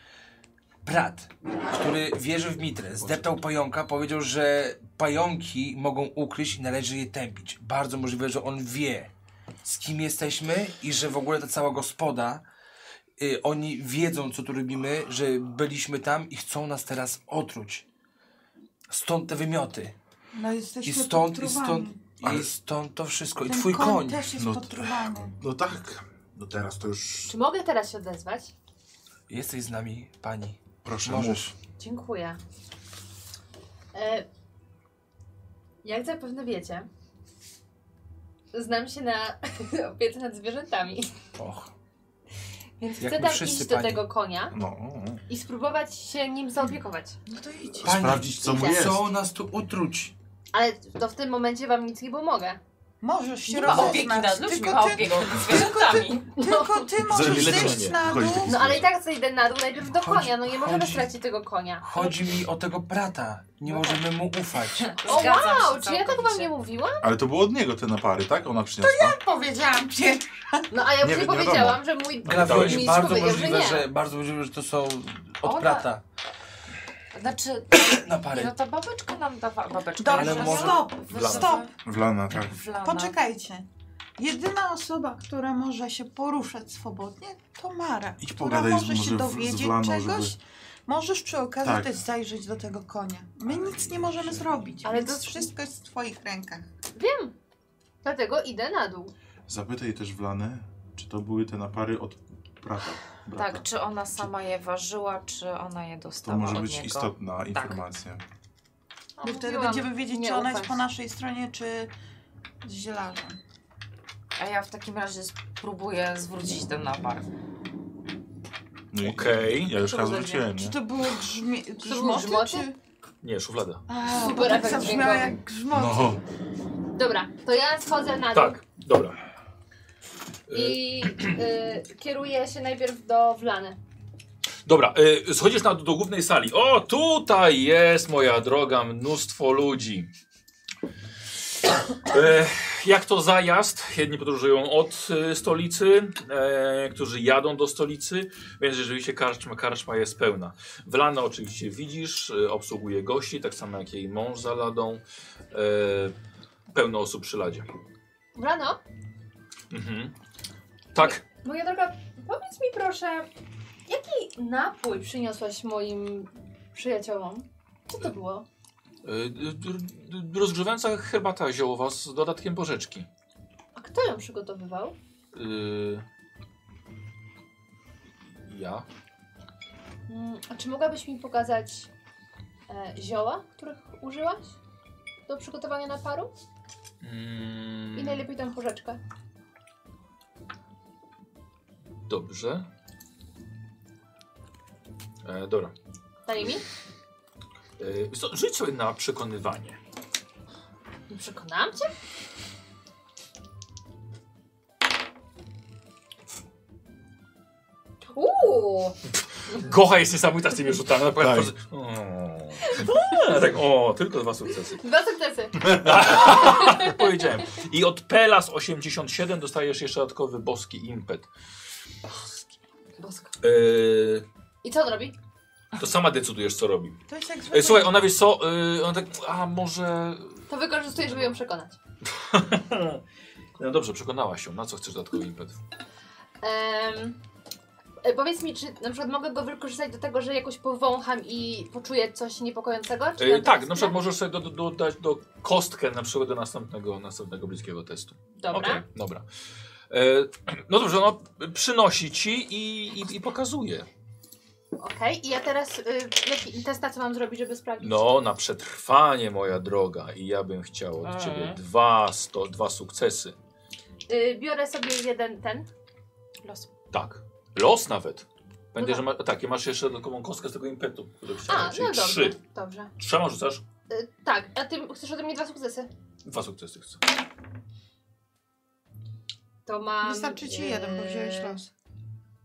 S6: Brat, który wierzy w mitrę, zdeptał pająka, powiedział, że pająki mogą ukryć i należy je tępić. Bardzo możliwe, że on wie, z kim jesteśmy i że w ogóle ta cała gospoda, y, oni wiedzą, co tu robimy, że byliśmy tam i chcą nas teraz otruć. Stąd te wymioty.
S5: No jesteśmy
S6: I stąd, i stąd,
S5: podtruwani.
S6: i stąd to wszystko. I
S5: Ten
S6: twój koń.
S5: też jest
S2: No-
S5: podtruwany.
S2: No tak. No teraz to już...
S4: Czy mogę teraz się odezwać?
S6: Jesteś z nami, pani.
S2: Proszę,
S6: Możesz.
S2: mów.
S4: Dziękuję. E, jak zapewne wiecie, znam się na opiece nad zwierzętami,
S6: Och.
S4: więc
S6: Jak
S4: chcę
S6: my
S4: tam
S6: wszyscy,
S4: iść do
S6: pani.
S4: tego konia
S2: No, no, no.
S4: i spróbować się nim zaopiekować.
S5: No to idź.
S6: Pani,
S2: Sprawdzić, co mu
S4: idę.
S2: jest.
S6: Co nas tu utruć?
S4: Ale to w tym momencie wam nic nie pomogę.
S5: Możesz się
S7: Nie ma opieki
S5: rozeznać,
S7: nad ludźmi,
S5: tylko
S7: ma
S5: ty,
S7: opieki nad zwierzętami.
S5: tylko ty możesz
S2: leczenie.
S5: zejść na
S2: Chodź,
S5: dół.
S2: ty-
S4: No ale i tak zejdę na dół najpierw do
S6: Chodzi-
S4: konia, no nie możemy
S6: chodzi-
S4: stracić tego konia.
S6: Chodzi mi o tego brata.
S11: No
S6: Nie
S11: tak.
S6: możemy mu ufać.
S4: O
S7: Zgadzam się
S4: wow, czy ja tak wam
S7: całkowicie.
S4: nie mówiłam?
S2: Ale to było od niego te napary, tak? Ona przyniosła.
S5: Powiedziałam ci.
S4: No a ja
S2: Nie
S4: już nie,
S2: wi- nie
S4: powiedziałam, że mój
S1: Dałeś
S6: Grafioni,
S4: mistrz
S6: bardzo
S4: powiedział, że
S6: możliwe,
S4: nie. tak.
S6: że, bardzo możliwe, że to są od
S7: Ona-
S6: brata
S7: Znaczy,
S6: na parę.
S7: no ta babeczka nam dawała. Babeczka.
S5: Dobrze,
S6: Ale może-
S5: stop,
S7: Wlana.
S5: stop.
S2: Wlana, tak.
S7: Wlana.
S5: Poczekajcie. Jedyna osoba, która może się poruszać swobodnie, to Mara.
S2: Idź
S5: która
S2: pogadaj z-
S5: może
S2: może w-
S5: się
S2: z
S5: dowiedzieć
S2: Wlaną,
S5: czegoś.
S2: żeby-
S5: Możesz przy okazji
S2: Tak.
S5: też zajrzeć do tego konia. My nic nie możemy zrobić,
S4: Ale
S5: ale więc
S4: to-
S5: wszystko jest w twoich rękach.
S4: Wiem. Dlatego idę na dół.
S2: Zapytaj też Wlanę, czy to były te napary od brata. brata.
S7: Tak, czy ona sama je ważyła, czy ona je
S2: To
S7: dostała
S2: może
S7: od
S2: być
S7: niego.
S2: istotna
S7: Tak.
S2: informacja.
S4: No,
S5: I wtedy
S7: Mówiłam,
S5: będziemy wiedzieć,
S7: nie
S5: czy ona jest
S7: ufać.
S5: po naszej stronie, czy z zielarzem.
S7: A ja w takim razie spróbuję zwrócić ten napar.
S2: No i-
S1: Okej.
S2: Ja już
S1: To
S2: chyba
S1: będzie.
S2: zwróciłem, nie?
S5: Czy to było grzmi...
S4: było
S5: grzmoty,
S4: grzmoty?
S5: czy...
S1: Nie, szuflada.
S5: A,
S4: Super
S5: bo tak
S4: efekt
S5: zabrzmiało
S4: dźwiękowy.
S5: jak grzmoty.
S2: No.
S4: Dobra, to ja schodzę na dół
S1: Tak, dobra.
S4: i y, kieruję się najpierw do Wlany.
S1: Dobra, y, schodzisz na, do głównej sali. O, tutaj jest, moja droga, mnóstwo ludzi. E, jak to zajazd? Jedni podróżują od y, stolicy, e, którzy jadą do stolicy, więc rzeczywiście karczma, karczma jest pełna. Wlana oczywiście widzisz, y, obsługuje gości, tak samo jak jej mąż za ladą. E, pełno osób przy ladzie.
S4: Wlano,
S1: Mhm. Tak,
S4: moja droga, powiedz mi proszę, jaki napój przyniosłaś moim przyjaciołom? Co to było?
S1: y, y, y, rozgrzewająca herbata ziołowa z dodatkiem porzeczki.
S4: A kto ją przygotowywał?
S1: Y, Ja?
S4: Mm, a czy mogłabyś mi pokazać e, zioła, których użyłaś do przygotowania naparu? I
S1: Mm,
S4: najlepiej tę porzeczkę.
S1: dobrze. E, dobra.
S4: Daj mi.
S1: E, so, rzuć sobie na przekonywanie.
S4: Przekonałam cię? Uuu!
S1: Gocha jest niesamowita z tymi rzutami. Na przykład
S2: Tak.
S1: po- o, A, tak, o, tylko dwa sukcesy. Tak
S4: Dwa sukcesy.
S1: Powiedziałem. I od Pelas 87 dostajesz jeszcze dodatkowy boski impet.
S4: Bosko.
S1: E,
S4: I co on robi?
S1: to sama decydujesz, co robi.
S5: To jest jak
S1: E,
S5: zwykle.
S1: słuchaj, ona wiesz co, e, ona tak, a może...
S4: To wykorzystuje, żeby ją przekonać.
S1: No dobrze, przekonałaś się. Na co chcesz dodatkowy impet?
S4: Em, e, powiedz mi, czy na przykład mogę go wykorzystać do tego, że jakoś powącham i poczuję coś niepokojącego? Czy
S1: E,
S4: mam
S1: tak,
S4: teraz-
S1: na przykład możesz sobie do- do- dodać do, kostkę na przykład do następnego, następnego bliskiego testu.
S4: Dobra.
S1: Okej, dobra. E, no dobrze, no przynosi ci i, i, i pokazuje.
S4: Okej, i ja teraz y, jaki test na co mam zrobić, żeby sprawdzić?
S1: No, na przetrwanie, moja droga. I ja bym chciał od
S4: Mhm.
S1: ciebie dwa, sto, dwa sukcesy.
S4: Y, biorę sobie jeden ten los.
S1: Tak. Los nawet. Pamiętaj,
S4: No
S1: że ma, tak, i masz jeszcze dodatkową kostkę z tego impetu, który chciałem.
S4: A,
S1: Tak, czyli
S4: no dobrze.
S1: trzy.
S4: Dobrze.
S1: Trzema rzucasz?
S4: Y, tak, a ty chcesz ode mnie dwa sukcesy?
S1: Dwa sukcesy chcę.
S4: To mam. y,
S5: Wystarczy ci jeden, bo wziąłeś los.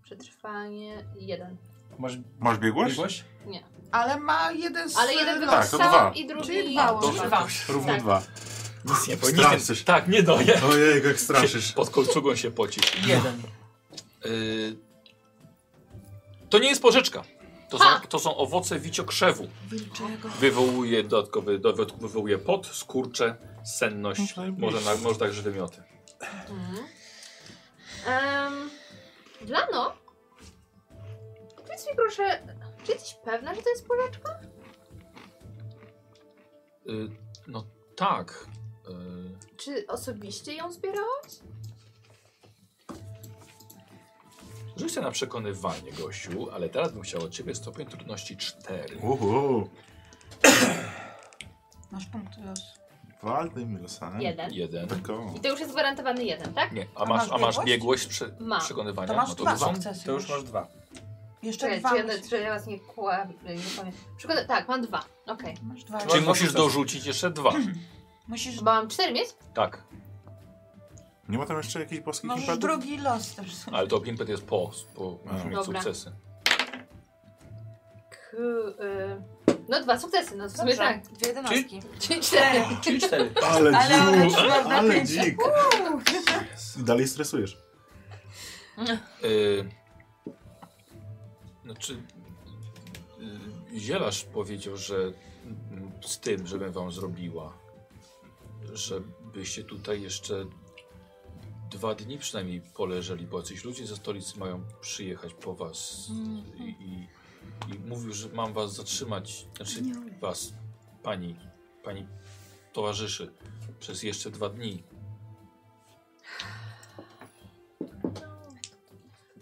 S4: Przetrwanie jeden.
S6: Masz,
S2: Masz biegłość?
S4: Nie.
S5: Ale ma jeden z...
S4: Ale
S2: Tak,
S4: jeden
S2: to
S4: wykorzystałam
S2: dwa.
S4: i drugi.
S5: Czyli dwa
S4: Dobrze.
S5: używasz.
S2: Równo
S4: Tak.
S2: dwa.
S1: Nic nie powiem.
S2: Straszysz.
S1: nic nie- Tak, nie doję.
S2: Ojej, jak straszysz.
S1: Pod kolczugą się pocisz.
S6: Jeden.
S1: Y, To nie jest porzeczka. To są,
S4: Ha!
S1: to są owoce wiciokrzewu. Wywołuje dodatkowy, dodatkowy wywołuje pot, skurcze, senność, może, na, może także wymioty.
S4: Mhm. Em, Blano, powiedz mi proszę, czy jesteś pewna, że to jest porzeczka?
S1: Y, no tak. Y,
S4: Czy osobiście ją zbierałaś?
S1: Rzuć sobie na przekonywanie, gościu, ale teraz bym chciał od ciebie stopień trudności 4.
S2: Uhu.
S5: Masz punkt los.
S2: Wal tymi losami.
S4: Jeden.
S1: Jeden.
S2: Tak o.
S4: I to już jest gwarantowany jeden, tak?
S1: Nie, a masz, a masz biegłość prze,
S4: Mam.
S1: przekonywania?
S5: To masz
S1: no to
S5: dwa
S1: rzucam.
S5: sukcesy.
S11: To już masz dwa.
S5: Jeszcze
S4: Czekaj,
S5: dwa.
S4: czy, ja,
S5: musisz-
S4: czy ja was nie kłamię? Przykład, tak, mam dwa. Okej.
S5: Masz dwa.
S1: Czyli
S11: Masz
S1: musisz
S11: sukces.
S1: dorzucić jeszcze dwa.
S5: Musisz...
S4: Bo mam cztery mieć?
S1: Tak,
S2: Nie ma tam jeszcze jakichś boskich
S5: Możesz
S2: impetów?
S5: drugi los też.
S1: ale to impet jest po, po
S2: A.
S1: musisz mieć
S4: Dobra.
S1: sukcesy.
S4: K, y, no dwa sukcesy, no w sumie
S7: Dobrze,
S4: tak.
S7: dwie jedenastki.
S4: Czyli cztery.
S11: Czyli cztery.
S2: Ale
S5: Ale
S2: dziu,
S5: ona trzyma
S2: ale
S5: pięć.
S2: dzik. I Dalej stresujesz.
S1: Y, Znaczy, y, zielarz powiedział, że mm, z tym, żebym wam zrobiła, żebyście tutaj jeszcze dwa dni przynajmniej poleżeli, bo jacyś ludzie ze stolicy mają przyjechać po was i, i, i mówił, że mam was zatrzymać, znaczy was, pani, pani towarzyszy, przez jeszcze dwa dni.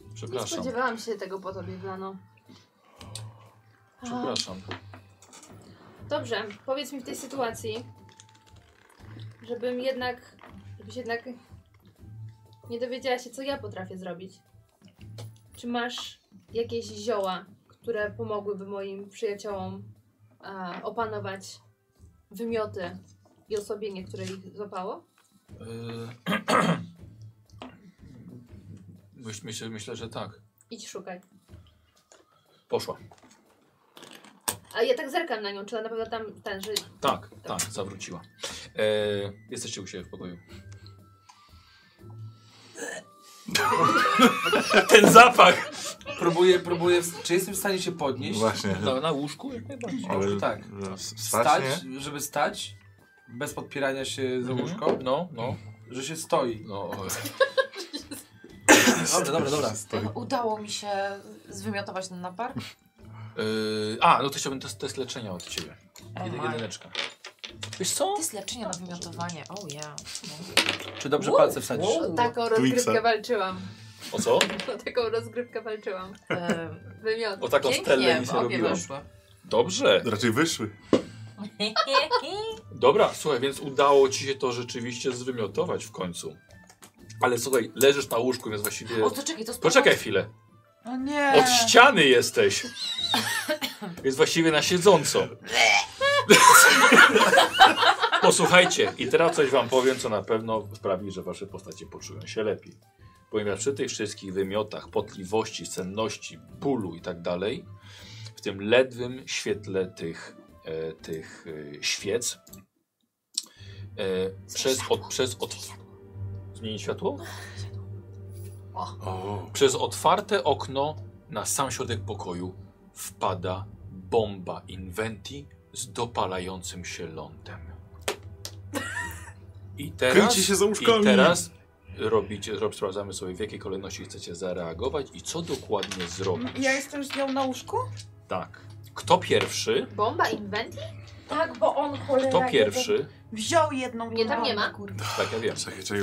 S4: Nie
S1: Przepraszam.
S4: spodziewałam się tego po tobie, Blano. A,
S1: Przepraszam.
S4: Dobrze, powiedz mi w tej sytuacji, żebym jednak, żebyś jednak nie dowiedziała się, co ja potrafię zrobić. Czy masz jakieś zioła, które pomogłyby moim przyjaciołom e, opanować wymioty i osobienie, które ich złapało?
S1: E, Myś, myślę, myślę, że tak.
S4: Idź szukaj.
S1: Poszła.
S4: A ja tak zerkam na nią, czy ona na pewno tam ten, że
S1: Tak, tak, zawróciła. E, jesteście u siebie w pokoju.
S11: Ten zapach! Próbuję, próbuję. Czy jestem w stanie się podnieść?
S2: Właśnie.
S1: No,
S11: Na, na łóżku? Jak najbardziej.
S2: Ale-
S11: Łóżku, No, tak.
S2: że wstać,
S11: Stać, żeby stać, bez podpierania się za łóżko.
S1: No, no.
S11: Że się stoi.
S1: No.
S11: No dobra, dobra, dobra.
S7: No, Udało mi się zwymiotować ten napar.
S1: E, a, no to chciałbym test, test leczenia od ciebie.
S7: O,
S1: Jedy,
S7: maj.
S1: jedyneczka. Wiesz co?
S7: To jest leczenie na wymiotowanie. Oh yeah.
S11: Czy dobrze palce wsadzisz?
S4: O taką
S1: Twixa.
S4: rozgrywkę walczyłam.
S1: O co?
S4: O taką rozgrywkę walczyłam. Wymiot.
S1: O taką stelę mi się robiło. Dobrze.
S2: Raczej wyszły.
S1: Dobra, słuchaj, więc udało ci się to rzeczywiście zwymiotować w końcu. Ale słuchaj, leżysz na łóżku, więc właściwie...
S7: O, to czekaj, to sprawdź.
S1: Poczekaj chwilę.
S5: O nie!
S1: Od ściany jesteś. Więc właściwie na siedząco. Posłuchajcie, i teraz coś wam powiem, co na pewno sprawi, że wasze postacie poczują się lepiej. Ponieważ przy tych wszystkich wymiotach, potliwości, senności, bólu i tak dalej, w tym ledwym świetle tych, e, tych e, świec, e, przez, od, przez od... Zmienić światło? Przez otwarte okno na sam środek pokoju wpada bomba Inventi z dopalającym się lądem. I teraz,
S2: Kryjcie się za łóżkami.
S1: I teraz robicie, rob, sprawdzamy sobie w jakiej kolejności chcecie zareagować i co dokładnie zrobić.
S5: Ja jestem z nią na łóżku?
S1: Tak. Kto pierwszy?
S4: Bomba Inventi?
S5: Tak, bo on cholera...
S1: Kto pierwszy?
S5: Wziął jedną
S4: Nie, tam nie ma.
S5: Kurwa.
S1: Tak, ja wiem.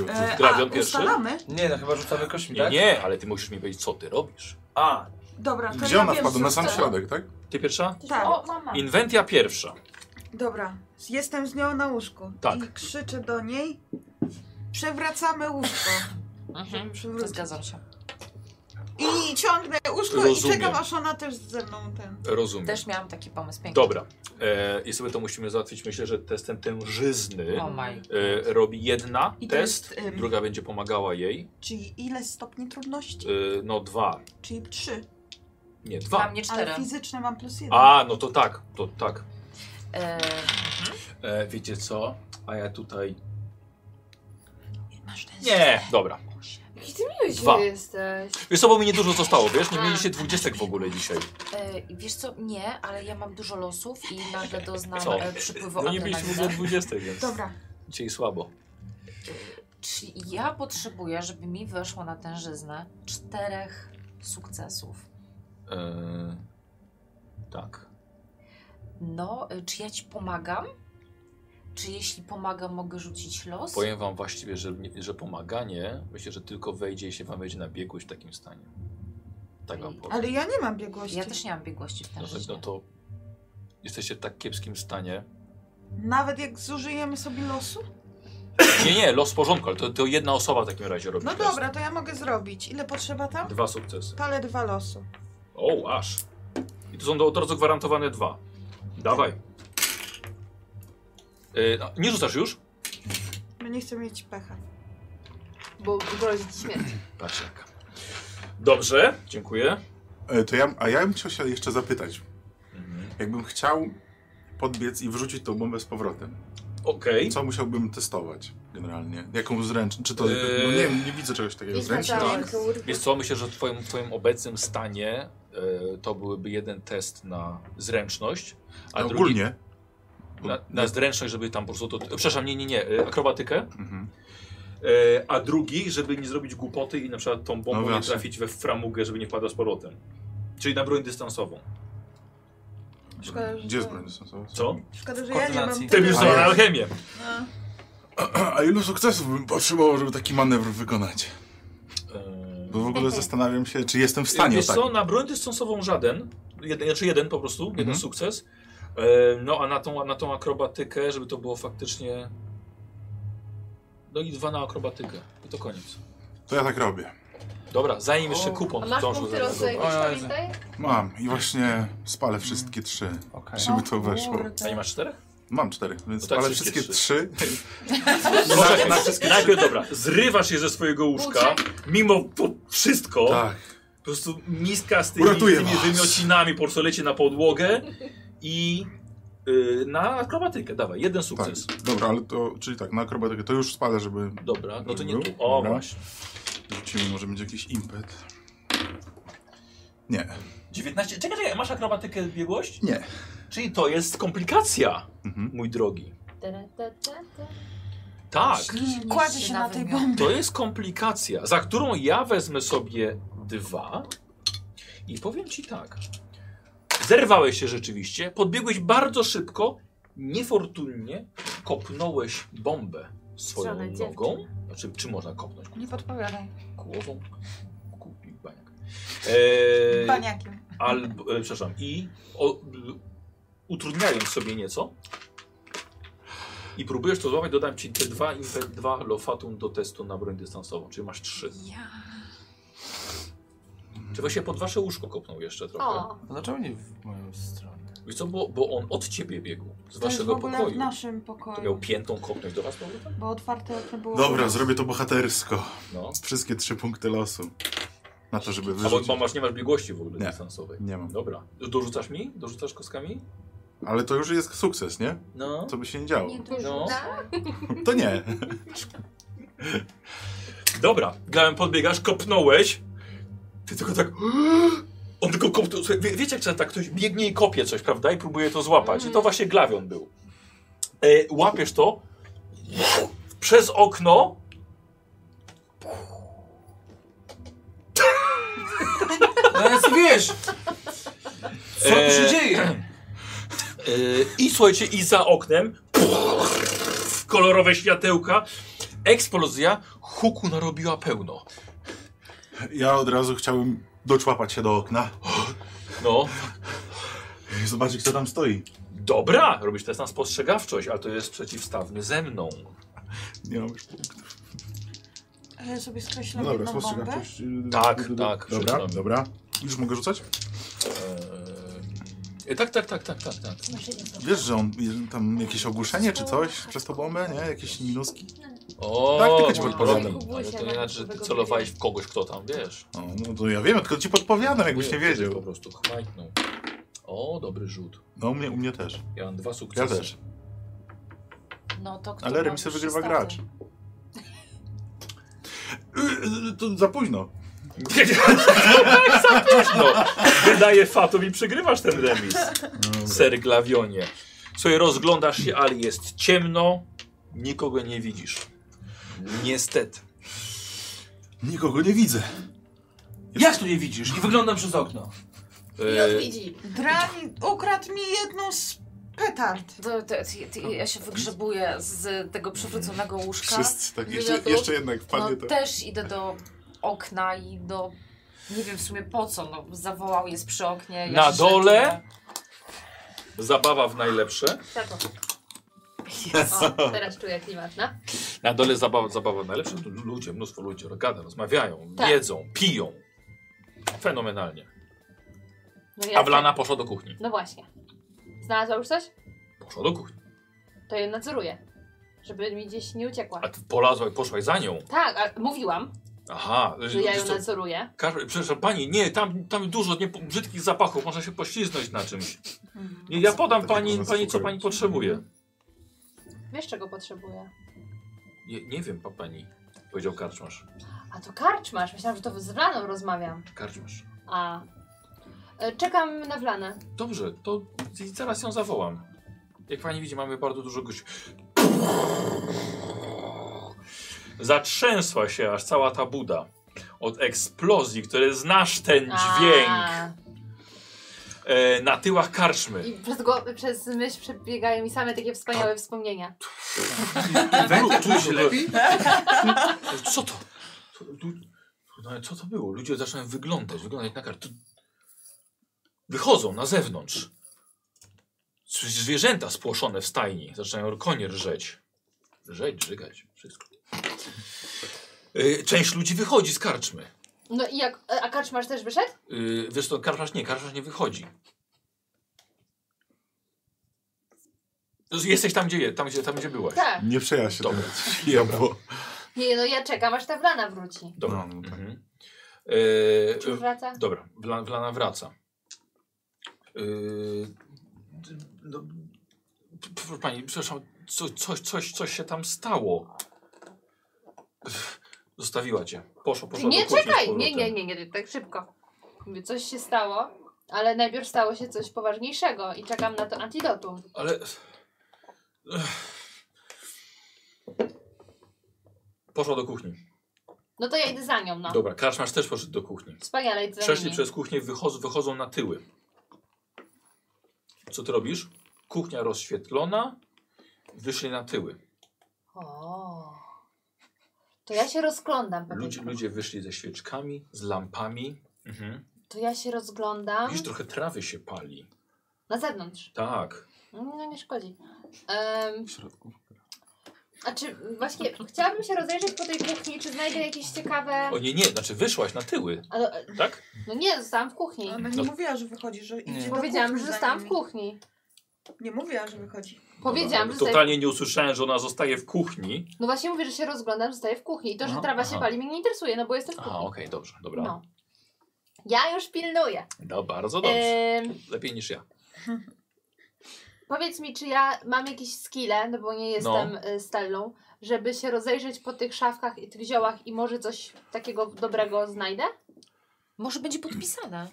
S5: E,
S1: Grawion
S5: a,
S1: pierwszy?
S5: ustalamy?
S11: Nie, no chyba rzucamy kośmi,
S1: Nie,
S11: tak?
S1: nie, ale ty musisz mi powiedzieć, co ty robisz.
S11: A,
S5: Dobra, to
S2: Gdzie
S5: ja
S2: ona
S5: wiem,
S2: wpadła?
S5: co
S2: Na sam
S5: chcę.
S2: środek, tak?
S1: Ty pierwsza?
S5: Tak.
S1: O,
S5: mama.
S1: Inwentia pierwsza.
S5: Dobra, jestem z nią na łóżku.
S1: Tak.
S5: I krzyczę do niej. Przewracamy łóżko.
S7: Mhm. Zgadzam się.
S5: I ciągnę łóżko
S1: Rozumiem.
S5: i czekam, aż ona też ze mną ten.
S1: Rozumiem.
S7: Też miałam taki pomysł piękny.
S1: Dobra. E, I sobie to musimy załatwić. Myślę, że testem tężyzny
S7: O
S1: e,
S7: maj.
S1: robi jedna
S5: No. I to
S1: test,
S5: jest, ym,
S1: druga będzie pomagała jej.
S5: Czyli ile stopni trudności?
S1: E, no dwa.
S5: Czyli trzy.
S1: Nie, dwa.
S5: Ale fizyczne mam plus jeden.
S1: A, no to tak, to tak.
S7: E,
S1: E, wiecie co? A ja tutaj...
S7: masz ten
S1: Nie, dobra.
S4: Jaki ty miły
S1: Dwa.
S4: dzisiaj jesteś.
S1: Wiesz co, bo mi niedużo zostało, wiesz? Nie mieliście dwudziestek w ogóle dzisiaj.
S7: e, wiesz co, nie, ale ja mam dużo losów i nagle doznam
S1: Co?
S7: e, przypływu
S1: No nie mieliśmy w ogóle
S7: adrenaliny.
S1: dwudziestek, więc
S5: Dobra.
S1: dzisiaj słabo.
S7: Czy ja potrzebuję, żeby mi weszło na tężyznę czterech sukcesów?
S1: E, tak.
S7: No, y, czy ja ci pomagam? Czy jeśli pomagam, mogę rzucić los?
S1: Powiem wam właściwie, że, że pomaganie, myślę, że tylko wejdzie, jeśli wam wejdzie na biegłość w takim stanie. Tak wam powiem.
S5: Ale ja nie mam biegłości.
S7: Ja też nie mam biegłości w
S1: No, to- no
S7: tężyźnie.
S1: to jesteście w tak kiepskim stanie.
S5: Nawet jak zużyjemy sobie losu?
S1: Nie, nie, los w porządku, ale to, to jedna osoba w takim razie robi
S5: No
S1: test.
S5: dobra, to ja mogę zrobić. Ile potrzeba tam?
S1: Dwa sukcesy.
S5: To ale dwa losu.
S1: O, aż. I to są do- od razu gwarantowane dwa. Dawaj. Y, no, nie rzucasz już?
S5: No nie chcę mieć pecha.
S4: Bo grozi ci śmierć.
S1: Patrz jaka. Dobrze, dziękuję.
S2: E, To ja, a ja bym chciał się jeszcze zapytać.
S1: Mhm.
S2: Jakbym chciał podbiec i wrzucić tą bombę z powrotem.
S1: Okej.
S2: Co musiałbym testować generalnie? Jaką zręczność? Czy to...
S1: Eee.
S2: No nie wiem, nie widzę czegoś takiego.
S4: Idź na
S2: Zręczność?
S4: Tak. Kurwa.
S1: Wiesz co, myślę, że w twoim, twoim obecnym stanie y, to byłyby jeden test na zręczność, a
S2: No
S1: drugi
S2: Ogólnie.
S1: na, na zręczność, żeby tam po prostu... To, przepraszam, nie, nie, nie, y, akrobatykę.
S2: Mhm.
S1: E, a drugi, żeby nie zrobić głupoty i na przykład tą
S2: No
S1: bombą nie
S2: właśnie.
S1: trafić we framugę, żeby nie wpadła z powrotem. Czyli na broń dystansową.
S5: Szkoda, że
S2: Gdzie jest
S5: to-
S2: broń dystansowa?
S1: Co?
S5: Szkoda, że ja nie mam.
S1: Ty już
S5: tyle.
S2: Tak.
S1: na alchemię.
S5: No.
S2: A ilu sukcesów bym potrzebował, żeby taki manewr wykonać?
S1: E,
S2: Bo w ogóle zastanawiam się, czy jestem w stanie
S1: Wiesz
S2: tak.
S1: co, na broń dystansową żaden, jeden, znaczy jeden po prostu,
S2: Mhm.
S1: jeden sukces. E, no a na tą, na tą akrobatykę, żeby to było faktycznie... No i dwa na akrobatykę. I to koniec.
S2: To ja tak robię.
S1: Dobra, zanim jeszcze kupon
S4: A masz
S1: zdążył
S4: punkty
S1: zaraz.
S4: rozwoju jakieś, pamiętaj?
S2: Mam i właśnie spalę wszystkie trzy,
S1: Okej.
S2: żeby
S1: O
S2: to weszło.
S1: kurde. A nie masz czterech?
S2: Mam cztery, więc
S1: To tak
S2: spalę
S1: wszystkie
S2: wszystkie trzy.
S1: Poczekaj, najpierw dobra, zrywasz je ze swojego łóżka, mimo to wszystko. Po prostu miska z tymi, z
S2: Uratuję
S1: tymi
S2: Tak. was.
S1: wymiocinami po prostu leci na podłogę i y, na akrobatykę, dawaj, jeden sukces.
S2: Dobra, ale to, czyli tak, na akrobatykę to już spalę, żeby...
S1: Dobra, no to nie
S2: był.
S1: tu. O,
S2: Dobra.
S1: właśnie.
S2: Rzucimy, może będzie jakiś impet. Nie.
S1: 19, czekaj, czekaj, masz akrobatykę biegłość?
S2: Nie.
S1: Czyli to jest komplikacja,
S2: Mhm.
S1: mój drogi. Tak.
S9: Kładzie się na tej bombie.
S1: To jest komplikacja, za którą ja wezmę sobie dwa i powiem ci tak. Zerwałeś się rzeczywiście, podbiegłeś bardzo szybko, niefortunnie kopnąłeś bombę swoją
S9: Żadna dziewczyna.
S1: nogą. Znaczy, czy można kopnąć
S9: Nie podpowiadaj.
S1: głową? Kupi baniak. Eee,
S9: Baniakiem.
S1: Albo, e, przepraszam, i o, l- utrudniając sobie nieco i próbujesz to złapać, dodam ci te dwa, impe- dwa lofatum do testu na broń dystansową, czyli masz trzy. Czy właśnie pod wasze łóżko kopnął jeszcze trochę?
S9: O.
S1: A dlaczego nie w moją stronę? Wiesz co, bo, bo on od ciebie biegł, z
S9: To jest w
S1: waszego
S9: ogóle
S1: pokoju.
S9: w naszym
S1: To miał
S9: pokoju.
S1: piętą kopnąć do was, powrotem?
S9: Bo otwarte okno było.
S2: Dobra, zrobię to bohatersko.
S1: No.
S2: Wszystkie trzy punkty losu. Na to, żeby
S1: A bo,
S2: wyrzucić.
S1: bo masz, nie masz biegłości w ogóle
S2: Nie,
S1: dystansowej.
S2: nie mam.
S1: Dobra. Dorzucasz mi? Dorzucasz kostkami?
S2: Ale to już jest sukces, nie?
S1: No.
S2: Co by się nie działo.
S1: No.
S9: Tak.
S2: To nie.
S1: Dobra, gałem podbiegasz, kopnąłeś. Ty tylko tak. On tylko kopnął. Słuchaj, Wie, wiecie, jak tak ktoś biegnie i kopie coś, prawda? I próbuje to złapać. I to właśnie glawion był. E, łapiesz to przez okno.
S6: No więc wiesz, co tu
S11: Eee.
S6: się
S1: E,
S6: dzieje?
S1: E, I słuchajcie, i za oknem kolorowe światełka, eksplozja, huku narobiła pełno.
S2: Ja od razu chciałem doczłapać się do okna
S1: No,
S2: i zobaczyć, kto tam stoi.
S1: dobra, robisz test na spostrzegawczość, ale to jest przeciwstawny ze mną.
S2: Nie mam
S9: Ale sobie skreślam
S2: No dobra,
S9: jedną bombę.
S2: spostrzegawczość. y,
S1: Tak,
S2: du- du- du-
S1: tak,
S2: Dobra,
S1: przeczytam.
S2: dobra. Już mogę rzucać?
S1: E, tak, tak, tak, tak, tak, tak.
S2: Wiesz, że on tam jakieś ogłuszenie czy coś przez tą bombę, nie? Jakieś minuski?
S1: O,
S2: Tak, tylko ci
S1: mój
S2: podpowiadam.
S1: drogi, Ale to nie znaczy, że ty celowałeś w kogoś, kto tam, wiesz.
S2: No, no to ja wiem, tylko ci podpowiadam, jakbyś nie
S1: ktoś Po
S2: wiedział.
S1: prostu chmajtnął. O, dobry rzut.
S2: No u mnie, u mnie też.
S1: Ja mam dwa sukcesy.
S2: Ja też.
S7: No to kto
S2: Ale
S7: ma
S2: remisy
S7: wyższe
S2: wygrywa
S7: staty?
S2: gracz. Y, y, To za późno.
S1: tak, za późno. Wydaje fatum i przegrywasz ten remis. Ser Glawionie. Słuchaj, rozglądasz się, ale jest ciemno. Nikogo nie widzisz. Niestety.
S2: Nikogo nie widzę.
S6: Jak tu nie widzisz? I wyglądam przez okno.
S1: E,
S5: Drani ukradł mi jedną z petard.
S7: To, to, to, ja się wygrzebuję z tego przewróconego łóżka.
S2: Wszyscy tak. Jeszcze-
S7: Wywiadu.
S2: jeszcze jednak wpadnie
S7: no,
S2: to.
S7: Też idę do okna i do... Nie wiem w sumie po co, no zawołał jest przy oknie. Ja
S1: na
S7: się
S1: dole zabawa w najlepsze.
S4: Tak, o. O, teraz czuję klimat, no.
S1: Na dole zabawa, zabawa najlepsza. Tu ludzie, mnóstwo ludzi gada, rozmawiają,
S4: Tak.
S1: jedzą, piją. Fenomenalnie.
S4: no
S1: A Wlana poszła do kuchni.
S4: No właśnie. Znalazła już coś?
S1: Poszła do kuchni.
S4: To je nadzoruję. Żeby mi gdzieś nie uciekła.
S1: A ty polazła i poszłaś za nią.
S4: Tak, a mówiłam,
S1: Aha.
S4: że ja
S1: wiesz
S4: ją
S1: co,
S4: nadzoruję.
S1: Karol, Przepraszam pani, nie, tam, tam dużo nie, brzydkich zapachów, można się poślizgnąć na czymś. Nie, ja podam pani, pani co pani potrzebuje.
S4: Wiesz czego potrzebuję?
S1: Nie, nie wiem, pa pani, powiedział karczmasz.
S4: A to karczmasz, myślałam, że to z Wlaną rozmawiam.
S1: Karczmasz.
S4: A. E, Czekam na Wlanę.
S1: Dobrze, to zaraz ją zawołam. Jak pani widzi, mamy bardzo dużo gości. Zatrzęsła się aż cała ta buda od eksplozji, które znasz ten dźwięk
S4: A,
S1: e, na tyłach karczmy.
S4: I przez, głow- przez myśl przebiegają mi same takie wspaniałe wspomnienia.
S6: Wędka czuje się lepiej?
S1: Co to? No ale co to było? Ludzie zaczynają wyglądać, wyglądać na kartę. Wychodzą na zewnątrz. Słyszysz Zwierzęta spłoszone w stajni. Zaczynają konie rżeć. Rżeć, rzygać, wszystko. Y, Część ludzi wychodzi z karczmy.
S4: No i jak. A karczmarz też wyszedł?
S1: Yy, wiesz to karczmarz nie, karczmarz nie wychodzi. Z- Jesteś tam, gdzie je, tam, gdzie, tam, gdzie byłeś.
S4: Tak.
S2: Nie przejaś się
S1: Dobra.
S2: Ja, bo...
S4: Nie, no ja czekam, aż ta wlana wróci.
S1: Dobra. Mhm. Yy,
S4: Czy wraca?
S1: Dobra, Wla- Wlana wraca. Yy, d- no, p- p- proszę pani, przepraszam, co, coś, coś, coś się tam stało. Pff, Zostawiła cię. Poszło,
S4: Ty
S1: poszło
S4: nie
S1: do kuchni z
S4: czekaj! Nie,
S1: powrotem.
S4: nie, nie, nie, tak szybko. Mówię, coś się stało, ale najpierw stało się coś poważniejszego i czekam na to antidotum.
S1: Ale.
S4: No.
S1: Poszła do kuchni.
S4: No to ja idę za nią, no.
S1: Dobra, karczmarz też poszedł do kuchni.
S4: Wspaniale, idę za
S1: Przeszli
S4: nimi.
S1: przez kuchnię, wychodzą, wychodzą na tyły. Co ty robisz? Kuchnia rozświetlona, wyszli na tyły.
S4: O. To ja się rozglądam. pewnie.
S1: Ludzie, ludzie wyszli ze świeczkami, z lampami. Mhm.
S4: To ja się rozglądam.
S1: Widzisz, trochę trawy się pali.
S4: Na zewnątrz.
S1: Tak.
S4: No nie szkodzi. Em, a czy właśnie chciałabym się rozejrzeć po tej kuchni, czy znajdę jakieś ciekawe.
S1: O nie, nie, znaczy wyszłaś na tyły,
S4: Ale, e,
S1: tak?
S4: no nie, zostałam w kuchni.
S5: Ona
S1: No.
S5: nie mówiła, że wychodzi, że idzie no, do
S4: Powiedziałam,
S5: kuchni
S4: że
S5: za
S4: zostałam w
S5: nimi.
S4: kuchni.
S5: Nie mówiła, że wychodzi.
S4: Powiedziałam,
S1: Ale
S4: że
S1: No Totalnie nie usłyszałem, że ona zostaje w kuchni.
S4: No właśnie mówię, że się rozglądam, zostaję w kuchni. I to, że
S1: Aha,
S4: trawa
S1: No, aha.
S4: się pali, mnie nie interesuje, no bo jestem w kuchni.
S1: Aha, okej, dobrze, dobra.
S4: No. Ja już pilnuję.
S1: No, bardzo dobrze.
S4: Em,
S1: Lepiej niż ja.
S4: Powiedz mi, czy ja mam jakieś skille, no bo nie jestem y, Stellą, żeby się rozejrzeć po tych szafkach i tych ziołach i może coś takiego dobrego znajdę?
S7: Może będzie podpisane.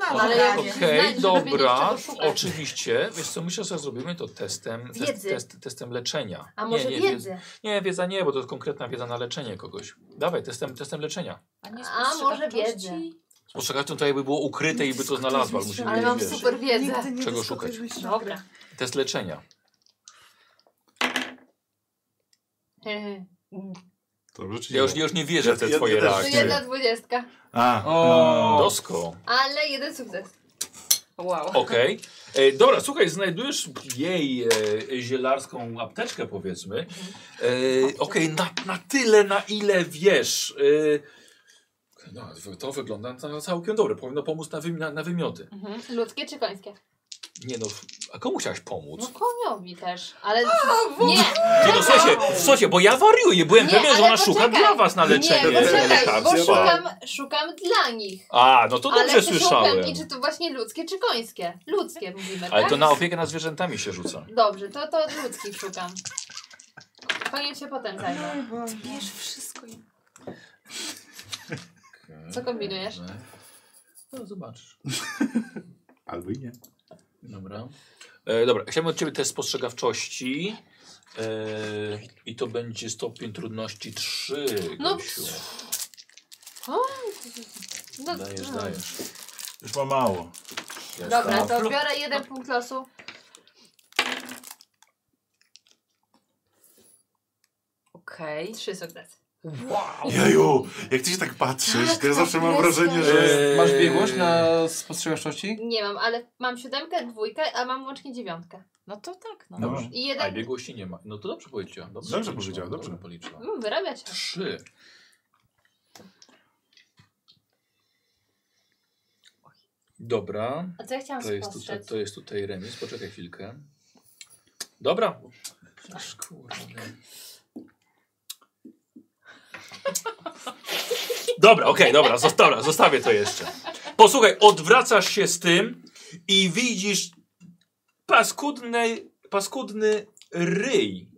S5: No,
S4: tak, ale
S5: dobra.
S4: jak się
S1: Okej,
S4: znajdzie, żeby wiedzieć,
S1: dobra,
S4: czego szukać.
S1: oczywiście. Wiesz co, myślę, że zrobimy to testem, test,
S4: Wiedzy.
S1: test, testem leczenia.
S4: A może
S1: nie,
S4: wiedzy?
S1: Nie, nie, wiedza nie, bo to jest konkretna wiedza na leczenie kogoś. Dawaj, testem, testem leczenia.
S7: A, nie
S4: A, może
S7: spostrzegawczości?
S4: wiedzy.
S1: Spostrzegawczą to jakby było ukryte i by to znalazła. ale Musi
S4: Ale
S1: wiedzieć,
S4: mam
S1: wiesz,
S4: super wiedzę.
S5: Nigdy nie
S1: Czego
S5: dyskutujesz
S1: szukać?
S5: mistrza gry.
S4: Dobra.
S1: Test leczenia.
S4: Hehe.
S2: Dobrze, czy
S1: Ja już, ja już nie wierzę w te twoje
S4: To
S1: reakcje.
S4: jedna dwudziestka,
S2: A,
S4: No.
S2: no.
S1: Dosko.
S4: ale jeden sukces.
S7: Wow.
S1: Okej. E, Dobra, słuchaj, znajdujesz jej e, zielarską apteczkę, powiedzmy. E, Okej, na, na tyle, na ile wiesz. E, no, to wygląda na całkiem dobre. Powinno pomóc na, wymi na, na wymioty.
S4: Mhm. Ludzkie czy końskie?
S1: Nie no, a komu chciałaś
S4: No
S1: pomóc?
S4: koniowi też, ale... nie,
S1: Nie no, słuchajcie, słuchajcie, bo ja wariuję. Byłem
S4: Nie,
S1: pewien, że
S4: ale
S1: ona szuka
S4: poczekaj.
S1: dla was na leczenie.
S4: nie, poczekaj, bo
S1: Rehabilitację.
S4: szukam, szukam dla nich.
S1: A, no to
S4: ale
S1: dobrze
S4: się
S1: słyszałem.
S4: upewnić, czy to właśnie ludzkie czy końskie. Ludzkie mówimy,
S1: Ale
S4: tak?
S1: to na opiekę nad zwierzętami się rzuca.
S4: Dobrze, to, to od ludzkich szukam. Koniem się potem zajmę.
S9: Bierz wszystko i...
S4: Co kombinujesz?
S1: No zobaczysz.
S2: albo i nie.
S1: Dobra. E, dobra, chciałbym od Ciebie test spostrzegawczości. E, I to będzie stopień trudności 3.
S4: No,
S1: Gosiu.
S4: O, no,
S1: Dajesz,
S4: mm.
S1: dajesz. No.
S2: Już ma mało.
S4: Dobra, to biorę jeden punkt losu.
S7: Okej.
S4: Trzy sukcesy.
S7: Wow.
S2: Jeju, jak ty się tak patrzysz, to ja zawsze mam
S4: jest
S2: wrażenie,
S4: tak.
S2: że...
S1: Eee,
S11: Masz biegłość na spostrzegawczości?
S4: Nie mam, ale mam siódemkę, dwójkę, a mam łącznie dziewiątkę.
S7: No to tak, no.
S2: Dobrze.
S4: I
S1: A
S4: jeden...
S1: biegłości nie ma. No to dobrze powiedziałam. Dobrze,
S2: Dobrze
S1: policzyłam,
S2: powiedziała, dobrze.
S1: policzyłam.
S4: Mm, Wyrabia się.
S1: 3. Dobra.
S4: A co ja chciałam
S1: To jest, tutaj,
S4: spostrzec?
S1: to jest tutaj remis. Poczekaj chwilkę. Dobra. Aż kurde. Dobra, okej, dobra, zosta- dobra, zostawię to jeszcze. Posłuchaj, odwracasz się z tym i widzisz paskudny, paskudny ryj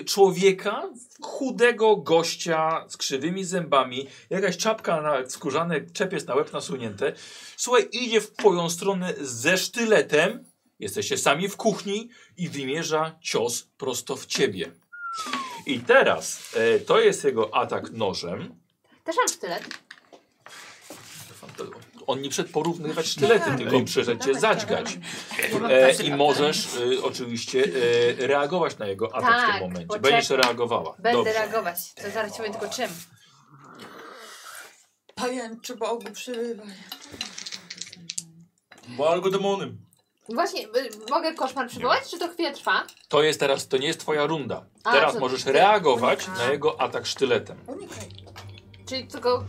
S1: e, człowieka, chudego gościa z krzywymi zębami, jakaś czapka na skórzane, czepiec na łeb nasunięte. Słuchaj, idzie w twoją stronę ze sztyletem, jesteście sami w kuchni i wymierza cios prosto w ciebie. I teraz e, to jest jego atak nożem.
S4: Też mam sztylet.
S1: On nie przed porównywać sztylety, tylko przyszedł cię zadźgać. E, I możesz e, oczywiście e, reagować na jego atak w
S4: Tak,
S1: tym momencie.
S4: poczekaj.
S1: Będziesz reagowała.
S4: Będę
S1: Dobrze.
S4: reagować. To zaraz ci powiem tylko czym.
S5: Pajęczy Bogu przyrywania.
S10: Bo algodemonem.
S4: Właśnie, y, mogę koszmar przywołać, czy to chwilę trwa?
S1: To jest teraz, to nie jest twoja runda.
S4: A,
S1: teraz
S4: to-
S1: możesz reagować na jego atak sztyletem.
S5: Unikaj.
S4: Czyli tylko...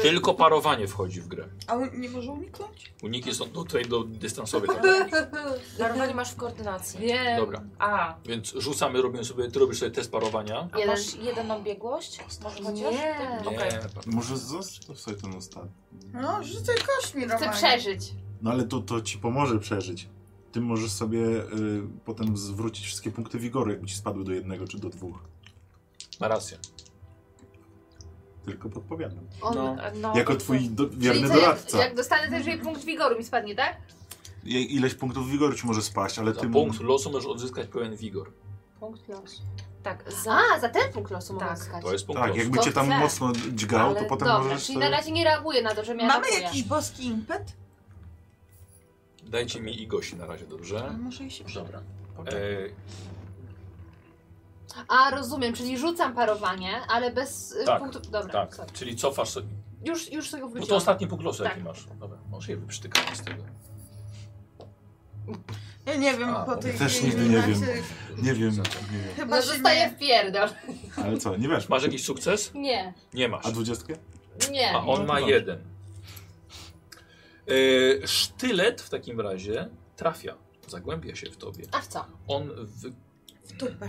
S4: y,
S1: Tylko parowanie wchodzi w grę.
S5: A on nie może uniknąć?
S1: Uniki są do, tutaj do dystansowych. tak?
S7: Parowanie masz w koordynacji.
S4: Wiem.
S1: Dobra.
S7: A,
S1: Więc rzucamy, robimy sobie, ty robisz sobie test parowania.
S7: a masz jeden na biegłość? Może chociaż?
S4: Nie.
S1: Nie,
S7: Okej.
S2: Może zostaw sobie ten ostatni.
S5: No, rzucaj kośmi,
S4: Chcę
S5: Romanie.
S4: przeżyć.
S2: No ale to, to ci pomoże przeżyć. Ty możesz sobie y, potem zwrócić wszystkie punkty wigoru, jakby ci spadły do jednego czy do dwóch.
S1: Ma rację.
S2: Tylko podpowiadam.
S4: On-
S1: No.
S7: No,
S2: jako twój do,
S4: Czyli
S2: wierny
S4: co, jak,
S2: doradca.
S4: jak dostanę też jej punkt wigoru mi spadnie, tak?
S2: Je- Ileś punktów wigoru ci może spaść, ale
S1: Za
S2: ty...
S1: punkt losu możesz odzyskać pełen wigor.
S4: Punkt losu.
S7: Tak, za...
S4: A, za ten punkt losu mogę
S7: Tak.
S4: zyskać.
S1: To jest punkt
S2: Tak,
S1: losu.
S2: jakby
S4: To
S2: cię tam
S4: chcę.
S2: mocno dźgał, to
S7: Ale
S2: potem
S4: Dobra,
S2: możesz...
S4: czyli na
S2: sobie-
S4: razie nie reaguję na to, że miałam.
S9: Mamy jakiś boski impet?
S1: Dajcie mi i gości na razie,
S4: Mhm.
S5: Ale
S1: dobrze?
S5: może i się
S1: Dobra.
S6: Poczekaj.
S1: E,
S4: A, rozumiem, czyli rzucam parowanie, ale bez y,
S1: Tak,
S4: punktu... Dobra,
S1: tak,
S4: sorry.
S1: czyli cofasz sobie.
S4: Już, już sobie go
S1: No to
S4: wróciłam.
S1: ostatni punkt losu,
S4: Tak.
S1: jaki masz. No Dobra, może je wyprztykamy z tego.
S5: Ja nie wiem,
S1: A,
S5: po
S1: bo
S5: tej
S2: ja też nigdy nie
S5: eliminacji
S2: wiem. Nie wiem, nie wiem.
S5: Chyba
S4: No
S5: się
S4: zostaję w pierdol.
S2: nie- Ale co, nie wiesz?
S1: Masz jakiś sukces?
S4: Nie,
S1: Nie masz.
S2: A dwudziestkę?
S4: nie.
S1: A on ma
S2: No.
S1: jeden. E, sztylet w takim razie trafia. Zagłębia się w tobie.
S4: A w co?
S1: On w...
S5: w dupę.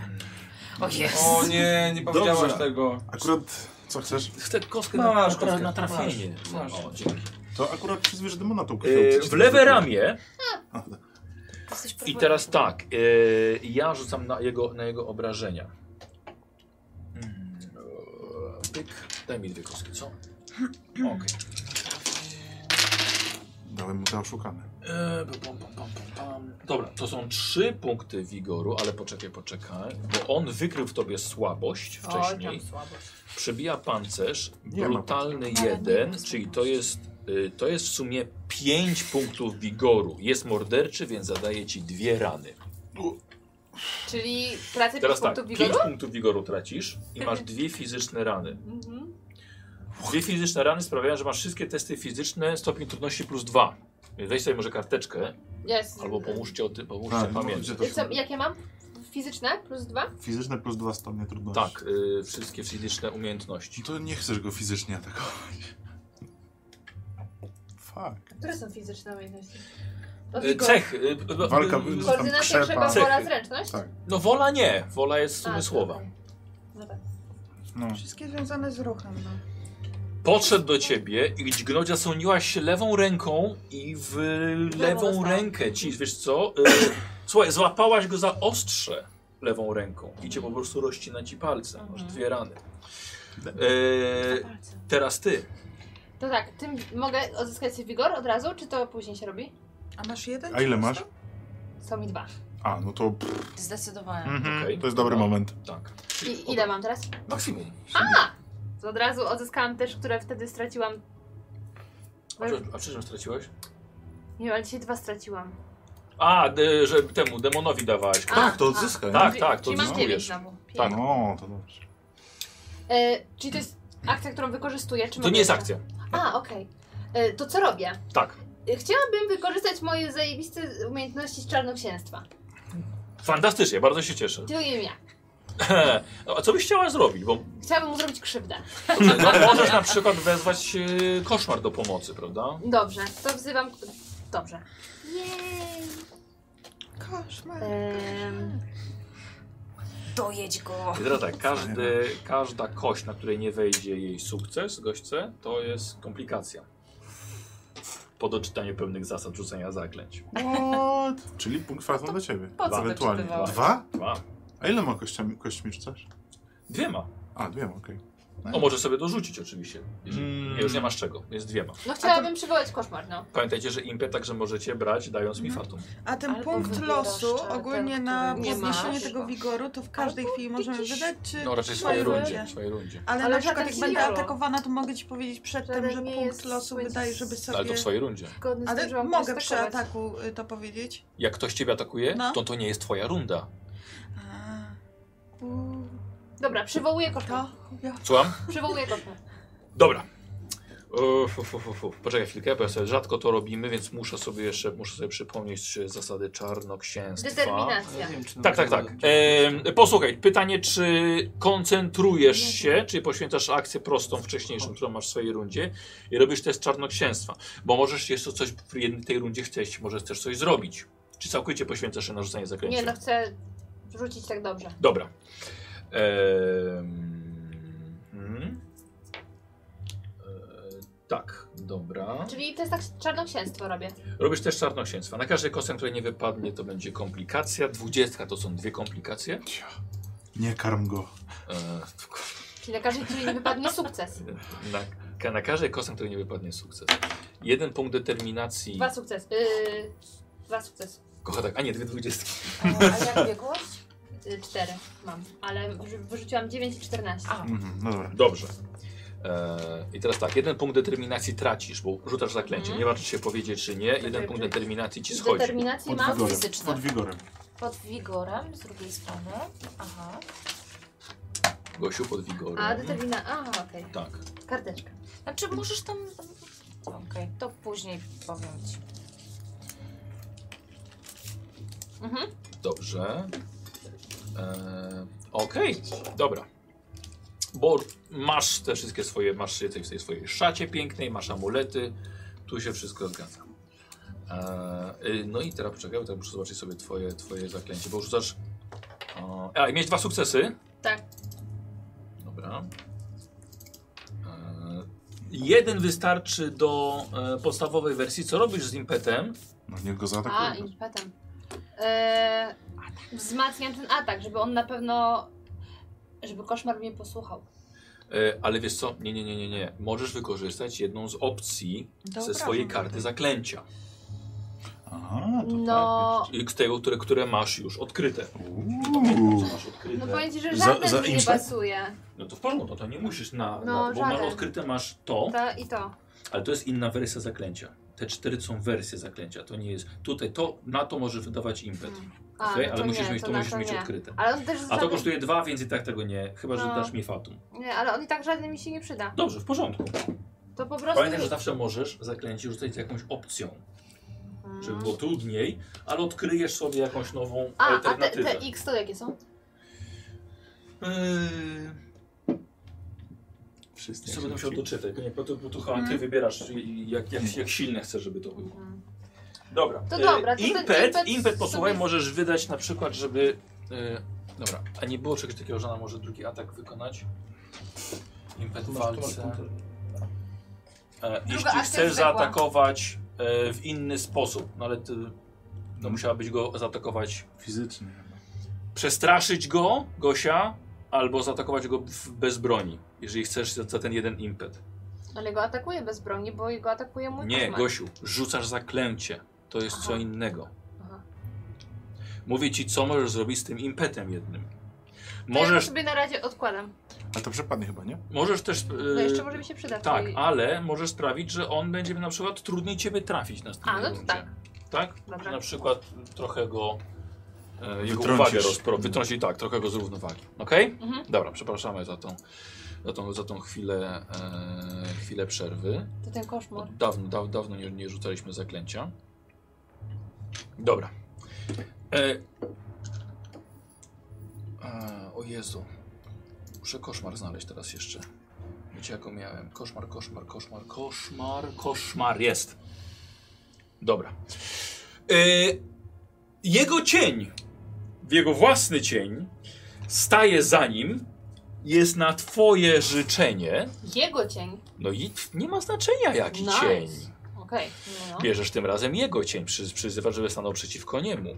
S7: O jest.
S11: O nie, nie powiedziałaś
S2: Dobrze.
S11: tego.
S2: Akurat, co chcesz?
S1: chce kostkę
S11: Masz
S1: na,
S11: kostkę,
S1: na trafienie.
S11: masz, masz.
S1: O, dzięki.
S2: To akurat przyzwiesz demona tą krwią.
S1: E,
S2: co ci
S1: w lewe
S2: tam
S1: ramię
S7: Jesteś
S1: i
S7: problemem.
S1: teraz tak. E, ja rzucam na jego, na jego obrażenia. Mm, e, Pyk. Daj mi dwie kostki, co? Okej.
S2: wypadło. Dałem mu te oszukane.
S1: E, bu- bum, bum, bum, bum, bum. Dobra, to są trzy punkty wigoru, ale poczekaj, poczekaj, bo on wykrył w tobie słabość wcześniej. Przebija pancerz,
S2: Nie ma
S1: brutalny jeden, czyli to jest, y, to jest w sumie pięć punktów wigoru. Jest morderczy, więc zadaje ci dwie rany.
S4: Czyli tracę
S1: Teraz
S4: pięć
S1: tak,
S4: punktów wigoru?
S1: pięć punktów wigoru tracisz i masz dwie fizyczne rany.
S4: Mhm.
S1: Dwie fizyczne rany sprawiają, że masz wszystkie testy fizyczne stopień trudności plus dwa. Weź sobie może karteczkę,
S4: Jest.
S1: albo pomóżcie o tym, pomóżcie
S2: Tak,
S1: pamiętać.
S2: gdzie to
S4: Jest
S2: się...
S4: co, jakie mam? Fizyczne? Plus dwa?
S2: Fizyczne plus dwa stopnie trudności.
S1: Tak, y, wszystkie fizyczne umiejętności.
S2: To nie chcesz go fizycznie atakować. Fuck.
S4: Które są fizyczne umiejętności?
S1: Y, Cech. y, y,
S2: Walka
S1: y,
S2: by-
S4: Koordynacja,
S2: Tam krzepa.
S4: krzepa, wola,
S1: Cechy.
S4: zręczność?
S2: Tak.
S1: No wola nie, wola jest
S4: A,
S1: umysłowa.
S4: dobra. Dobra.
S2: No.
S5: Wszystkie związane z ruchem, no.
S1: Podszedł do ciebie i dźgnoć zasłoniłaś się lewą ręką i w lewą
S7: dostałam.
S1: rękę ci, wiesz co, y, słuchaj, złapałaś go za ostrze lewą ręką i cię po prostu rozcina ci palce, masz
S4: Mhm.
S1: dwie rany. Y, teraz ty.
S4: To tak, tym mogę odzyskać sobie wigor od razu, czy to później się robi?
S5: A masz jeden?
S2: A ile
S5: czy
S2: masz?
S4: Są mi dwa.
S2: A, no to... Pff,
S7: Zdecydowanie.
S2: mhm,
S1: Okej.
S2: To jest dobry
S1: No.
S2: moment.
S1: Tak.
S4: I ile mam teraz?
S1: Maksimum.
S4: To Od razu odzyskałam też, które wtedy straciłam.
S1: A przy- A przy czym straciłeś?
S4: Nie, ale dzisiaj dwa straciłam.
S1: A, y, że temu demonowi dawałaś.
S4: A,
S2: tak, to
S4: a.
S2: odzyskaj.
S1: Tak,
S4: Czyli-
S1: tak, to
S4: Czyli mam dziewięć
S1: odzyskujesz.
S4: znowu. Pięć.
S1: Tak.
S2: No, to dobrze.
S4: E, czyli to jest akcja, którą wykorzystuję, czy
S1: To
S4: mogę
S1: nie jest
S4: jeszcze?
S1: akcja.
S4: A, okej. E, To co robię?
S1: Tak.
S4: E, Chciałabym wykorzystać moje zajebiste umiejętności z czarnoksięstwa.
S1: Fantastycznie, bardzo się cieszę. No,
S4: Tylko nie wiem jak.
S1: A co byś chciała zrobić? Bo
S4: Chciałabym mu zrobić krzywdę.
S1: no, możesz na przykład wezwać e, koszmar do pomocy, prawda?
S4: Dobrze, to wzywam... Dobrze. Jej!
S5: Koszmar.
S4: Em,
S7: Dojedź go.
S1: I teraz tak, każdy, każda kość, na której nie wejdzie jej sukces, gośce, to jest komplikacja. Po doczytaniu pewnych zasad rzucenia zaklęć.
S2: What? Czyli punkt kwadrat do ciebie.
S7: po co to
S2: Ewentualnie.
S7: czytywałeś?
S2: Dwa?
S1: Dwa.
S2: A ile ma kościami, kośćmi rzucasz?
S1: Dwiema.
S2: A, dwie, okej.
S1: O, może sobie dorzucić oczywiście. Jeżeli, nie, już nie masz czego, jest dwiema.
S4: No chciałabym przywołać koszmar, no.
S1: Pamiętajcie, że impet także możecie brać, dając
S5: Mhm.
S1: mi fatum.
S5: A ten
S7: Albo
S5: punkt
S7: wybierasz
S5: losu,
S7: ten,
S5: ogólnie
S7: który
S5: na
S4: nie
S5: podniesienie
S4: masz. no,
S5: tego wigoru, to w każdej
S7: Albo
S5: chwili możemy
S7: jakiś-
S5: wydać, czy...
S1: No raczej w swojej rundzie. W swojej rundzie.
S4: Ale
S5: Ale,
S4: tak
S5: na przykład jak
S4: żaden
S5: będę
S4: wigoru.
S5: atakowana, to mogę ci powiedzieć przed tym,
S4: Żaden
S5: że
S4: nie
S5: punkt
S4: jest
S5: losu
S4: słońce-
S5: wydaje, żeby sobie...
S1: Ale to w swojej rundzie.
S4: Zgodny z tym, że
S5: Ale
S4: mam
S5: mogę przy
S4: protestować.
S5: ataku y, to powiedzieć?
S1: Jak ktoś ciebie atakuje,
S5: No.
S1: to to nie jest twoja runda.
S5: A. U,
S4: Dobra, przywołuję koszmar.
S5: To... Ja.
S1: Słucham?
S4: Przywołuję koszmar.
S1: Dobra. O, fu, fu, fu, fu. Poczekaj chwilkę, bo ja sobie rzadko to robimy, więc muszę sobie jeszcze muszę sobie przypomnieć e, zasady czarnoksięstwa.
S4: Determinacja. Ja wiem, czy
S1: Tak, tak, tak.
S11: Ehm.
S1: E, posłuchaj, pytanie, czy koncentrujesz się, czy poświęcasz akcję prostą wcześniejszą, którą masz w swojej rundzie i robisz test czarnoksięstwa, bo możesz jeszcze coś w jednej tej rundzie chcieć, możesz też coś zrobić. Czy całkowicie poświęcasz się na rzucanie zaklęcia?
S4: Nie, no chcę rzucić tak dobrze.
S1: Dobra. Ehm, mhm. Ehm, tak, dobra.
S4: Czyli to jest tak czarnoksięstwo robię.
S1: Robisz też czarnoksięstwa. Na każdej kostce, której nie wypadnie, to będzie komplikacja. Dwudziestka to są dwie komplikacje.
S2: Nie karm go.
S1: Ehm,
S4: Czyli na każdej, której nie wypadnie sukces.
S1: na, ka- na każdej kostce, której nie wypadnie sukces. Jeden punkt determinacji.
S4: Dwa sukcesy. Yy, dwa sukcesy.
S1: Kocha tak, a nie, dwie dwudziestki.
S4: A jak biegłość? Yy, cztery mam, ale wyrzu- wyrzuciłam 9 i 14.
S2: Mhm, no dobra.
S1: Dobrze. Eee, I teraz tak, jeden punkt determinacji tracisz, bo rzucasz zaklęcie.
S4: Mhm.
S1: Nie warto się powiedzieć, czy nie. Jeden punkt determinacji ci schodzi.
S4: Determinację mam fizyczną.
S2: Pod wigorem.
S7: Pod wigorem z drugiej strony. Aha.
S1: Gosiu pod wigorem.
S4: A, determina... A, okej.
S1: Tak.
S4: Karteczka.
S7: Znaczy możesz tam... Okej, to później powiem ci.
S4: Mhm.
S1: Dobrze. Eee, Okej, dobra. Bo masz te wszystkie swoje, masz je tej- w tej swojej szacie pięknej, masz amulety, tu się wszystko zgadza. Eee, y, no i teraz poczekaj, bo teraz muszę zobaczyć sobie twoje, twoje zaklęcie, bo rzucasz... O, a, i miałeś dwa sukcesy?
S4: Tak.
S1: Dobra. Eee, jeden wystarczy do e, podstawowej wersji. Co robisz z impetem?
S2: No niech go
S4: A,
S2: zaatakuje.
S4: impetem. Eee, wzmacniam ten atak, żeby on na pewno... Żeby koszmar mnie posłuchał.
S1: E, Ale wiesz co? Nie, nie, nie, nie, nie. Możesz wykorzystać jedną z opcji ze
S4: Dobra,
S1: swojej
S4: no.
S1: karty zaklęcia.
S2: Aha,
S4: No...
S1: I z tego, które, które masz już odkryte.
S2: Uuu.
S1: Masz odkryte.
S4: No powiem ci, że
S1: tak, Za-
S4: żaden
S1: za
S4: mi nie
S1: imszek?
S4: pasuje.
S1: No to w porządku, to nie musisz na.
S4: No,
S1: na bo masz
S4: żaden. Tak.
S1: odkryte masz to,
S4: To i to.
S1: ale to jest inna wersja zaklęcia. Te cztery to są wersje zaklęcia. To nie jest. Tutaj to na to może wydawać impet.
S4: A,
S1: Okej,
S4: no
S1: ale
S4: to
S1: musisz
S4: nie,
S1: mieć
S4: to
S1: to,
S4: na
S1: musisz
S4: to
S1: mieć
S4: nie.
S1: odkryte.
S4: Ale on też
S1: A to
S4: żaden-
S1: kosztuje dwa, więc i tak tego nie, chyba że
S4: No.
S1: dasz mi fatum.
S4: Nie, ale on i tak żaden mi się nie przyda.
S1: Dobrze, w porządku.
S4: To po prostu...
S1: Pamiętaj, że zawsze możesz zaklęcie rzucać z jakąś opcją. Żeby było trudniej, ale odkryjesz sobie jakąś nową
S4: A, a te,
S1: alternatywę.
S4: te X to jakie są?
S2: Wszyscy.
S1: Co będę musiał doczytać, bo, nie, bo, to, bo to chyba ty
S4: Mhm.
S1: wybierasz, jak, jak, jak silne chcesz, żeby to było. Dobra.
S4: To
S1: e,
S4: dobra, to ten
S1: impet, impet,
S4: impet
S1: posłuchaj,
S4: sobie-
S1: możesz wydać na przykład, żeby... e, dobra, a nie było czegoś takiego, że ona może drugi atak wykonać? Impet w walce. E, jeśli
S10: akcja
S1: chcesz
S10: zwykła.
S1: zaatakować e, w inny sposób, no ale ty, no musiałabyś go zaatakować
S2: Fizycznie.
S1: przestraszyć go, Gosia, albo zaatakować go w- bez broni, jeżeli chcesz za, za ten jeden impet.
S4: Ale go atakuje bez broni, bo go atakuje mój
S1: Nie,
S4: koszmar.
S1: Gosiu, rzucasz zaklęcie. To jest co innego.
S4: Aha.
S1: Mówię ci, co możesz zrobić z tym impetem jednym.
S4: To ja go
S1: Możesz,
S4: sobie na razie odkładam.
S2: Ale to przepadnie chyba, nie?
S1: możesz też.
S4: No
S1: e,
S4: jeszcze może mi się przyda. w
S1: Tak,
S4: tej-
S1: ale możesz sprawić, że on będzie na przykład trudniej ciebie trafić na
S4: A,
S1: następnym
S4: no to tak.
S1: Tak?
S4: Dobra.
S1: Że Na przykład trochę go. E, jego
S2: Wytrącisz.
S1: uwagę rozpro... wytrącić, tak, trochę go z równowagi. Okej?
S4: Mhm.
S1: Dobra, przepraszamy za tą, za tą, za tą chwilę, e, chwilę przerwy.
S4: To ten koszmar.
S1: Od dawno, daw, dawno nie, nie rzucaliśmy zaklęcia. Dobra. E, e, o Jezu. Muszę koszmar znaleźć teraz jeszcze. Wiecie, jaką miałem? Koszmar, koszmar, koszmar, koszmar, koszmar. Jest. Dobra. E, jego cień, jego własny cień, staje za nim. Jest na twoje życzenie.
S4: Jego cień.
S1: No i nie ma znaczenia jaki
S4: Nice.
S1: cień.
S4: Okej. No, no.
S1: Bierzesz tym razem jego cień, przy, przyzywasz, żeby stanął przeciwko niemu.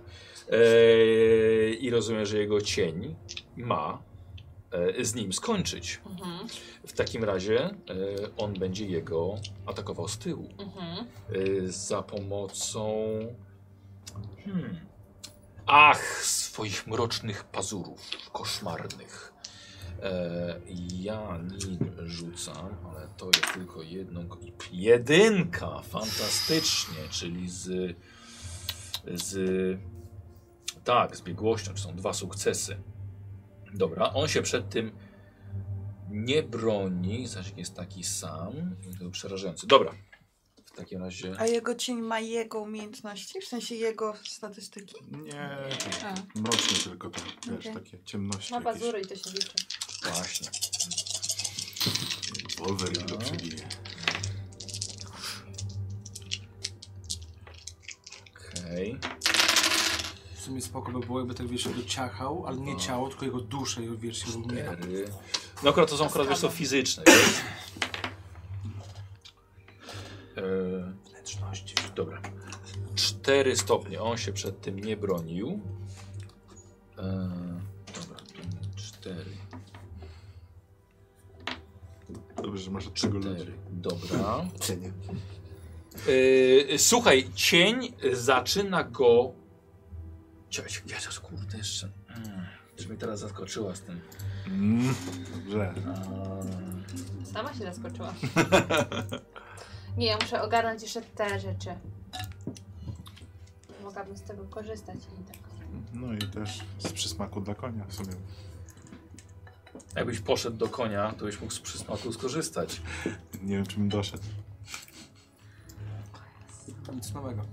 S1: E, I rozumiesz, że jego cień ma e, z nim skończyć.
S4: Mhm.
S1: W takim razie e, on będzie jego atakował z tyłu.
S4: Mhm.
S1: E, za pomocą. Hmm. Ach, swoich mrocznych pazurów koszmarnych. E, ja nim rzucam, ale to jest tylko jedną. k- Jedynka! Fantastycznie, czyli z. z tak, z biegłością, czy są dwa sukcesy. Dobra, on się przed tym nie broni, zasięg jest taki sam. To był przerażający. Dobra. W takim razie.
S5: A jego cień ma jego umiejętności? W sensie jego statystyki?
S2: Nie.
S5: A.
S2: Mroczne tylko to, wiesz,
S5: Okej.
S2: takie ciemności
S4: Ma
S2: jakieś.
S4: pazury i to się liczy.
S1: Właśnie.
S2: Wolverine go przebije.
S1: Okej.
S6: tak. W sumie spoko by było, jakby ten wiesz, go ciachał, ale
S11: No.
S6: nie ciało, tylko jego duszę i wiesz, się umiera.
S1: No akurat to są akurat wiesz, co fizyczne. Wiesz? E,
S6: Wnętrzności.
S1: Dobra. 4 stopnie. On się przed tym nie bronił. E, dobra, 4.
S2: Dobrze, że masz od czego ludzi.
S1: Dobra.
S6: Cenię.
S1: E, słuchaj, cień zaczyna go. Cześć, Jezus, kurde jeszcze. Mm, Czy mnie teraz zaskoczyła z tym.
S2: Mm, dobrze.
S4: Sama się zaskoczyła. Nie, ja muszę ogarnąć jeszcze te rzeczy. Mogłabym z tego korzystać i tak.
S2: No i też z przysmaku dla konia w sumie.
S1: Jakbyś poszedł do konia, to byś mógł z przysmaku skorzystać.
S2: Nie wiem, czy bym doszedł.
S6: Nic nowego.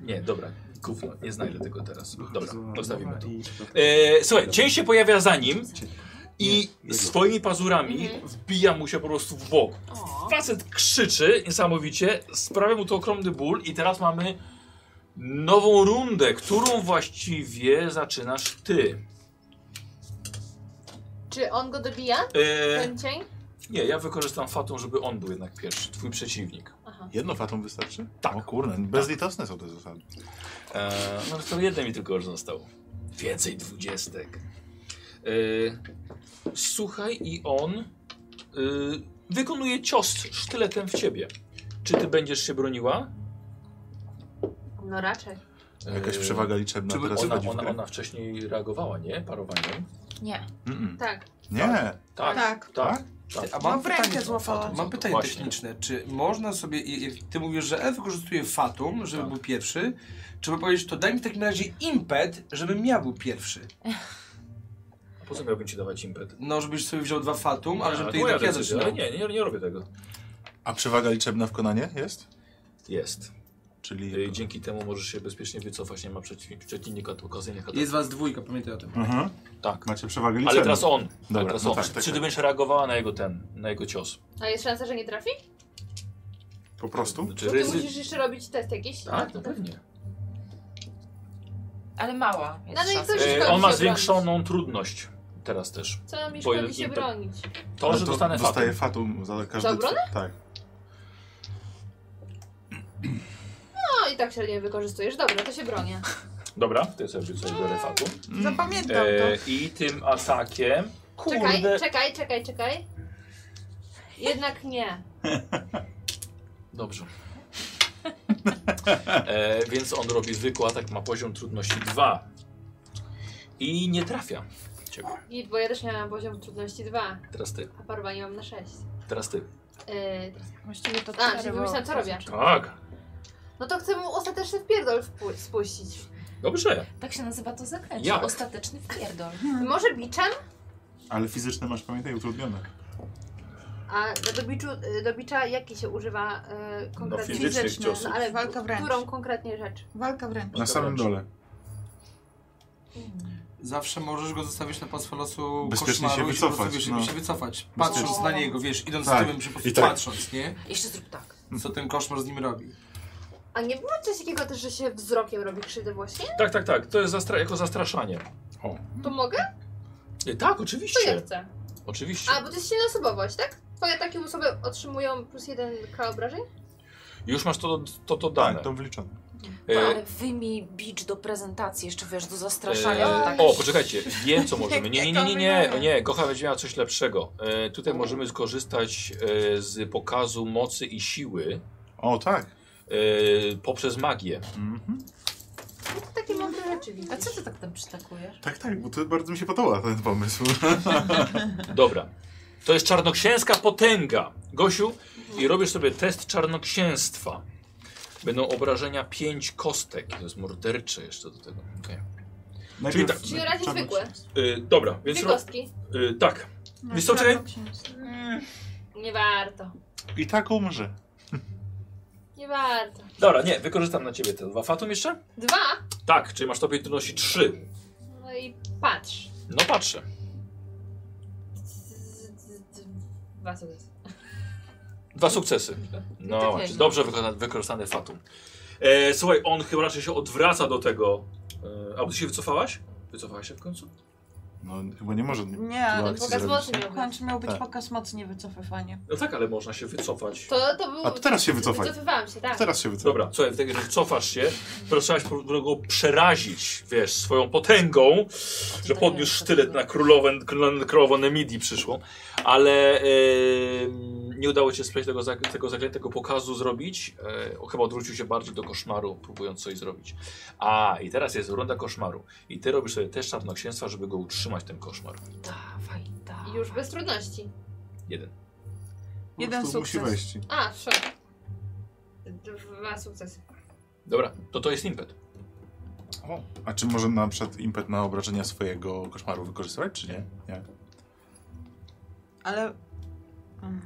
S1: Nie, dobra, gówno, nie znajdę tego teraz. Dobra,
S2: Zła-
S1: zostawimy
S2: zła
S1: to.
S2: i-
S1: E, słuchaj, cień się pojawia za nim i swoimi pazurami
S4: Mhm.
S1: wbija mu się po prostu w bok. Facet krzyczy niesamowicie, sprawia mu to ogromny ból i teraz mamy nową rundę, którą właściwie zaczynasz ty.
S4: Czy on go dobija?
S1: E,
S4: Ten cień?
S1: nie, ja wykorzystam fatą, żeby on był jednak pierwszy, twój przeciwnik.
S4: Aha.
S2: Jedno fatą wystarczy?
S1: Tak.
S2: O kurde, bezlitosne są te zasady.
S1: E, no to jeden mi tylko już został. Więcej dwudziestek. E, słuchaj i on e, wykonuje cios sztyletem w ciebie. Czy ty będziesz się broniła? E,
S4: No raczej.
S2: Jakaś przewaga liczebna
S1: Yy, Czy
S2: teraz
S1: ona,
S2: wchodzi w
S1: ona,
S2: grę.
S1: ona wcześniej reagowała, nie? Parowaniem.
S7: Nie.
S2: Mm-mm.
S4: Tak.
S2: Nie.
S1: Tak,
S5: Tak.
S1: tak.
S6: A
S5: No
S6: mam
S5: w rękę
S6: pytanie,
S5: złapała.
S6: mam pytanie
S1: Właśnie.
S6: techniczne. Czy można sobie, i- i- ty mówisz, że F wykorzystuje Fatum,
S11: Tak.
S6: żeby był pierwszy, czy by powiedzieć, to daj mi w takim razie impet, żebym ja był pierwszy.
S1: Po co miałbym ci dawać impet?
S6: No, żebyś sobie wziął dwa Fatum, ale żeby
S1: A,
S6: ty
S1: moja
S6: jednak ja
S1: decyzja,
S6: zaczynał.
S1: ale nie, nie, nie robię tego.
S2: A przewaga liczebna w konanie jest?
S1: Jest.
S2: Czyli...
S1: E, dzięki temu możesz się bezpiecznie wycofać, nie ma przeciw- przeciwnika to okazyjnych ataków.
S6: Jest was dwójka, pamiętaj o tym.
S2: Mhm.
S1: Tak.
S2: Macie przewagę liczebną.
S1: Ale teraz on.
S2: Dobra,
S1: ale teraz
S2: no
S1: on.
S2: tak, tak,
S1: Czy ty
S2: tak.
S1: będziesz reagowała na jego ten, na jego cios?
S4: A jest szansa, że nie trafi?
S2: Po prostu?
S1: Znaczy,
S4: Bo ty
S1: ryzy-
S4: musisz jeszcze robić test jakiś?
S1: Tak, no pewnie.
S7: Ale mała jest
S4: No, no i
S7: szansa.
S4: coś
S1: E,
S4: szkodzi
S1: on ma
S4: się
S1: zwiększoną trudność teraz też.
S4: Co mi
S1: Bo
S4: szkodzi się
S1: impet-
S4: bronić?
S1: To,
S2: Ale
S1: że dostanę
S2: dostaje
S1: fatum.
S2: No fatum za każdy...
S4: obronę?
S2: tw- Tak.
S4: No i tak się nie wykorzystujesz. Dobra, to się bronię.
S1: Dobra, to ja sobie sobie biorę fatum.
S5: Zapamiętam
S1: E,
S5: to.
S1: I tym atakiem...
S4: Czekaj,
S1: Kurde.
S4: czekaj, czekaj, czekaj. Jednak nie.
S1: Dobrze. E, więc on robi zwykły atak, ma poziom trudności 2. I nie trafia ciebie.
S4: I, bo ja też miałam poziom trudności 2,
S1: Teraz ty,
S4: a parowanie mam na 6.
S1: teraz ty.
S4: Yy,
S9: Właściwie to
S4: a, czyli wymyślam co robię.
S1: Tak,
S4: No to chcę mu ostateczny wpierdol wpu- spuścić.
S1: dobrze.
S7: Tak się nazywa to zaklęcie.
S1: Jak?
S7: Ostateczny wpierdol.
S4: Może biczem?
S2: Ale fizyczne masz, pamiętaj, utrudnione.
S4: A do, biczu, do bicza jaki się używa yy, konkretnie?
S1: fizycznych
S5: Fizyczne,
S1: ciosów.
S5: no, ale walka wręcz.
S4: Którą konkretnie rzecz?
S5: Walka wręcz.
S2: Na samym dole.
S6: Zawsze możesz go zostawić na pastwę losu
S2: Bezpiecznie
S6: koszmaru
S2: się
S6: i po prostu,
S2: wycofać,
S6: wiesz,
S2: no.
S6: jakby się wycofać. Patrząc na niego, wiesz, idąc
S2: Tak.
S6: tyłem, się po
S2: I
S6: prostu
S2: tak.
S6: patrząc, nie?
S7: Jeszcze zrób tak.
S6: Co ten koszmar z nim robi.
S4: A nie było coś takiego też, że się wzrokiem robi krzywdę właśnie?
S1: Tak, tak, tak. To jest zastra jako zastraszanie.
S2: O.
S4: To mogę?
S1: E, Tak,
S4: To ja
S1: oczywiście.
S4: chcę.
S1: Oczywiście.
S4: A, bo to jest silna osobowość, tak? Twoje takie osoby otrzymują plus 1k obrażeń?
S1: Już masz to, to, to dane.
S2: Tak, to wliczone.
S7: No,
S1: E,
S7: ale wyjmij bicz do prezentacji, jeszcze wiesz, do zastraszania.
S1: e,
S7: to tak.
S1: o, poczekajcie, wiem co możemy. Nie, nie, nie, nie, nie, o nie, kocha będzie miała coś lepszego. E, tutaj możemy skorzystać e, z pokazu mocy i siły
S2: O, tak.
S1: e, poprzez magię.
S2: Mhm.
S4: No to takie mądre rzeczy widzisz.
S7: A co ty tak tam przytakujesz?
S2: Tak, tak, bo to bardzo mi się podoba ten pomysł.
S1: Dobra. To jest czarnoksięska potęga. Gosiu, i robisz sobie test czarnoksięstwa. Będą obrażenia 5 kostek. To jest mordercze jeszcze do tego. Okej. E,
S10: Czyli tak.
S4: Czyli raczej zwykłe.
S10: Y, dobra, więc.
S4: Dwie
S10: ro-
S4: kostki.
S10: Y, tak.
S5: No,
S10: Wiesz co, czekaj?
S4: Nie warto.
S10: I tak umrze.
S4: Nie warto.
S1: Dobra, nie, wykorzystam na ciebie te dwa. Fatum jeszcze?
S4: Dwa.
S1: Tak, czyli masz stopień trudności 3.
S4: No i patrz.
S1: No patrzę.
S4: Dwa co to jest.
S1: Dwa sukcesy. No
S4: tak
S1: właśnie,
S4: jest.
S1: dobrze wykonane- wykorzystane fatum. E, słuchaj, on chyba raczej się odwraca do tego. E, a ty się wycofałaś? Wycofałaś się w końcu?
S2: No chyba nie może.
S9: Nie, ale
S2: akcji
S9: pokaz
S2: zrobić,
S9: mocy
S2: nie?
S9: miał być. miał być
S2: Tak.
S9: pokaz mocy, nie wycofywanie.
S1: No tak, ale można się wycofać.
S4: To, to był...
S2: A to teraz się wycofaj.
S4: Wycofywałam się, tak.
S2: Teraz się wycofaj.
S1: Dobra, co, w takim razie cofasz się, próbowałeś go przerazić, wiesz, swoją potęgą, że
S9: Tak,
S1: podniósł sztylet na królową, na królową Nemidii przyszło, ale em, nie udało ci się sprzeć tego, zag- tego zaklętego pokazu zrobić, e, chyba odwrócił się bardziej do koszmaru, próbując coś zrobić. A, i teraz jest runda koszmaru i ty robisz sobie też czarnoksięstwa, żeby go utrzymać, ten koszmar.
S7: Dawaj, dawaj.
S4: Już bez trudności.
S1: Jeden.
S5: Jeden
S2: prostu musi
S5: sukces.
S2: wejść.
S4: A, w szok. Dwa sukcesy.
S1: Dobra, to to jest impet.
S2: A czy może na przykład impet na obrażenia swojego koszmaru wykorzystywać, czy nie? Nie.
S5: Ale... Mm.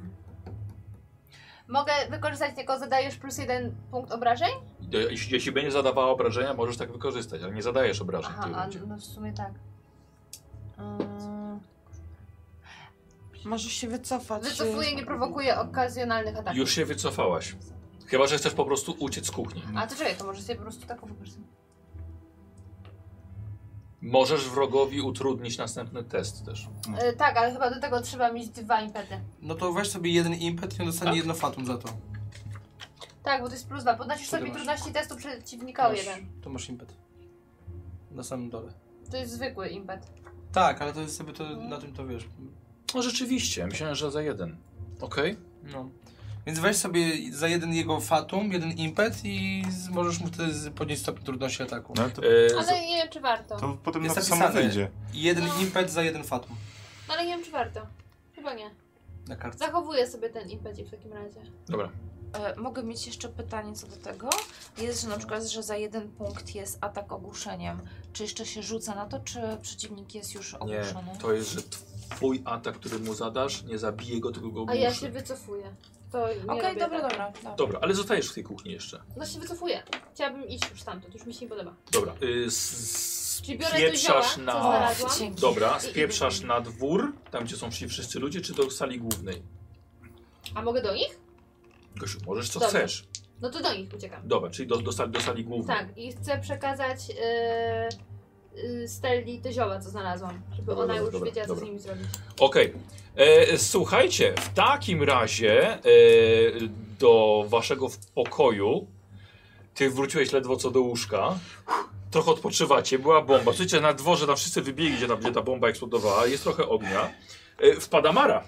S4: Mogę wykorzystać tylko zadajesz plus jeden punkt obrażeń?
S1: Je- Jeśli, jeśli będzie zadawała obrażenia, możesz tak wykorzystać, ale nie zadajesz obrażeń. w tej
S9: Aha,
S1: rundzie.
S9: a, no w sumie tak.
S2: Yy,
S4: Yy,
S5: Mm. Możesz się wycofać. y,
S4: Wycofuję, nie prowokuję okazjonalnych ataków.
S1: Już się wycofałaś. Chyba, że chcesz po prostu uciec z kuchni.
S4: A to czekaj, to może sobie po prostu taką wykorzystać.
S1: Możesz wrogowi utrudnić następny test też.
S4: E, tak, ale chyba do tego trzeba mieć dwa impety.
S6: No to weź sobie jeden impet i on dostanie jedno fatum za to.
S4: Tak, bo to jest plus dwa. Podnosisz
S6: Co ty
S4: sobie
S6: masz?
S4: trudności testu przeciwnika o
S6: Masz-
S4: jeden.
S6: To masz impet. Na samym dole.
S4: To jest zwykły impet.
S6: Tak, ale to jest sobie to, na tym to wiesz.
S1: No rzeczywiście, myślałem, że za jeden. Okej.
S6: No. Więc weź sobie za jeden jego fatum, jeden impet i z- możesz mu wtedy z- podnieść stopień trudności ataku.
S2: No,
S1: E,
S2: to,
S4: Ale nie wiem, czy warto.
S2: to potem na
S6: Jest
S2: to samo
S6: napisane.
S2: wyjdzie.
S6: Jeden impet za jeden fatum
S4: No, ale nie wiem, czy warto. Chyba nie.
S6: na kartce.
S4: Zachowuję sobie ten impet w takim razie.
S1: Dobra.
S7: E, mogę mieć jeszcze pytanie co do tego? Jest, że na przykład, że za jeden punkt jest atak ogłuszeniem. Czy jeszcze się rzuca na to, czy przeciwnik jest już
S1: Nie,
S7: ogłuszony?
S1: to jest, że twój atak, który mu zadasz, nie zabije go, tylko go
S4: A ja
S1: ogłuszy.
S4: się wycofuję. To nie
S7: Okej,
S4: robię
S7: dobra,
S4: tak.
S7: dobra, dobra.
S1: Dobra, ale zostajesz w tej kuchni jeszcze.
S4: No się wycofuję. Chciałabym iść już stamtąd, już mi się nie podoba.
S1: Dobra. Y, s-
S4: Czyli biorę
S1: spieprzasz
S4: tu zioła, co
S1: na...
S4: znalazłam.
S7: Dzięki.
S1: Dobra,
S4: I- i-
S1: spieprzasz na dwór, tam gdzie są szli wszyscy ludzie, czy do sali głównej?
S4: A mogę do nich?
S1: Gosiu, możesz co
S4: Dobra.
S1: chcesz.
S4: No to do nich uciekam.
S1: Dobra, czyli do, do, sali, do sali głównej.
S4: Tak, i chcę przekazać yy, yy, Stelli te zioła, co znalazłam, żeby
S1: Dobra,
S4: ona
S1: dobra,
S4: już
S1: dobra,
S4: wiedziała, co
S1: dobra.
S4: z nimi zrobić.
S1: Okej. E, Słuchajcie, w takim razie e, do waszego w- pokoju ty wróciłeś ledwo co do łóżka. Trochę odpoczywacie, była bomba. Słuchajcie, na dworze tam wszyscy wybiegli, gdzie, tam, gdzie ta bomba eksplodowała. Jest trochę ognia. E, wpada Mara.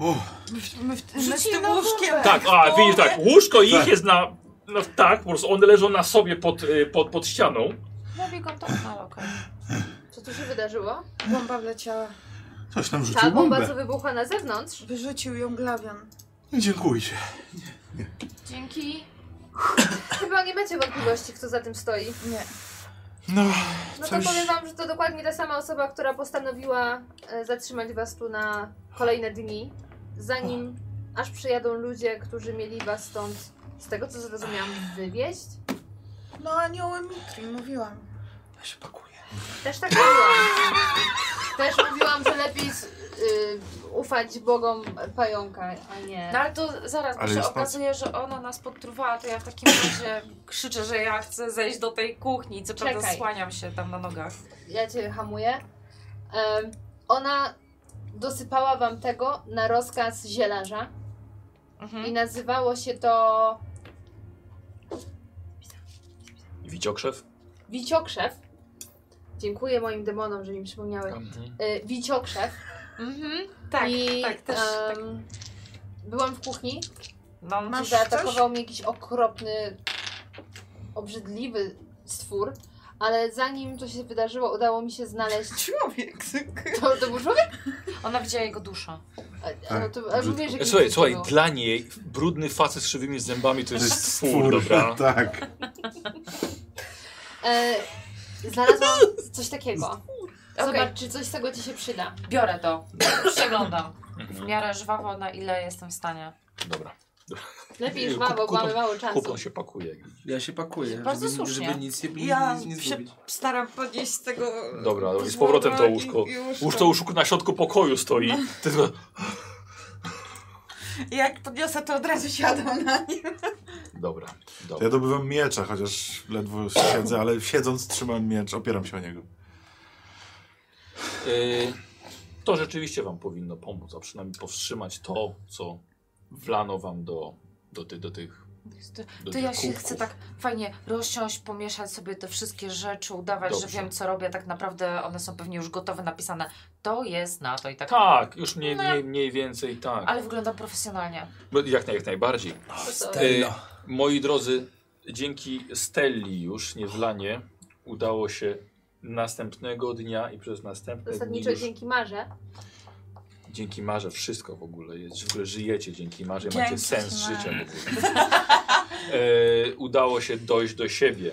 S5: My, w- my, w- my z
S9: Rzucili
S5: tym
S9: na
S5: łóżkiem.
S1: Tak, a widzisz tak, łóżko ich jest na... No, tak, po prostu one leżą na sobie pod, e, pod, pod ścianą.
S7: Robię go to, ale okej.
S4: Co tu się wydarzyło?
S5: Bomba wleciała.
S2: Ktoś nam
S4: Ta
S2: rzucił
S4: bomba, co
S2: bombę. No
S4: wybuchła na zewnątrz,
S5: Wyrzucił ją glawion.
S2: Nie dziękujcie.
S7: Dzięki.
S4: chyba nie będzie wątpliwości, kto za tym stoi.
S5: Nie.
S2: No,
S4: No to
S2: Coś-
S4: powiem wam, że to dokładnie ta sama osoba, która postanowiła e, zatrzymać was tu na kolejne dni, zanim aż przyjadą ludzie, którzy mieli was stąd, z tego co zrozumiałam, wywieźć.
S5: No anioły Mitri, mówiłam.
S6: Ja się pakuję.
S4: Też tak mówiłam. Też mówiłam, że lepiej z- y, ufać bogom pająka, a nie...
S7: No ale to zaraz,
S2: Ale
S7: bo się
S2: jest
S7: okazuje, że ona nas podtruwała, to ja w takim razie krzyczę, że ja chcę zejść do tej kuchni. Co prawda
S4: Czekaj.
S7: słaniam się tam na nogach.
S4: ja cię hamuję. Em, ona dosypała wam tego na rozkaz zielarza i
S7: Mhm.
S4: nazywało się to
S1: Wiciokrzew.
S4: wiciokrzew. Dziękuję moim demonom, że mi przypomniały. Y, wiciokrzew.
S7: Mhm. Tak,
S4: I, e,
S7: tak, też. tak.
S4: em, Byłam w kuchni,
S7: No,
S5: Masz
S4: zaatakował mnie jakiś okropny, obrzydliwy stwór, ale zanim to się wydarzyło, udało mi się znaleźć...
S5: Człowiek.
S4: To, to był człowiek?
S7: Ona widziała jego duszę.
S4: A, a, no to, a,
S2: brzydko.
S4: mówię, że
S1: Tak. E, Słuchaj,
S4: kim
S1: słuchaj,
S4: było.
S1: dla niej brudny facet z krzywymi zębami to
S2: To
S1: jest
S2: jest
S1: stwór, dobra?
S2: Tak.
S4: E, Znalazłam coś takiego. Zobacz, czy coś z tego ci się przyda.
S7: Biorę to. Przeglądam. W miarę żwawo, na ile jestem w stanie.
S1: Dobra.
S4: Lepiej żwawo, bo
S1: Kupon-
S4: mamy mało czasu.
S1: Kupon się pakuje.
S6: Ja się pakuję,
S7: Bardzo
S6: żeby,
S7: słusznie.
S6: żeby nic nie,
S9: Ja
S6: nic nie
S9: się
S6: zrobić.
S9: staram podnieść z tego...
S1: Dobra, dobra, i z
S9: złoto
S1: powrotem to
S9: i-
S1: łóżko.
S9: i
S1: Łóż to łóżko na środku pokoju stoi. Ty tylko,
S9: Jak podniosę, to od razu siadam na nim.
S1: Dobra,
S2: To ja dobywam miecza, chociaż ledwo siedzę, ale siedząc trzymam miecz, opieram się o niego.
S1: y, to rzeczywiście wam powinno pomóc, a przynajmniej powstrzymać to, co wlano wam do, do, ty, do tych...
S7: To,
S1: Do
S7: to ja się
S1: kubków.
S7: chcę tak fajnie rozsiąść, pomieszać sobie te wszystkie rzeczy, udawać, że
S1: Dobrze.
S7: wiem co robię. Tak naprawdę one są pewnie już gotowe, napisane. To jest na to i tak.
S1: Tak, już mniej, mniej, mniej więcej tak.
S7: Ale wygląda profesjonalnie.
S1: Bo Jak, naj- jak najbardziej.
S6: Stella.
S1: E, moi drodzy, dzięki Stelli już, niewlanie, udało się następnego dnia i przez
S2: Tak,
S1: następne dni
S4: Zasadniczo
S1: już
S4: dzięki Marze.
S1: dzięki Marze wszystko w ogóle jest, w ogóle żyjecie dzięki Marze,
S4: Dzięki
S1: macie sens
S4: Marze.
S1: życia w ogóle. E, udało się dojść do siebie.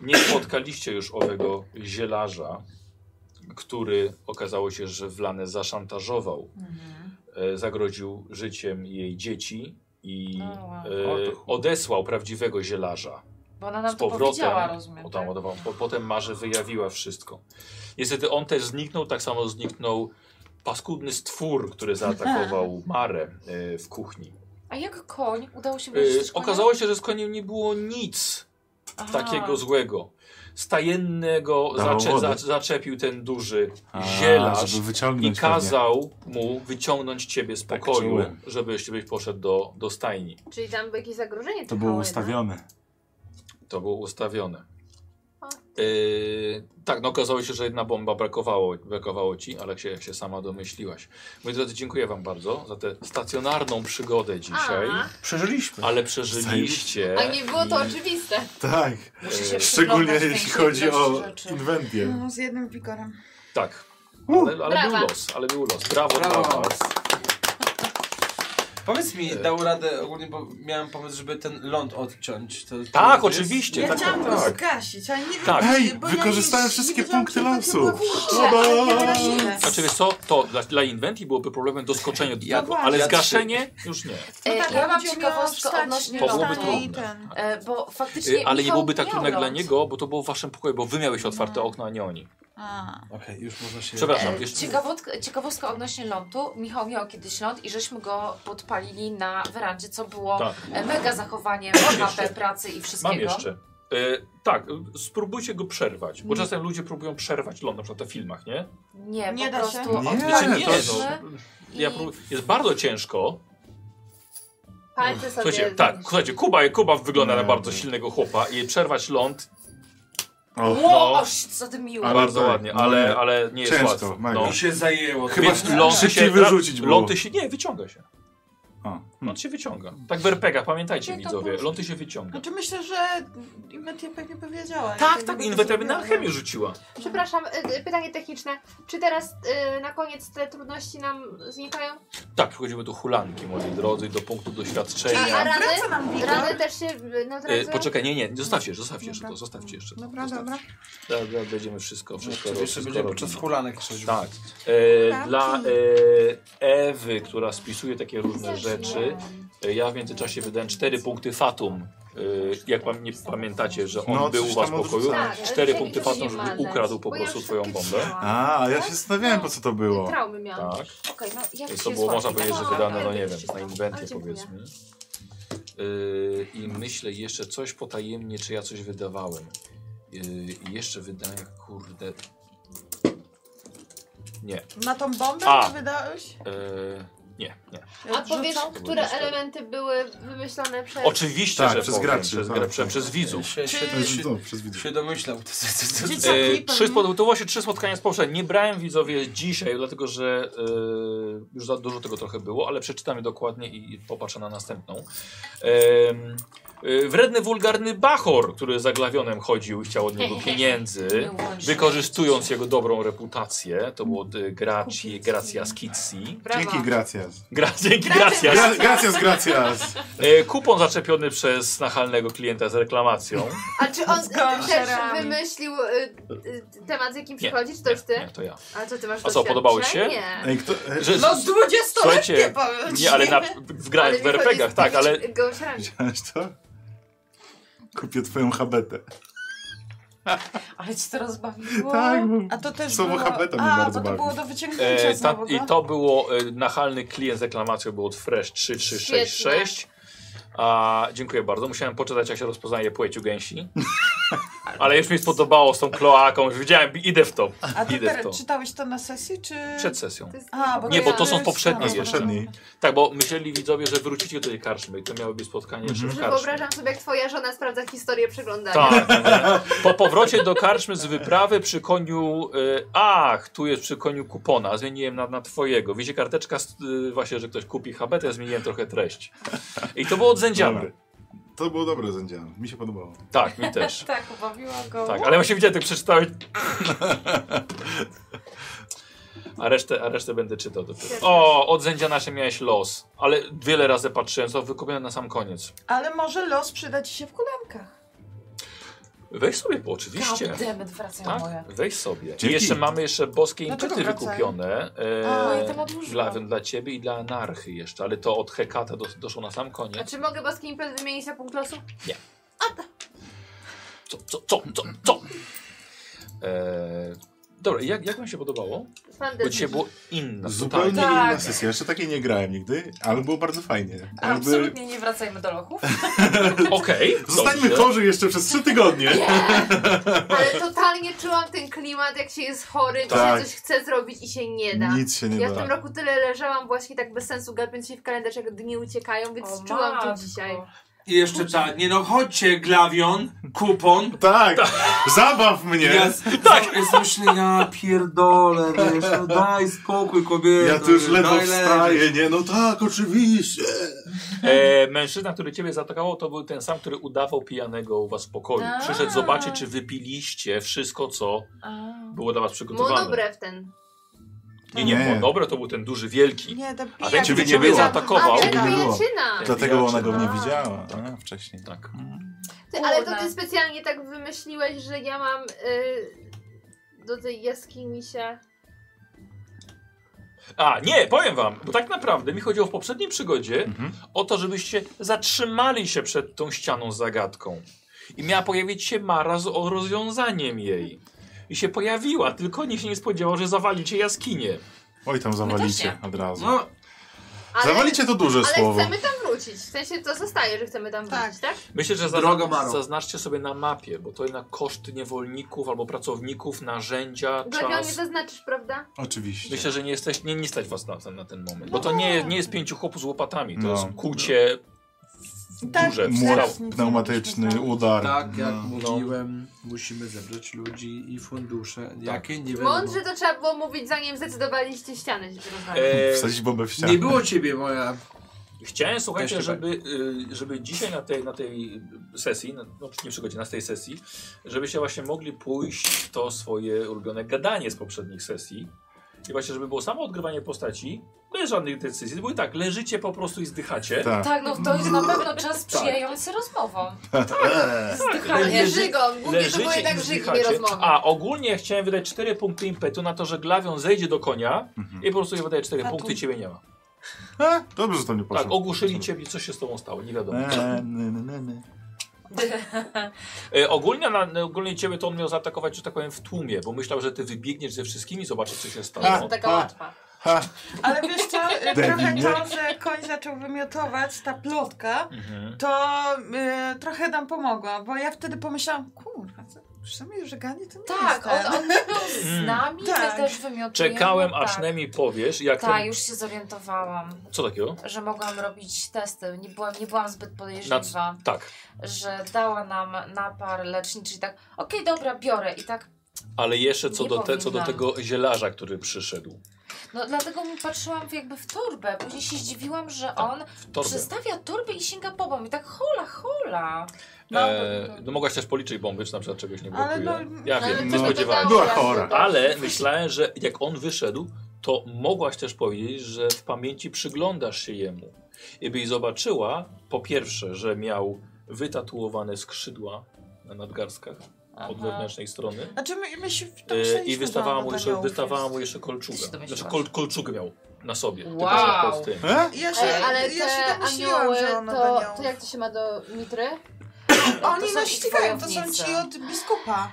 S1: Nie spotkaliście już owego zielarza, który okazało się, że Wlanę zaszantażował
S4: Mhm.
S1: e, zagroził życiem jej dzieci i
S7: O, wow.
S1: e, odesłał prawdziwego zielarza.
S7: Bo ona nam No to powiedziała, rozumiem. tak?
S1: o, tam, o, tam, po, potem Marze wyjawiła wszystko. Niestety on też zniknął, tak samo zniknął paskudny stwór, który zaatakował Marę e, w kuchni.
S7: A jak koń? Udało się
S1: E,
S7: wyjść z konia?
S1: okazało się, że z koniem nie było nic
S7: Aha.
S1: takiego złego. Stajennego
S2: Dawał
S1: zacze,
S2: wody.
S1: za, zaczepił ten duży
S2: A,
S1: zielarz
S2: żeby
S1: i
S2: wyciągnąć
S1: kazał mu wyciągnąć ciebie z pokoju,
S2: Tak czułem.
S1: żebyś, żebyś poszedł do, do stajni.
S4: Czyli tam jakieś zagrożenie
S2: To
S4: trwało
S2: było ustawione.
S1: To było ustawione. Yy, tak, no okazało się, że jedna bomba brakowało, brakowało ci, ale jak się, jak się sama domyśliłaś. Moi drodzy, dziękuję wam bardzo za tę stacjonarną przygodę dzisiaj.
S4: Aha.
S6: Przeżyliśmy.
S1: Ale przeżyliście.
S4: no. A nie było to
S1: i-
S4: oczywiste.
S2: Tak.
S1: Muszę się
S2: Szczególnie
S1: przyglądać
S2: jeśli
S1: większej
S2: chodzi o
S1: ilości rzeczy.
S2: inwentię.
S5: No, z jednym wigorem.
S1: Tak. Ale, ale był
S5: Brawa.
S1: los, ale był los. Brawo,
S6: Brawo.
S1: brawo. brawo.
S6: Powiedz mi, dał radę ogólnie, bo miałem pomysł, żeby ten ląd odciąć. To, to
S1: Tak,
S6: jest-
S1: oczywiście,
S5: Ja
S1: tak,
S5: chciałam
S1: tak,
S5: go
S1: tak.
S5: zgasić, ale nie
S1: Tak.
S5: wiem,
S1: Hej,
S5: bo
S2: wykorzystałem
S5: nie,
S2: wszystkie
S5: nie wiedziałam,
S2: punkty
S5: czy to
S2: lansu.
S5: było
S2: Szkoda.
S5: widzę, ale
S1: Znaczy wiesz co, to dla, dla Inventi byłoby problemem doskoczenia y, do tego, ale
S6: właśnie.
S1: zgaszenie już nie.
S7: E,
S5: tak,
S7: ja mam
S5: chodzi o
S7: ciekawostkę
S5: wstać,
S7: odnośnie
S1: To byłoby
S7: lądu.
S1: trudne.
S7: E, bo faktycznie.
S1: Y, Ale nie
S7: Michał
S1: byłoby tak
S7: miał
S1: trudne dla
S7: ląd.
S1: niego, bo to było w waszym pokoju, bo wy miałeś otwarte okno, a nie oni.
S7: A.
S6: Okej, już można się...
S1: Przepraszam,
S7: E,
S1: jeszcze...
S7: Ciekawostka, ciekawostka odnośnie lądu. Michał miał kiedyś ląd i żeśmy go podpalili na werandzie, co było
S1: Tak.
S7: e, mega zachowaniem
S1: Mam
S7: HP,
S1: jeszcze.
S7: pracy i wszystkiego.
S1: Mam jeszcze. E, tak, y, spróbujcie go przerwać,
S4: Mm.
S1: bo czasem ludzie próbują przerwać ląd, na przykład w filmach, nie?
S7: Nie,
S9: Nie
S7: po
S9: da
S7: prostu
S9: się. Nie,
S1: Znaczy,
S7: odpaliliśmy.
S1: nie, no. Ja
S4: Mm.
S1: prób... Jest bardzo ciężko.
S4: Palce sobie.
S1: Słuchajcie, tak, słuchajcie, Kuba, Kuba wygląda
S2: No,
S1: na bardzo silnego chłopa i przerwać ląd
S2: Och,
S7: Ło, oż, co ty miło.
S2: Ale
S1: bardzo
S2: tak,
S1: ładnie,
S2: no
S1: No. ale,
S2: nie.
S1: ale nie jest
S2: Ciężko,
S1: łatwo. no.
S2: mega.
S6: I się zajęło.
S2: Chyba
S1: Więc
S2: szybciej
S1: lądy się,
S2: wyrzucić było. No.
S1: lądy się, nie, wyciąga się. Ląd się wyciąga. Tak w RPGach, pamiętajcie widzowie, lądy się wyciąga.
S5: Znaczy myślę, że Inwetia pewnie powiedziała.
S1: Tak, tak, inwentarz by na chemię rzuciła.
S4: Przepraszam, y, y, pytanie techniczne. Czy teraz y, na koniec te trudności nam znikają?
S1: Tak, przechodzimy do hulanki, moi drodzy, do punktu doświadczenia.
S4: A
S5: wraca nam
S4: rany,
S5: wigor.
S2: Tak.
S4: rany też się y,
S1: E,
S4: neutralizują?
S1: poczekaj, nie, nie, zostawcie, zostawcie jeszcze to, zostawcie jeszcze to.
S5: Dobra, dobra.
S1: Zaraz zaraz będziemy wszystko, wszystko
S6: Jeszcze
S1: robić.
S6: będzie podczas hulanek coś.
S1: Tak. E, dla e, Ewy, która spisuje takie różne rzeczy, e, ja w międzyczasie wydałem cztery punkty Fatum. E, jak pan, nie pamiętacie, że on
S2: No,
S1: był u
S2: coś
S1: was w
S2: tam
S1: pokoju,
S2: odrzucałem. Tak,
S1: cztery
S4: ale
S1: punkty
S4: to nie
S1: Fatum, żeby
S4: ma
S1: ukradł
S4: lec,
S1: po
S4: bo ja
S1: prostu
S4: już tak
S1: twoją
S4: takie
S1: bombę.
S4: chciałam.
S2: A, ja się zastanawiałem, po co to było.
S4: Traumy miałam.
S1: Tak.
S4: Okej, no jak
S1: Więc to
S4: się
S1: było, można
S4: słodki,
S1: powiedzieć,
S4: tak?
S1: że wydane,
S4: Tak,
S1: no nie
S4: jakby
S1: wiem,
S4: czysto.
S1: na
S4: Ale
S1: inwentie
S4: dziękuję.
S1: powiedzmy. Yy, I myślę jeszcze coś potajemnie, czy ja coś wydawałem. Yy, I jeszcze wydałem, kurde... Nie.
S5: Na tą bombę
S1: A.
S5: to wydałeś?
S1: Yy, nie, nie.
S4: A powiesz, które elementy były wymyślone przez...
S1: Oczywiście,
S2: Tak,
S1: że
S2: przez
S1: powiem,
S2: graczy,
S1: Przez,
S2: tak,
S1: gra,
S2: tak,
S1: prze,
S2: tak.
S1: przez widzów.
S6: Się, się,
S2: Przez
S6: się,
S2: widzów, no, przez widzów.
S6: się domyślał. Tak,
S1: E, trzy spod, to właśnie trzy spotkania z poprzednich. Nie brałem widzowie dzisiaj, dlatego że e, już za dużo tego trochę było, ale przeczytam je dokładnie i, i popatrzę na następną. Em, y, wredny, wulgarny Bachor, który za glawionem chodził i chciał od niego
S7: tak,
S1: pieniędzy, wykorzystując jego dobrą reputację. To było y, Graci, Gracias Kitsi.
S2: Dzięki, gracias.
S1: Gra, dzięki,
S2: Gracias.
S1: gracias.
S2: Gra- gracias, gracias.
S1: Y, Kupon zaczepiony przez nachalnego klienta z reklamacją.
S4: A czy on y, też
S3: szarami.
S4: wymyślił y, y, temat, z jakim przychodzi? Czy to już ty?
S1: Nie, to ja.
S4: A co ty masz
S1: A co, podobało ci się?
S4: doświadczenie?
S2: Ej, kto, e,
S1: Że-
S9: No, 20-letnie
S1: Słuchajcie,
S9: powiem ci.
S1: Nie, ale na, w grach,
S4: Ale
S1: w
S4: wychodzi
S1: RPG-ach,
S4: z
S1: tak, ale
S4: Gąsiorami.
S2: Widziałeś to? Kupię twoją habetę.
S7: Ale ci to rozbawiło.
S2: Tak, bo
S9: A to też
S2: słowo
S9: było...
S2: habeta mnie
S9: A,
S2: bardzo
S9: bo to
S2: bawi.
S9: było do wyciągnięcia
S1: E, ta,
S9: znowu,
S1: I
S4: tak?
S9: no.
S1: to było e, nachalny klient z reklamacją, był od Fresh 3366. A, dziękuję bardzo. Musiałem poczytać, jak się rozpoznaje płeć u gęsi. Ale już mi spodobało z tą kloaką. Już wiedziałem, idę w to.
S4: Tak.
S9: A ty
S1: Idę w
S9: teraz
S1: to.
S9: czytałeś to na sesji, czy...
S1: Przed sesją.
S9: A, bo
S1: Nie, bo to są
S9: ja-
S1: poprzednie
S9: A,
S1: jeszcze.
S9: no.
S1: Tak, bo myśleli widzowie, że wrócicie do tej karczmy. To miało być spotkanie jeszcze w
S4: Że
S1: karczmie.
S4: wyobrażam sobie, jak twoja żona sprawdza historię przeglądania.
S1: Tak. nie? Po powrocie do karczmy z wyprawy przy koniu. Y, ach, tu jest przy koniu kupona. Zmieniłem na, na twojego. Wiecie, karteczka z- y, właśnie, że ktoś kupi habetę, ja zmieniłem trochę treść. I to było od zędziana.
S2: Dobry. To było dobre zędziano. Mi się podobało.
S1: Tak, mi też.
S7: Tak, ubawiła go.
S1: Tak, ale właśnie widziałem, jak przeczytałeś. A resztę, a resztę będę czytał dopiero. O, od zędziana się miałeś los. Ale wiele razy patrzyłem, co wykupiłem na sam koniec.
S9: Ale może los przyda ci się w kulankach.
S1: Weź sobie, bo oczywiście.
S7: Goddammit, wracają
S1: Tak,
S7: moje.
S1: weź sobie. I
S2: Dzięki.
S1: jeszcze mamy jeszcze boskie
S9: Dlaczego
S1: impety
S9: wracają?
S1: wykupione. e,
S9: A,
S7: ja to
S1: dla,
S7: odłożyłam.
S1: dla ciebie i dla anarchy jeszcze, ale to od Hekata dos, doszło na sam
S4: A
S1: koniec.
S4: czy mogę boski impet wymienić na punkt losu?
S1: Co, co, co, co, co? Eee, dobra, jak, jak wam się podobało? Bo
S4: Fantastycznie.
S1: dzisiaj było inna.
S2: Zupełnie
S1: totalnie.
S2: inna sesja. Jeszcze takiej nie grałem nigdy, ale było bardzo fajnie. Jakby...
S7: Absolutnie nie wracajmy do lochów.
S1: Okej.
S2: Zostańmy
S1: dobrze.
S2: chorzy jeszcze przez trzy tygodnie.
S4: Ale totalnie czułam ten klimat, jak się jest chory, czy
S2: Tak.
S4: się coś chce zrobić i się nie da.
S2: Nic się nie
S4: Ja w
S2: da.
S4: tym roku tyle leżałam właśnie tak bez sensu, gapiąc się w kalendarz, jak dni uciekają, więc
S7: O,
S4: czułam
S7: matko.
S4: to dzisiaj.
S6: I jeszcze tak, nie no chodźcie, glawion, kupon.
S2: Tak, zabaw mnie.
S6: Ja z, tak. jest myślę, ja pierdolę, wiesz, no daj spokój kobieto.
S2: Ja tu już
S6: wiesz,
S2: ledwo
S6: daj leżeć.
S2: wstaję, nie? No tak, oczywiście.
S1: E, mężczyzna, który ciebie zaatakował, to był ten sam, który udawał pijanego u was w pokoju.
S7: A.
S1: Przyszedł zobaczyć, czy wypiliście wszystko, co było dla was przygotowane.
S4: Monobrew ten.
S1: Nie, nie,
S2: Nie.
S1: bo dobre to był ten duży, wielki.
S9: Nie, to
S1: A
S9: pijak.
S1: ten ciebie
S2: nie
S1: ciebie
S2: było.
S1: zaatakował.
S4: A,
S2: Ciebie
S9: tak,
S4: ten
S2: nie było.
S4: pijaczyna.
S2: Dlatego ona go nie
S7: A.
S2: widziała a, wcześniej.
S1: Tak.
S4: Ty, ale to
S7: Kurde.
S4: ty specjalnie tak wymyśliłeś, że ja mam y, do tej jaskini się...
S1: A, nie, powiem wam, bo tak naprawdę mi chodziło w poprzedniej przygodzie
S2: Mhm.
S1: o to, żebyście zatrzymali się przed tą ścianą z zagadką. I miała pojawić się Mara z o- rozwiązaniem jej. I się pojawiła, tylko nikt się nie spodziewał, że zawalicie jaskinię.
S2: Oj, tam zawalicie od razu.
S6: No,
S4: Ale,
S2: Zawalicie to duże
S4: ale
S2: słowo.
S4: chcemy tam wrócić. W sensie to zostaje, że chcemy tam
S9: Tak.
S4: wrócić, tak?
S1: Myślę, że
S6: Drogo,
S1: zazna
S6: Maro.
S1: zaznaczcie sobie na mapie, bo to jednak koszty niewolników albo pracowników, narzędzia,
S4: Gladion nie
S1: czas.
S4: zaznaczysz, znaczy, prawda?
S2: Oczywiście.
S1: Myślę, że nie jesteś, nie, nie stać was na, na ten moment. Bo to nie, nie jest pięciu chłopów z łopatami, to
S2: No.
S1: jest kucie w
S9: Tak,
S1: górze, w
S2: Mur
S1: skał.
S9: Teraz nic nie robisz,
S2: pneumatyczny,
S9: no
S2: udar.
S6: tak jak
S2: no.
S6: mówiłem, musimy zebrać ludzi i fundusze,
S11: Tak.
S6: jakie nie wiadomo.
S4: Mądrze to trzeba było mówić, zanim zdecydowaliście ścianę rozwalić.
S1: E,
S2: Wsadzić bombę w
S11: Tak.
S2: ścianę.
S6: Nie było ciebie moja
S1: Chciałem, słuchajcie,
S6: Też
S1: żeby, y, żeby dzisiaj na tej, na tej sesji, na, no nie przygodzie, na tej sesji, żebyście właśnie mogli pójść w to swoje ulubione gadanie z poprzednich sesji. I właśnie, żeby było samo odgrywanie postaci, bez żadnych decyzji, bo i tak leżycie po prostu i zdychacie.
S2: Tak.
S7: Tak, no to jest na pewno czas przyjający rozmową.
S4: Ale
S7: Zdychanie.
S4: nie
S1: E, leży-
S4: żygą, głównie to było
S1: Leżycie i
S4: jednak żygi, nie
S1: zdychacie.
S4: rozmowy.
S1: A ogólnie chciałem wydać 4 punkty impetu na to, że glawion zejdzie do konia
S2: Mhm.
S1: i po prostu je wydaje 4
S9: Taką-
S1: punkty i ciebie nie ma.
S2: E, Dobrze, że to nie poszło.
S1: Tak, ogłuszyli ciebie i coś się z tobą stało, nie wiadomo.
S2: E, ne, ne, ne, ne.
S1: E, ogólnie, na, na- ogólnie ciebie to on miał zaatakować, że tak powiem, w tłumie, bo myślał, że ty wybiegniesz ze wszystkimi, zobaczysz, co się stało.
S2: A.
S4: To taka
S2: A.
S4: łatwa.
S2: Ha,
S9: Ale wiesz co, y,
S2: Debil,
S9: trochę
S2: nie?
S9: to, że koń zaczął wymiotować, ta plotka,
S1: Mhm.
S9: to y, trochę nam pomogła, bo ja wtedy pomyślałam, kurwa, co, w sumie żeganie to nie jest
S7: Tak,
S9: ten.
S7: on, on był z
S1: Mm.
S7: nami,
S9: Tak.
S7: my też wymiotujemy.
S1: Czekałem,
S7: tak.
S1: aż Nemi powiesz, jak
S7: Tak,
S1: ten...
S7: już się zorientowałam,
S1: Co takiego?
S7: że mogłam robić testy. Nie byłam, nie byłam zbyt podejrzliwa,
S1: Tak,
S7: że dała nam napar leczniczy i tak, okej, dobra, biorę. I tak,
S1: ale jeszcze co
S7: Nie tak.
S1: do, te, co do
S7: powinnam.
S1: tego zielarza, który przyszedł.
S7: No dlatego mi patrzyłam w- jakby w torbę. Później się zdziwiłam, że on
S1: Tak, torbę.
S7: przestawia torbę i sięga po bomb. I tak hola, hola.
S1: E, no mogłaś też policzyć bomby, czy na przykład czegoś nie
S7: Ale
S1: blokuje.
S7: no-
S1: ja
S7: no, ale
S1: wiem, nie
S7: też
S1: spodziewałem się.
S7: pytałam Była chora. razu.
S1: Ale myślałem, że jak on wyszedł, to mogłaś też powiedzieć, że w pamięci przyglądasz się jemu. I byś zobaczyła, po pierwsze, że miał wytatuowane skrzydła na nadgarstkach od
S5: Aha.
S1: wewnętrznej strony.
S5: Znaczy my, my się
S1: E, I
S5: domyśleliśmy, że
S1: wystawała
S5: ona
S1: mu,
S5: to
S1: jeszcze,
S5: miała
S1: wystawała
S5: ukryć.
S1: mu jeszcze kolczugę.
S5: Ty się
S1: Znaczy
S5: domyślałaś.
S1: kol, kolczugę miał na sobie. tylko
S5: Wow.
S1: że to w tym.
S2: E?
S5: Ja się,
S4: Ale, ale
S5: ja
S4: te
S5: się domyśliłam,
S4: anioły,
S5: że ona do
S4: to,
S5: nią...
S4: to jak to się ma do mitry?
S5: Oni
S4: są
S5: nas
S4: ich
S5: ścigają, to są
S4: wojownicy.
S5: ci od biskupa.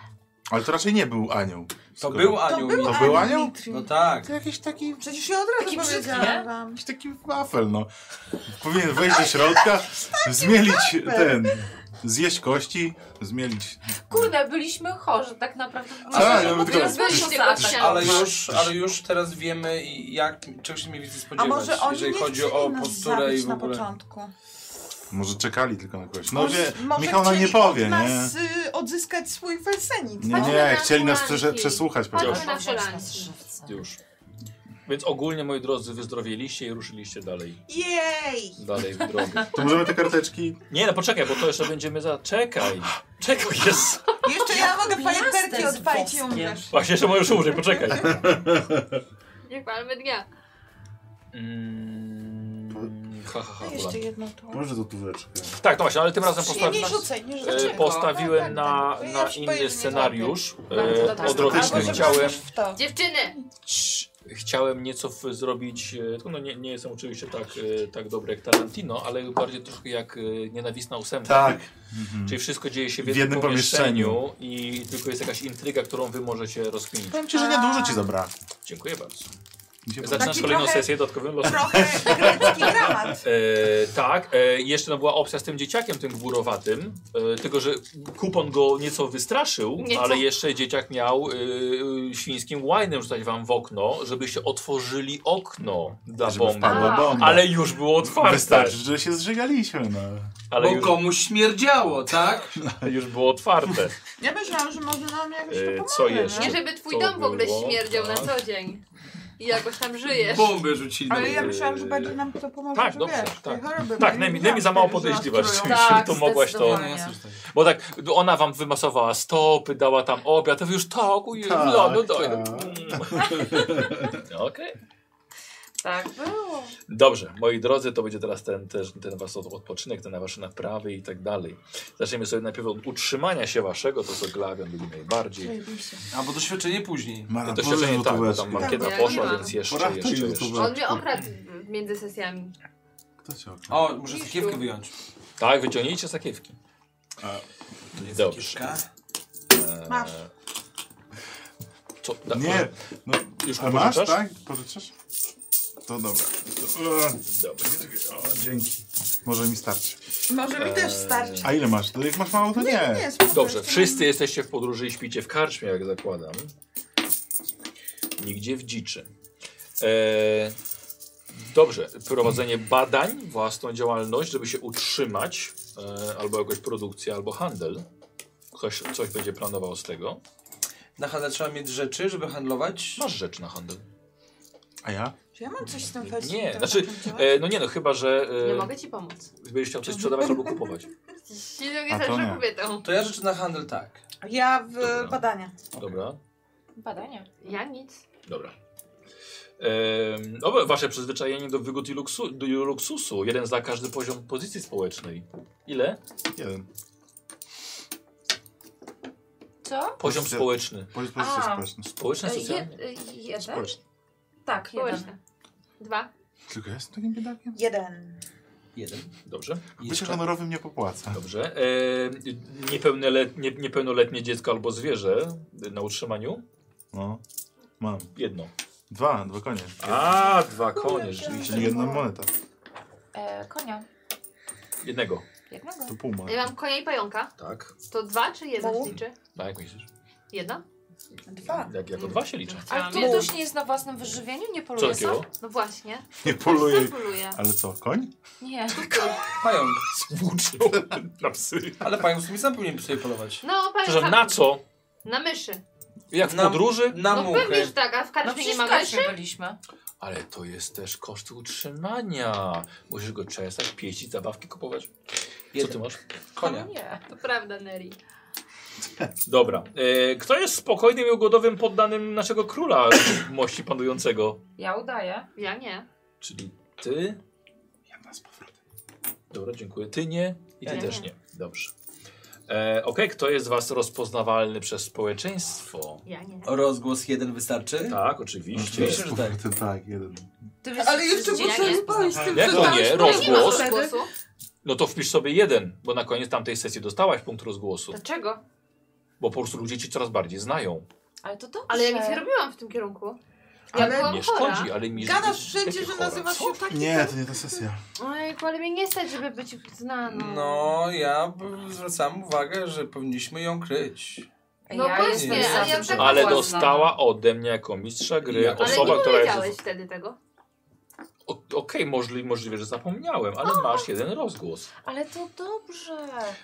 S2: Ale to raczej nie był anioł.
S11: To był anioł.
S5: był
S2: To był
S5: anioł
S2: anioł?
S5: Mitri.
S11: No tak.
S2: To jakiś taki
S5: Przecież ja od razu
S7: Taki brzydki,
S5: powiedziałam
S7: nie?
S5: wam.
S2: Jakiś taki wafel, no. Powinien wejść do środka, zmielić
S5: wafel.
S2: ten... Zjeść kości, zmielić...
S7: Kurde, byliśmy chorzy tak naprawdę.
S2: Tak,
S7: Może
S2: ja bym tylko-
S7: teraz weźcie
S4: Ty-
S7: za
S4: Ty-
S7: tak.
S11: Ale już, ale już teraz wiemy, i jak, czego się mniej więcej
S5: A
S11: spodziewać,
S5: może oni
S11: jeżeli
S5: nie
S11: chodzi
S5: chcieli
S11: o
S5: nas
S11: posturę
S5: zabić
S11: i w
S5: na
S11: ogóle.
S5: początku.
S2: Może czekali tylko na kogoś. No
S5: Może-
S2: wie,
S5: może
S2: Michał nam nie
S5: chcieli od
S2: powie, nie?
S5: nas y, odzyskać swój felsenit. tak?
S2: Nie,
S4: Patrzmy
S2: nie,
S4: na
S2: chcieli nas
S4: hulanki.
S2: przesze- przesłuchać
S4: Patrzmy
S2: pewnie.
S4: na
S7: Polanki.
S4: hulanki.
S1: Już. Więc ogólnie, moi drodzy, wyzdrowieliście i ruszyliście dalej.
S5: Jej!
S1: Dalej w drogę.
S2: To możemy te karteczki...
S1: Nie, no poczekaj, bo to jeszcze będziemy za... Czekaj! Czego jest?
S5: Jeszcze ja mogę
S7: Plaster
S5: fajerwerki
S7: z
S5: odpalić i
S7: woskiem.
S5: umrzesz.
S1: Właśnie, jeszcze możesz umrzeć, poczekaj.
S4: Jak palmy dnia.
S1: Mm, ha, ha, ha, Ula.
S5: Jeszcze jedno tu.
S2: Może to tuweczkę.
S1: Tak, no właśnie, ale tym razem
S5: Nie, nie
S1: postawiłem,
S5: rzucaj, nie
S1: e,
S5: rzucaj. No, tak,
S1: postawiłem na,
S5: Ja
S1: na
S5: się boję, że
S1: inny
S5: nie
S1: scenariusz.
S7: Bardzo
S1: E,
S7: dobra
S1: odrotyczny
S5: Albo
S1: chciałem.
S5: żeby w to.
S4: Dziewczyny!
S1: Cii, Chciałem nieco w, zrobić, e, tylko no nie, nie jestem oczywiście tak, e, tak dobry jak Tarantino, ale bardziej troszkę jak e, nienawistna ósemka.
S2: Tak.
S1: Czyli wszystko dzieje się w
S2: W
S1: jednym,
S2: jednym
S1: pomieszczeniu, i tylko jest jakaś intryga, którą wy możecie rozkminić.
S2: Powiem ci, że niedużo ci zabrała.
S1: Dziękuję bardzo.
S2: Mi się podoba.
S1: Zaczynasz
S5: Taki
S1: kolejną
S5: trochę-
S1: sesję dodatkowym losem.
S5: Trochę grecki dramat.
S1: E, tak, e, jeszcze no była opcja z tym dzieciakiem, tym górowatym, e, tylko że kupon go nieco wystraszył,
S4: Nieco.
S1: ale jeszcze dzieciak miał e, e, świńskim łajnem rzucać wam w okno, żebyście otworzyli okno dla
S2: Żeby
S1: bomby.
S2: wpadła
S4: A,
S2: bomba.
S1: Ale już było otwarte.
S2: Wystarczy, że się zżygaliśmy, no.
S1: Ale
S11: Bo
S1: już,
S11: komuś śmierdziało, tak?
S1: już było otwarte.
S5: Ja myślałam, że może nam jakoś to
S1: E,
S5: pomoże.
S1: co
S5: nie?
S1: jeszcze?
S4: Nie, żeby twój
S1: To
S4: dom w ogóle
S1: było,
S4: śmierdział na
S1: tak.
S4: co dzień. I jakoś tam żyjesz.
S11: Bomby rzucili.
S5: Ale ja myślałam, że będzie nam to pomoże.
S1: Tak,
S5: że
S1: dobrze,
S5: wiesz,
S1: tak.
S5: tej choroby,
S1: Tak,
S5: bo
S1: Nemi,
S5: nie
S1: Nemi za mało
S5: miałam tego, że
S1: podejrzliwa,
S5: nas
S1: żeby
S5: trują.
S1: to mogłaś to...
S4: No,
S7: zdecydowanie.
S1: Bo tak, ona wam wymasowała stopy, dała tam obiad, to wy już tak, ujej,
S2: Tak,
S1: lodu
S2: tak.
S1: daję. Mm. Okej.
S7: Tak było.
S1: Dobrze, moi drodzy, to będzie teraz ten, też, ten wasz od- odpoczynek, te na wasze naprawy i tak dalej. Zaczniemy sobie najpierw od utrzymania się waszego, to co Glawion lubi najbardziej.
S11: Albo doświadczenie później.
S2: Mara,
S1: To świadczenie
S2: pożycz
S1: tak, bo tam
S2: tuweczkę.
S1: makieta
S4: Tak,
S1: poszła,
S4: tak.
S1: więc jeszcze,
S2: Poradzę
S1: jeszcze,
S2: jej
S1: jeszcze.
S2: tu
S4: On mnie okradł w- między sesjami.
S2: Kto cię okradł?
S11: O, muszę sakiewkę wyjąć.
S1: Tak, wyciągnijcie sakiewki.
S2: A,
S1: Dobrze.
S11: Sakiewka.
S5: Masz.
S1: Co, da,
S2: Nie, no,
S1: tak, Już
S2: a
S1: mu
S2: masz,
S1: pożyczasz?
S2: tak? Pożyczasz? To dobra. To, e,
S1: Dobrze.
S2: O, dzięki. Może mi starczy.
S5: Może mi też starczy.
S2: A ile masz? To jak masz mało, to nie.
S5: Nie, spoko,
S1: Dobrze,
S5: jeszcze
S1: wszyscy jesteście w podróży i śpicie w karczmie, jak zakładam. Nigdzie w dziczy. Eee, dobrze, prowadzenie badań, własną działalność, żeby się utrzymać, e, albo jakoś produkcja, albo handel. Ktoś coś będzie planował z tego.
S11: Na handel trzeba mieć rzeczy, żeby handlować.
S1: Masz rzecz na handel.
S2: A ja?
S5: mam- Czy ja mam coś z tym felsentem?
S1: Nie, znaczy, e, no nie no, chyba, że
S4: Nie
S1: e,
S4: mogę ci pomóc.
S1: będziesz chciał coś sprzedawać albo kupować.
S4: Silną
S2: A
S4: jest
S2: to nie.
S4: zawsze kobietą.
S11: To ja rzeczy na handel tak.
S5: Ja w
S1: Dobra.
S5: badania.
S1: Dobra.
S7: Badania.
S4: Ja nic.
S1: Dobra. Ehm, dobra, wasze przyzwyczajenie do wygód i luksu, do luksusu. Jeden za każdy poziom pozycji społecznej. Ile?
S2: Jeden.
S7: Co?
S1: Poziom
S2: Pozycja-
S1: społeczny.
S2: Powiedz pozycję
S7: A.
S2: społeczną.
S1: Społeczny,
S7: E, Je,
S1: socjalny?
S7: e, jeden?
S2: Społeczny.
S7: Tak, jeden.
S4: Społeczne. Dwa.
S2: Tylko ja jestem takim biedakiem?
S5: Jeden.
S11: Jeden.
S1: Dobrze,
S2: Bycie
S11: Jeszcze.
S2: honorowym nie popłaca.
S1: dobrze. Ehm, niepełnolet, nie, niepełnoletnie dziecko albo zwierzę y, na utrzymaniu?
S2: No. Mam.
S1: Jedno.
S2: Dwa, dwa konie.
S1: A, dwa konie, rzeczywiście.
S2: Czyli jedna moneta.
S7: E, konia.
S1: Jednego.
S7: Jednego.
S2: To pół monety.
S4: Ja mam konia i pająka.
S1: Tak.
S4: To dwa czy jedna
S5: Bo-
S4: się liczy?
S1: A jak myślisz?
S4: Jedna?
S5: Dwa.
S1: Jak, jako dwa się liczy.
S7: Ale
S4: Chciałam
S7: tu
S4: jeden.
S7: ktoś nie jest na własnym wyżywieniu? Nie
S1: Co
S7: poluje sam?
S1: takiego?
S4: No właśnie.
S2: Nie poluję.
S4: Sam poluje.
S2: Ale co, koń?
S7: Nie.
S11: Pająk.
S1: Złuczył na psy.
S11: Ale pająk w sumie sam powinien sobie polować.
S4: No,
S1: Przepraszam,
S4: pająka.
S1: na co?
S4: Na myszy.
S1: Jak w
S11: Na-
S1: podróży?
S11: Na
S4: No pewnie,
S11: muchę.
S4: że tak, a w
S7: No
S4: karczmie nie
S7: przecież
S4: ma
S7: w
S4: myszy?
S7: Kaśmie byliśmy.
S1: Ale to jest też koszty utrzymania. Musisz go czesać, pieścić, zabawki kupować. Co ty masz?
S6: No
S11: Konia.
S4: Nie, to prawda, Neri.
S1: Dobra. E, kto jest spokojnym i ugodowym poddanym naszego króla mości panującego?
S7: Ja udaję.
S4: Ja nie.
S1: Czyli ty.
S2: Ja z powrotem.
S1: Dobra, dziękuję. Ty nie i ty
S4: Ja
S1: też
S4: nie.
S1: nie. Dobrze. E, Okej, kto jest z was rozpoznawalny przez społeczeństwo?
S4: Ja nie.
S11: Rozgłos jeden wystarczy?
S1: Tak, oczywiście.
S11: Myślę, że tak.
S2: Ten tak, jeden.
S7: Ty
S9: Ale jeszcze
S7: ja
S9: muszę
S7: nie.
S9: spać tym,
S1: Jak
S9: że
S1: to
S9: tam
S1: nie?
S9: już
S1: Rozgłos?
S4: Nie ma
S9: wtedy.
S4: rozgłosu.
S1: No to wpisz sobie jeden, bo na koniec tamtej sesji dostałaś punkt rozgłosu.
S4: Dlaczego?
S1: Bo po prostu ludzie ci coraz bardziej znają.
S7: Ale to dobrze.
S4: Ale ja nic nie robiłam w tym kierunku. Ja
S1: Ale
S4: byłam
S1: nie
S4: chora.
S1: szkodzi, ale mi
S9: Gadasz
S1: jesteś
S9: wszędzie,
S1: taka
S9: że
S1: chora.
S9: nazywasz się
S1: Co?
S9: taki.
S2: Nie, to nie ta sesja.
S4: Ojku, ale mnie nie stać, żeby być znaną.
S6: No, ja b- zwracam uwagę, że powinniśmy ją kryć.
S4: No
S7: ja jestem
S4: właśnie,
S7: za
S4: ale ja
S7: tym, żeby
S4: tak
S1: Ale
S7: była znana.
S1: dostała ode mnie jako mistrza gry
S6: Ale
S4: Ale
S1: osoba,
S4: nie
S1: która
S4: powiedziałeś
S1: jest...
S4: wtedy tego.
S1: O- Okej, możli, możliwe, że zapomniałem, ale masz jeden rozgłos.
S7: Ale to dobrze.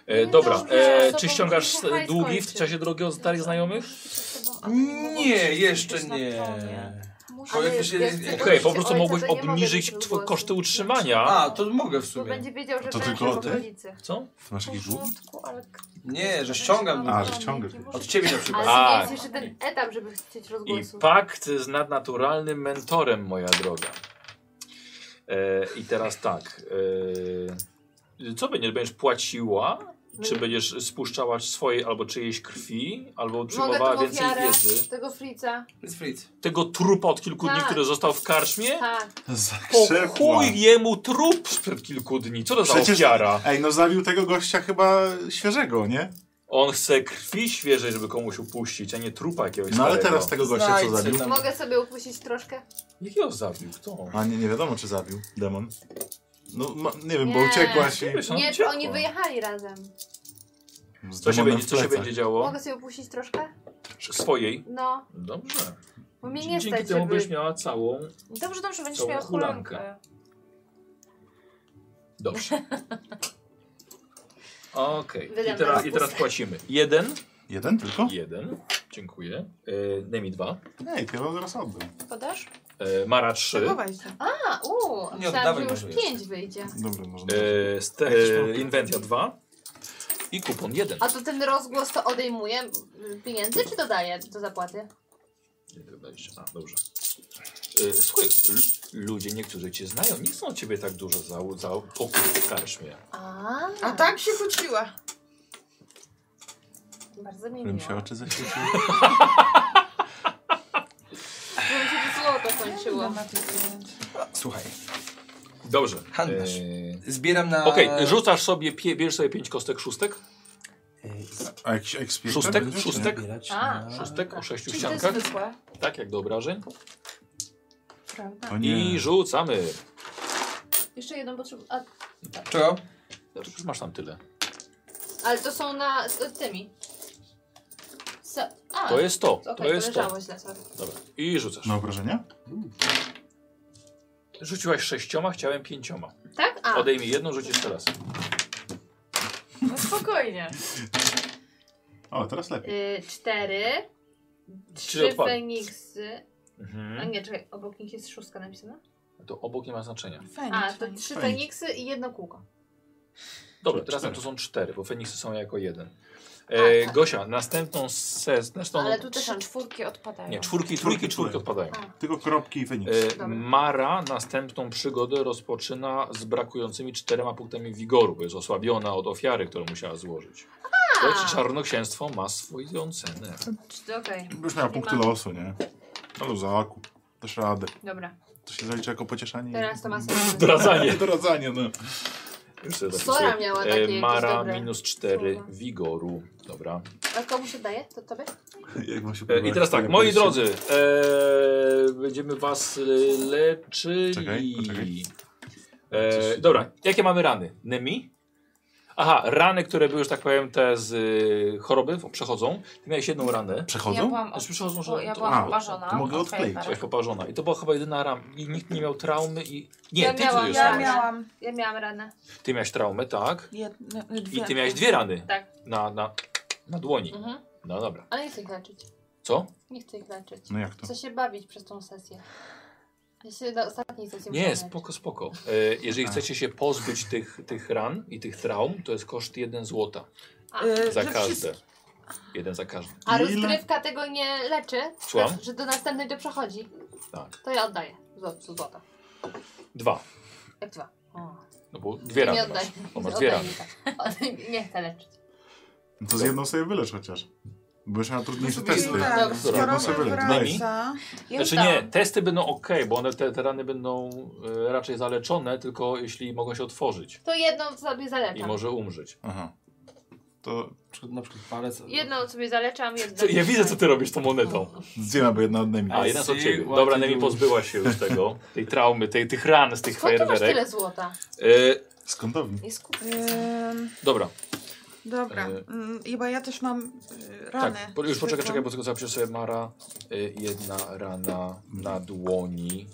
S1: E,
S7: No
S1: dobra,
S7: dobrze,
S1: e,
S7: z
S1: czy
S7: sobą
S1: ściągasz
S7: muszę hajs
S1: długi w
S7: kończyć.
S1: czasie drogi od starych znajomych?
S7: Muszę być z sobą, a ty
S6: Nie,
S7: mogłabyś
S6: jeszcze
S7: być na
S6: nie.
S7: tronie. Musisz-
S6: Ale jakby się-
S4: wiesz,
S6: Okej,
S1: Okej, po
S4: tego się
S1: prostu
S4: ojca,
S1: mogłeś
S4: to nie mogę
S1: obniżyć
S4: być
S1: twoje
S4: rozgłosu.
S1: koszty utrzymania.
S6: A, to mogę w
S4: Bo
S6: sumie.
S4: będzie wiedział, że
S2: To
S4: będę
S2: tylko
S4: w
S2: ty?
S4: okolicy.
S1: Co?
S2: Ty masz jakieś
S7: W
S2: żółty?
S7: porządku, ale k-
S6: Nie, że ściągam
S2: A, że ściągasz.
S6: od ciebie na przykład.
S4: Ale
S1: A.
S4: to jest jeszcze ten etap, żeby chcieć
S1: I
S4: rozgłosu.
S1: pakt z nadnaturalnym mentorem, moja droga. E, I teraz tak. E, co będziesz? Będziesz płaciła?
S4: Mm.
S1: Czy będziesz spuszczała swojej albo czyjejś krwi? Albo
S4: Mogę tą
S1: przyjmowała więcej
S4: ofiarę
S1: wiedzy?
S4: tego frica.
S6: Jest Fritz.
S1: Tego trupa od kilku dni,
S4: Tak.
S1: który został w karczmie?
S4: Tak.
S1: Po
S2: Zakrzepła.
S1: chuj jemu trup sprzed kilku dni. Co to za
S2: Przecież-
S1: ofiara?
S2: Ej, no zabił tego gościa chyba świeżego, nie?
S1: On chce krwi świeżej, żeby komuś upuścić, a nie trupa jakiegoś
S2: No ale
S1: starego.
S2: teraz tego gościa co
S6: Znajdź
S2: zabił?
S6: tam.
S4: Mogę sobie upuścić troszkę?
S1: Jakiego zabił? Kto?
S2: A nie, nie wiadomo czy zabił demon. No ma, nie wiem, bo
S4: Nie.
S2: uciekłaś i...
S1: Wiesz, on
S4: Nie,
S1: uciekła.
S4: oni wyjechali razem.
S2: Z
S1: Co się,
S2: demonem
S1: będzie,
S2: w
S1: co się
S2: plecach.
S1: będzie działo?
S4: Mogę sobie upuścić troszkę?
S1: Swojej?
S4: No,
S1: Dobrze.
S4: bo mnie nie
S1: Dzięki
S4: stać,
S1: temu
S4: żeby...
S1: będziesz miała całą...
S7: Dobrze, dobrze, będziesz
S1: Całą
S7: miała
S1: hulankę.
S7: hulankę.
S1: Dobrze. Okej. I,
S4: Wydam
S1: teraz,
S4: teraz
S1: I teraz płacimy. Jeden.
S2: Jeden tylko?
S1: Jeden. Dziękuję. E, Nemi dwa.
S2: Ej, to ja wam zaraz oddam.
S7: Podasz?
S1: E, Mara trzy.
S5: Chowaj się.
S4: A, uuu,
S6: Nie
S4: myślałam, że
S6: oddawaj
S4: już
S6: może jeszcze.
S4: pięć wyjdzie.
S2: Dobra, można.
S1: E, ste, e, inwencja dwa. I kupon jeden.
S4: A to ten rozgłos to odejmuje y, pieniędzy, czy dodaje do zapłaty?
S1: Nie, to dwadzieścia. A, dobrze. E, słuchaj, l- ludzie niektórzy cię znają. Nie chcą od ciebie tak dużo za, za pokój w karczmie.
S4: A,
S5: A tak się rzuciła.
S4: Bardzo mi
S2: Którym
S4: miło. Bym
S2: się
S4: się
S2: oczy zaświeciły.
S4: to złoto kończyło.
S6: Słuchaj,
S1: Dobrze.
S6: Handlarz.
S1: E,
S6: zbieram na...
S1: Okej, rzucasz sobie, pie, bierz sobie pięć kostek szóstek.
S2: A jakiś ekspiert?
S1: Szóstek? Szóstek?
S6: Zbierać
S4: A,
S6: na-
S1: Szóstek o sześciu
S7: Czyli to jest
S1: ściankach.
S7: zwykłe.
S1: Tak jak do obrażeń.
S5: Prawda?
S2: O nie.
S1: I rzucamy.
S4: Jeszcze jedną potrzebuję. A,
S6: Czego?
S1: Znaczy, Już masz tam tyle.
S4: Ale to są na z tymi. Se... A,
S1: To jest to.
S4: okej,
S1: To jest to.
S4: leżało źle, sorry.
S1: Dobra. I rzucasz.
S2: Na obrażenia?
S1: Rzuciłaś sześcioma, chciałem pięcioma.
S4: Tak? A,
S1: Odejmij jedną, rzucisz teraz.
S7: No spokojnie.
S2: O, teraz lepiej.
S4: y, cztery.
S1: Czyli
S4: Trzy
S1: odpadł.
S4: Feniksy. A
S1: Mhm.
S4: nie, czekaj, obok nich jest szóstka napisana.
S1: To obok nie ma znaczenia.
S5: Fajnie.
S4: A, to
S5: fajnie.
S4: trzy
S2: Feniks.
S4: Feniksy i jedno kółko.
S1: Dobra, teraz
S2: Cztery.
S1: to są cztery, bo Feniksy są jako jeden. E,
S4: tak.
S1: Gosia, następną ses... Następną...
S4: Ale tu też
S7: Trzy
S4: mam
S7: czwórki odpadają.
S1: Nie, czwórki, trójki, czwórki
S2: czwórki.
S1: odpadają.
S4: A.
S2: Tylko kropki i wynik.
S1: E,
S4: Dobra.
S1: Mara następną przygodę rozpoczyna z brakującymi czterema punktami wigoru, bo jest osłabiona od ofiary, którą musiała złożyć. To ci czarnoksięstwo ma swoją cenę.
S4: Czy- Okej,
S2: Już miała punkty losu, nie? No luzaku. Też radę.
S4: dobra.
S1: Hmm.
S2: To się zalicza jako pocieszanie.
S4: Teraz to ma sens.
S1: Zdradzanie.
S2: Doradzanie, no.
S1: Już sobie
S4: Sora
S1: zapisuję.
S4: miała
S1: E,
S4: takie jakieś
S1: Mara
S4: dobre
S1: minus 4
S4: słowa.
S1: wigoru. Dobra.
S4: A komu się daje? To tobie?
S2: Jak wam się
S1: E,
S2: podoba,
S1: I teraz
S2: jak
S1: tak, moi
S2: powiedzieliście?
S1: drodzy, e, będziemy was e, leczyli.
S2: Czekaj, poczekaj. Coś się
S1: E,
S2: dzieje.
S1: dobra, jakie mamy rany? Nemi? Aha, rany, które były, że tak powiem, te z y, choroby o, przechodzą. Ty miałeś jedną ranę.
S7: Ja
S2: Przechodzą?
S7: byłam,
S1: Aż przechodzą,
S7: bo
S1: że
S7: ja
S1: to-
S7: byłam
S2: A,
S7: oparzona.
S2: to mogę
S7: od
S2: odkleić.
S7: Kejpera.
S1: Byłaś poparzona. I to była chyba jedyna rama. I nikt nie miał traumy i... Nie,
S4: Ja
S1: ty
S4: miałam,
S1: ty,
S5: Ja
S1: ja
S5: miałam
S4: Ja miałam ranę.
S1: ty miałeś traumę, tak?
S5: jedne,
S1: I
S5: dwie.
S1: ty miałeś dwie rany.
S4: Tak.
S1: Na, na, na dłoni.
S4: Mhm.
S1: No dobra.
S4: Ale nie chcę ich leczyć.
S1: Co?
S4: Nie chcę ich leczyć.
S2: No jak to?
S4: Chcę się bawić przez tą sesję. Ja się na ostatniej sesji
S1: Nie,
S4: musiałam
S1: spoko, spoko. E, jeżeli chcecie się pozbyć tych, tych ran i tych traum, to jest koszt 1 złota.
S4: A.
S5: Y,
S1: Za każde. Jeden za każdy.
S4: A rozgrywka tego nie leczy?
S1: Słucham?
S4: Że do następnej to przechodzi?
S1: Tak.
S4: To ja oddaję. Złot, złota.
S1: Dwa.
S4: Jak dwa. O.
S1: No bo dwie rany
S4: Nie
S1: masz.
S4: oddaj.
S1: Bo masz dwie
S4: Oddaj
S1: rany.
S4: mi to. Oddaj- Nie chcę leczyć.
S2: No to z jedną sobie wylecz chociaż. Bo jeszcze na trudniejsze
S1: No to
S2: testy.
S1: nie, tak.
S2: Z jedną sobie wylecz.
S1: Nimi?
S2: Nice.
S5: Już
S1: Znaczy nie, testy będą ok, bo one, te, te rany będą e, raczej zaleczone, tylko jeśli mogą się otworzyć
S4: To jedną sobie
S1: i
S4: zaleczam.
S1: może umrzeć.
S2: Aha. To
S6: na przykład palec.
S4: Jedną sobie zaleczam, jedną...
S1: Co, ja
S4: tak.
S1: widzę, co ty robisz tą monetą.
S4: No,
S2: Zdziema, bo jedna od Nemi.
S1: A, jedna od ciebie. Dobra, Nemi pozbyła się już tego, tej traumy, tej, tych ran z tych
S4: Skąd tu masz
S1: fajerwerek.
S4: tyle złota?
S1: E,
S2: Skądowni?
S4: Jest
S5: Ym,
S1: Dobra,
S5: dobra,
S1: E.
S5: Ym, chyba ja też mam y, rany.
S1: tak, po- już poczekaj, czekaj, bo tylko zapiszę sobie Mara. Y, Jedna rana na dłoni.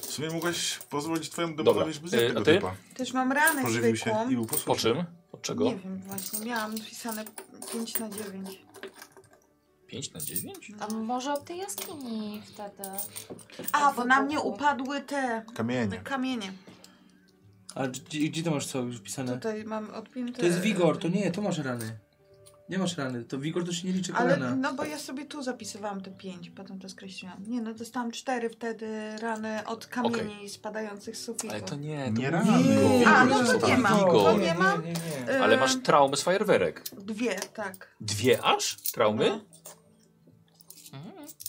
S2: W sumie mogłaś pozwolić twojemu
S1: Dobra,
S2: demonowi, żeby
S1: e,
S2: zjadł
S1: a
S2: tego
S1: ty?
S2: typa.
S5: Też mam ranę
S2: Pożywił
S5: zwykłą.
S2: się i był posłuszny.
S1: Po czym? Od czego?
S5: Nie wiem właśnie, miałam napisane 5 na 9.
S1: 5 na 9?
S7: A może od tej jaskini wtedy?
S5: A,
S7: Od
S5: bo na
S7: wybuchu.
S5: mnie upadły te
S2: Kamienie.
S5: kamienie.
S6: A gdzie, gdzie to masz co już wpisane?
S5: Tutaj mam odpięte.
S6: To jest wigor, to nie, to masz rany. Nie masz rany, to wigor to się nie liczy
S5: Ale
S6: kolana.
S5: no bo ja sobie tu zapisywałam te 5, potem to skreśliłam. Nie no, dostałam 4 wtedy rany od kamieni spadających z sufitu.
S1: Ale to nie, to
S2: Nie
S1: był
S2: rany.
S1: Igor.
S5: A, no to nie mam, to
S1: Igor.
S5: nie mam.
S6: nie.
S1: Ale masz traumy z fajerwerek.
S5: Y, Dwie, tak.
S1: Dwie aż? Traumy?
S5: No.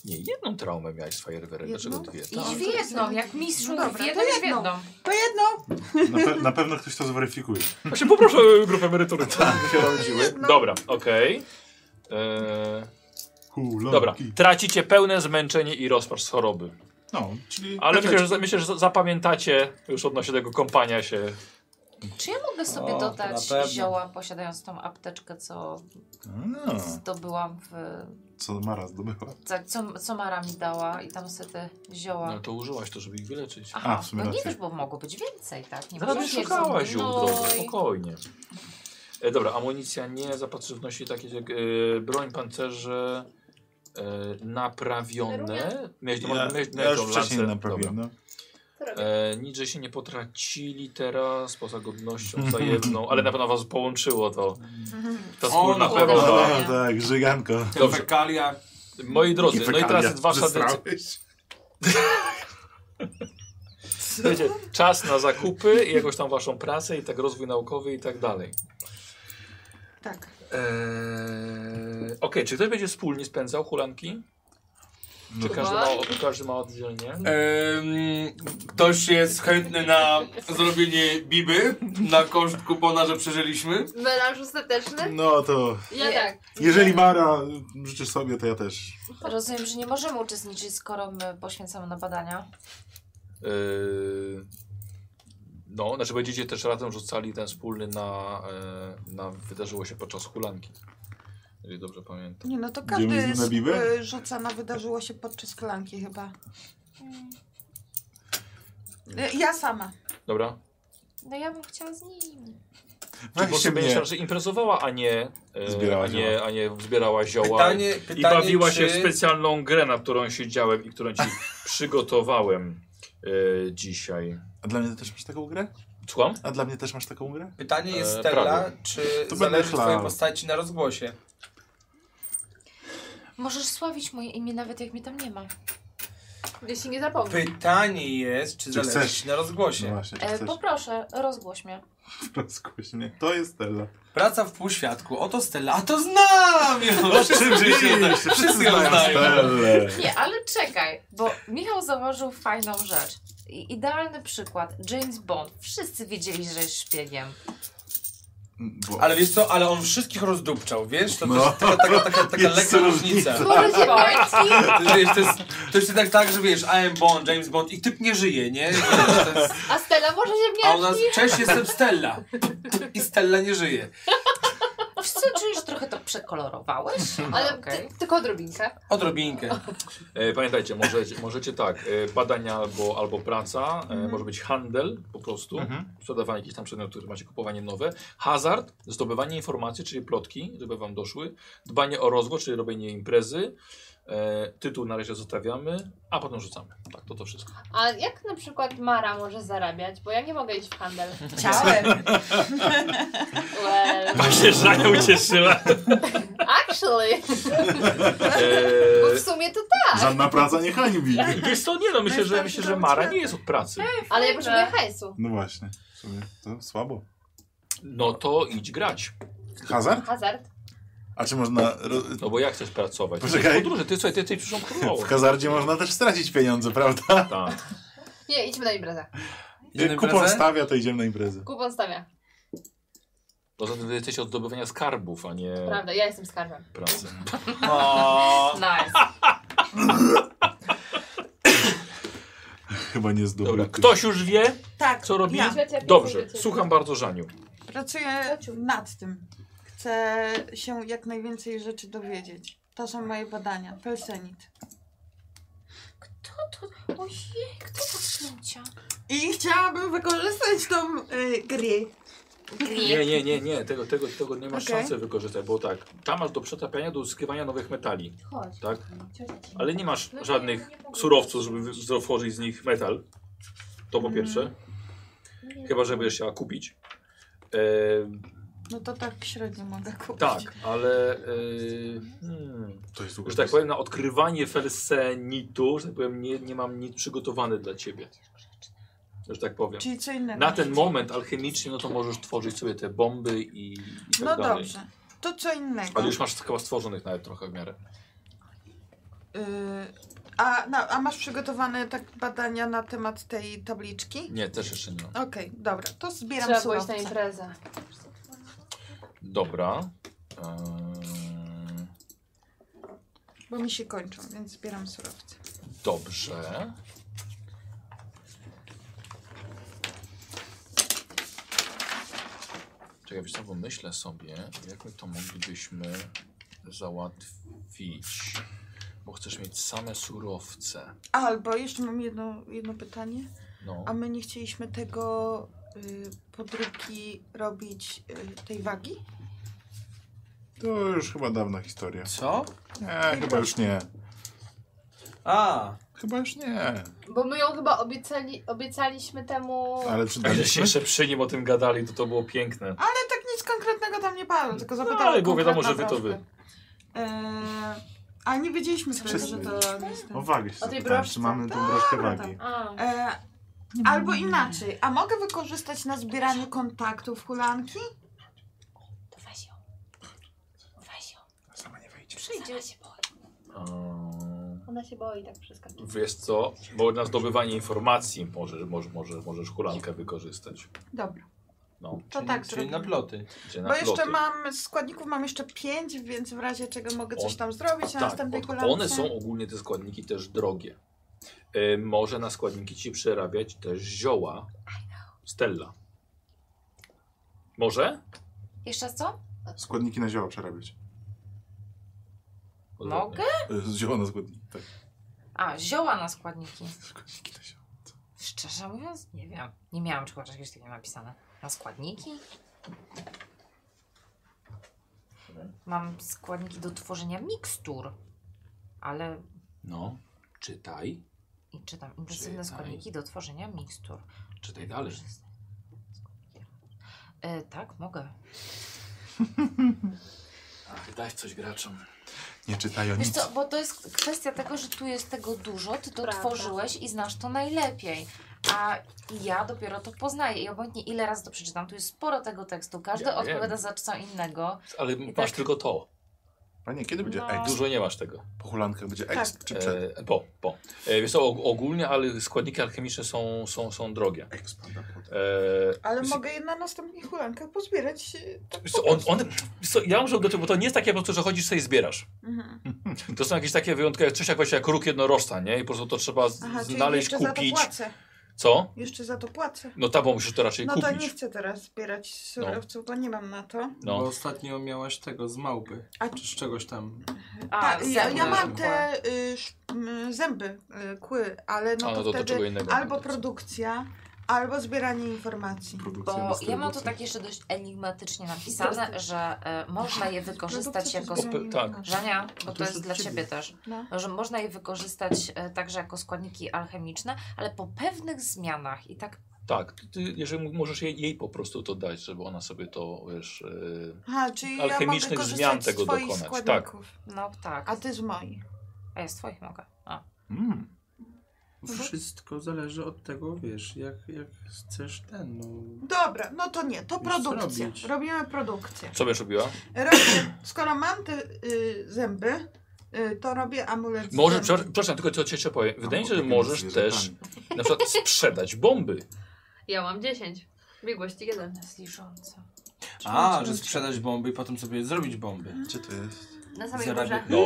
S1: Nie, jedną traumę miałeś z fajerwerek. Dlaczego
S5: Jedną?
S1: dwie?
S7: I
S1: Tak.
S7: świetną, jak mistrz
S5: No
S7: no
S5: dobra,
S7: jedną,
S5: to
S7: jest
S5: jedną.
S7: jedną.
S5: To jedno!
S2: Na, pe na pewno ktoś to zweryfikuje.
S1: Właśnie poproszę e, grupę emerytury. Tak, się rodziły.
S5: No.
S1: Dobra, okej. Eee,
S2: Hulaki.
S1: Dobra, tracicie pełne zmęczenie i rozpacz z choroby.
S2: No, czyli...
S1: Ale myślę, że, myślę, że za- zapamiętacie już odnośnie tego kąpania się.
S7: Czy ja mogę sobie
S6: O, to
S7: dodać
S6: na pewno.
S7: zioła, posiadając tą apteczkę, co
S2: A,
S7: zdobyłam w...
S2: No, co Mara zdobyła.
S7: za- Co, co Mara mi dała i tam sobie te zioła.
S1: No to użyłaś to, żeby ich wyleczyć.
S7: Aha,
S2: A, w sumie
S7: no nie
S2: racja. No
S7: wiesz, bo mogło być więcej, tak? Nie
S1: Zaraz
S7: możesz
S1: będziesz
S7: mieć-
S1: szukała ziół w drodze,
S7: No i-
S1: spokojnie. E, dobra, amunicja nie, zapatrzywności takie jak e, broń, pancerze e, naprawione. Miałeś,
S2: Ja,
S1: to ma- miałeś,
S2: ja
S1: miałeś
S2: już
S1: tą
S2: wcześniej
S1: lancę.
S2: naprawiłem.
S1: Dobra.
S2: No.
S1: E, nic, że się nie potracili teraz, poza godnością wzajemną, ale na pewno was połączyło to. Ta wspólna
S6: O, dobra.
S1: choroba.
S2: No, tak, żyganko.
S1: Dobrze.
S6: Fekalia.
S1: Moi drodzy, no i teraz
S2: Fekalia.
S1: jest wasza decyzja.
S2: Zesrałeś?
S1: Wiecie, czas na zakupy i jakąś tam waszą pracę i tak rozwój naukowy i tak dalej.
S5: Tak.
S1: Eee, Okej, czy ktoś będzie wspólnie spędzał hulanki?
S2: No,
S1: Czy każdy ma, każdy ma oddzielnie? Eee,
S6: Em, ktoś jest chętny na zrobienie biby na koszt kupona, że przeżyliśmy.
S4: Melanż ostateczny?
S2: no to...
S4: Ja tak.
S2: Jeżeli Mara życzysz sobie, to ja też.
S7: Rozumiem, że nie możemy uczestniczyć, skoro my poświęcamy na badania.
S1: Eee, no, znaczy będziecie też razem rzucali ten wspólny na, e, na wydarzyło się podczas hulanki. Jeżeli dobrze pamiętam.
S5: Nie no, to
S2: Idziemy z
S5: każdy
S2: nim na
S5: z-
S2: Bibę?
S5: y, rzuca na wydarzyło się podczas kolanki chyba. Y, Ja sama.
S1: Dobra?
S7: No ja bym chciała z nimi.
S1: Czy po prostu
S2: Weźcie
S1: będziesz
S2: mnie.
S1: raczej imprezowała, a nie, e,
S2: Zbierała
S1: a nie,
S2: zioła.
S1: a nie zbierała zioła
S6: Pytanie,
S1: i,
S6: pytanie
S1: i bawiła
S6: czy...
S1: się w specjalną grę, na którą siedziałem i którą ci przygotowałem e, dzisiaj.
S2: A dla mnie też masz taką grę?
S1: Słucham?
S2: A dla mnie też masz taką grę?
S6: Pytanie jest
S1: E,
S6: Stella,
S1: prawie.
S6: czy
S2: To będę
S6: zależy
S2: chlał.
S6: twojej postaci na rozgłosie?
S7: Możesz sławić moje imię, nawet jak mnie tam nie ma. E,
S4: Jeśli nie zapomnę.
S6: Pytanie jest, czy,
S2: Czy
S6: zależy
S2: chcesz?
S6: ci na
S2: No
S6: rozgłosie?
S2: właśnie, czy
S7: E,
S2: chcesz?
S7: poproszę, rozgłoś mnie.
S2: Rozkuś mnie. To jest Stella.
S6: Praca w półświadku, oto Stella, a to znam już!
S2: Oczywiście,
S6: tak, Wszyscy ją znają.
S2: Stellę.
S7: Nie, ale czekaj, bo Michał zauważył fajną rzecz. I, idealny przykład. James Bond. Wszyscy wiedzieli, że jest szpiegiem.
S2: Bo-
S6: Ale wiesz co, ale on wszystkich rozdupczał, wiesz? To
S2: No.
S6: też taka, taka, taka, taka
S2: Jest
S6: lekka
S2: różnica.
S6: różnica.
S7: Boże, Bond.
S6: To jest, to, jest, to jest tak, tak, że wiesz, I am Bond, James Bond i typ nie żyje, nie? Wiesz, to jest,
S4: A Stella może się
S6: a u nas,
S4: wnieść?
S6: cześć, jestem Stella. I Stella nie żyje.
S7: Wiesz co, No czujesz, że trochę to przekolorowałeś?
S4: Ale
S7: Ale okej.
S4: ty, tylko odrobinkę.
S6: Odrobinkę.
S1: E, Pamiętajcie, możecie, możecie tak, e, badania albo, albo praca, e, może być handel po prostu, sprzedawanie jakichś tam przedmiotów, które macie, kupowanie nowe, hazard, zdobywanie informacji, czyli plotki, żeby wam doszły, dbanie o rozwój, czyli robienie imprezy, e, E, tytuł na razie zostawiamy, a potem rzucamy. Tak, to to wszystko.
S4: A jak na przykład Mara może zarabiać? Bo ja nie mogę iść w handel.
S1: Chciałem.
S4: well,
S10: Właśnie Żania ucieszyła.
S4: actually.
S1: Eee.
S4: Bo w sumie to tak.
S2: Żadna praca nie hańbi.
S1: Wiesz co, nie no, myślę, że, myślę, że Mara nie jest od pracy.
S4: Ale ja potrzebuję hajsu.
S2: No właśnie, w sumie to słabo.
S1: No to idź grać.
S2: Hazard?
S4: Hazard.
S2: A czy można... ro-
S1: No bo ja chcesz pracować.
S2: Poczekaj.
S1: Podróży, ty słuchaj, ty jesteś przyszłą królową.
S2: W hazardzie można też stracić pieniądze, prawda?
S1: Tak.
S4: Nie, idźmy na imprezę.
S2: Jak kupon stawia, to idziemy na imprezę.
S4: Kupon stawia.
S1: Poza No, tym ty jesteś od zdobywania skarbów, a nie
S3: Tak.
S4: Prawda, ja jestem skarbem.
S1: pracy.
S7: Nice.
S2: Chyba nie z
S1: Dobra,
S2: dobra.
S1: ktoś już wie,
S5: Tak,
S1: co robi?
S5: ja.
S1: Dobrze, słucham bardzo Żaniu.
S5: Pracuję nad tym. Chcę się jak najwięcej rzeczy dowiedzieć. To są moje badania. Pelsenit.
S3: Kto to? Ojej, kto to księcia?
S5: I chciałabym wykorzystać tą y, grę.
S1: Nie, nie, nie, nie, tego, tego, tego nie masz
S5: Okej.
S1: szansy wykorzystać, bo tak, tam masz do przetapiania, do uzyskiwania nowych metali,
S3: Chodź.
S1: tak?
S3: Ciocia ci-
S1: Ale nie masz
S3: No nie,
S1: żadnych
S3: nie mogę.
S1: surowców, żeby wy- wytworzyć z nich metal. To po pierwsze,
S3: Mhm. No Nie.
S1: chyba że będziesz chciała kupić. E,
S5: No to tak średnio mogę kupić.
S1: tak, ale e, hmm,
S2: To jest
S1: że tak powiem, na odkrywanie felsenitu, że tak powiem, nie, nie mam nic przygotowane dla ciebie. Że tak powiem.
S5: Czyli co innego.
S1: Na ten moment alchemicznie, no to możesz tworzyć sobie te bomby i, i tak
S5: No
S1: dalej.
S5: dobrze. To co innego.
S1: Ale już masz chyba stworzonych nawet trochę w miarę.
S5: Y, a, na, a masz przygotowane tak badania na temat tej tabliczki?
S1: Nie, też jeszcze nie. mam.
S5: Okej, dobra. To zbieram
S4: Trzeba pójść
S5: surowce.
S4: na imprezę.
S1: Dobra. Eee,
S5: Bo mi się kończą, więc zbieram surowce.
S1: dobrze. Czekaj, wiesz co, bo myślę sobie, jak my to moglibyśmy załatwić. Bo chcesz mieć same surowce.
S5: Albo jeszcze mam jedno, jedno pytanie.
S1: No.
S5: A my nie chcieliśmy tego y, podróbki robić y, tej wagi?
S2: To już chyba dawna historia.
S11: Co?
S2: Nie, chyba już nie.
S11: A,
S2: Chyba już nie.
S4: Bo my ją chyba obiecali, obiecaliśmy temu.
S2: Ale
S1: A żeście
S2: przydaliśmy się.
S1: jeszcze przy nim o tym gadali, to to było piękne.
S5: Ale tak nic konkretnego tam nie padło, tylko
S1: No,
S5: zapytałam.
S1: ale było wiadomo, że wy
S5: konkretną
S1: to
S5: prośbę.
S1: wy.
S5: E, a nie wiedzieliśmy sobie, że to jest
S1: No
S5: ten-
S2: O wagę się
S4: O tej
S2: zapytałem,
S4: broszce.
S2: czy mamy tą broszkę
S7: tak,
S2: wagi.
S4: A,
S5: E, albo inaczej, a mogę wykorzystać na zbieraniu kontaktów hulanki?
S3: To weź ją. Weź ją.
S7: tak.
S2: Sama nie wejdzie.
S3: Przyjdzie. Ona się boi.
S1: Eee,
S4: ona się boi tak przeskakiwać.
S1: Wiesz co, bo na zdobywanie informacji możesz, możesz, możesz, możesz hulankę wykorzystać.
S5: Dobra,
S1: No,
S5: to tak
S11: czyli
S5: zrobimy.
S11: na ploty.
S1: gdzie na
S5: Bo jeszcze
S1: ploty.
S5: mam, z składników mam jeszcze pięć, więc w razie czego mogę coś
S1: On-
S5: tam zrobić na
S1: Tak,
S5: następnej
S1: od-
S5: hulance.
S1: one są ogólnie te składniki też drogie. E, może na składniki ci przerabiać też zioła Stella. Może?
S7: Jeszcze raz co?
S2: Składniki na zioła przerabiać.
S7: Mogę?
S2: Y, Z zioła na składniki. Tak.
S7: A, zioła na składniki.
S2: Składniki na zioła.
S7: Szczerze mówiąc, nie wiem. Nie miałam czegoś czegoś takiego napisane. Na składniki? Mam składniki do tworzenia mikstur, ale
S1: No, czytaj.
S7: i czytam intensywne
S1: Czytaj.
S7: składniki do tworzenia mikstur.
S1: Czytaj dalej.
S7: E, tak, mogę.
S1: Ach, daj coś graczom.
S2: Nie czytają
S7: Wiesz
S2: nic.
S7: co, bo to jest kwestia tego, że tu jest tego dużo, ty to
S4: Prawda.
S7: tworzyłeś i znasz to najlepiej. A ja dopiero to poznaję i obojętnie ile razy to przeczytam, tu jest sporo tego tekstu, każdy
S1: Ja wiem.
S7: odpowiada za co innego.
S1: Ale
S7: I
S1: masz
S7: tak-
S1: tylko to.
S2: Panie, kiedy będzie
S7: No. Tak.
S2: ex?
S1: Dużo nie masz tego.
S2: Po hulankach będzie ex czy przed?
S1: E, po, po. E, wiesz co, og- ogólnie, ale składniki alchemiczne są, są, są drogie.
S2: Ex pada potem.
S1: E,
S5: Ale
S1: wiesz-
S5: mogę je na następnych hulankach pozbierać. e, Tak
S1: Wiesz
S5: po
S1: co, on,
S5: prostu.
S1: on, wiesz co, ja muszę uderzyć, bo to nie jest takie po prostu, że chodzisz sobie i zbierasz.
S5: Mhm.
S1: To są jakieś takie wyjątkowe, coś jak właśnie jak róg jednorożca, nie? I po prostu to trzeba z-
S5: Aha, czyli
S1: znaleźć,
S5: jeszcze za to
S1: kupić.
S5: płacę.
S1: Co?
S5: Jeszcze za to płacę.
S1: No ta, bo musisz to raczej
S5: No to nie
S1: kupić.
S5: chcę teraz zbierać surowców, bo nie mam na to.
S1: No.
S11: Bo ostatnio miałaś tego z małpy.
S5: A-
S11: Czy z czegoś tam.
S7: A,
S5: Tak, ja,
S7: zęby.
S5: ja mam te y, sz- m, zęby, y, kły, ale no
S1: A, no to
S5: to
S1: do
S5: wtedy
S1: czego innego
S5: albo
S1: będę.
S5: produkcja, Albo zbieranie informacji.
S7: Bo ja mam to tak jeszcze dość enigmatycznie napisane, że e, można je wykorzystać
S5: Produkcja
S7: jako...
S5: to zmieniła. Tak.
S7: Żania, bo
S5: No
S7: to,
S5: to już
S7: jest
S5: od
S7: dla
S5: ciebie.
S7: ciebie też.
S5: No.
S7: Że można je wykorzystać e, także jako składniki alchemiczne, ale po pewnych zmianach i tak...
S1: Tak, ty, jeżeli m- możesz jej, jej po prostu to dać, żeby ona sobie to, wiesz, yy,
S5: Aha, czyli ja
S1: alchemicznych
S5: mogę
S1: zmian
S5: korzystać z
S1: tego
S5: twoich
S1: dokonać. Tak.
S5: składników.
S7: No tak.
S5: A ty z moich.
S7: A ja z twoich mogę. A.
S2: Mm.
S11: Wszystko zależy od tego, wiesz, jak, jak chcesz ten, no...
S5: Dobra, no to nie, to
S11: Musisz
S5: produkcja.
S11: zrobić.
S5: Robimy produkcję.
S1: co będziesz robiła?
S5: Robię, skoro mam te y, zęby, y, to robię amulet. z
S1: Może,
S5: zębów.
S1: przepraszam, przepraszam, tylko co ci jeszcze powiem. Wydaje mi się, że
S2: opiekę nad
S1: możesz też na przykład sprzedać bomby.
S4: Ja mam 10. Biegłości 1.
S7: Zliżąca.
S11: A, że sprzedać bomby i potem sobie zrobić bomby.
S2: Gdzie to jest?
S4: Na samej
S11: Zarabia-
S4: górze.
S1: No,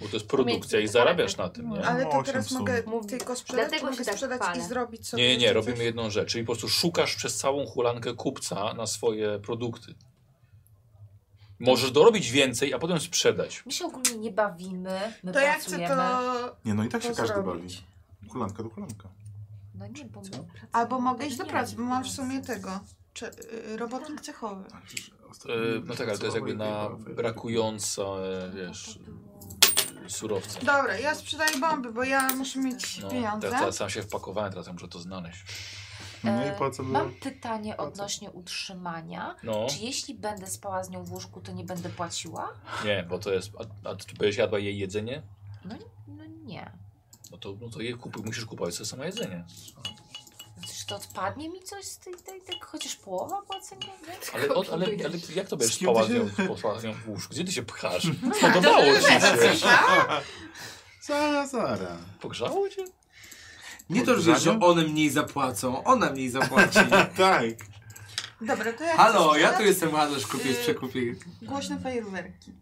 S1: bo to jest produkcja i zarabiasz na tym, nie?
S5: Ale to
S2: Osiem
S5: teraz
S2: są.
S5: mogę tylko sprzedać,
S4: Dlatego
S5: czy mogę
S4: się tak
S5: sprzedać
S4: chwalę.
S5: i zrobić sobie.
S1: Nie, nie, nie,
S5: jeszcze
S1: robimy
S5: coś?
S1: jedną rzecz, czyli po prostu szukasz przez całą hulankę kupca na swoje produkty. Możesz dorobić więcej, a potem sprzedać.
S7: My się ogólnie nie bawimy, my
S5: To ja chcę
S7: pracujemy.
S5: to.
S2: Nie, no i tak się
S5: to
S2: każdy
S5: zrobić.
S2: bawi. Kulanka do kulanka.
S7: No nie, bo my pracujemy. no
S5: Albo mogę iść do
S7: Nie
S5: pracy, bo
S7: mamy
S5: mam w sumie
S7: pracy.
S5: tego. Czy, y, robotnik cechowy.
S2: Ale przecież Tak, ostatnio
S1: E, no tak, ale to jest jakby na
S2: pracowała i była
S1: brakująca, e, wiesz, e, surowca.
S5: Dobra, ja sprzedaję bomby, bo ja muszę mieć
S1: No,
S5: pieniądze.
S1: teraz, teraz sam się wpakowałem, teraz muszę to znaleźć.
S2: No
S7: E,
S2: i po co było?
S7: Mam pytanie odnośnie utrzymania.
S1: No,
S7: Czy jeśli będę spała z nią w łóżku, to nie będę płaciła?
S1: nie, bo to jest... A, a czy będziesz jadła jej jedzenie?
S7: No, no nie.
S1: No to, no to jej kupuj, musisz kupować sobie samo jedzenie.
S7: Czy to odpadnie mi coś z tej, tej, tej chociaż połowa płacenia? Nie?
S1: Ale, od, ale, ale jak to będziesz
S2: Z kim ty
S1: spała z nią,
S2: się-
S1: posła z nią w łóżku? Gdzie ty się pchasz? Podobało ci się.
S2: Zara, zara.
S1: Pogrzało cię?
S6: Nie to, że, wiesz, że one mniej zapłacą, ona mniej zapłaci.
S2: Tak.
S1: E,
S5: Dobra, to ja
S6: Halo,
S5: chcę
S6: ja tu
S5: sprzedać
S6: jestem handlarz,
S5: Y-
S6: kupiec, przekupiec.
S5: Głośne fajerwerki.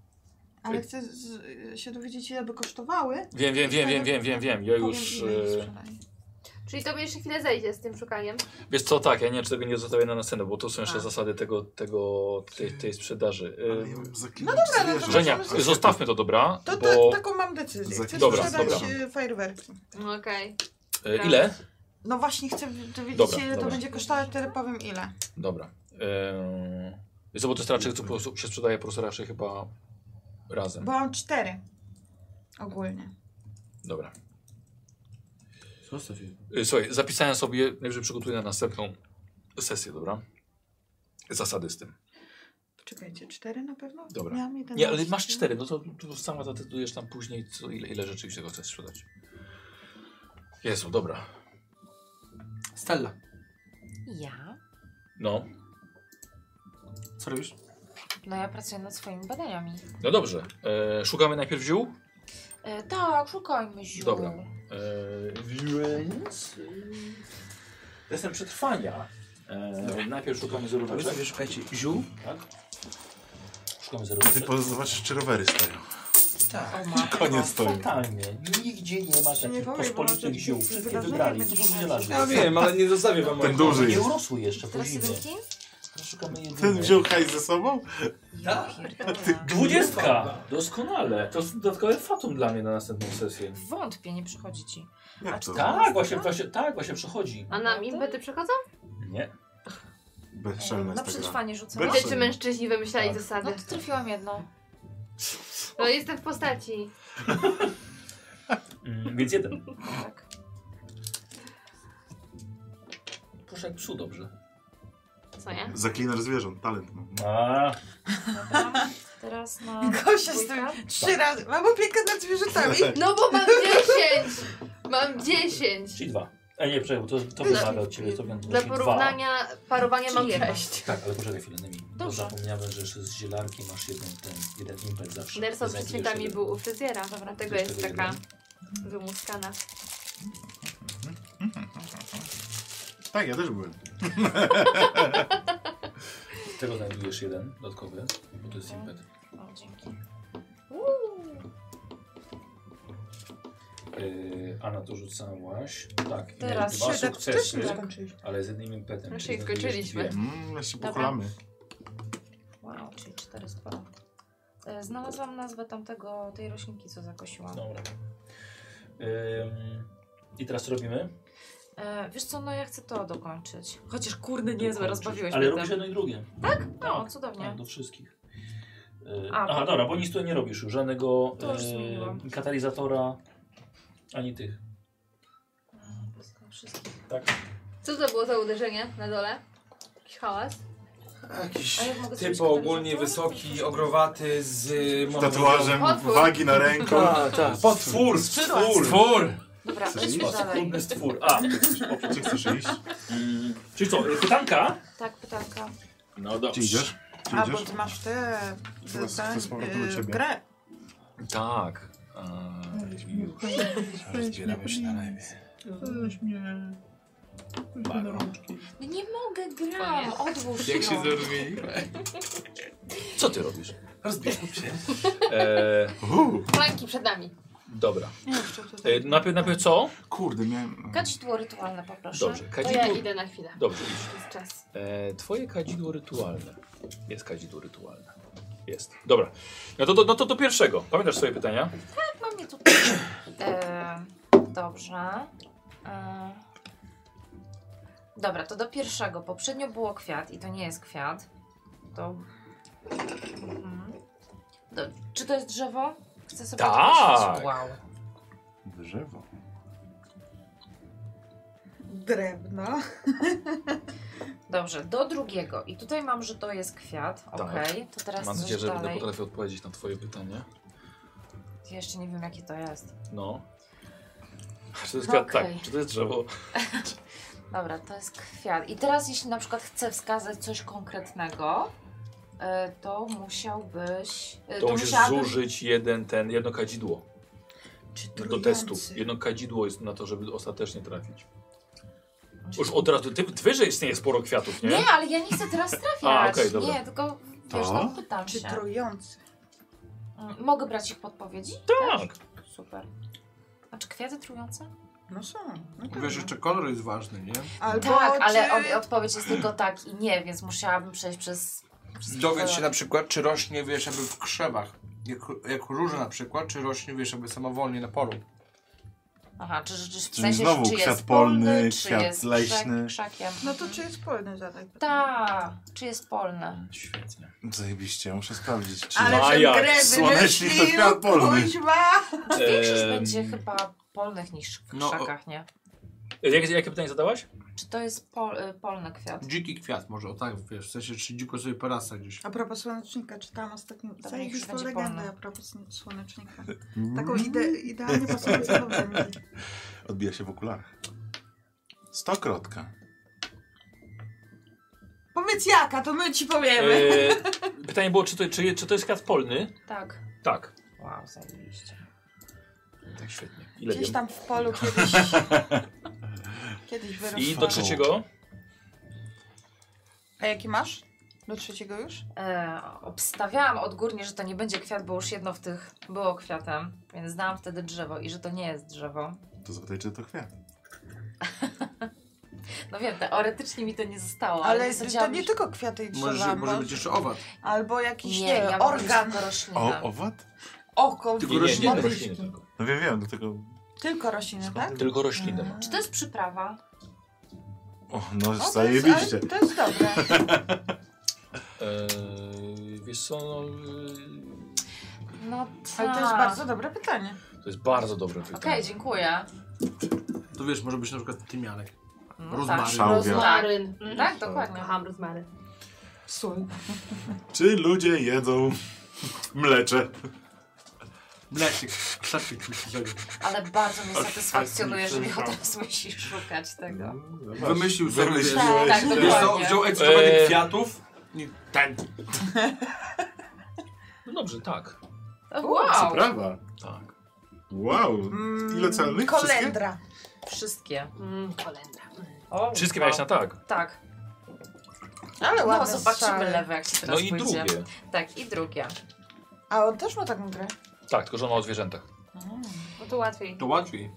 S5: Ale chcę z, z, się dowiedzieć, ile by kosztowały.
S1: Wiem, wiem, wiem, wiem, wiem, wiem, wiem. Ja
S5: Powiem,
S1: już...
S5: ile ich
S1: E...
S5: sprzedaję.
S4: Czyli tobie jeszcze chwilę zejdzie z tym szukaniem.
S1: Wiesz co, tak, ja nie wiem, czy tego nie zostawię na następne, bo to są jeszcze
S5: A.
S1: zasady tego, tego, tej, tej sprzedaży.
S2: Ale ja
S1: Yy,
S2: bym zaklinał
S5: dobra, no to
S2: zwierzę.
S1: Żenia,
S5: możemy
S1: zostawmy to, dobra?
S5: To, to
S1: bo
S5: taką mam decyzję. Chcę
S1: Dobra,
S5: sprzedać
S1: dobra.
S5: y, fajerwerki.
S4: No Okej.
S1: e, ile?
S5: No właśnie, chcę dowiedzieć
S1: Dobra,
S5: się, ile
S1: dobra.
S5: to będzie kosztować, wtedy powiem ile.
S1: Dobra. Yy, wiesz co, bo to jest raczej, co po prostu się sprzedaje po prostu raczej chyba razem.
S5: Bo mam cztery. Ogólnie.
S1: Dobra.
S11: Zostaw je.
S1: Yy, słuchaj, zapisałem sobie, najwyżej przygotuję na następną sesję, dobra? Zasady z tym.
S5: Czekajcie, cztery na pewno?
S1: Dobra.
S5: Miałam jeden
S1: Nie, ale
S5: gość.
S1: masz cztery, no to, to sama zadecydujesz tam później, co, ile, ile rzeczywiście go chcesz sprzedać. Jezu, dobra.
S6: Stella,
S7: Ja?
S1: No,
S6: co robisz?
S7: No ja pracuję nad swoimi badaniami.
S1: no dobrze. E, szukamy najpierw ziół?
S7: E, tak, szukajmy ziół.
S1: Dobra. Eee, więc eee, jestem przetrwania. Eee, najpierw szukamy
S6: To wy
S1: zeróweczek.
S6: sobie szukajcie ziół.
S1: Tak? Szukamy
S2: Ty
S1: zeróweczek.
S2: po- zobaczysz, czy rowery stoją.
S6: Tak.
S7: O matko.
S5: No,
S2: Koniec
S5: tak,
S2: stoją.
S1: Totalnie. Nigdzie nie ma
S5: Nie
S1: takich
S5: powiem,
S1: pospolitych
S5: może
S1: ziół.
S5: jakieś
S1: Wszystkie
S5: wydarzenie
S1: wybrali.
S5: będzie
S1: Dużo
S5: się
S1: wydzielarzy.
S11: Ja wiem, ale nie zostawię wam
S2: Ten
S11: mojego.
S2: duży
S1: Nie
S2: jest.
S1: urosły jeszcze po
S7: Teraz
S1: zimie.
S7: jeden kim?
S1: Teraz Szukamy
S2: Ten
S1: jedynie.
S2: wziął hajs ze sobą?
S7: Ja pierdolę.
S1: Dwudziestka! Doskonale. To jest dodatkowe fatum dla mnie na następną sesję.
S7: Wątpię, nie przychodzi ci.
S2: Jak to?
S1: Tak, właśnie, właśnie, tak, właśnie przechodzi.
S4: A
S3: No
S4: nam impety przechodzą?
S1: Nie.
S2: Bezczelna
S5: No
S7: Na
S2: jest ta gra.
S7: przetrwanie rzucę.
S2: Bez-
S4: Wiecie, czy mężczyźni wymyślali
S1: Tak.
S7: No
S4: zasady?
S7: to trafiłam jedno.
S4: No jestem w postaci.
S1: Mm, więc jeden.
S7: Tak.
S1: Proszę jak psu dobrze.
S4: Co nie?
S2: Zaklinasz zwierząt, talent. No.
S1: A,
S7: Dobra. Teraz na...
S5: Gosia z
S7: dwójkę.
S5: tym
S2: Tak.
S5: trzy razy. Mam opiekę nad zwierzętami.
S4: No bo mam 10! Mam 10!
S1: czyli dwa. A nie, przepraszam, to, to
S4: Dla-
S1: wymaga od ciebie. To będą
S4: Dla
S1: właśnie dwa.
S4: porównania parowania mam
S7: Czyli
S4: 1.
S1: Tak, ale poczekaj chwilę, Nemi. Bo
S7: Dobrze.
S1: zapomniałem, że jeszcze z zielarki masz jeden, ten, jeden impet zawsze.
S4: Nerso
S1: Znajdujesz
S4: przed świętami
S1: jeden.
S4: był u fryzjera, dlatego
S1: Jeszcze
S4: jest
S1: jeden.
S4: taka wymuskana.
S2: Tak, ja też byłem.
S1: Tego znajdujesz jeden dodatkowy, bo to jest impet.
S7: O, dzięki.
S1: Yy, Anna to rzucałaś. Tak, i miałeś
S7: Teraz
S1: dwa
S5: Siedem-
S1: sukcesy,
S5: wcześniej
S2: Tak.
S5: skończyliśmy.
S1: ale z jednym impetem.
S4: Znaczy,
S1: czyli
S4: ich
S1: znajdujesz
S4: skończyliśmy.
S1: dwie.
S2: Mm, ja się
S7: Dobra.
S2: pochylamy.
S7: Wow, czyli 4 z 2. Znalazłam nazwę tamtego, tej
S10: No.
S7: roślinki, co zakosiłam.
S1: Dobra. Ym, I teraz co robimy?
S7: E, wiesz co, no ja chcę to dokończyć. Chociaż kurde niezłe,
S10: Dokończysz.
S7: rozbawiłeś
S10: Ale
S7: mnie
S10: robisz
S7: tym.
S10: jedno i drugie.
S7: Tak? No, cudownie.
S10: Tak, do wszystkich. E,
S7: A.
S10: aha, dobra, bo nic tu nie robisz już. Żadnego
S7: To już zmieniłam.
S10: e, katalizatora, ani tych. Tak.
S4: Co to było za uderzenie na dole? Jakiś hałas?
S6: Jakiś
S4: A ja mogę zrobić
S6: typ
S7: tak
S6: ogólnie wysoki, ogrowaty z... y,
S1: No.
S2: Tatuażem
S4: Potwór.
S2: wagi na ręku.
S6: Tak, tak.
S2: Potwór,
S10: Stwór!
S7: Dobra,
S2: Chcesz
S7: idźmy
S2: iść?
S7: dalej.
S10: Trudny stwór. A,
S2: Czy chcesz iść?
S10: czyli co, e, pytanka?
S7: Tak, pytanka.
S10: No dobrze.
S2: Gdzie idziesz? Gdzie
S5: A, bo
S2: idziesz?
S5: ty masz te...
S2: Chyba z-
S5: ten,
S2: z powrotem do
S5: y,
S2: ciebie.
S5: grę.
S1: Tak.
S6: Rozbieramy się na lewie.
S2: Weź mnie. Weź mnie na rączki.
S7: No Nie mogę, gram, odłóż ją.
S10: zrozumieli? Co ty robisz?
S6: Rozbieram się.
S10: E,
S2: Uuu,
S4: Flanki przed nami.
S10: dobra.
S5: Nie, jeszcze tutaj.
S7: Y,
S10: E, najpierw, najpierw co?
S2: Kurde, miałem...
S7: Kadzidło rytualne poproszę.
S10: Dobrze,
S4: To ja
S10: kadzidło.
S4: idę na chwilę.
S10: Dobrze, idź.
S4: Jest czas.
S10: E, twoje kadzidło rytualne. Jest kadzidło rytualne. Jest. Dobra. No to, to, no to do pierwszego. Pamiętasz swoje pytania?
S7: Mam je tutaj. E, dobrze. E, dobra, to do pierwszego. Poprzednio było kwiat i to nie jest kwiat. To. Mhm. Do, czy to jest drzewo? Chcę sobie
S10: Tak.
S7: odpowiedzieć. Wow.
S2: Drzewo.
S5: Drewno.
S7: Dobrze, do drugiego. I tutaj mam, że to jest kwiat. Okej, to teraz
S1: Tak. Mam
S7: coś
S1: nadzieję, że będę
S7: dalej.
S1: potrafił odpowiedzieć na twoje pytanie.
S7: Ja jeszcze nie wiem, jakie to jest.
S1: No. Czy to jest
S7: No
S1: kwiat?
S7: okej.
S1: Tak. Czy to jest drzewo?
S7: Dobra, to jest kwiat. I teraz, jeśli na przykład chcę wskazać coś konkretnego, e, to musiałbyś. e,
S10: To musisz
S7: musiałabym-
S1: Zużyć jeden ten, jedno kadzidło
S5: Czy
S1: do
S5: trujący.
S1: testu. Jedno kadzidło jest na to, żeby ostatecznie trafić. Już od razu, ty, wyżej istnieje sporo kwiatów, nie?
S7: Nie, ale ja nie chcę teraz trafiać.
S1: A, okej, dobra.
S7: nie, tylko wiesz,
S2: To?
S7: no, pytam
S5: Czy
S7: się.
S5: trujący.
S7: Mm, Mogę brać ich podpowiedzi?
S10: Tak.
S7: Super. A czy kwiaty trujące?
S5: No są. No
S11: Wiesz,
S5: pewnie.
S11: jeszcze kolor jest ważny, nie?
S5: Albo
S7: tak, ale
S5: czy...
S7: od, odpowiedź jest tylko tak i nie, więc musiałabym przejść przez...
S6: Dowiedz się na przykład, czy rośnie, wiesz, jakby w krzewach. Jak, jak róża na przykład, czy rośnie, wiesz, jakby samowolnie na polu.
S7: Aha, czy, czy, czy w
S2: Czyli
S7: sensie,
S2: znowu
S7: czy
S2: kwiat
S7: jest
S2: polny,
S7: czy
S2: kwiat
S7: jest
S2: leśny.
S7: Krzak, krzakiem.
S5: No to czy jest polny zadaj.
S7: Tak. Ta, czy jest polny.
S10: Świetnie.
S2: Zajebiście, muszę sprawdzić, czy...
S5: Ale tę
S10: Maja,
S5: grę
S2: słonecznik to
S5: wymyślił,
S2: kwiat polny.
S5: kuźwa.
S1: E,
S7: Większość
S10: Em,
S7: będzie chyba polnych niż w
S6: no, o-
S7: krzakach, nie?
S1: e,
S10: Jakie, jakie pytanie zadałaś?
S7: Czy to jest pol, y, polny kwiat?
S11: Dziki kwiat może, o tak, wiesz, w sensie, czy dziko sobie porasta gdzieś.
S5: A propos słonecznika, czytałam ostatnio
S7: Dobra, niech już
S5: zajebistą
S7: będzie
S5: legendę
S7: polny.
S5: a propos słonecznika.
S2: Mm.
S5: Taką ide idealnie pasującą do mnie.
S2: Odbija się w okularach. Stokrotka.
S5: Powiedz jaka, to my ci powiemy.
S10: E, pytanie było, czy to, czy, czy to jest kwiat polny?
S7: Tak.
S10: Tak.
S7: Wow, zajebiście.
S10: Tak, świetnie. Ile
S5: Gdzieś
S10: wiem? No.
S5: tam w polu kiedyś... kiedyś wyrosła.
S10: I do trzeciego?
S5: A jaki masz? Do trzeciego już?
S7: E, obstawiałam odgórnie, że to nie będzie kwiat, bo już jedno w tych było kwiatem, więc znałam wtedy drzewo i że to nie jest drzewo.
S2: To zapytaj, czy to kwiat.
S7: No wiem, teoretycznie mi to nie zostało, ale,
S5: Ale
S7: nie
S5: to
S7: sądziłam,
S5: nie
S7: że...
S5: tylko kwiaty i
S11: Może,
S5: drzewa,
S11: może być jeszcze owad.
S5: albo jakiś, nie,
S7: Nie, ja mam
S5: organ,
S7: tylko roślinę.
S2: O, owad?
S5: oko,
S11: Tylko
S10: Nie, nie, nie,
S11: rośliny.
S10: rośliny tylko.
S2: No wiem, wiem, do tego...
S5: tylko rośliny, tak?
S10: Tylko rośliny ma.
S7: Czy to jest przyprawa?
S2: O, no
S5: O, to jest-
S2: zajebiście.
S5: ale To jest dobre.
S1: Eee,
S10: E,
S1: Y,
S10: wiesz co, no,
S7: No tak.
S5: Ale to jest bardzo dobre pytanie.
S1: y,
S10: e, to jest bardzo dobre
S7: Okej,
S10: pytanie.
S7: dziękuję.
S11: To wiesz, może być na przykład tymianek.
S7: No, tak.
S11: Rozmaryn.
S2: Szałwia.
S4: Rozmaryn.
S7: tak, dokładnie.
S4: Kocham rozmaryn.
S5: Sól.
S2: Czy ludzie jedzą mlecze?
S11: Mlecznik. Klasyk.
S7: Ale bardzo mnie satysfakcjonuje, że Michał teraz musi szukać tego.
S11: Wymyślił sobie, wiesz,
S7: Tak, tak,
S11: wiesz co,
S7: dokładnie.
S11: wziął eksperyment
S10: Eee.
S11: kwiatów. i Ten.
S10: No dobrze, tak.
S7: O,
S2: Co
S7: Wow!
S2: prawa.
S10: Tak.
S2: Wow. Ile celnych? Wszystkie?
S5: mm, Kolendra.
S7: Wszystkie.
S4: Mm, kolendra.
S7: O,
S10: Wszystkie
S7: wow.
S10: miałeś na tak.
S7: Tak.
S5: Ale
S7: No,
S5: ładne
S7: zobaczymy
S5: strzały.
S7: lewe, jak się teraz
S10: No i
S7: pójdzie.
S10: drugie.
S7: Tak, i drugie.
S5: A on też ma taką grę.
S10: Tak, tylko że ona o zwierzętach.
S4: No to łatwiej.
S11: To łatwiej.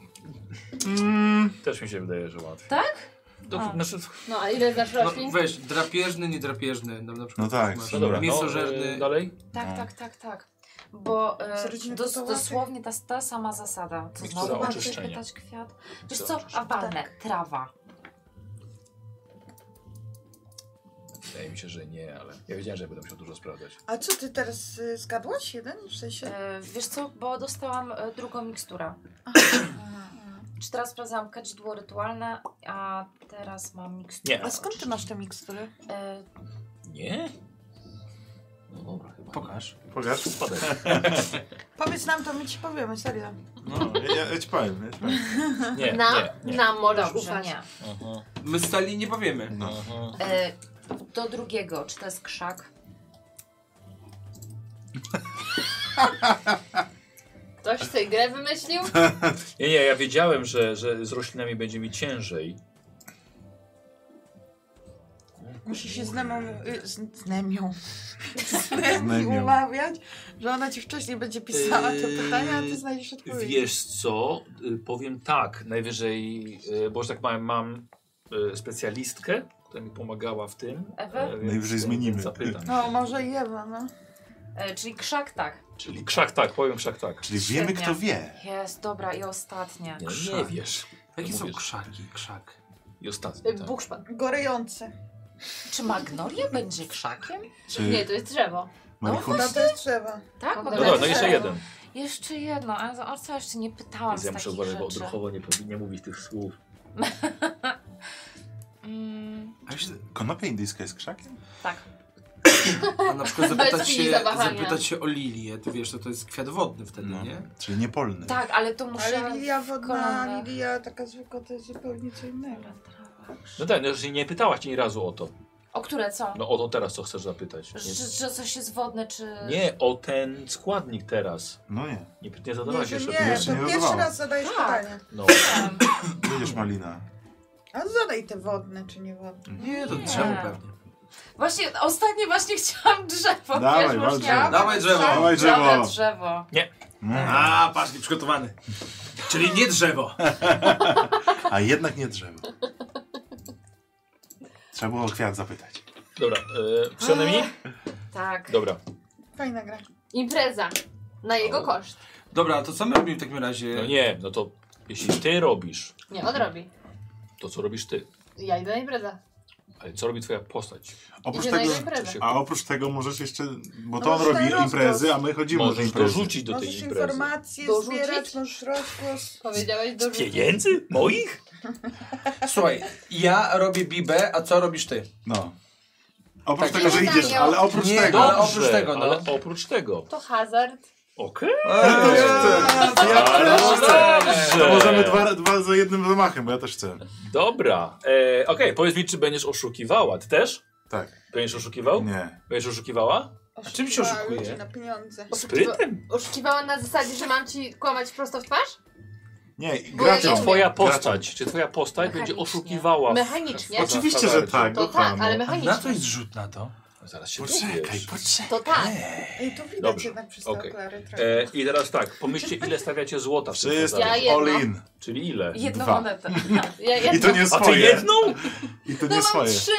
S2: Mm,
S10: Też mi się wydaje, że łatwiej.
S7: Tak?
S10: Do,
S7: A.
S10: znaczy,
S4: No a ile znasz
S11: No,
S4: roślin?
S11: weź, drapieżny, niedrapieżny. No, na przykład
S2: No tak,
S11: masz
S2: no
S1: y,
S10: no dobra, no,
S11: mięsożerny.
S10: e, dalej.
S7: Tak,
S2: No.
S7: tak, tak, tak. bo e,
S5: Z rodziny
S7: dos,
S5: potowatych?
S7: dosłownie ta, ta sama zasada. Co
S1: Mikstura
S7: znowu mam coś
S1: oczyszczenia.
S7: pytać kwiat? Wiesz
S1: Mikstura
S7: co,
S1: oczyszczenia.
S7: awalne, trawa.
S1: Wydaje mi się, że nie, ale ja wiedziałem, że będę musiał dużo sprawdzać.
S5: A co ty teraz y, zgadłaś jeden? W sensie.
S7: E, wiesz co, bo dostałam e, drugą miksturę. Czy teraz sprawdzałam kadzidło rytualne, a teraz mam miksturę.
S1: Nie. A
S7: skąd ty masz te mikstury? E,
S1: Nie? No dobra, chyba.
S6: Pokaż.
S2: Pokaż.
S1: Spadek.
S5: Powiedz nam to, my ci powiemy, serio.
S2: No, ja, ja, ja ci powiem, ja ci powiem.
S1: Nie,
S4: na,
S1: nie, nie.
S4: na możesz
S7: dobrze,
S4: ufać.
S7: nie.
S1: Aha,
S11: My stali nie powiemy.
S1: aha.
S7: E, do drugiego, czy to jest krzak?
S4: Ktoś tej grę wymyślił?
S1: Tak. Nie, nie, ja wiedziałem, że, że z roślinami będzie mi ciężej.
S5: Musisz się z Nemą, y, z, z Nemią, z Nemi
S2: Nemią.
S5: umawiać, że ona ci wcześniej będzie pisała te pytania, a ty znajdziesz odpowiedź.
S1: Wiesz co, y, powiem tak, najwyżej, y, bo że tak mam, mam y, specjalistkę, która mi pomagała w tym. E,
S7: Ewę?
S1: więc-
S2: Najwyżej zmienimy.
S1: Zapytam.
S5: No, może i Ewa, no.
S7: E, czyli krzak, tak.
S1: Czyli krzak tak, powiem krzak tak.
S2: Czyli wiemy,
S7: Świetnie.
S2: kto wie.
S7: Jest, dobra, i ostatnie.
S1: Nie, nie
S11: Krzak.
S1: wiesz.
S11: Jakie są
S1: Mówię, że-
S11: krzaki? Krzak.
S1: I ostatni,
S4: Y,
S1: tak.
S4: Bukszpan.
S5: Gorejące.
S7: Czy magnolia będzie krzakiem?
S2: Czy
S4: Nie, to jest drzewo.
S2: Marihuana?
S5: No to jest trzeba.
S1: No
S7: Tak,
S4: No
S7: magnolia
S1: dobra, no
S7: jest
S1: jeszcze
S7: drzewem.
S1: jeden.
S7: Jeszcze jedno, ale za- o co jeszcze nie pytałam
S1: Więc
S7: z
S1: ja muszę
S7: takich
S1: uważać, bo
S7: rzeczy.
S1: odruchowo nie powinien mówić tych słów.
S7: Mm,
S2: A wiesz, konopia indyjska jest krzakiem?
S7: tak.
S1: Mm.
S11: A na przykład zapytać
S4: chwili
S11: się,
S4: zawahania.
S11: zapytać się o lilię, to wiesz, że to jest kwiat wodny wtedy,
S2: No.
S11: nie?
S2: Czyli niepolny.
S7: Tak, ale to muszę...
S5: Ale lilia wodna,
S7: kolana.
S5: lilia taka zwykła, to jest zupełnie co innego.
S1: No tak, no, że nie pytałaś ani razu o to.
S7: O które co?
S1: No o to teraz co chcesz zapytać.
S7: Że, że coś jest wodne, czy...
S1: Nie, nie o ten składnik teraz.
S2: No nie.
S1: Nie, nie
S5: Nie,
S1: zadałaś
S5: że
S1: jeszcze
S5: nie,
S2: Jeszcze nie
S5: to pierwszy
S2: dodawałam.
S5: raz zadajesz
S7: Tak.
S5: pytanie.
S1: No.
S2: Będziesz malina.
S5: A zadaj te wodne, czy nie wodne.
S11: Nie, to
S7: Nie.
S11: drzewo pewnie.
S7: Właśnie, ostatnio właśnie chciałam drzewo.
S2: Dawaj,
S7: wiesz,
S2: wal
S7: właśnie- Tak,
S2: drzewo.
S11: Dawaj drzewo!
S2: Dawaj
S7: Dobra,
S2: drzewo!
S7: drzewo.
S2: Mm.
S11: A, patrz, nie przygotowany. Czyli nie drzewo.
S2: A jednak nie drzewo. Trzeba było o kwiat zapytać.
S1: Dobra, e, przynajmniej mi?
S7: Tak.
S1: Dobra.
S5: Fajna gra.
S4: Impreza. Na jego
S1: O.
S4: koszt.
S11: Dobra, to co my robimy w takim razie?
S1: No nie, no to jeśli ty robisz
S4: Nie, on robi.
S1: to, co robisz ty,
S4: Ja idę na imprezę.
S1: ale co robi twoja postać?
S2: Oprócz
S4: Idzie na
S2: tego,
S4: jego imprezę.
S2: a opróz tego możesz jeszcze, bo
S5: No
S2: to on
S5: możesz
S2: robi
S5: ten
S2: imprezy,
S5: rozgłos.
S2: a my chodzimy do
S1: Możesz
S2: imprezy.
S1: dorzucić do tej
S5: Możesz
S1: imprezy.
S5: informacje
S4: Dorzucić?
S5: zbierać, możesz rozgłos.
S4: Powiedziałeś do
S1: Pieniędzy? Moich?
S11: Słuchaj, ja robię bibę, a co robisz ty?
S2: No. Oprócz
S11: Tak,
S2: tego, że
S4: nie
S2: idziesz,
S4: dają.
S2: ale oprócz
S11: Nie,
S2: tego.
S11: ale oprócz tego, no.
S1: ale oprócz tego.
S4: To hazard.
S1: Okej.
S11: Eee,
S2: Ja też chcę. No To
S1: Dobrze.
S2: możemy dwa, dwa za jednym zamachem, bo ja też chcę.
S1: Dobra. E, Okej, powiedz mi, czy będziesz oszukiwała. Ty też?
S2: Tak.
S1: Będziesz oszukiwał?
S2: Nie.
S1: Będziesz oszukiwała?
S5: A
S11: czym się oszukuje?
S5: na pieniądze.
S4: Tak,
S1: Sprytem.
S4: Oszukiwała na zasadzie, że mam ci kłamać prosto w twarz?
S2: Nie,
S4: Bo
S1: Czy
S2: graczom.
S4: ja-
S1: twoja
S2: Graczom.
S1: postać, czy twoja postać będzie
S7: Mechanicznie.
S1: oszukiwała? w-
S4: Mechanicznie.
S1: w- w-
S2: Oczywiście, że
S1: tawarcie?
S2: tak.
S4: To
S2: Kochano.
S4: tak, ale
S11: Na to
S4: mechanicznie.
S11: jest rzut na to.
S1: Zaraz się
S2: Poczekaj,
S1: dowiesz.
S2: poczekaj.
S4: To tak.
S5: Ej, tu widać
S1: Dobrze,
S5: jednak przez te
S1: okej.
S5: okulary trochę.
S1: E, I teraz tak, pomyślcie ile stawiacie złota w tym
S2: Wszystko.
S1: bazarze.
S4: Ja jedno.
S2: All in.
S1: Czyli ile?
S7: Jedną
S2: Dwa.
S7: monetę.
S4: Ja, ja
S2: I to nie
S1: A ty
S2: swoje.
S1: jedną?
S2: I to
S4: No
S2: nie
S4: mam
S2: swoje.
S4: trzy!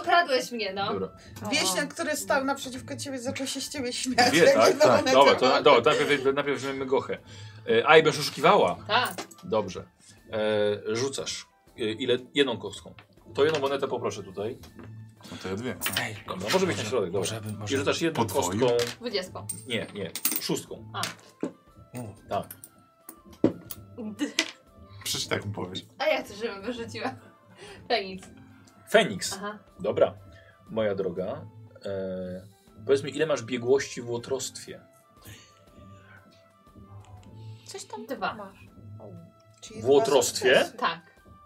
S4: Okradłeś mnie, no.
S1: Dobra.
S5: Wieśniak, który stał naprzeciwko ciebie, zaczął się z ciebie śmiać.
S1: Dwie,
S5: jak
S1: tak?
S5: dwa
S2: tak.
S5: monety
S1: Dobra, to
S5: ma.
S1: na, dobra, najpierw, najpierw weźmiemy gochę. E, A i będziesz oszukiwała.
S4: Tak.
S1: Dobrze. E, rzucasz. E, ile? Jedną kostką. To jedną monetę poproszę tutaj.
S2: No to ja dwie.
S11: Ej,
S1: Dobra, może być na środek, dobra.
S11: Może, bym-
S1: I
S11: może.
S1: rzucasz jedną
S2: Podwoju?
S1: kostką.
S4: Dwudziestką.
S1: Nie, nie. Szóstką.
S4: A.
S11: U.
S1: Tak.
S2: Przecież tak mu powiesz.
S4: A ja chcę, żebym wyrzuciła. Feniks.
S1: Feniks.
S4: Aha.
S1: Dobra. Moja droga. E, powiedz mi, ile masz biegłości w łotrostwie?
S7: Coś tam
S4: Dwa.
S7: masz.
S5: Czyli
S1: w
S5: dwa
S1: łotrostwie?
S5: sukcesy.
S4: Tak.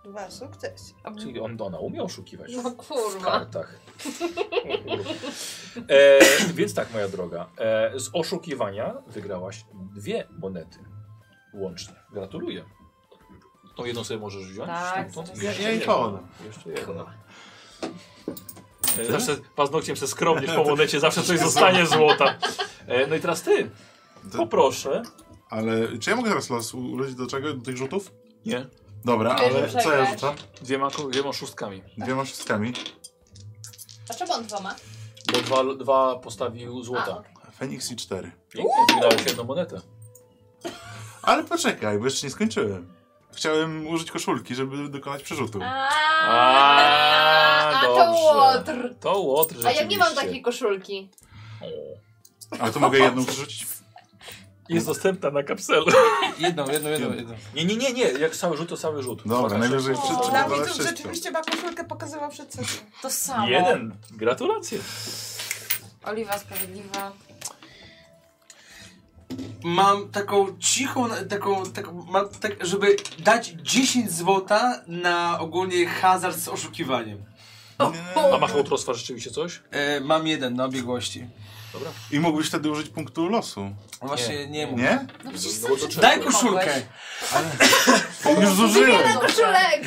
S5: Dwa sukcesy.
S1: Czyli on, ona umie oszukiwać.
S4: No
S1: W
S4: kurwa.
S1: kartach. O kurwa. E, więc tak, moja droga. E, z oszukiwania wygrałaś dwie monety. Łącznie. Gratuluję. Tą jedną sobie możesz wziąć. No,
S7: Tak,
S1: tą, tą,
S7: zaraz.
S2: Ja,
S1: jeszcze
S2: ja jej
S1: jedną.
S2: podam.
S1: Jeszcze jedną. E, Zawsze paznokciem se skromniesz po monecie, zawsze coś zostanie złota. E, no i teraz ty.
S2: To-
S1: Poproszę.
S2: Ale czy ja mogę teraz los użyć do czego? Do tych rzutów?
S1: Nie.
S2: Dobra,
S4: Ty
S2: ale
S4: rzucaj
S2: co ja
S4: grać.
S2: rzucam?
S1: Dwiema, dwiema szóstkami.
S2: Dwiema szóstkami.
S4: A czemu on dwoma?
S1: Bo dwa, dwa postawił
S4: A,
S1: złota.
S4: okej.
S2: Feniks i cztery.
S1: Pięknie, wydało się jedną monetę.
S2: Ale poczekaj, bo jeszcze nie skończyłem. Chciałem użyć koszulki, żeby dokonać przerzutu.
S1: A,
S4: A to
S1: dobrze.
S4: łotr.
S1: To łotr
S4: A ja nie mam
S1: rzeczywiście.
S4: takiej koszulki.
S2: Tak. Ale to mogę jedną przerzucić?
S1: Jest dostępna na kapselu.
S11: Jedną, jedną, jedną, jedną.
S1: Nie, nie, nie, nie. Jak cały rzut, to cały rzut.
S2: Dobra,
S1: Pokaż.
S2: najwyżej przy- przy-
S5: Dla
S2: Ale
S5: widzów
S2: wszystko.
S5: rzeczywiście ma koszulkę pokazywał przed sesją.
S7: To samo.
S1: Jeden. Gratulacje.
S7: Oliwa Sprawiedliwa.
S6: Mam taką cichą, taką, taką mam tak, żeby dać 10 złota na ogólnie hazard z oszukiwaniem.
S1: A masz łotrostwa rzeczywiście coś?
S6: E, mam jeden na biegłości.
S1: Dobra.
S2: I mógłbyś wtedy użyć punktu losu.
S6: No Właśnie nie, mówię.
S2: Nie?
S7: No przecież
S1: No bo to
S7: sam
S6: Daj
S7: przed-
S6: koszulkę!
S2: Już zużyłem.
S4: Koszulek!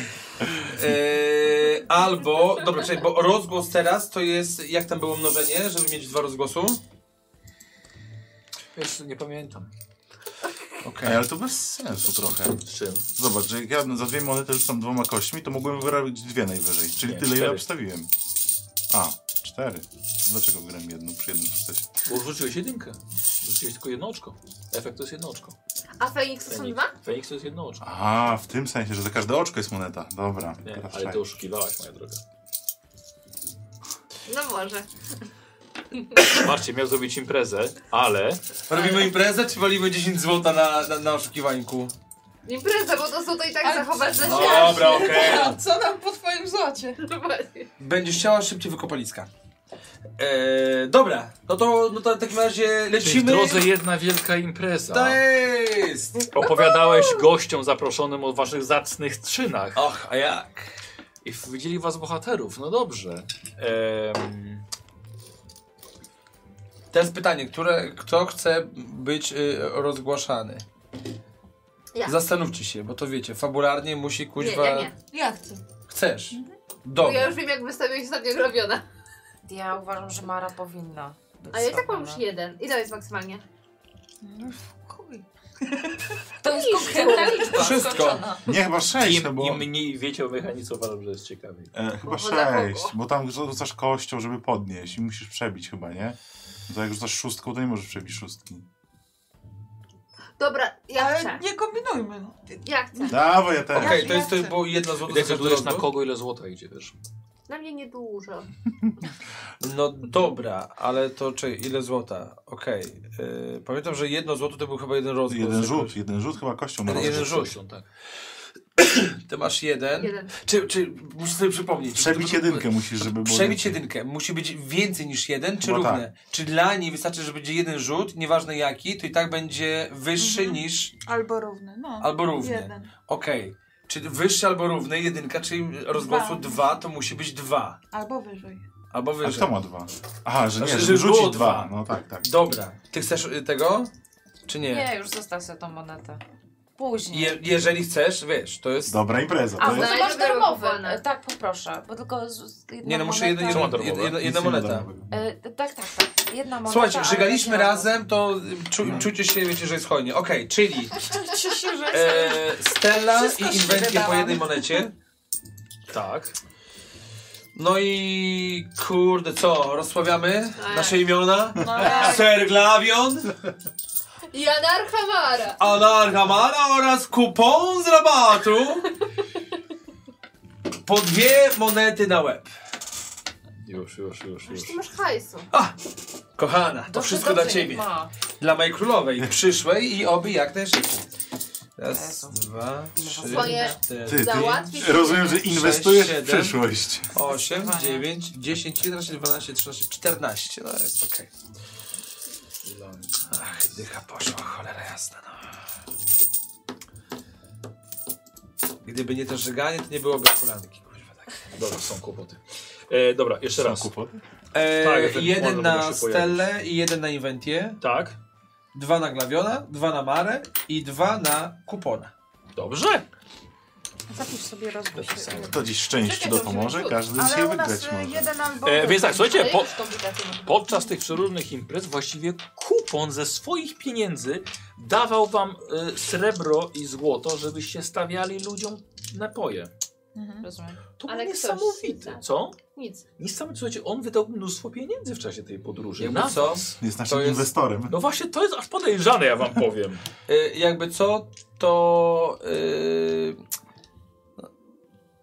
S6: E, albo, dobra, czekaj, bo rozgłos teraz to jest, jak tam było mnożenie, żeby mieć dwa rozgłosu?
S1: Wiesz, nie pamiętam.
S2: Okej, ale to bez sensu trochę.
S1: Z czym?
S2: Zobacz, że jak ja za dwie monety rzucam dwoma kośćmi, to mogłem wybrać dwie najwyżej, czyli
S1: Nie,
S2: tyle, ile
S1: cztery.
S2: obstawiłem. A, cztery. Dlaczego wygrałem jedną przy jednym sukcesie?
S1: Bo rzuciłeś jedynkę. Rzuciłeś tylko jedno oczko. Efekt to jest jedno oczko.
S4: A Feniks to są
S1: Feniks,
S4: dwa?
S1: Feniks to jest jedno oczko.
S2: A, w tym sensie, że za każde oczko jest moneta. Dobra,
S1: Nie,
S2: teraz
S1: ale
S2: czekaj.
S1: ty oszukiwałaś, moja droga.
S4: No może.
S1: Patrzcie, miał zrobić imprezę, ale
S6: Robimy imprezę, czy walimy 10 złota na, na, na oszukiwańku?
S4: Impreza, bo to są to i tak
S9: Ale
S4: zachowasz za
S9: co?
S4: siebie.
S6: Dobra, okej.
S9: A co tam po twoim złocie?
S4: No właśnie.
S6: Będziesz chciała szybciej wykopaliska. Eee, dobra, no to, no to w takim razie
S1: Czyli w
S6: lecimy.
S1: drodze jedna wielka impreza.
S6: To jest!
S1: Opowiadałeś gościom zaproszonym o waszych zacnych czynach
S6: Och, a jak?
S1: i widzieli was bohaterów. No dobrze. Em,
S6: Teraz pytanie, które, kto chce być y, rozgłaszany?
S4: Ja.
S6: Zastanówcie się, bo to wiecie, fabularnie musi kuźwa...
S4: Nie, ja nie.
S9: Ja chcę.
S6: Chcesz?
S4: Bo
S6: Dobra.
S4: ja już wiem, jak wystawiłeś ostatnio robiona.
S7: Ja uważam, że Mara powinna. być
S4: A ja i tak mam
S7: zrobiona.
S4: już jeden. I to jest maksymalnie.
S9: Chuj.
S7: To jest konkretna liczba.
S6: Wszystko.
S2: Nie, chyba sześć, no
S1: Im,
S2: bo...
S1: Im mniej wiecie o mechanice, uważam, że jest ciekawiej.
S2: E, chyba
S4: Bo woda
S2: sześć,
S4: kogo?
S2: bo tam rzucasz kością, żeby podnieść i musisz przebić chyba, nie? No to jak rzucasz szóstką, to nie możesz przebić szóstki.
S4: Dobra, ja chcę.
S9: Ale nie kombinujmy. No.
S4: Ja chcę.
S2: Dawaj, ja teraz.
S6: Okej, to jest to jest było jedno złoto za każdy
S1: Decydujesz na
S6: rozgłos?
S1: kogo ile złota idzie, wiesz.
S4: Na mnie niedużo.
S6: No dobra, ale to czy ile złota? Okej. y, pamiętam, że jedno złoto to był chyba jeden rozgłos.
S2: Jeden
S6: jakoś.
S2: rzut, jeden rzut chyba kością
S6: Jeden
S2: możesz.
S6: rzut.
S1: Rzeczywistością, tak.
S6: Ty masz jeden.
S4: Jeden.
S6: Czy, czy muszę sobie przypomnieć.
S2: Przebić jedynkę musisz, żeby było...
S6: Przebić jedynkę. Musi być więcej niż jeden, czy
S2: No
S6: równe. Czy dla niej wystarczy, że będzie jeden rzut, nieważne jaki, to i tak będzie wyższy niż
S9: Albo równy, no.
S6: albo równy.
S9: Jeden.
S6: Okej. Czy wyższy albo równy, jedynka, czyli rozgłosu
S9: Dwa.
S6: dwa, to musi być dwa.
S9: Albo wyżej.
S6: Albo
S2: A
S6: wyżej.
S2: kto ma dwa? Aha, że nie,
S6: Znaczy,
S2: żeby
S6: że było
S2: rzucić dwa.
S6: dwa.
S2: No tak, tak.
S6: Dobra. Ty chcesz y, tego? Czy
S7: Nie, już zostaw sobie tą monetę. Później.
S6: Je, jeżeli chcesz, wiesz, to jest.
S2: Dobra impreza.
S7: A,
S2: To
S7: no
S2: jest...
S7: to
S4: jest-
S7: masz darmowy.
S4: Dobra.
S7: E, Tak, poproszę. Bo tylko z- jedna
S6: Nie no, muszę
S7: moneta.
S6: jeden, jedna,
S1: darmowe?
S6: jedna, jedna,
S2: Nic
S6: jedna
S2: nie ma
S6: moneta.
S2: darmowego.
S7: E, tak, tak, tak. Jedna moneta.
S6: Słuchajcie,
S7: ale
S6: żegaliśmy
S7: tak nie
S6: razem, to y, czu, czujcie się, wiecie, że jest hojnie. Okej, czyli
S9: Cieszę się, że
S6: e, Stella
S9: Wszystko się
S6: i Inwentia po
S9: wydałam.
S6: jednej monecie.
S1: Tak.
S6: No i kurde, co, rozsławiamy
S7: Tak.
S4: Ej.
S6: nasze imiona?
S9: No,
S6: Serglawion,
S4: Janar Hamara.
S6: Anarchamara oraz kupon z rabatu. Po dwie monety na łeb.
S1: Już, już, już, już.
S4: Już ty masz hajsu.
S6: Kochana, to
S7: Dobrze,
S6: wszystko
S7: dobrze,
S6: dla ciebie.
S7: niech ma.
S6: Dla mojej królowej, przyszłej i oby jak najszybciej. Raz,
S7: Jezu.
S6: dwa, trzy,
S4: Swoje-
S2: Ty,
S6: cztery,
S4: Załatwisz
S2: ty, rozumiem, że
S4: jeden.
S2: inwestujesz
S6: Sześć,
S2: w
S6: siedem.
S2: przyszłość.
S6: osiem,
S7: Zdecydowanie.
S6: dziewięć, dziesięć, jedenaście, dwanaście, trzynaście, czternaście. No jest okej. Ach, dycha poszła, cholera jasna. No. Gdyby nie to żeganie, to nie byłoby kulanki. kurwa, tak.
S1: Dobra, są kłopoty. E, dobra, jeszcze raz.
S2: Kłopoty?
S1: Tak,
S6: E,
S1: ewentualnie
S6: jeden
S1: mogą
S6: na
S1: się pojawić.
S6: Stellę i jeden na Inwentię,
S1: Tak.
S6: dwa na Glawiona, dwa na Marę i dwa na Kupona.
S1: Dobrze.
S5: Zapisz sobie rozwój.
S2: To dziś szczęście
S4: Czekaj, to
S2: dopomoże,
S4: musimy
S2: każdy dzisiaj
S5: Ale u nas
S2: wygrać
S5: e,
S2: może.
S5: jeden albo...
S1: E, więc tak, słuchajcie,
S4: Ale
S1: po,
S4: już komplikacje.
S1: podczas tych przeróżnych imprez właściwie kupon ze swoich pieniędzy e, dawał wam y, srebro i złoto, żebyście stawiali ludziom napoje.
S7: Rozumiem.
S1: To
S4: Ale
S1: było
S4: ktoś-
S1: niesamowite.
S4: tak.
S1: Co?
S4: Nic.
S1: Niesamowite. Słuchajcie, on wydał mnóstwo pieniędzy w czasie tej podróży.
S6: Jakby
S1: Na
S6: co?
S1: was.
S2: Jest naszym
S6: jest-
S2: inwestorem.
S1: No właśnie, to jest aż podejrzane, ja wam powiem.
S6: Y, jakby co, to... y,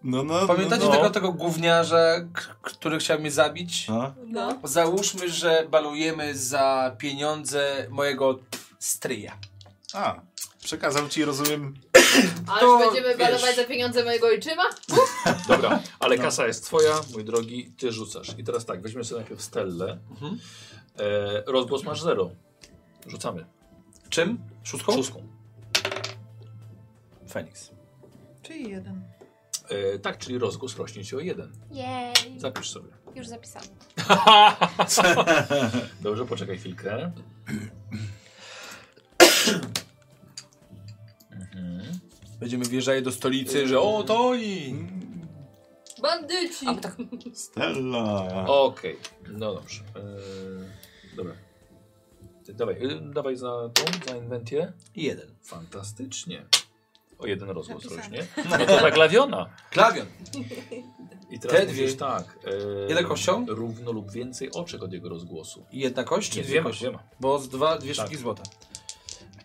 S2: No, no,
S6: pamiętacie
S2: no, no.
S6: tego, tego gówniarza, k- który chciał mnie zabić?
S2: No.
S4: No.
S6: Załóżmy, że balujemy za pieniądze mojego stryja.
S2: A, przekazał ci, rozumiem.
S4: Ależ
S6: To,
S4: będziemy
S6: wiesz.
S4: balować za pieniądze mojego ojczyma?
S1: Dobra, ale
S6: No.
S1: kasa jest twoja, mój drogi, ty rzucasz. I teraz tak, weźmy sobie najpierw Stellę.
S6: Mhm.
S1: E, rozgłos masz zero. Rzucamy.
S6: Czym? Szóstką?
S1: Szóstką.
S6: Feniks.
S5: Czyli jeden.
S1: E, tak, czyli rozgłos rośnie ci o jeden.
S12: Jej.
S1: Zapisz sobie.
S12: Już zapisałam.
S1: Dobrze, poczekaj chwilkę. Mhm.
S6: Będziemy wjeżdżali do stolicy, że o, to oni!
S4: Bandyci!
S7: A, bo tak,
S2: Stella.
S1: Okej, no dobrze. E, dobra. Ty Dawaj, y, dawaj za tą, za inwentję.
S6: Jeden.
S1: Fantastycznie. O jeden rozgłos
S5: Zapisane.
S1: rośnie. No to zaglawiona.
S6: Klawion.
S1: I teraz
S6: Te
S1: mówisz
S6: dwie.
S1: tak. e,
S6: Ile kością?
S1: Równo lub więcej oczek od jego rozgłosu.
S6: I Jedna kość czy
S1: Nie,
S6: dwie
S1: dwiema,
S6: kości?
S1: dwiema.
S6: Bo z dwa, dwie
S1: Tak.
S6: sztuki złota.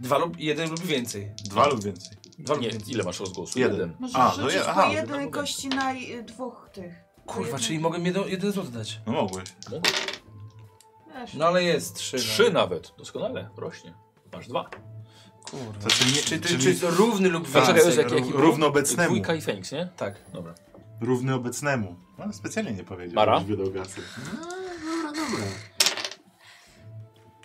S6: Dwa lub, jeden lub więcej.
S2: Dwa lub więcej.
S6: Dwa
S1: No, Nie,
S6: lub więcej.
S1: ile masz rozgłosu?
S2: Jeden.
S5: Możesz
S2: A, no
S5: rzucić
S2: je- aha,
S5: po
S1: no
S5: jednej
S1: dobra.
S5: kości na y, dwóch tych.
S6: Kurwa,
S5: Jeden.
S6: czyli mogę jeden, jeden złoty dać.
S2: No mogłeś.
S5: Wiesz.
S6: No ale jest trzy.
S1: Trzy nawet. Doskonale, rośnie. Masz dwa.
S2: To
S6: Kurwa.
S2: czy znaczy nie-
S6: czy, ty,
S2: czyli-
S6: czy to równy lub
S2: Tak,
S1: Poczekaj,
S6: więcej?
S1: jest jaki,
S2: ró-
S1: jaki był?
S2: równoobecnemu.
S1: Dwójka i Feniks, nie?
S6: Tak.
S1: Dobra.
S2: Równy obecnemu. No, specjalnie nie powiedział.
S1: Mara?
S2: żebyś wydał gasy. No, dobra, dobra.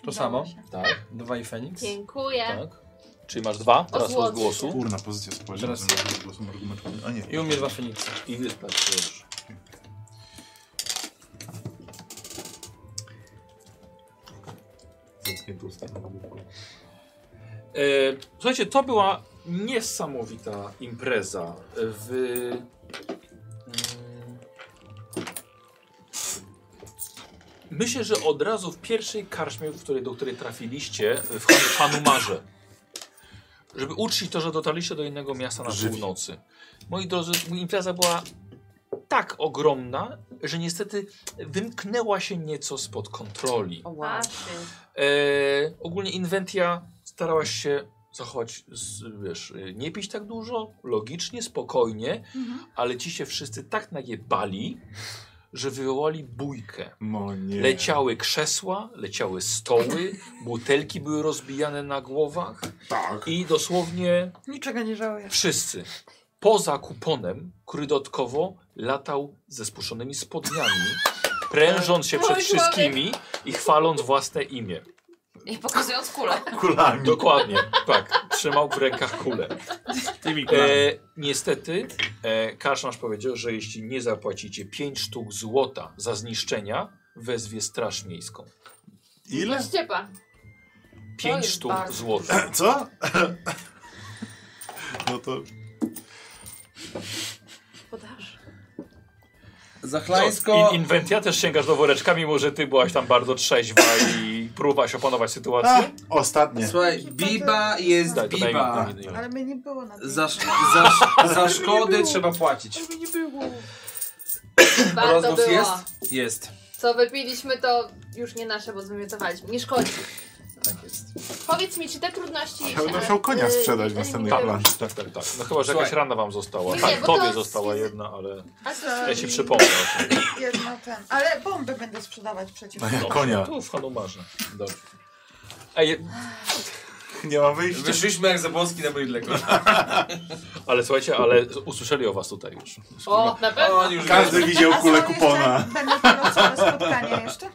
S6: To samo.
S1: Tak,
S6: Dwa i Feniks.
S4: Dziękuję.
S1: tak. Czyli masz dwa, teraz
S4: Osłodzi.
S1: rozgłosu.
S2: Kurna pozycja No, społeczna.
S6: Teraz-
S2: Teraz głosem argumentowym. A nie.
S6: I u mnie dwa Feniksy.
S1: I wystarczy.
S2: Zamknięte usta.
S1: E, słuchajcie, to była niesamowita impreza w... mm, Myślę, że od razu w pierwszej karczmie, w której, do której trafiliście, w Han- Hanumarze. Żeby uczcić to, że dotarliście do innego miasta na
S2: Żywi.
S1: północy. Moi drodzy, impreza była tak ogromna, że niestety wymknęła się nieco spod kontroli.
S7: o, wow.
S4: A, ty.
S1: E, ogólnie inwentia starałaś się zachować, z, wiesz, y, nie pić tak dużo, logicznie, spokojnie, ale ci się wszyscy tak najebali, że wywołali bójkę.
S2: No nie.
S1: Leciały krzesła, leciały stoły, butelki były rozbijane na głowach
S2: Tak.
S1: i dosłownie
S5: Niczego nie żałuję.
S1: wszyscy, poza kuponem, który dodatkowo latał ze spuszczonymi spodniami, prężąc się przed
S4: Oj,
S1: wszystkimi i chwaląc własne imię.
S7: I pokazując kulę.
S2: Kulami.
S1: Dokładnie, tak. Trzymał w rękach kulę.
S13: Tymi kulami.
S1: E, niestety, e, kaszmarz powiedział, że jeśli nie zapłacicie 5 sztuk złota za zniszczenia, wezwie straż miejską.
S2: Ile?
S4: Ściepa.
S1: 5
S7: jest
S1: sztuk
S7: bardzo
S1: złota.
S2: Co? No to
S4: Podaż.
S6: Zachlańsko.
S1: In, inwentia też sięgasz do woreczka, mimo że ty byłaś tam bardzo trzeźwa i próbowałaś opanować
S2: A,
S1: sytuację.
S2: ostatnie.
S6: Słuchaj, Biba jest
S1: Daj, Tak, to daj mi
S6: Biba.
S1: jedno.
S5: Ale mnie nie było na tej...
S6: Za, sz- za, sz- za szkody trzeba płacić.
S5: Ale mnie nie było.
S4: Warto
S6: Rozgłos
S4: było.
S6: jest? Jest.
S4: Co wypiliśmy, to już nie nasze, bo zwymiotowaliśmy. Nie szkodzi.
S6: Tak jest.
S4: Powiedz mi, czy te trudności...
S2: Będę
S4: e,
S2: musiał no, konia
S4: e,
S2: sprzedać w
S5: Yy,
S4: e,
S2: następnej
S4: nie-
S2: planszy.
S1: Tak, tak, tak. No chyba, że jakaś
S6: Słuchaj.
S1: rana wam została.
S4: Nie,
S1: Tak,
S4: bo to
S1: tobie
S4: z-
S1: została jedna, ale
S5: A co?
S1: ja ci przypomnę. o tym.
S5: Jedno ten. Ale bombę będę sprzedawać przecież.
S2: No ja konia.
S1: Tu w Hanumarze. Dobrze. Ej,
S2: Nie mam wyjścia.
S6: Wyszliśmy jak zabłoski na mydlego.
S1: ale słuchajcie, ale usłyszeli o was tutaj już.
S4: O, na
S11: No,
S4: pewno.
S6: Oni już
S2: Każdy widział
S5: A co,
S2: kulę
S5: jeszcze
S2: kupona.
S5: Będę miał całe spotkanie jeszcze?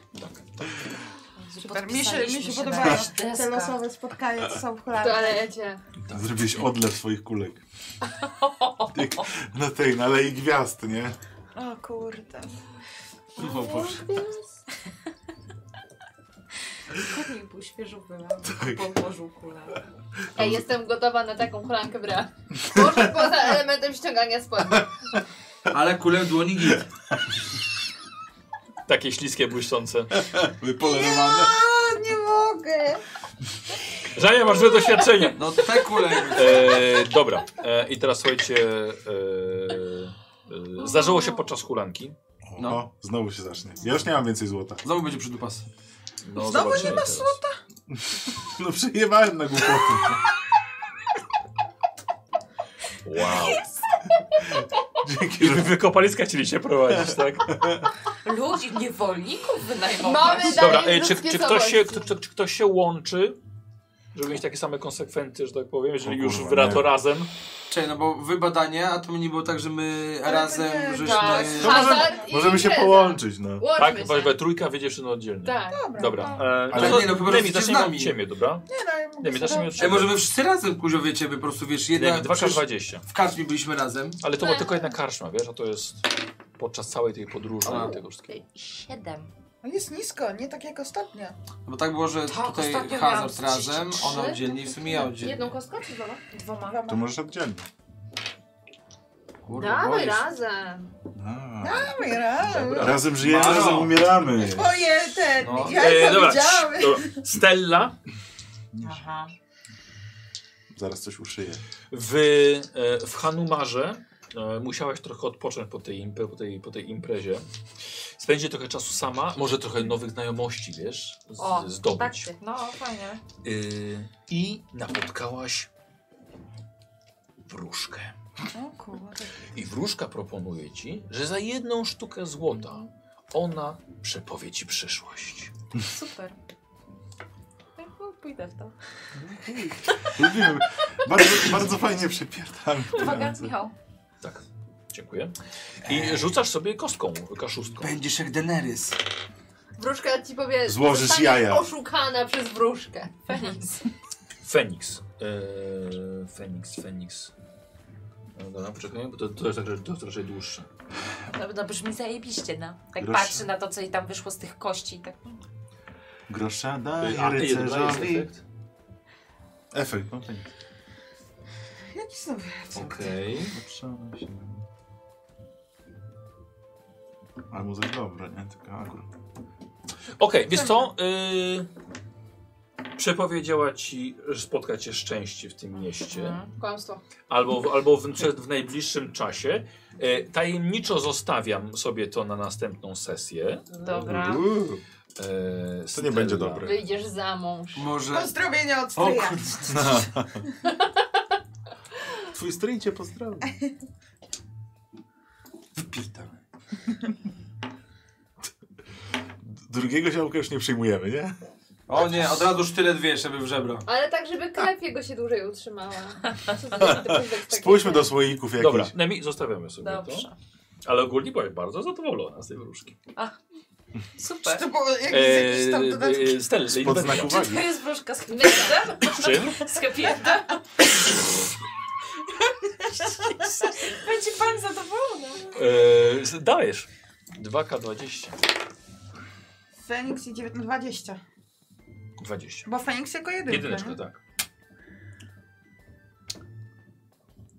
S5: Super, mi się, mi
S7: Podpisaliśmy
S5: się
S7: na
S5: podobają
S7: nasz deskach.
S5: te losowe spotkania, co są w
S4: W
S5: kolanie.
S4: toalecie.
S2: Tak. Zrobiłeś odlew swoich kulek. Jak na tej, na Alei Gwiazd, nie?
S5: O kurde.
S2: O Boże.
S7: Chudniej był, świeżo byłam.
S6: Tak.
S7: Położył kulę.
S4: Ej, jestem gotowa na taką hulankę bra. Może poza elementem ściągania spodni.
S6: Ale kulę w dłoni git.
S1: Takie śliskie, błyszczące.
S2: Wypolerowane.
S5: A, No nie mogę.
S1: Żania, masz złe doświadczenie.
S6: No te kule.
S1: E, dobra, e, i teraz słuchajcie. E, Yy, Zdarzyło się podczas hulanki.
S2: No. O, znowu się zacznie. Ja już nie mam więcej złota.
S11: Znowu będzie przydupas.
S1: No,
S5: Znowu nie
S1: zobaczymy
S5: ma
S1: teraz.
S5: słota?
S2: No przejebałem na głupoty.
S1: Wow.
S10: I wy wykopaliska chcieli się prowadzić, tak?
S7: Ludzi, niewolników wynajmować.
S4: Mamy
S1: Dobra,
S4: dalej
S1: e, czy,
S4: ludzkie
S1: czy, ktoś się,
S4: słabości.
S1: kto, kto, czy ktoś się łączy, żeby mieć takie same konsekwencje, że tak powiem, jeżeli
S2: O
S1: już
S2: kurwa,
S1: wyra
S2: nie.
S1: to razem?
S11: Czekaj, no bo wy badania, a to nie było tak, że my razem
S5: nie,
S11: żeśmy...
S4: tak.
S2: To No możemy,
S4: Hazard i
S2: możemy się
S4: impreza.
S2: połączyć, no.
S1: Tak,
S4: Łączmy się.
S1: we trójka, wy dziewczyny oddzielnie.
S4: Tak.
S1: Dobra. E,
S2: Ale
S1: to-
S11: nie, no, po prostu
S1: Demi,
S11: jesteś
S1: zacznijmy
S11: z nami.
S1: od ciebie, dobra?
S5: Nie, no ja mogę
S1: Demi,
S5: sobie-
S1: zacznijmy od
S11: Ej,
S1: ciebie.
S11: może my wszyscy razem, kuźno, wiecie, by po prostu, wiesz, jedna...
S1: Demi, 2
S11: przecież
S1: 20
S11: W karczmie byliśmy razem.
S1: Ale
S4: Tak.
S1: to była tylko jedna karczma, wiesz, a to jest podczas całej tej podróży
S11: A.
S1: i tego wszystkiego.
S7: Siedem.
S5: No jest nisko, nie tak jak ostatnio.
S11: No Bo tak było, że
S7: Tak,
S11: tutaj
S7: ostatnio
S11: hazard
S7: miałam
S11: razem,
S7: 33,
S11: ona oddzielnie i w sumie ja
S4: Jedną
S11: oddzielnie.
S4: kostką czy dwoma?
S7: Dwoma.
S2: To możesz oddzielnie.
S11: Kurwa,
S4: Damy
S11: boisz.
S4: razem.
S2: A.
S5: Mamy razem.
S1: Dobra.
S2: Razem żyjemy,
S11: Maro.
S2: razem umieramy.
S5: Twoje ten,
S11: No.
S5: ja
S10: E,
S5: e,
S10: dobra,
S5: widziałem.
S10: cii, dobra. Stella,
S7: Aha.
S2: Zaraz coś uszyję.
S1: W, e, w Hanumarze e, musiałaś trochę odpocząć po tej, impre, po tej, po tej imprezie. Spędzi trochę czasu sama, może trochę nowych znajomości, wiesz, z,
S7: O,
S1: zdobyć.
S4: kontakty.
S7: No, fajnie.
S1: Y, I napotkałaś wróżkę.
S5: O kurde.
S1: I wróżka proponuje ci, że za jedną sztukę złota ona przepowie ci przyszłość.
S4: Super.
S7: Tak,
S4: No, Pójdę w to.
S2: Lubimy. Bardzo, bardzo fajnie przepierdamy.
S7: Uwaga, Michał.
S1: Tak, dziękuję. I rzucasz sobie kostką, kaszustką.
S11: Będziesz jak Daenerys.
S4: Wróżka ci powie,
S2: Złożysz
S4: zostaniesz
S2: jaja.
S4: oszukana przez wróżkę.
S7: Feniks.
S1: Feniks. Eee, Feniks, Feniks. No, Dobra, poczekaj, bo to, to jest tak, że to jest raczej dłuższe.
S7: No, no brzmi zajebiście, no. Tak
S2: Proszę.
S7: patrzy na to, co jej tam wyszło z tych kości. i Tak.
S2: Grosza
S1: Eee,
S2: daj
S1: ty, dobra, jest
S2: rycerzowi.
S1: efekt.
S2: Efekt. no.
S5: Jaki znowu
S1: Okej.
S2: Potrzeba się. Ale mu coś dobre, nie? Tylko agro.
S1: Okej, więc co? Yy, przepowiedziała ci, że spotka cię szczęście w tym mieście.
S7: Mhm.
S4: Kłamstwo.
S1: Albo, w- albo w, przed- w najbliższym czasie. E, tajemniczo zostawiam sobie to na następną sesję.
S7: Dobra.
S2: Uuu.
S1: E,
S2: To nie będzie dobre.
S4: Wyjdziesz za mąż.
S11: Może...
S5: Pozdrowienia od
S11: O
S5: stryja.
S11: kurde.
S2: Twój stryj cię pozdrawia.
S11: Wypierdolę.
S2: Drugiego ziomka już nie przyjmujemy, nie?
S11: O nie, od razu sztylet wiesz, żeby w żebro.
S4: Ale tak, żeby krew jego się dłużej utrzymała. Co za detektyw taki?
S2: Spójrzmy do słoików jakichś.
S1: Dobra, Nemi, zostawiamy sobie to.
S7: Dobrze.
S1: Ale ogólnie byłaś bardzo zadowolona z tej wróżki.
S5: Czy
S7: Super.
S5: to było jakieś,
S1: E,
S5: jakieś tam dodatki?
S1: Eee, Stel,
S2: Pod znak
S7: Czy
S2: uwagi.
S7: to jest wróżka z
S4: Myślę.
S1: Czym?
S7: Z happy endem? Będzie pan zadowolony.
S1: Eee, z- dajesz. 2K20.
S5: Feniks i 9, 20.
S1: 20.
S5: Bo Feniks jako jedynka.
S1: Jedyneczka,
S5: nie?
S1: tak.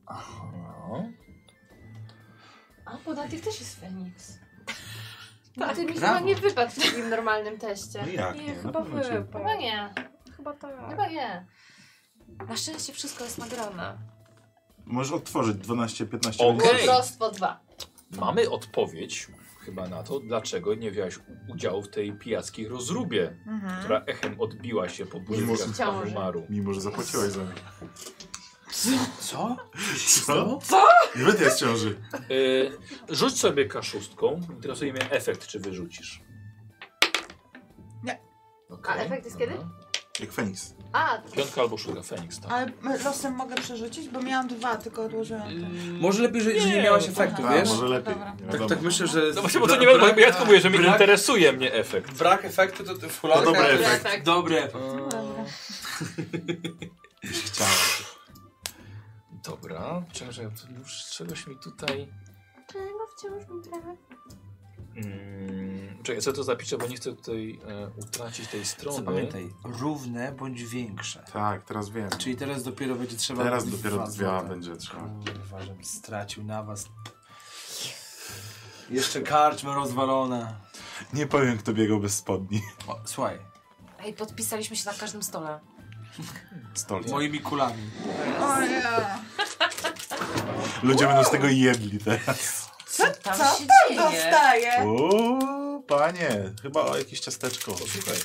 S1: Aha.
S7: A, bo na tych też jest Feniks.
S4: No ty mi
S11: Brawo.
S4: chyba nie wypadł w takim normalnym
S2: No
S4: teście.
S2: jak
S7: Nie,
S2: nie?
S7: chyba
S2: Na pewno cię-
S7: wypał.
S4: Chyba nie.
S7: Chyba tak.
S4: Chyba nie.
S7: Na szczęście wszystko jest nagrane.
S2: Możesz odtworzyć 12-15
S1: Okej.
S2: minut.
S4: Mądrostwo dwa.
S1: tak. Mamy odpowiedź chyba na to, dlaczego nie wziąłeś u- udziału w tej pijackiej rozróbie,
S5: Mhm.
S1: która echem odbiła się po
S2: Mimo-
S1: budynku
S4: Ciąży.
S1: umaru.
S2: Mimo, że zapłaciłaś za mnie.
S11: Co?
S2: Co? Nie będę jest ciąży.
S1: Eee, rzuć sobie kaszustką. Interesujemy efekt, czy wyrzucisz.
S5: Nie.
S1: Okej,
S4: A efekt jest
S1: dobra.
S4: kiedy?
S2: Jak Feniks.
S7: No.
S4: A, to
S1: Piątka albo szóstka, Feniks, tak.
S5: Ale m- losem mogę przerzucić, bo miałam dwa, tylko odłożyłam to.
S11: Może lepiej, że, że nie miałaś efektu,
S2: A,
S11: wiesz?
S2: może lepiej.
S5: Dobra.
S2: Nie
S11: Tak,
S2: wiadomo.
S11: tak myślę, że...
S1: No właśnie, bo to nie wiem, bo ja tylko mówię, że mnie
S11: brak-
S1: interesuje mnie efekt.
S11: Brak efektu to, to w hulankę...
S2: To dobry
S4: efekt. efekt.
S11: Dobry.
S2: Chciałem.
S1: Dobra, czekaj, to już czegoś mi tutaj...
S4: czego wciąż mi brak?
S1: Mm, czekaj, co to zapiszę, bo nie chcę tutaj e, utracić tej
S11: Co
S1: strony.
S11: pamiętaj, równe bądź większe.
S2: Tak, teraz wiem.
S11: Czyli teraz dopiero będzie trzeba...
S2: Teraz dopiero
S11: Dwa
S2: dwa
S11: złote.
S2: będzie trzeba.
S11: Kurwa, żem stracił na was. Jeszcze karczma rozwalona.
S2: Nie powiem, kto biegał bez spodni.
S11: O, słuchaj,
S7: Ej, podpisaliśmy się na każdym stole.
S2: Stolce.
S11: moimi kulami.
S5: O ja.
S2: Ludzie będą z tego jedli teraz.
S7: tam
S5: co
S7: się
S5: tam
S7: dzieje?
S5: dostaję?
S2: O, panie, chyba jakieś ciasteczko. Słuchaj.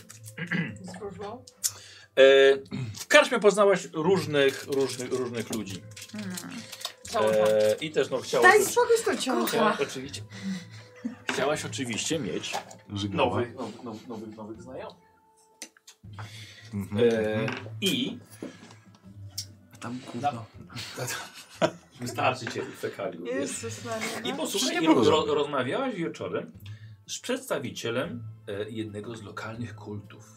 S4: Z różą?
S1: E, w karczmie poznałaś różnych, różnych, różnych ludzi. E, I też no chciałaś...
S5: Hmm. Daj spokój z tą ciążą.
S1: Chciałaś oczywiście, chciałaś oczywiście mieć
S2: Żygała.
S1: nowych, nowych, nowych, nowych, nowych znajomych.
S2: Mhm.
S1: E, I
S6: Tam kurwa.
S1: wystarczy cię fekaliów. wiesz.
S5: Jezus Maria.
S1: I posłuchaj,
S2: Przecież
S1: i
S2: nie
S1: roz,
S2: było
S1: roz- rozmawiałaś wieczorem z przedstawicielem e, jednego z lokalnych kultów.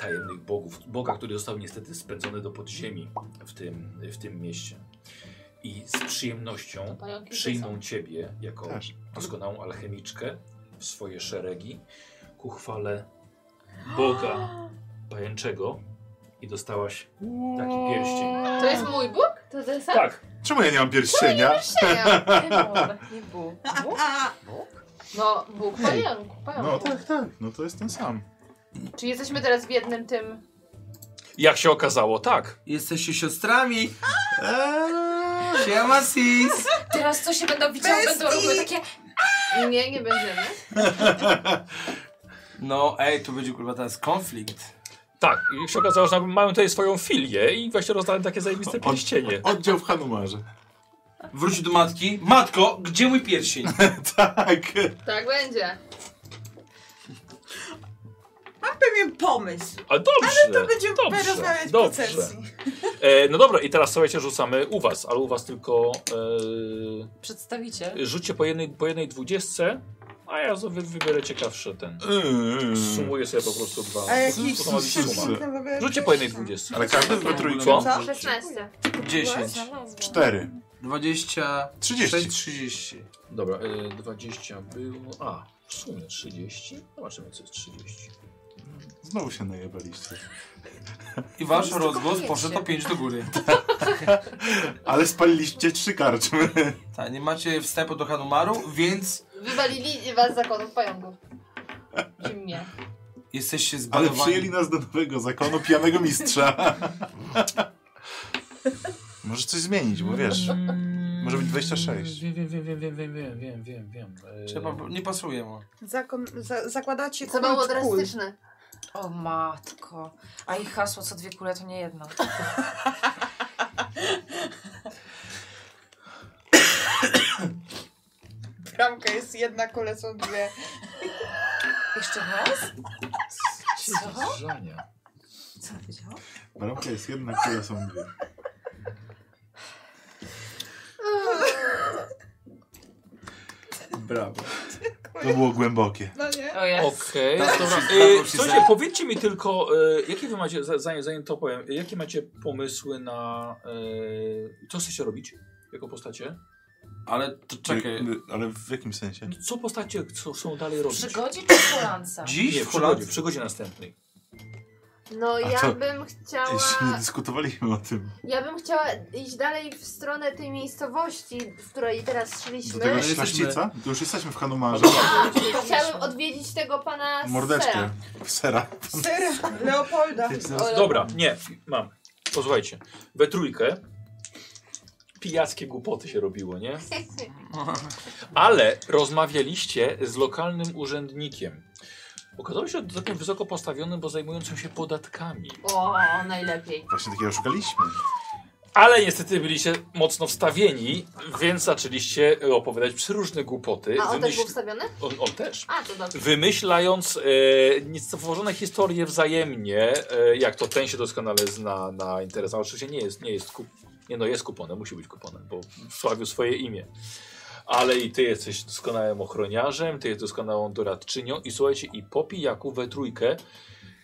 S1: Tajemnych bogów. Boga, który został niestety spędzony do podziemi w tym, w tym mieście. I z przyjemnością
S8: Pająki
S1: przyjmą ciebie jako
S2: Też.
S1: doskonałą alchemiczkę w swoje szeregi ku chwale Boga pajęczego i dostałaś taki pierścień.
S4: To jest mój Bóg? To to jest sam?
S1: Tak,
S2: Czemu ja nie mam pierścienia?
S4: Przeja.
S7: Nie było.
S5: A,
S4: No, Bóg pająku.
S2: No
S4: pająku.
S2: tak, tak, no to jest ten sam.
S4: Czy jesteśmy teraz w jednym tym...
S1: Jak się okazało, tak.
S6: Jesteście siostrami. Siema sis.
S7: Teraz co się będą widziały, będą robiły takie...
S4: Nie, nie będziemy.
S6: No ej, tu będzie kurwa teraz konflikt.
S1: Tak, i się okazało, że mają tutaj swoją filię i właśnie rozdałem takie zajebiste pierścienie.
S2: Oddział w Hanumarze.
S6: Wróć do matki. Matko, gdzie mój pierścień?
S2: tak.
S4: Tak będzie.
S5: mam pewien pomysł.
S1: A dobrze,
S5: To będziemy rozmawiać w procesji.
S1: E, no dobra, i teraz słuchajcie, rzucamy u was, ale u was tylko
S7: Przedstawiciel.
S1: e, rzućcie po jednej, po jednej dwudziestce, a ja sobie wybiorę ciekawszy ten. Sumuję sobie po prostu dwa.
S5: A jakiś
S1: to ma być suma.
S5: piękny w ogóle
S1: Rzućcie po jednej
S5: pierścień.
S1: dwudziestce.
S2: Ale każdy we
S1: Co?
S2: trójką.
S5: Co?
S4: 16.
S6: 10,
S2: Cztery.
S6: 20,
S2: 30.
S6: 30.
S1: Dobra, e, 20 było, a w sumie 30, zobaczymy co jest 30.
S2: Znowu się najebaliście.
S6: I wasz rozgłos poszedł o 5 do góry.
S2: Ale spaliliście trzy karczmy.
S6: Tak, nie macie wstępu do Hanumaru, więc
S4: Wywalili was z zakonów pająków. Czy mnie.
S6: jesteście
S2: Ale
S6: zbanowani.
S2: przyjęli nas do nowego zakonu pijanego mistrza. Możesz coś zmienić, bo wiesz.
S7: Mm.
S2: Może być 26.
S1: Wiem, wiem, wiem, wiem, wiem, wiem, wiem, wiem, wiem, wiem. E,
S6: Trzeba, nie pasuje mu.
S5: Zakon, za, zakładacie
S4: Co było
S5: kult kul.
S4: drastyczne.
S7: O matko. A ich hasło co dwie kule to nie jedno.
S5: Bramka jest jedna, kule są dwie.
S7: Jeszcze raz? Co?
S1: Żania.
S7: Co powiedział?
S2: Bramka jest jedna, która są dwie.
S6: Brawo.
S2: To było głębokie.
S5: No nie?
S7: O jest.
S1: Okej,
S6: Tak,
S1: dobra.
S6: już się- tak,
S1: E,
S6: już się
S1: Słuchajcie,
S6: za-
S1: powiedzcie mi tylko, e, jakie wy macie, za- zanim, zanim to powiem, e, jakie macie pomysły na, e, co chcecie robić jako postacie?
S6: Ale to czekaj.
S2: Y, y, Ale w jakim sensie?
S1: No, Co postacie chcą, są dalej robić?
S7: Przygodzie czy kolance?
S6: Dziś
S1: Nie,
S6: w
S1: w przygodzie, w
S6: Holandii.
S1: przygodzie następnej.
S4: No
S2: A
S4: ja
S2: co?
S4: bym
S2: Jeszcze nie
S4: chciała...
S2: dyskutowaliśmy o tym.
S4: Ja bym chciała iść dalej w stronę tej miejscowości, w której teraz
S2: Do
S4: szliśmy.
S2: tego
S6: jesteśmy-
S2: szlachcica? To już jesteśmy w Hanumarze.
S4: Chciałabym odwiedzić tego pana
S2: Mordeczkę.
S4: Sera.
S2: Sera.
S5: Sera, Leopolda.
S1: Dobra, nie, mam. Posłuchajcie, we trójkę pijackie głupoty się robiło, nie? Ale rozmawialiście z lokalnym urzędnikiem. Okazało się całkiem wysoko postawionym, bo zajmującym się podatkami.
S4: O, najlepiej.
S2: Właśnie takiego szukaliśmy.
S1: Ale niestety byliście mocno wstawieni, więc zaczęliście opowiadać przeróżne głupoty.
S4: A on też był
S1: wymyśl-
S4: wstawiony?
S1: on, on też.
S4: A, to dobrze.
S1: Wymyślając e, niestworzone historie wzajemnie, e, jak to ten się doskonale zna na interes, ale oczywiście nie jest, nie jest kup, nie no jest kuponem, musi być kuponem, bo wsławił swoje imię. Ale i ty jesteś doskonałym ochroniarzem, ty jesteś doskonałą doradczynią i słuchajcie, i po pijaku we trójkę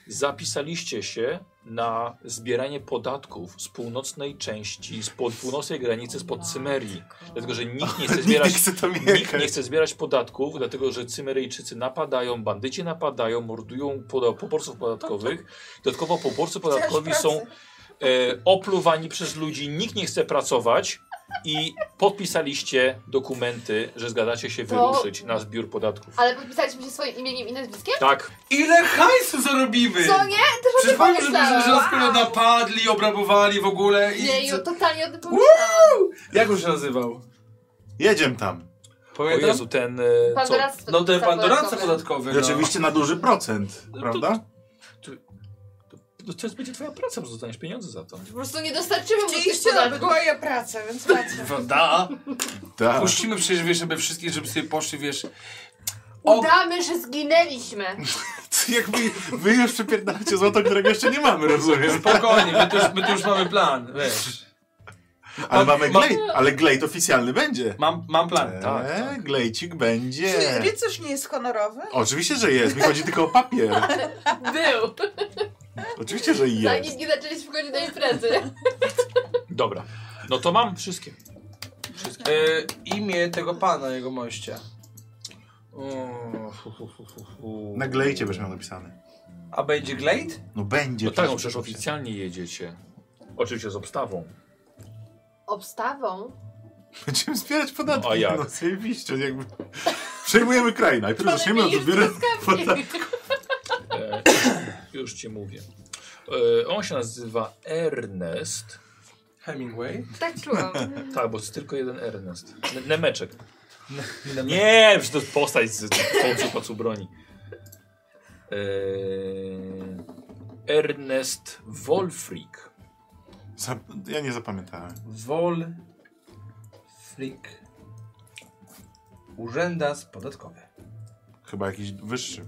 S1: zapisaliście się na zbieranie podatków z północnej części, z pod północnej granicy spod Cymerii. Dlatego, że nikt nie chce
S2: Nikt nie
S1: zbierać
S2: chce tam
S1: Nikt nie
S2: jechać.
S1: chce zbierać podatków, dlatego że Cymeryjczycy napadają, bandyci napadają, mordują poda- poborców podatkowych. Dodatkowo poborcy podatkowi
S5: Chciałaś
S1: są
S5: pracy.
S1: e, opluwani przez ludzi, nikt nie chce pracować i podpisaliście dokumenty, że zgadzacie się
S4: To-
S1: wyruszyć na zbiór podatków.
S4: Ale podpisaliśmy się swoim imieniem i nazwiskiem?
S1: Tak,
S6: Ile hajsu zarobimy?
S4: Co nie? Też o
S6: Przecież
S4: tym
S6: powiem, że że- że nas
S4: pomyślałam.
S6: skoro napadli, obrabowali w ogóle i...
S4: Nie,
S6: co-
S4: ju, totalnie o tym pomyślałam.
S6: Jak on się nazywał?
S2: Jedziem tam.
S1: O Jezu, ten... e,
S4: Pandorac-
S1: co?
S4: No, ten pandorace
S6: podatkowe.
S1: no.
S2: Rzeczywiście na duży procent, prawda?
S1: No to jest będzie twoja praca, bo dostaniesz pieniądze za to.
S4: Po prostu nie dostarczymy mu tych
S5: Chcieliście nawet
S4: podatków.
S5: moja praca, więc macie.
S6: Prawda?
S2: Tak.
S6: Puścimy przecież, wiesz, żeby wszystkie, żeby sobie poszli, wiesz...
S4: Udamy, że zginęliśmy.
S2: Jakby wy już przypierdacie złoto, którego jeszcze nie mamy, rozumiem.
S6: Spokojnie, my tu już, my tu już mamy plan, wiesz.
S2: Ale mamy
S6: mam-
S2: glejt, ale glejt oficjalny będzie.
S6: Mam, mam plan,
S2: eee,
S6: tak, tak.
S2: Glejcik
S5: Czy
S2: będzie.
S5: rycerz nie jest honorowy?
S2: Oczywiście, że jest, mi chodzi tylko o papier.
S4: Był.
S2: Oczywiście, że jest.
S4: Zanim nie zaczęliśmy chodzić do imprezy.
S1: Dobra. No to mam wszystkie.
S2: tak.
S6: E, imię tego pana, jego mościa. O, fu, fu, fu, fu, fu.
S2: Na glejcie będziesz miał napisane.
S6: A będzie Glade?
S2: No będzie.
S1: No tak, no
S2: przecież.
S1: przecież oficjalnie jedziecie. Oczywiście z obstawą.
S4: Obstawą?
S2: Będziemy zbierać podatki.
S1: No, a jak?
S2: No zajebiście, jakby... Przejmujemy kraj. Najpierw zaczniemy od zbierania podatków.
S1: E, już ci mówię. E, on się nazywa Ernest.
S6: Hemingway?
S4: Tak czułam.
S1: Tak, bo jest tylko jeden Ernest. N- Nemeczek. Nie, że to jest postać z kołczu pacu broni. E, Ernest Wolfrik.
S2: Za... Ja nie zapamiętałem.
S6: Wol... Flik... Urzędas podatkowy.
S2: Chyba jakiś wyższy.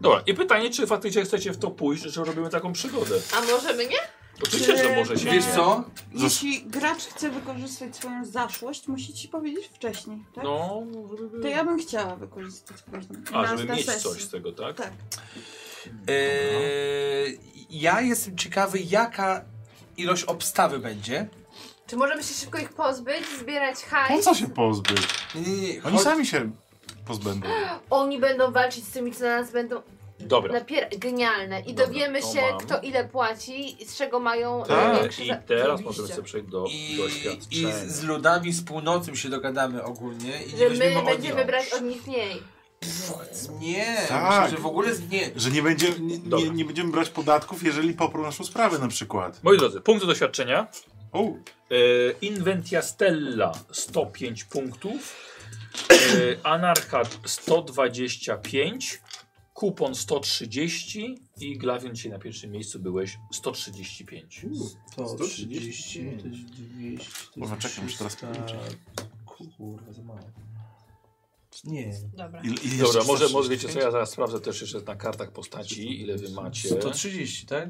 S1: Dobra, i pytanie, czy faktycznie chcecie w to pójść, że robimy taką przygodę?
S4: A możemy nie?
S1: Oczywiście, że może się.
S6: Wiesz co?
S5: Jeśli gracz chce wykorzystać swoją zaszłość, musi ci powiedzieć wcześniej, tak?
S1: No, żeby...
S5: To ja bym chciała wykorzystać później.
S1: A,
S5: Na-
S1: żeby
S5: na
S1: mieć
S5: sesji.
S1: coś z tego, tak?
S5: Tak.
S2: No.
S6: Eee, E, ja jestem ciekawy, jaka ilość obstawy będzie.
S4: Czy możemy się szybko ich pozbyć, zbierać
S2: Po
S4: hajs?
S2: co się pozbyć?
S6: Nie, nie, nie.
S2: Oni sami się pozbędą.
S4: Oni będą walczyć z tymi, co na nas będą
S1: Dobra.
S4: napier... Genialne. I
S1: Dobra,
S4: dowiemy
S1: to
S4: się,
S1: mam.
S4: kto ile płaci i z czego mają e,
S2: Tak.
S4: większe
S1: I
S4: za-
S1: teraz
S4: Oczywiście.
S1: możemy sobie przejść do
S6: I, i
S1: doświadczenia.
S6: z ludami z północy się dogadamy ogólnie. I
S4: Że
S6: nie weźmiemy
S4: my
S6: od
S4: będziemy
S6: nich.
S4: brać od nich mniej.
S6: Nie,
S2: Tak.
S6: myślę, że w ogóle z- nie.
S2: Że nie, będzie, nie, nie,
S1: Dobra.
S2: nie będziemy brać podatków, jeżeli poprą naszą sprawę na przykład.
S1: Moi drodzy, punkty doświadczenia.
S2: O,
S1: E, Inventia Stella 105 punktów. E, Anarchat 125. Kupon 130 i Glawion dzisiaj na pierwszym miejscu byłeś 135.
S6: To
S2: 130, to jest
S6: 200.
S2: Kurwa, czekam, muszę teraz
S6: Kurwa, za mało. Nie.
S5: Dobra.
S2: ile, ile
S1: Dobra,
S2: jeszcze
S1: może, może
S2: 135?
S1: wiecie co, ja zaraz sprawdzę też jeszcze na kartach postaci, ile wy macie.
S6: 130, tak?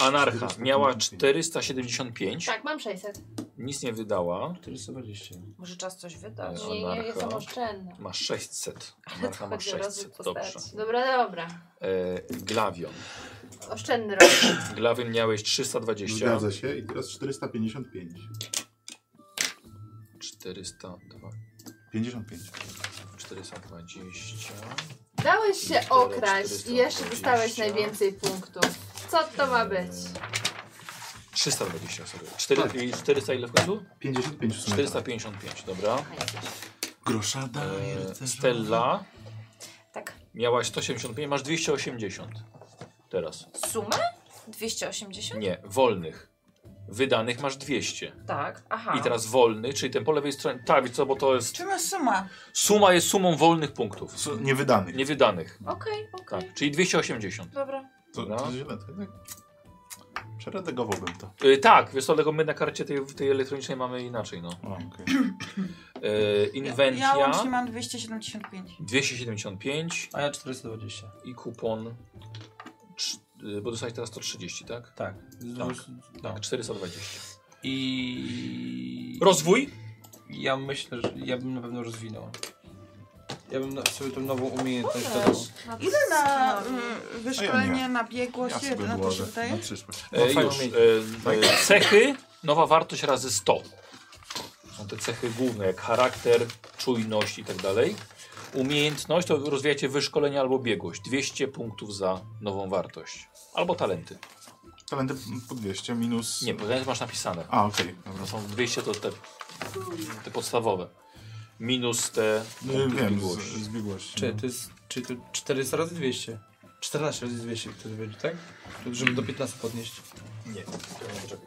S1: E, Anarcha miała 475,
S4: Tak, mam 600.
S1: nic nie wydała.
S6: 420.
S7: Może czas coś wydać?
S1: E,
S4: Nie, nie, jestem
S1: Anarcha.
S4: oszczędna.
S1: Ma 600. Anarcha ma
S4: Chodzi o rozwój
S1: 600, dobrze.
S4: postaci. Dobra, dobra.
S1: E, Glawion.
S4: Oszczędny rok.
S1: Glawion miałeś 320.
S2: Zgadza się i teraz 455.
S1: 402,
S2: 55.
S1: 420.
S4: Dałeś się
S1: Cztery,
S4: okraść i
S1: 420.
S4: jeszcze dostałeś najwięcej punktów. Co to ma być?
S1: Eee, 320, sorry. 4, 400 ile w końcu?
S2: 55 Tak. w sumie. tak.
S1: 455, dobra.
S2: Grosza daje
S1: E,
S2: rycerzowi.
S1: Stella
S7: Tak.
S1: miałaś 185, masz 280 teraz.
S7: Sumę? 280?
S1: Nie, wolnych. Wydanych masz 200.
S7: Tak. Aha.
S1: I teraz wolny, czyli ten po lewej stronie. Tak, wiesz co, bo to jest.
S5: Czy masz suma?
S1: Suma jest sumą wolnych punktów.
S2: Co, Niewydanych.
S1: Niewydanych.
S2: No.
S7: Okej, okej.
S1: Tak, czyli 280.
S7: Dobra.
S2: To,
S1: Dobra.
S2: to źle, to jednak. Przeredagowałbym to.
S1: Yy, tak, wiesz co, tylko my na karcie tej, tej elektronicznej mamy inaczej, no.
S2: O, okej.
S1: Yy,
S5: Ja, ja
S1: inwentia.
S5: łącznie mam 275.
S1: 275
S6: A ja 420.
S1: i kupon. cz- y, Bo dostałeś teraz 130, tak?
S6: Tak.
S1: Tak.
S6: No.
S1: Tak, 420.
S6: I...
S1: Rozwój?
S6: Ja myślę, że ja bym na pewno rozwinął. Ja bym na- sobie tą nową umiejętność
S7: Możesz.
S6: dodał.
S5: Ile na mm,
S2: A ja
S5: wyszkolenie
S2: nie.
S5: na biegłość?
S2: Ja
S5: Ile
S2: sobie
S5: na to się
S2: włożę na
S5: wydaje?
S2: przyszłość.
S1: E,
S6: fajną
S1: już. E,
S6: mieć.
S1: e, cechy, nowa wartość razy 100. Są te cechy główne, jak charakter, czujność i tak dalej. Umiejętność to rozwijacie wyszkolenie albo biegłość. 200 punktów za nową wartość. Albo talenty.
S2: Talenty po 200 minus...
S1: Nie, bo talenty masz napisane.
S2: A, okej. dobra.
S1: No są 200 to te, te podstawowe. Minus te
S2: Y,
S1: punkty
S2: Wiem, z,
S1: biegłości.
S2: z biegłości.
S6: Czy
S2: no.
S6: to jest czy to 400 razy 200? 14 razy 200 wtedy będzie, tak? To, żeby do 15 podnieść.
S1: Nie, to- czekaj.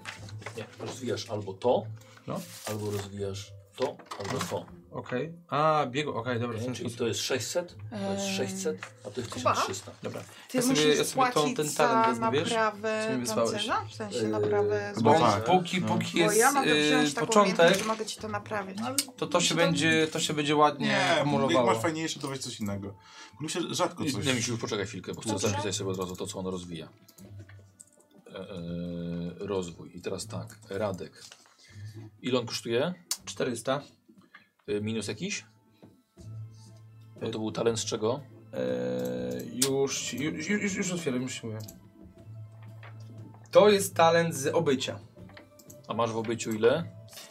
S1: Nie, rozwijasz albo to,
S6: No.
S1: albo rozwijasz to, albo to.
S6: Okej. A, biegu, okej, dobra.
S1: Nie? Czyli to jest 600, to jest
S5: Eee.
S1: 600, a to jest
S5: Kuba?
S1: 1300.
S6: Dobra.
S5: Ty musisz płacić za naprawę tancerza? W sensie naprawę
S6: Yy, Bo
S5: złota.
S6: póki,
S1: no.
S6: póki
S5: Bo
S6: jest
S5: ja mogę wziąć
S6: y,
S5: taką
S6: początek,
S5: umiejętność, że mogę ci to naprawić.
S6: to to się, będzie, to się będzie ładnie
S2: Nie, jak
S6: kumulowało.
S2: masz fajniejsze, to weź coś innego. Mi się rzadko
S1: Nie,
S2: coś...
S1: nie, Misiu, poczekaj chwilkę, bo chcę
S2: Dobrze.
S1: zapisać sobie od razu to, co on rozwija. E, e, rozwój. I teraz tak, Radek. Ile on kosztuje?
S6: 400.
S1: E, minus jakiś? Bo to był talent z czego?
S6: Eee, już, ci- ju- ju- już, już otwieram, już ci mówię. To jest talent z obycia.
S1: A masz w obyciu ile?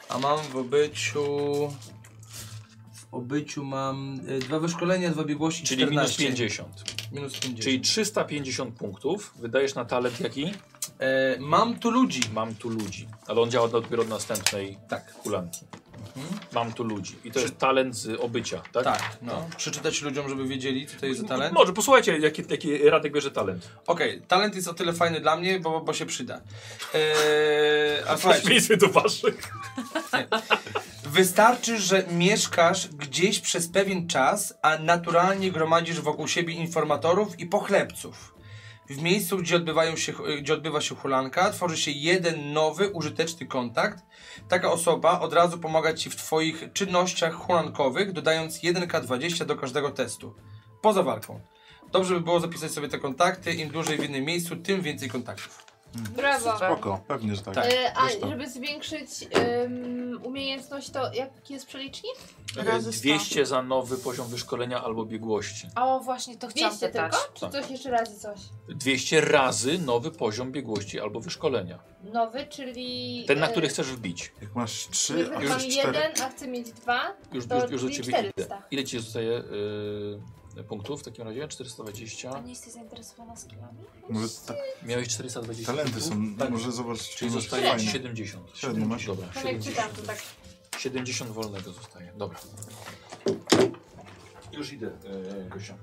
S6: A mam w obyciu... W obyciu mam y, dwa wyszkolenia, dwa biegłości,
S1: Czyli minus
S6: 14.
S1: 50.
S6: Minus 50.
S1: Czyli 350 punktów wydajesz na talent jaki?
S6: E, mam tu ludzi.
S1: Mam tu ludzi. Ale on działa dopiero od następnej
S6: tak.
S1: hulanki. Mam tu ludzi. I to jest talent z obycia, tak?
S6: Tak, no. Przeczytać ludziom, żeby wiedzieli, co to jest za talent.
S1: Może posłuchajcie, jaki, jaki Radek bierze talent.
S6: Okej, talent jest o tyle fajny dla mnie, bo, bo się przyda. Eee, a
S1: Śmiejmy do waszych.
S6: Wystarczy, że mieszkasz gdzieś przez pewien czas, a naturalnie gromadzisz wokół siebie informatorów i pochlebców. W miejscu, gdzie, odbywają się, gdzie odbywa się hulanka, tworzy się jeden nowy, użyteczny kontakt. Taka osoba od razu pomaga ci w twoich czynnościach hulankowych, dodając 1K20 do każdego testu. Poza walką. Dobrze by było zapisać sobie te kontakty. Im dłużej w jednym miejscu, tym więcej kontaktów.
S4: Brawo.
S2: Spoko, pewnie, że tak.
S4: E, a
S2: Też to.
S4: żeby zwiększyć em, umiejętność, to jaki jest przelicznik?
S1: E, 200 za nowy poziom wyszkolenia albo biegłości.
S7: O, właśnie to chciałam
S4: 200
S7: pytać.
S4: tylko?
S1: Tak.
S4: Czy coś jeszcze razy coś?
S1: 200 razy nowy poziom biegłości albo wyszkolenia.
S4: Nowy, czyli...
S1: Ten, na
S4: e,
S1: który chcesz wbić.
S2: Jak masz
S4: Jeżeli
S2: 3, a
S4: mam
S2: chcesz 4.
S4: jeden, a chcę mieć dwa,
S1: Już,
S4: to
S1: już, już do
S4: czyli
S1: ciebie idę.
S4: 400.
S1: Ile ci zostaje y, punktów w takim razie? 420.
S7: Nie jesteś zainteresowana skillami?
S2: Może tak.
S1: Miałeś 420.
S2: Talenty są, no,
S1: punktów? Tak.
S2: może zobacz,
S1: Czyli
S2: może
S1: zostaje
S2: fajne.
S1: 70.
S2: Średnio masz.
S1: Dobra,
S4: No jak
S1: 70.
S4: czytam, to tak...
S1: 70 wolnego zostaje. Dobra. Już idę, e, Gosia.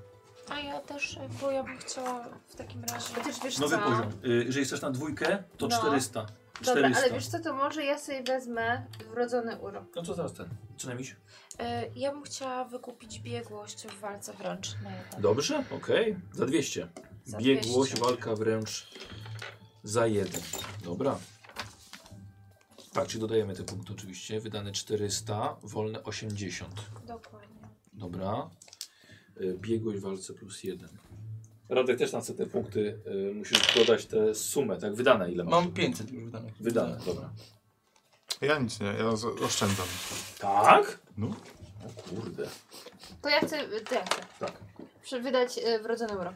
S14: A ja też, bo ja bym chciała w takim razie...
S4: Chociaż wiesz
S1: Nowy
S4: co?
S1: poziom. Y, Jeżeli chcesz na dwójkę, to
S4: No.
S1: 400.
S4: Dobra,
S1: 400.
S4: ale wiesz co, to może ja sobie wezmę wrodzony urok.
S1: No to zaraz ten. Co najmniej?
S14: Y, ja bym chciała wykupić biegłość w walce wręcz na jeden.
S1: Dobrze, okej. Za 200.
S14: Za
S1: Biegłość,
S14: 200.
S1: walka wręcz za jeden. Dobra. Tak, czyli dodajemy te punkty oczywiście. Wydane 400, wolne 80.
S14: Dokładnie.
S1: Dobra. Y, Biegłość w walce plus jeden. Radek też na te punkty y, musisz dodać tę sumę, tak? Wydane ile masz?
S6: Mam 500 już wydanych.
S1: Wydane, dobra.
S2: Ja nic nie, ja z- oszczędzam.
S1: Tak?
S2: No.
S1: O kurde.
S4: To ja chcę, to ja chcę.
S1: Tak.
S4: Prze- Wydać e, wrodzony urok.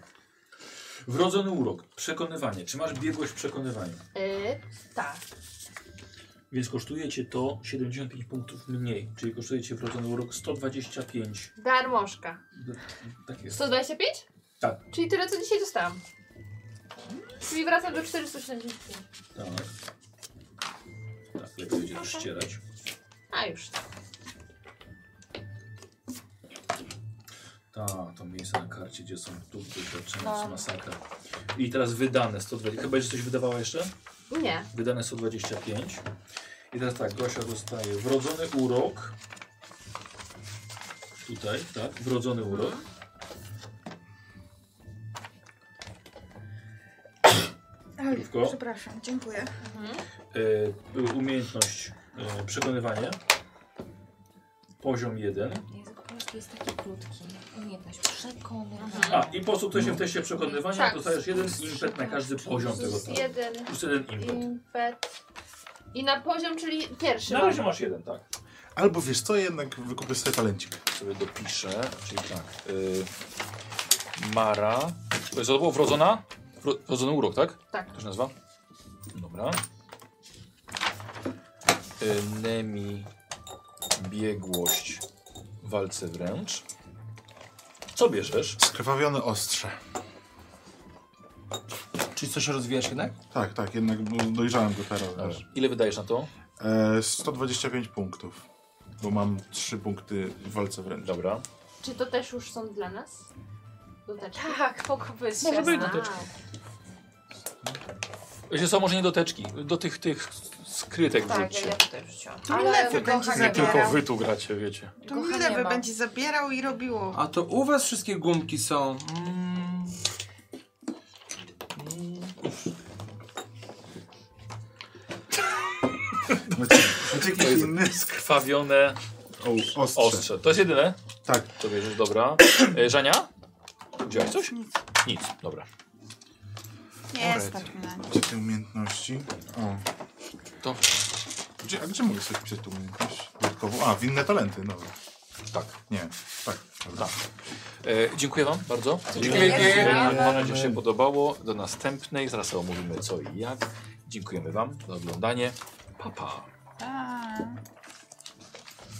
S1: Wrodzony urok, przekonywanie. Czy masz biegłość w przekonywaniu?
S4: E, tak.
S1: Więc kosztuje cię to 75 punktów mniej, czyli kosztuje cię wrodzony urok 125.
S4: Darmożka.
S1: D- Tak jest.
S4: 125?
S1: Tak.
S4: Czyli tyle, co dzisiaj dostałam. Czyli wracam do 475.
S1: Tak. Tak, lepiej będzie rozścierać.
S4: A już.
S1: Ta, to miejsce na karcie, gdzie są tu doświadczenia, no. masakra. I teraz wydane 120. Chyba będzie coś wydawała jeszcze?
S4: Nie.
S1: Wydane 125. I teraz tak, Gosia dostaje wrodzony urok. Tutaj, tak, wrodzony urok.
S5: Ale,
S1: Rówko.
S5: przepraszam, dziękuję.
S1: E, umiejętność e, przekonywanie. Poziom 1.
S7: Język polski jest taki krótki. Umiejętność przekonywania.
S1: A, i po prostu ktoś się w teście przekonywania
S4: Tak.
S1: dostajesz jeden impet na każdy poziom tego
S4: Plus
S1: testu.
S4: jeden
S1: Plus jeden impet.
S4: impet. I na poziom, czyli pierwszy.
S1: Na
S4: mam.
S1: razie masz jeden, tak.
S2: Albo wiesz co, jednak wykupię sobie talencik.
S1: Sobie dopiszę, czyli tak. y, Mara. Co to było? Wrodzona? Wro- Wrodzony urok, tak?
S4: Tak.
S1: To się nazywa? Dobra. Y, Nemi. Biegłość. Walce wręcz. Co bierzesz?
S2: Skrwawione ostrze.
S6: Czyli coś rozwijasz jednak?
S2: Tak, tak, jednak bo dojrzałem go teraz.
S1: Dobra.
S2: Wiesz.
S1: Ile wydajesz na to?
S2: E, 125 punktów, bo mam 3 punkty w walce wręcz.
S1: Dobra.
S4: Czy to też już są dla nas? Doteczki?
S14: Tak, mogłabyś
S4: Może
S14: się
S4: być
S14: znać.
S1: doteczki. Wiecie co, może nie do teczki, do tych, tych skrytek
S3: Tak, ja,
S1: wrzućcie.
S3: ja tutaj wrzuciłam.
S5: To ile wy będzie
S1: Nie tylko
S5: zabierał?
S1: wy tu gracie, wiecie.
S5: To mi lewy będzie zabierał i robiło.
S11: A to u was wszystkie gumki są. Mm.
S2: Znaczy,
S1: To jest skrwawione ostrze. ostrze. To jest jedyne?
S2: Tak.
S1: To bierzesz, dobra. E, Żania? Widziałeś coś? Nic. Nic, dobra.
S5: Nie stać mnie na nie.
S2: Gdzie te umiejętności? O.
S1: To.
S2: Gdzie, a gdzie mogę sobie wpisać tą umiejętność? Dodatkowo. A, winne talenty, dobra.
S1: Tak.
S2: Nie, tak. Dobra.
S1: E, dziękuję wam bardzo. E,
S2: Dziękuję.
S1: Mam nadzieję, że się podobało. Do następnej. Zaraz omówimy co i jak. Dziękujemy wam za oglądanie. Pa, pa.
S5: A.